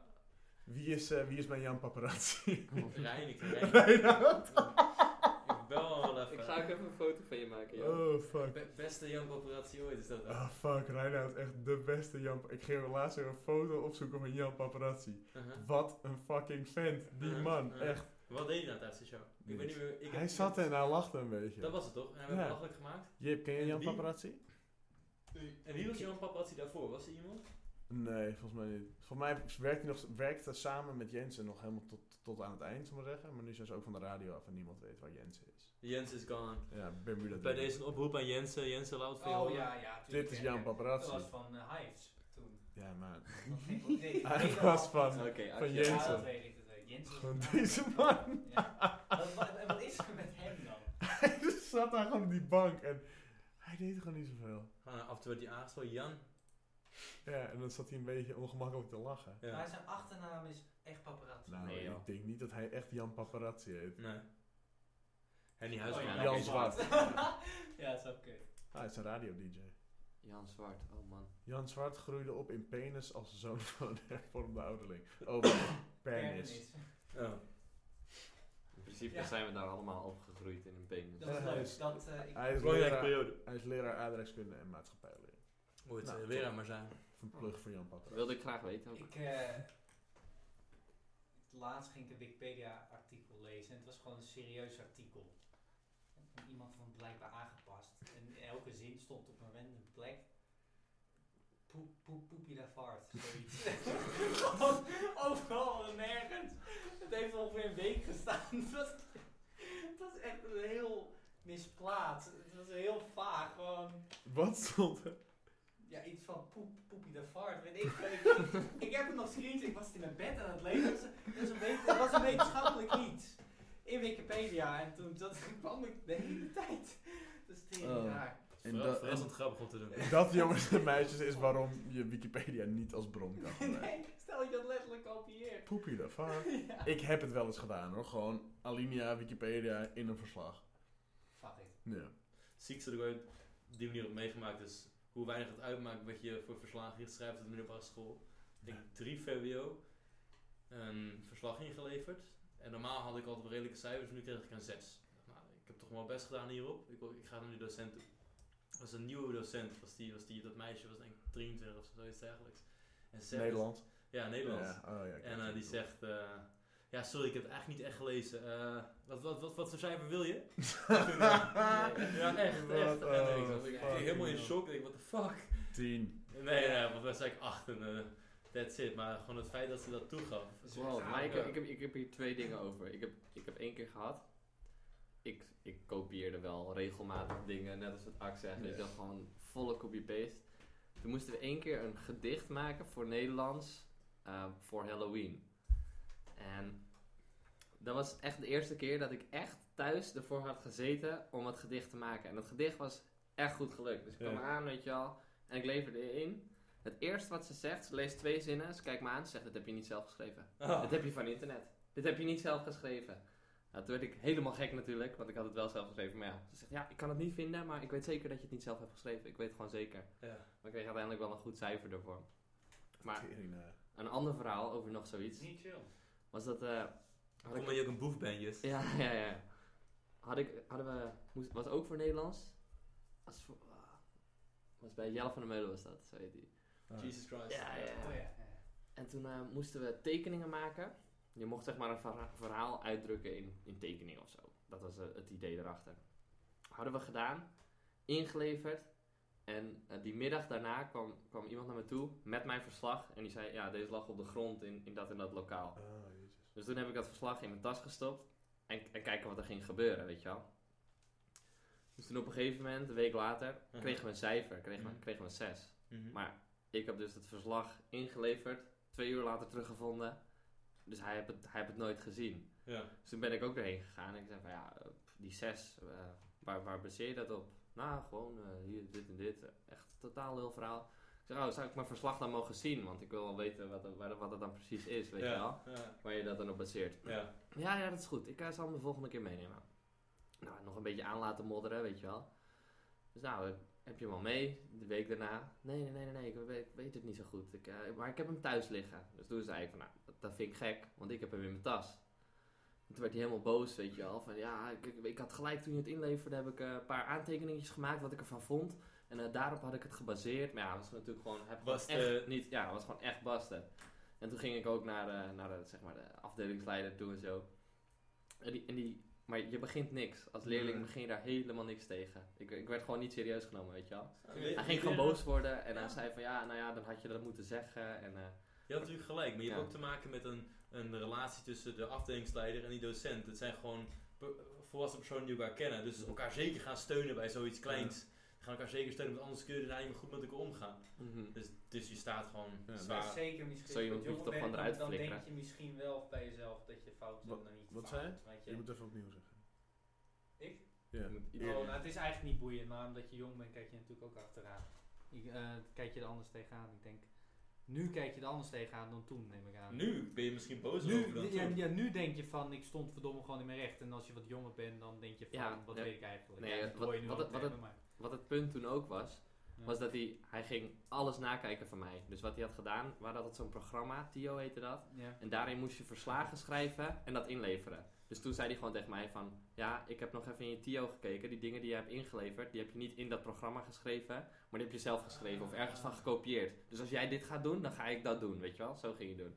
Speaker 1: Wie is, eh, wie is mijn Jan Paparazzi?
Speaker 2: Reinig, Reinig. Ik bel hem wel even.
Speaker 4: Ik ga ook even een foto van je maken, joh.
Speaker 1: Oh, fuck.
Speaker 2: Be- beste Jan Coöperatie ooit is dat.
Speaker 1: Ah, fuck. Reinhard, echt de beste Jan... Pa- Ik ging laatst weer een foto opzoeken van Jan Paparazzi.
Speaker 2: Uh-huh.
Speaker 1: Wat een fucking vent. Die
Speaker 2: Uh-huh.
Speaker 1: man,
Speaker 2: Uh-huh.
Speaker 1: echt.
Speaker 2: Wat deed hij nou tijdens de show? Ik weet niet meer. Ik
Speaker 1: Hij
Speaker 2: heb-
Speaker 1: zat en hij lachte een
Speaker 2: Dat
Speaker 1: beetje.
Speaker 2: was het toch? En hij werd
Speaker 1: Ja.
Speaker 2: belachelijk gemaakt.
Speaker 1: Jip, ken je
Speaker 2: En
Speaker 1: Jan
Speaker 2: wie?
Speaker 1: Paparazzi?
Speaker 2: En wie was Jan Paparazzi daarvoor? Was er iemand?
Speaker 1: Nee, volgens mij niet. Volgens mij werkt hij nog, werkte samen met Jensen nog helemaal tot, tot aan het eind, zal ik maar zeggen. Maar nu zijn ze ook van de radio af en niemand weet waar Jensen is.
Speaker 2: Jens is gone.
Speaker 1: Ja, Bermuda.
Speaker 2: Bij
Speaker 1: Driehoek.
Speaker 2: deze een oproep aan Jensen. Jensen, laat het van je
Speaker 5: Oh
Speaker 2: horen.
Speaker 5: ja, ja. tuurlijk.
Speaker 1: Dit is
Speaker 5: Ja,
Speaker 1: Jan
Speaker 5: ja.
Speaker 1: Paparazzi.
Speaker 5: Dat was van eh, Hives toen.
Speaker 1: Ja, maar...
Speaker 5: Dat was geen probleem. Nee,
Speaker 1: Hij
Speaker 5: nee, dat
Speaker 1: was van-
Speaker 4: Oké,
Speaker 1: van
Speaker 4: Axel.
Speaker 5: Ja,
Speaker 1: Jensen.
Speaker 5: dat weet ik. dat weet ik. Jensen.
Speaker 1: Gewoon
Speaker 5: was-
Speaker 1: deze man.
Speaker 5: Ja. Wat- wat- En wat is er met hem dan?
Speaker 1: Hij zat daar gewoon op die bank en hij deed gewoon niet zoveel.
Speaker 2: Gewoon Ah, af en toe werd hij aangesproken. Jan.
Speaker 1: Ja, en dan zat hij een beetje ongemakkelijk te lachen.
Speaker 5: Maar
Speaker 2: Ja.
Speaker 5: zijn achternaam is echt paparazzi. Oh,
Speaker 1: Nou,
Speaker 4: Nee, joh.
Speaker 1: ik denk niet dat hij echt Jan Paparazzi heet.
Speaker 2: Nee. Henny
Speaker 5: Oh,
Speaker 2: Huisman.
Speaker 4: ja,
Speaker 1: Jan
Speaker 4: oké.
Speaker 1: Zwart.
Speaker 5: ja, dat is ook kut.
Speaker 1: Ah, hij is een radio-dj.
Speaker 4: Jan Zwart, oh man.
Speaker 1: Jan Zwart groeide op in penis als zoon van een hervormde ouderling. Oh, wacht. penis.
Speaker 5: Kernis.
Speaker 2: Oh.
Speaker 4: In principe
Speaker 5: Ja.
Speaker 4: zijn we daar allemaal opgegroeid in een penis.
Speaker 5: Dat is
Speaker 1: Ja, hij is-
Speaker 5: leuk. Dat, eh, ik,
Speaker 1: Hij is
Speaker 2: Belangrijke
Speaker 1: leraar,
Speaker 2: periode.
Speaker 1: hij is leraar aardrijkskunde en maatschappijleer.
Speaker 2: Moet het
Speaker 1: Nou,
Speaker 2: eh, weer
Speaker 1: top.
Speaker 2: aan maar zijn.
Speaker 1: Of een plug voor Jan
Speaker 4: Dat
Speaker 1: Paparazzi.
Speaker 4: wilde ik graag weten. ook.
Speaker 5: ik, eh, laatst ging ik een Wikipedia-artikel lezen en het was gewoon een serieus artikel. En iemand van blijkbaar aangepast. En elke zin stond op een random plek. Poep, poep, poepie daar vaart. Zoiets. Gewoon Overal en nergens. Het heeft ongeveer een week gestaan. Het was, het was echt een heel misplaatst. Het was heel vaag. Gewoon
Speaker 1: Wat stond er?
Speaker 5: Ja, iets van poep, poepie de vaart. Weet ik, veel. ik, ik heb het nog screens, ik was het in mijn bed aan het lezen. Dus Het was een, wet- het was een wetenschappelijk iets. In Wikipedia. En toen dat kwam ik de hele tijd. Dus het is
Speaker 1: Oh.
Speaker 5: raar.
Speaker 1: En
Speaker 2: Verra-
Speaker 1: dat-
Speaker 2: Verrassend grappig om te doen.
Speaker 1: Dat, jongens en meisjes, is waarom je Wikipedia niet als bron kan gebruiken.
Speaker 5: Nee, stel dat je dat letterlijk kopieert.
Speaker 1: Poepie de vark.
Speaker 5: Ja.
Speaker 1: Ik heb het wel eens gedaan hoor. Gewoon Alinea, Wikipedia in een verslag.
Speaker 5: Fuck it.
Speaker 1: Ja.
Speaker 2: Ziekste dat ik ooit op die manier heb meegemaakt is hoe weinig het uitmaakt wat je voor verslagen hier schrijft op de middelbare school. Ik denk 3 VWO een ehm, verslag ingeleverd. En normaal had ik altijd wel redelijke cijfers, nu kreeg ik een 6. Nou, ik heb toch wel best gedaan hierop. Ik, wil- ik ga naar die docent toe. Dat was een nieuwe docent, was die, was die, dat meisje was denk ik 23 of zoiets dergelijks. En zegt-
Speaker 1: Nederland.
Speaker 2: Ja, Nederlands.
Speaker 1: Ja, oh ja, ik
Speaker 2: En
Speaker 1: weet
Speaker 2: eh, die
Speaker 1: het
Speaker 2: zegt, eh, ja sorry, ik heb het eigenlijk niet echt gelezen. Eh, wat, wat, wat, wat voor cijfer wil je? ja, echt,
Speaker 1: Wat,
Speaker 2: echt. En ik
Speaker 1: oh,
Speaker 2: was- ik ging
Speaker 1: fucking
Speaker 2: helemaal in
Speaker 1: hell.
Speaker 2: shock. Ik denk, what the fuck?
Speaker 1: wel. Tien.
Speaker 2: Nee, nee, want dan zei ik acht en eh, that's it. Maar gewoon het feit dat ze dat toegaf.
Speaker 4: Wow, maar ik, heb- ik, heb, ik heb hier twee dingen over. Ik heb, ik heb één keer gehad. Ik, ik kopieerde wel regelmatig dingen, net als wat Ax zegt.
Speaker 1: Ja.
Speaker 4: Ik dacht gewoon volle copy-paste. Toen moesten we één keer een gedicht maken voor Nederlands eh, voor Halloween. En dat was echt de eerste keer dat ik echt thuis ervoor had gezeten om het gedicht te maken. En dat gedicht was echt goed gelukt. Dus ik kwam
Speaker 1: Ja.
Speaker 4: aan, weet je al, en ik leverde in. Het eerste wat ze zegt, ze leest twee zinnen, ze kijkt me aan, ze zegt, dat heb je niet zelf geschreven.
Speaker 2: Oh.
Speaker 4: Dit heb je van internet. Dit heb je niet zelf geschreven. Nou, toen werd ik helemaal gek natuurlijk, want ik had het wel zelf geschreven. Maar ja, ze zegt, ja, ik kan het niet vinden, maar ik weet zeker dat je het niet zelf hebt geschreven. Ik weet het gewoon zeker.
Speaker 2: Ja.
Speaker 4: Maar ik kreeg uiteindelijk wel een goed cijfer ervoor. Maar
Speaker 1: Tering, eh.
Speaker 4: een ander verhaal over nog zoiets,
Speaker 5: Niet chill.
Speaker 4: was dat... eh, had
Speaker 2: Kom
Speaker 4: ik-
Speaker 2: maar je ook een boef bent, Jus.
Speaker 4: ja, ja, ja. Had ik, hadden we, moest, was ook voor Nederlands. Was, voor, ah, was bij Jelle van der Meulen was dat, zo heet die.
Speaker 1: Ah.
Speaker 2: Jesus Christ.
Speaker 4: Ja, ja, ja.
Speaker 5: Oh ja.
Speaker 4: En toen eh, moesten we tekeningen maken Je mocht zeg maar een verha- verhaal uitdrukken in, in tekening of zo. Dat was eh, het idee erachter. Hadden we gedaan, ingeleverd. En eh, die middag daarna kwam, kwam iemand naar me toe met mijn verslag. En die zei, ja, deze lag op de grond in, in dat en dat lokaal.
Speaker 1: Ah, jezus.
Speaker 4: Dus toen heb ik dat verslag in mijn tas gestopt en, en kijken wat er ging gebeuren, weet je wel. Dus toen op een gegeven moment, een week later,
Speaker 2: Mhm.
Speaker 4: kregen we een cijfer, kregen we,
Speaker 2: Mhm.
Speaker 4: kregen we een 6.
Speaker 2: Mhm.
Speaker 4: Maar ik heb dus het verslag ingeleverd, twee uur later teruggevonden. Dus hij heeft het, hij heeft het nooit gezien.
Speaker 2: ja.
Speaker 4: Dus toen ben ik ook erheen gegaan en ik zei van ja, eh, pff, die 6, waar, waar baseer je dat op? Nou, gewoon eh, hier, dit en dit. Echt totaal heel verhaal. Ik zei, oh, zou ik mijn verslag dan mogen zien? Want ik wil wel weten wat, er- waar- wat het dan precies is, weet je wel.
Speaker 2: ja. ja.
Speaker 4: Waar je dat dan op baseert.
Speaker 2: ja.
Speaker 4: Ja, ja, dat is goed. Ik eh, zal hem de volgende keer meenemen. Nou, nog een beetje aan laten modderen, weet je wel. Dus nou, eh, heb je hem al mee, de week daarna? Nee, nee, nee, nee, nee, ik weet, ik weet het niet zo goed. Ik, eh, maar ik heb hem thuis liggen. Dus toen zei ik van, nou, dat, dat vind ik gek, want ik heb hem in mijn tas. En toen werd hij helemaal boos, weet je wel. Van ja, ik, ik, ik had gelijk toen je het inleverde, heb ik eh, een paar aantekeningetjes gemaakt wat ik ervan vond. En eh, daarop had ik het gebaseerd. Maar ja, was natuurlijk gewoon, heb gewoon
Speaker 2: Was,
Speaker 4: echt
Speaker 2: eh,
Speaker 4: niet, ja, was gewoon echt basten. En toen ging ik ook naar, de, naar de, zeg maar de afdelingsleider toe en zo. En die, en die, maar je begint niks. Als leerling
Speaker 2: Nee.
Speaker 4: begin je daar helemaal niks tegen. Ik, ik werd gewoon niet serieus genomen, weet je wel.
Speaker 2: Hij
Speaker 4: Hij ging gewoon boos worden en
Speaker 2: Ja.
Speaker 4: hij zei van ja, nou ja, dan had je dat moeten zeggen. En, eh,
Speaker 2: Je had natuurlijk gelijk, maar je hebt
Speaker 4: Ja.
Speaker 2: ook te maken met een, een relatie tussen de afdelingsleider en die docent. Het zijn gewoon pe- volwassen personen die elkaar kennen, dus elkaar zeker gaan steunen bij zoiets kleins. Gaan elkaar zeker steunen, want anders kun je er niet meer goed met elkaar omgaan. Dus, dus je staat gewoon
Speaker 3: Ja,
Speaker 5: Maar
Speaker 2: zwaar.
Speaker 5: zeker misschien.
Speaker 4: Zo
Speaker 5: als je
Speaker 4: iemand
Speaker 5: jong
Speaker 4: moet je toch
Speaker 5: bent,
Speaker 4: gewoon eruit
Speaker 5: Dan denk
Speaker 4: flikkeren.
Speaker 5: je misschien wel bij jezelf dat je fout
Speaker 3: Wat-
Speaker 5: bent en niet
Speaker 3: wat
Speaker 5: fout,
Speaker 3: zei
Speaker 5: weet
Speaker 3: Je
Speaker 5: je.
Speaker 3: moet even opnieuw zeggen.
Speaker 5: Ik?
Speaker 3: Ja.
Speaker 5: Oh, nou, het is eigenlijk niet boeiend, maar omdat je jong bent kijk je natuurlijk ook achteraan. Ik, eh, kijk je er anders tegenaan. Ik denk, nu kijk je er anders tegenaan dan toen, neem ik aan.
Speaker 2: Nu ben je misschien boos over
Speaker 5: Nu,
Speaker 2: dan
Speaker 5: ja,
Speaker 2: toen.
Speaker 5: ja, nu denk je van, ik stond verdomme gewoon in mijn recht. En als je wat jonger bent, dan denk je van,
Speaker 4: Ja,
Speaker 5: wat
Speaker 4: ja.
Speaker 5: weet ik eigenlijk.
Speaker 4: Nee,
Speaker 5: ja, dat
Speaker 4: wat-
Speaker 5: hoor je nu
Speaker 4: wat
Speaker 5: ook
Speaker 4: het- wat
Speaker 5: tegen mij.
Speaker 4: Wat het punt toen ook was,
Speaker 5: Ja.
Speaker 4: was dat hij, hij ging alles nakijken van mij. Dus wat hij had gedaan, we hadden dat zo'n programma, Tio heette dat.
Speaker 5: Ja.
Speaker 4: En daarin moest je verslagen schrijven en dat inleveren. Dus toen zei hij gewoon tegen mij van... Ja, ik heb nog even in je TIO gekeken. Die dingen die je hebt ingeleverd, die heb je niet in dat programma geschreven. Maar die heb je zelf geschreven of ergens van gekopieerd. Dus als jij dit gaat doen, dan ga ik dat doen, weet je wel. Zo ging je doen.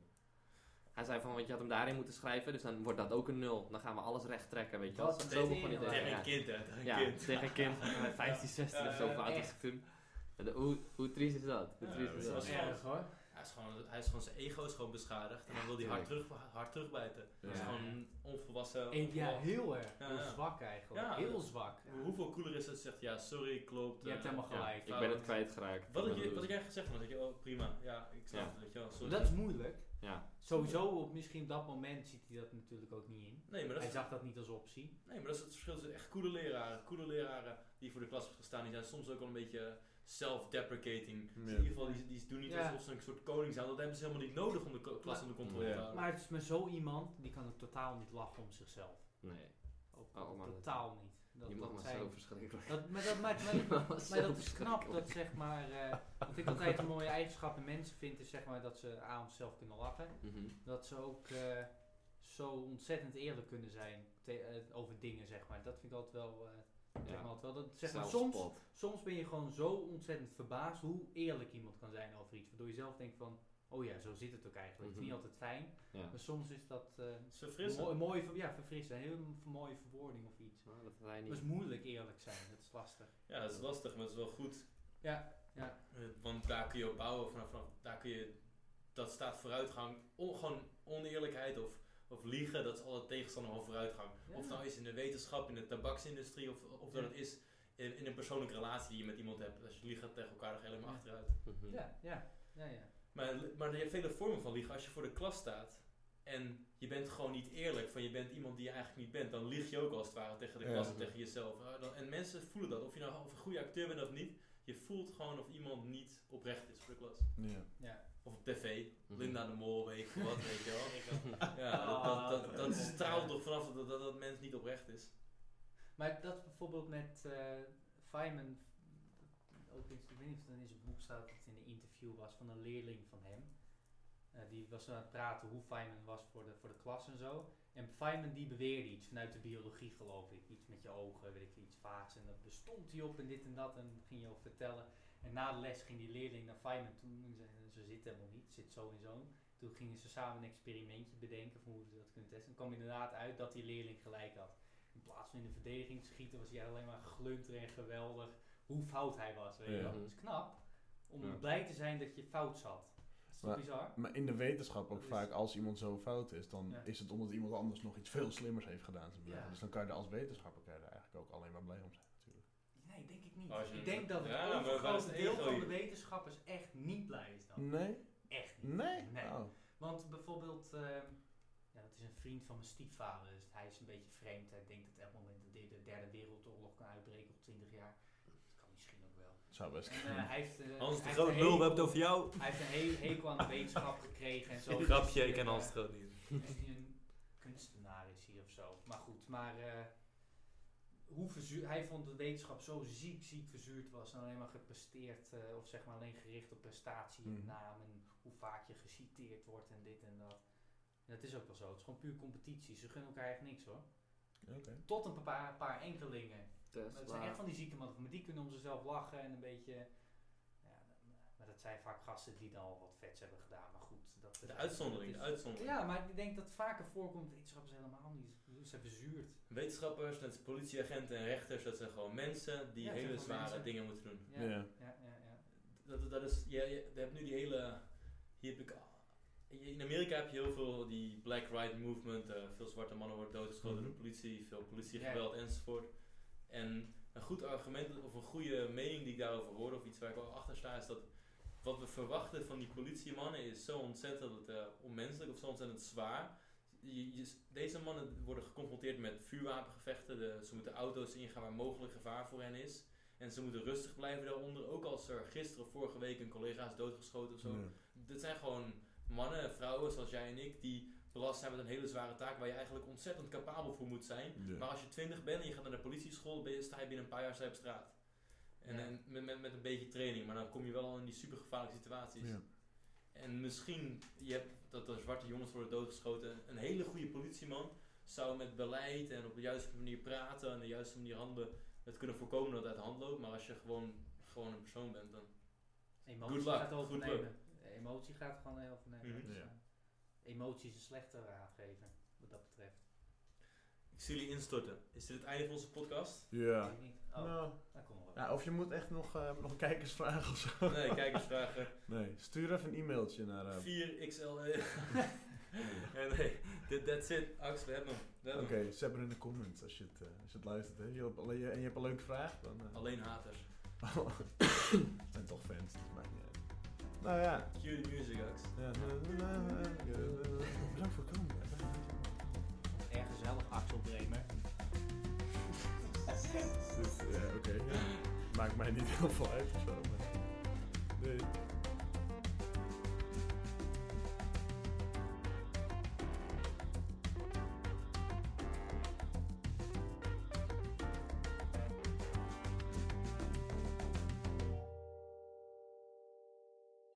Speaker 4: Hij zei van, want je had hem daarin moeten schrijven. Dus dan wordt dat ook een nul. Dan gaan we alles recht trekken, weet je wel.
Speaker 5: Wat
Speaker 4: Zo begon hij
Speaker 5: tegen
Speaker 4: tegen
Speaker 2: Tegen
Speaker 4: ja.
Speaker 2: een kind, hè? Tegen een
Speaker 4: Ja,
Speaker 2: kind.
Speaker 4: tegen een kind van 15, 16 of zo.
Speaker 2: Ja,
Speaker 4: Hoe oud was
Speaker 5: echt.
Speaker 4: ik toen? En Hoe, hoe triest is dat? Hoe
Speaker 2: Ja,
Speaker 4: triest is
Speaker 2: dat
Speaker 4: dat?
Speaker 2: was-
Speaker 5: Erg hoor.
Speaker 2: Hij is, gewoon, hij is gewoon zijn ego is gewoon beschadigd en dan wil hij hard, terug, hard terugbijten. Dat is
Speaker 5: Ja.
Speaker 2: gewoon onvolwassen.
Speaker 5: En ja,
Speaker 2: onvolwassen.
Speaker 5: heel erg.
Speaker 2: Ja,
Speaker 5: heel
Speaker 2: ja.
Speaker 5: zwak eigenlijk.
Speaker 2: Ja.
Speaker 5: heel zwak.
Speaker 2: Hoe- Hoeveel cooler is dat je zegt, ja sorry, klopt.
Speaker 5: Je hebt
Speaker 2: eh,
Speaker 5: helemaal
Speaker 4: Ja,
Speaker 5: gelijk.
Speaker 4: ik ben het kwijtgeraakt.
Speaker 2: Wat ik, wat ik eigenlijk gezegd had, dat je, oh prima, ja, ik snap
Speaker 4: Ja.
Speaker 2: het, weet je wel, sorry.
Speaker 5: Dat is moeilijk.
Speaker 4: Ja.
Speaker 5: Sowieso op misschien op dat moment ziet hij dat natuurlijk ook niet in.
Speaker 2: nee, maar dat
Speaker 5: Hij
Speaker 2: is,
Speaker 5: zag dat niet als optie.
Speaker 2: nee, maar dat is het verschil tussen echt coole leraren. Coole leraren die voor de klas staan, die zijn soms ook wel een beetje self-deprecating. Dus in ieder geval, die, die doen niet
Speaker 5: Ja.
Speaker 2: alsof ze een soort koning zijn, dat hebben ze helemaal niet nodig om de ko- klas
Speaker 5: Maar-
Speaker 2: onder controle te
Speaker 4: Ja.
Speaker 2: houden.
Speaker 5: Maar het is maar zo iemand, die kan ook totaal niet lachen om zichzelf.
Speaker 4: Nee.
Speaker 5: Ook
Speaker 4: Oh, maar dat-
Speaker 5: totaal niet. Dat,
Speaker 4: je mag
Speaker 5: dat
Speaker 4: maar
Speaker 5: zijn-
Speaker 4: zo verschrikkelijk.
Speaker 5: dat, maar dat, maakt- maar,
Speaker 4: Maar
Speaker 5: maar dat is knap, dat zeg maar... eh, wat ik altijd een mooie eigenschap in mensen vind, is zeg maar dat ze aan onszelf kunnen lachen.
Speaker 4: Mhm.
Speaker 5: Dat ze ook eh, zo ontzettend eerlijk kunnen zijn te- eh, over dingen, zeg maar. Dat vind ik altijd wel... eh, zeg maar, altijd wel dat, zeg maar soms, Soms ben je gewoon zo ontzettend verbaasd hoe eerlijk iemand kan zijn over iets. Waardoor je zelf denkt van, oh ja, zo zit het ook eigenlijk. Het is
Speaker 4: Mhm.
Speaker 5: niet altijd fijn,
Speaker 4: Ja.
Speaker 5: maar soms is dat eh,
Speaker 2: Het is verfrissend.
Speaker 5: mooi, mooie ver- ja, verfrissen. Een heel m- mooie verwoording of iets.
Speaker 4: Maar dat wij
Speaker 5: Dat is
Speaker 4: niet.
Speaker 5: moeilijk eerlijk zijn, dat is lastig.
Speaker 2: Ja, dat is lastig, maar het is wel goed.
Speaker 5: Ja, ja.
Speaker 2: Eh, Want daar kun je op bouwen, vanaf, vanaf- daar kun je, dat staat vooruitgang, on, gewoon oneerlijkheid of, of liegen, dat is altijd tegenstander van vooruitgang.
Speaker 5: Ja.
Speaker 2: Of het nou is in de wetenschap, in de tabaksindustrie, of, of dat
Speaker 5: Ja.
Speaker 2: het is in, in een persoonlijke relatie die je met iemand hebt. Als je liegt tegen elkaar, dan ga je helemaal
Speaker 5: Ja.
Speaker 2: achteruit.
Speaker 4: Mhm.
Speaker 5: Dus Ja, ja, ja, ja.
Speaker 2: Maar, maar er zijn vele vormen van liegen. Als je voor de klas staat en je bent gewoon niet eerlijk, van je bent iemand die je eigenlijk niet bent, dan lieg je ook als het ware tegen de
Speaker 3: Ja.
Speaker 2: klas en tegen jezelf. Eh, dan- En mensen voelen dat, of je nou of een goede acteur bent of niet, je voelt gewoon of iemand niet oprecht is voor de klas.
Speaker 3: Ja.
Speaker 5: ja.
Speaker 2: Of op tv,
Speaker 4: Mhm.
Speaker 2: Linda de Mol, weet ik veel wat, weet je wel. Ja, dat,
Speaker 5: Ah.
Speaker 2: dat, dat, dat straalt toch vanaf dat, dat, dat mens niet oprecht is.
Speaker 5: Maar dat is bijvoorbeeld met eh Feynman, ook in, ik weet niet of het in zijn boek staat, dat het in een interview was van een leerling van hem. Eh, die was aan het praten hoe Feynman was voor de, voor de klas en zo. En Feynman die beweerde iets vanuit de biologie geloof ik. Iets met je ogen, weet ik veel, iets vaags. En daar bestond hij op en dit en dat en ging je over "Nou, vertellen. En na de les ging die leerling naar Feynman toe en zei, zo zit het helemaal niet, het zit zo en zo. Toen gingen ze samen een experimentje bedenken van hoe ze dat kunnen testen. En kwam inderdaad uit dat die leerling gelijk had. In plaats van in de verdediging te schieten was hij alleen maar glunter en geweldig hoe fout hij was. Weet je
Speaker 1: Ja.
Speaker 5: wel. Dat is knap. Om
Speaker 1: Ja.
Speaker 5: blij te zijn dat je fout zat. Dat is toch
Speaker 3: Maar-
Speaker 5: bizar?
Speaker 3: Maar in de wetenschap ook
Speaker 5: Dus-
Speaker 3: vaak, als iemand zo fout is, dan
Speaker 5: Ja.
Speaker 3: is het omdat iemand anders nog iets veel slimmers heeft gedaan. Zijn
Speaker 5: Ja.
Speaker 3: Dus dan kan je er als wetenschapper kan je er eigenlijk ook alleen maar blij om zijn natuurlijk.
Speaker 5: Nee, denk ik niet.
Speaker 2: Als je-
Speaker 5: Ik denk dat het
Speaker 2: Ja, maar waar is
Speaker 5: overgrote
Speaker 2: het
Speaker 5: deel
Speaker 2: ego
Speaker 5: van de
Speaker 2: hier?
Speaker 5: wetenschappers echt niet blij is dan.
Speaker 3: Nee?
Speaker 5: Echt niet.
Speaker 3: Nee?
Speaker 5: Nee.
Speaker 3: Oh.
Speaker 5: Want bijvoorbeeld, ehm, ja, dat is een vriend van mijn stiefvader, dus hij is een beetje vreemd. Hij denkt dat Apple in de derde, derde wereldoorlog kan uitbreken op 20 jaar. Dat kan misschien ook wel.
Speaker 3: Zou best
Speaker 5: En, eh, hij heeft, eh,
Speaker 2: Hans de
Speaker 5: hij
Speaker 2: Groot,
Speaker 5: heeft
Speaker 2: lul, we
Speaker 5: een hekel-
Speaker 2: hebben het over jou.
Speaker 5: Hij heeft een he- hekel aan de wetenschap gekregen en zo. dus, eh,
Speaker 2: Grapje, ik ken
Speaker 5: en
Speaker 2: Hans de Groot niet.
Speaker 5: een kunstenaar is hier of zo. Maar goed, maar eh, hoe verzuur, hij vond de wetenschap zo ziek, ziek verzuurd was. En alleen maar gepresteerd, eh, of zeg maar alleen gericht op prestatie en
Speaker 3: Mhm.
Speaker 5: naam. En hoe vaak je geciteerd wordt en dit en dat. En dat is ook wel zo. Het is gewoon puur competitie. Ze gunnen elkaar echt niks hoor.
Speaker 3: Oké.
Speaker 5: Tot een paar, paar enkelingen. Maar het zijn
Speaker 4: Tesla.
Speaker 5: echt van die zieke mannen. Maar die kunnen om zichzelf lachen en een beetje... Ja, maar dat zijn vaak gasten die dan al wat vets hebben gedaan. Maar goed, dat
Speaker 2: De uitzondering, de
Speaker 5: dat is-
Speaker 2: uitzondering.
Speaker 5: ja, maar ik denk dat het vaker voorkomt. Wetenschappers helemaal niet. Ze zijn verzuurd.
Speaker 2: Wetenschappers, net als politieagenten en rechters, dat zijn gewoon mensen die
Speaker 5: Ja, het zijn
Speaker 2: hele
Speaker 5: gewoon
Speaker 2: zware
Speaker 5: mensen.
Speaker 2: dingen moeten doen.
Speaker 5: Ja,
Speaker 3: Ja.
Speaker 5: ja, ja. ja.
Speaker 2: Dat, dat is, je, je, je hebt nu die hele. Hier heb ik, eh, in Amerika heb je heel veel die Black Right Movement. eh, veel zwarte mannen worden doodgeschoten door
Speaker 3: Mhm.
Speaker 2: de politie, veel politiegeweld enzovoort. En een goed argument of een goede mening die ik daarover hoor, of iets waar ik wel achter sta, is dat wat we verwachten van die politiemannen is zo ontzettend eh, onmenselijk of zo ontzettend zwaar. Je- je- deze mannen worden geconfronteerd met vuurwapengevechten. De- ze moeten auto's ingaan waar mogelijk gevaar voor hen is. En ze moeten rustig blijven daaronder. Ook als er gisteren of vorige week een collega is doodgeschoten of zo.
Speaker 3: Ja.
Speaker 2: Dit zijn gewoon mannen en vrouwen zoals jij en ik die belast zijn met een hele zware taak waar je eigenlijk ontzettend capabel voor moet zijn.
Speaker 3: Ja.
Speaker 2: Maar als je 20 bent en je gaat naar de politieschool, ben je, sta je binnen een paar jaar sta je op straat. En,
Speaker 5: Ja.
Speaker 2: en met, met, met een beetje training, maar dan kom je wel al in die super gevaarlijke situaties.
Speaker 3: Ja.
Speaker 2: En misschien, je hebt dat er zwarte jongens worden doodgeschoten. Een hele goede politieman zou met beleid en op de juiste manier praten en de juiste manier handelen het kunnen voorkomen dat het uit de hand loopt. Maar als je gewoon, gewoon een persoon bent, dan.
Speaker 5: Emotie
Speaker 2: Good luck.
Speaker 5: gaat
Speaker 2: Good
Speaker 5: overnemen. Emotie gaat gewoon heel overnemen.
Speaker 2: Mhm.
Speaker 5: Dus,
Speaker 3: Ja.
Speaker 5: eh, Emotie is een slechte raadgever, wat dat betreft.
Speaker 2: Ik zie jullie instorten. Is dit het einde van onze podcast?
Speaker 5: Weet
Speaker 3: Ja.
Speaker 5: ik niet. Oh,
Speaker 3: Nou,
Speaker 5: dat komt nog wel.
Speaker 3: ja, of je moet echt nog, eh, nog kijkersvragen of zo.
Speaker 2: Nee, kijkersvragen.
Speaker 3: Nee, stuur even een e-mailtje naar... eh,
Speaker 2: 4XLE. E. Ja, nee, That- that's it. Ax, we hebben hem. We hebben
Speaker 3: Oké,
Speaker 2: hem.
Speaker 3: zet maar in de comments als je het, eh, als je het luistert. Hè. Je hebt alleen, en je hebt een leuke vraag, dan... eh,
Speaker 2: Alleen haters.
Speaker 3: het zijn toch fans, dus het maakt niet uit. Nou ja.
Speaker 2: Cue the music, Ax.
Speaker 3: ja. Bedankt voor het komen.
Speaker 5: Erg gezellig, Axel Bremer.
Speaker 3: Dus, ja, Oké, ja. maakt mij niet heel veel uit of zo. maar- Nee.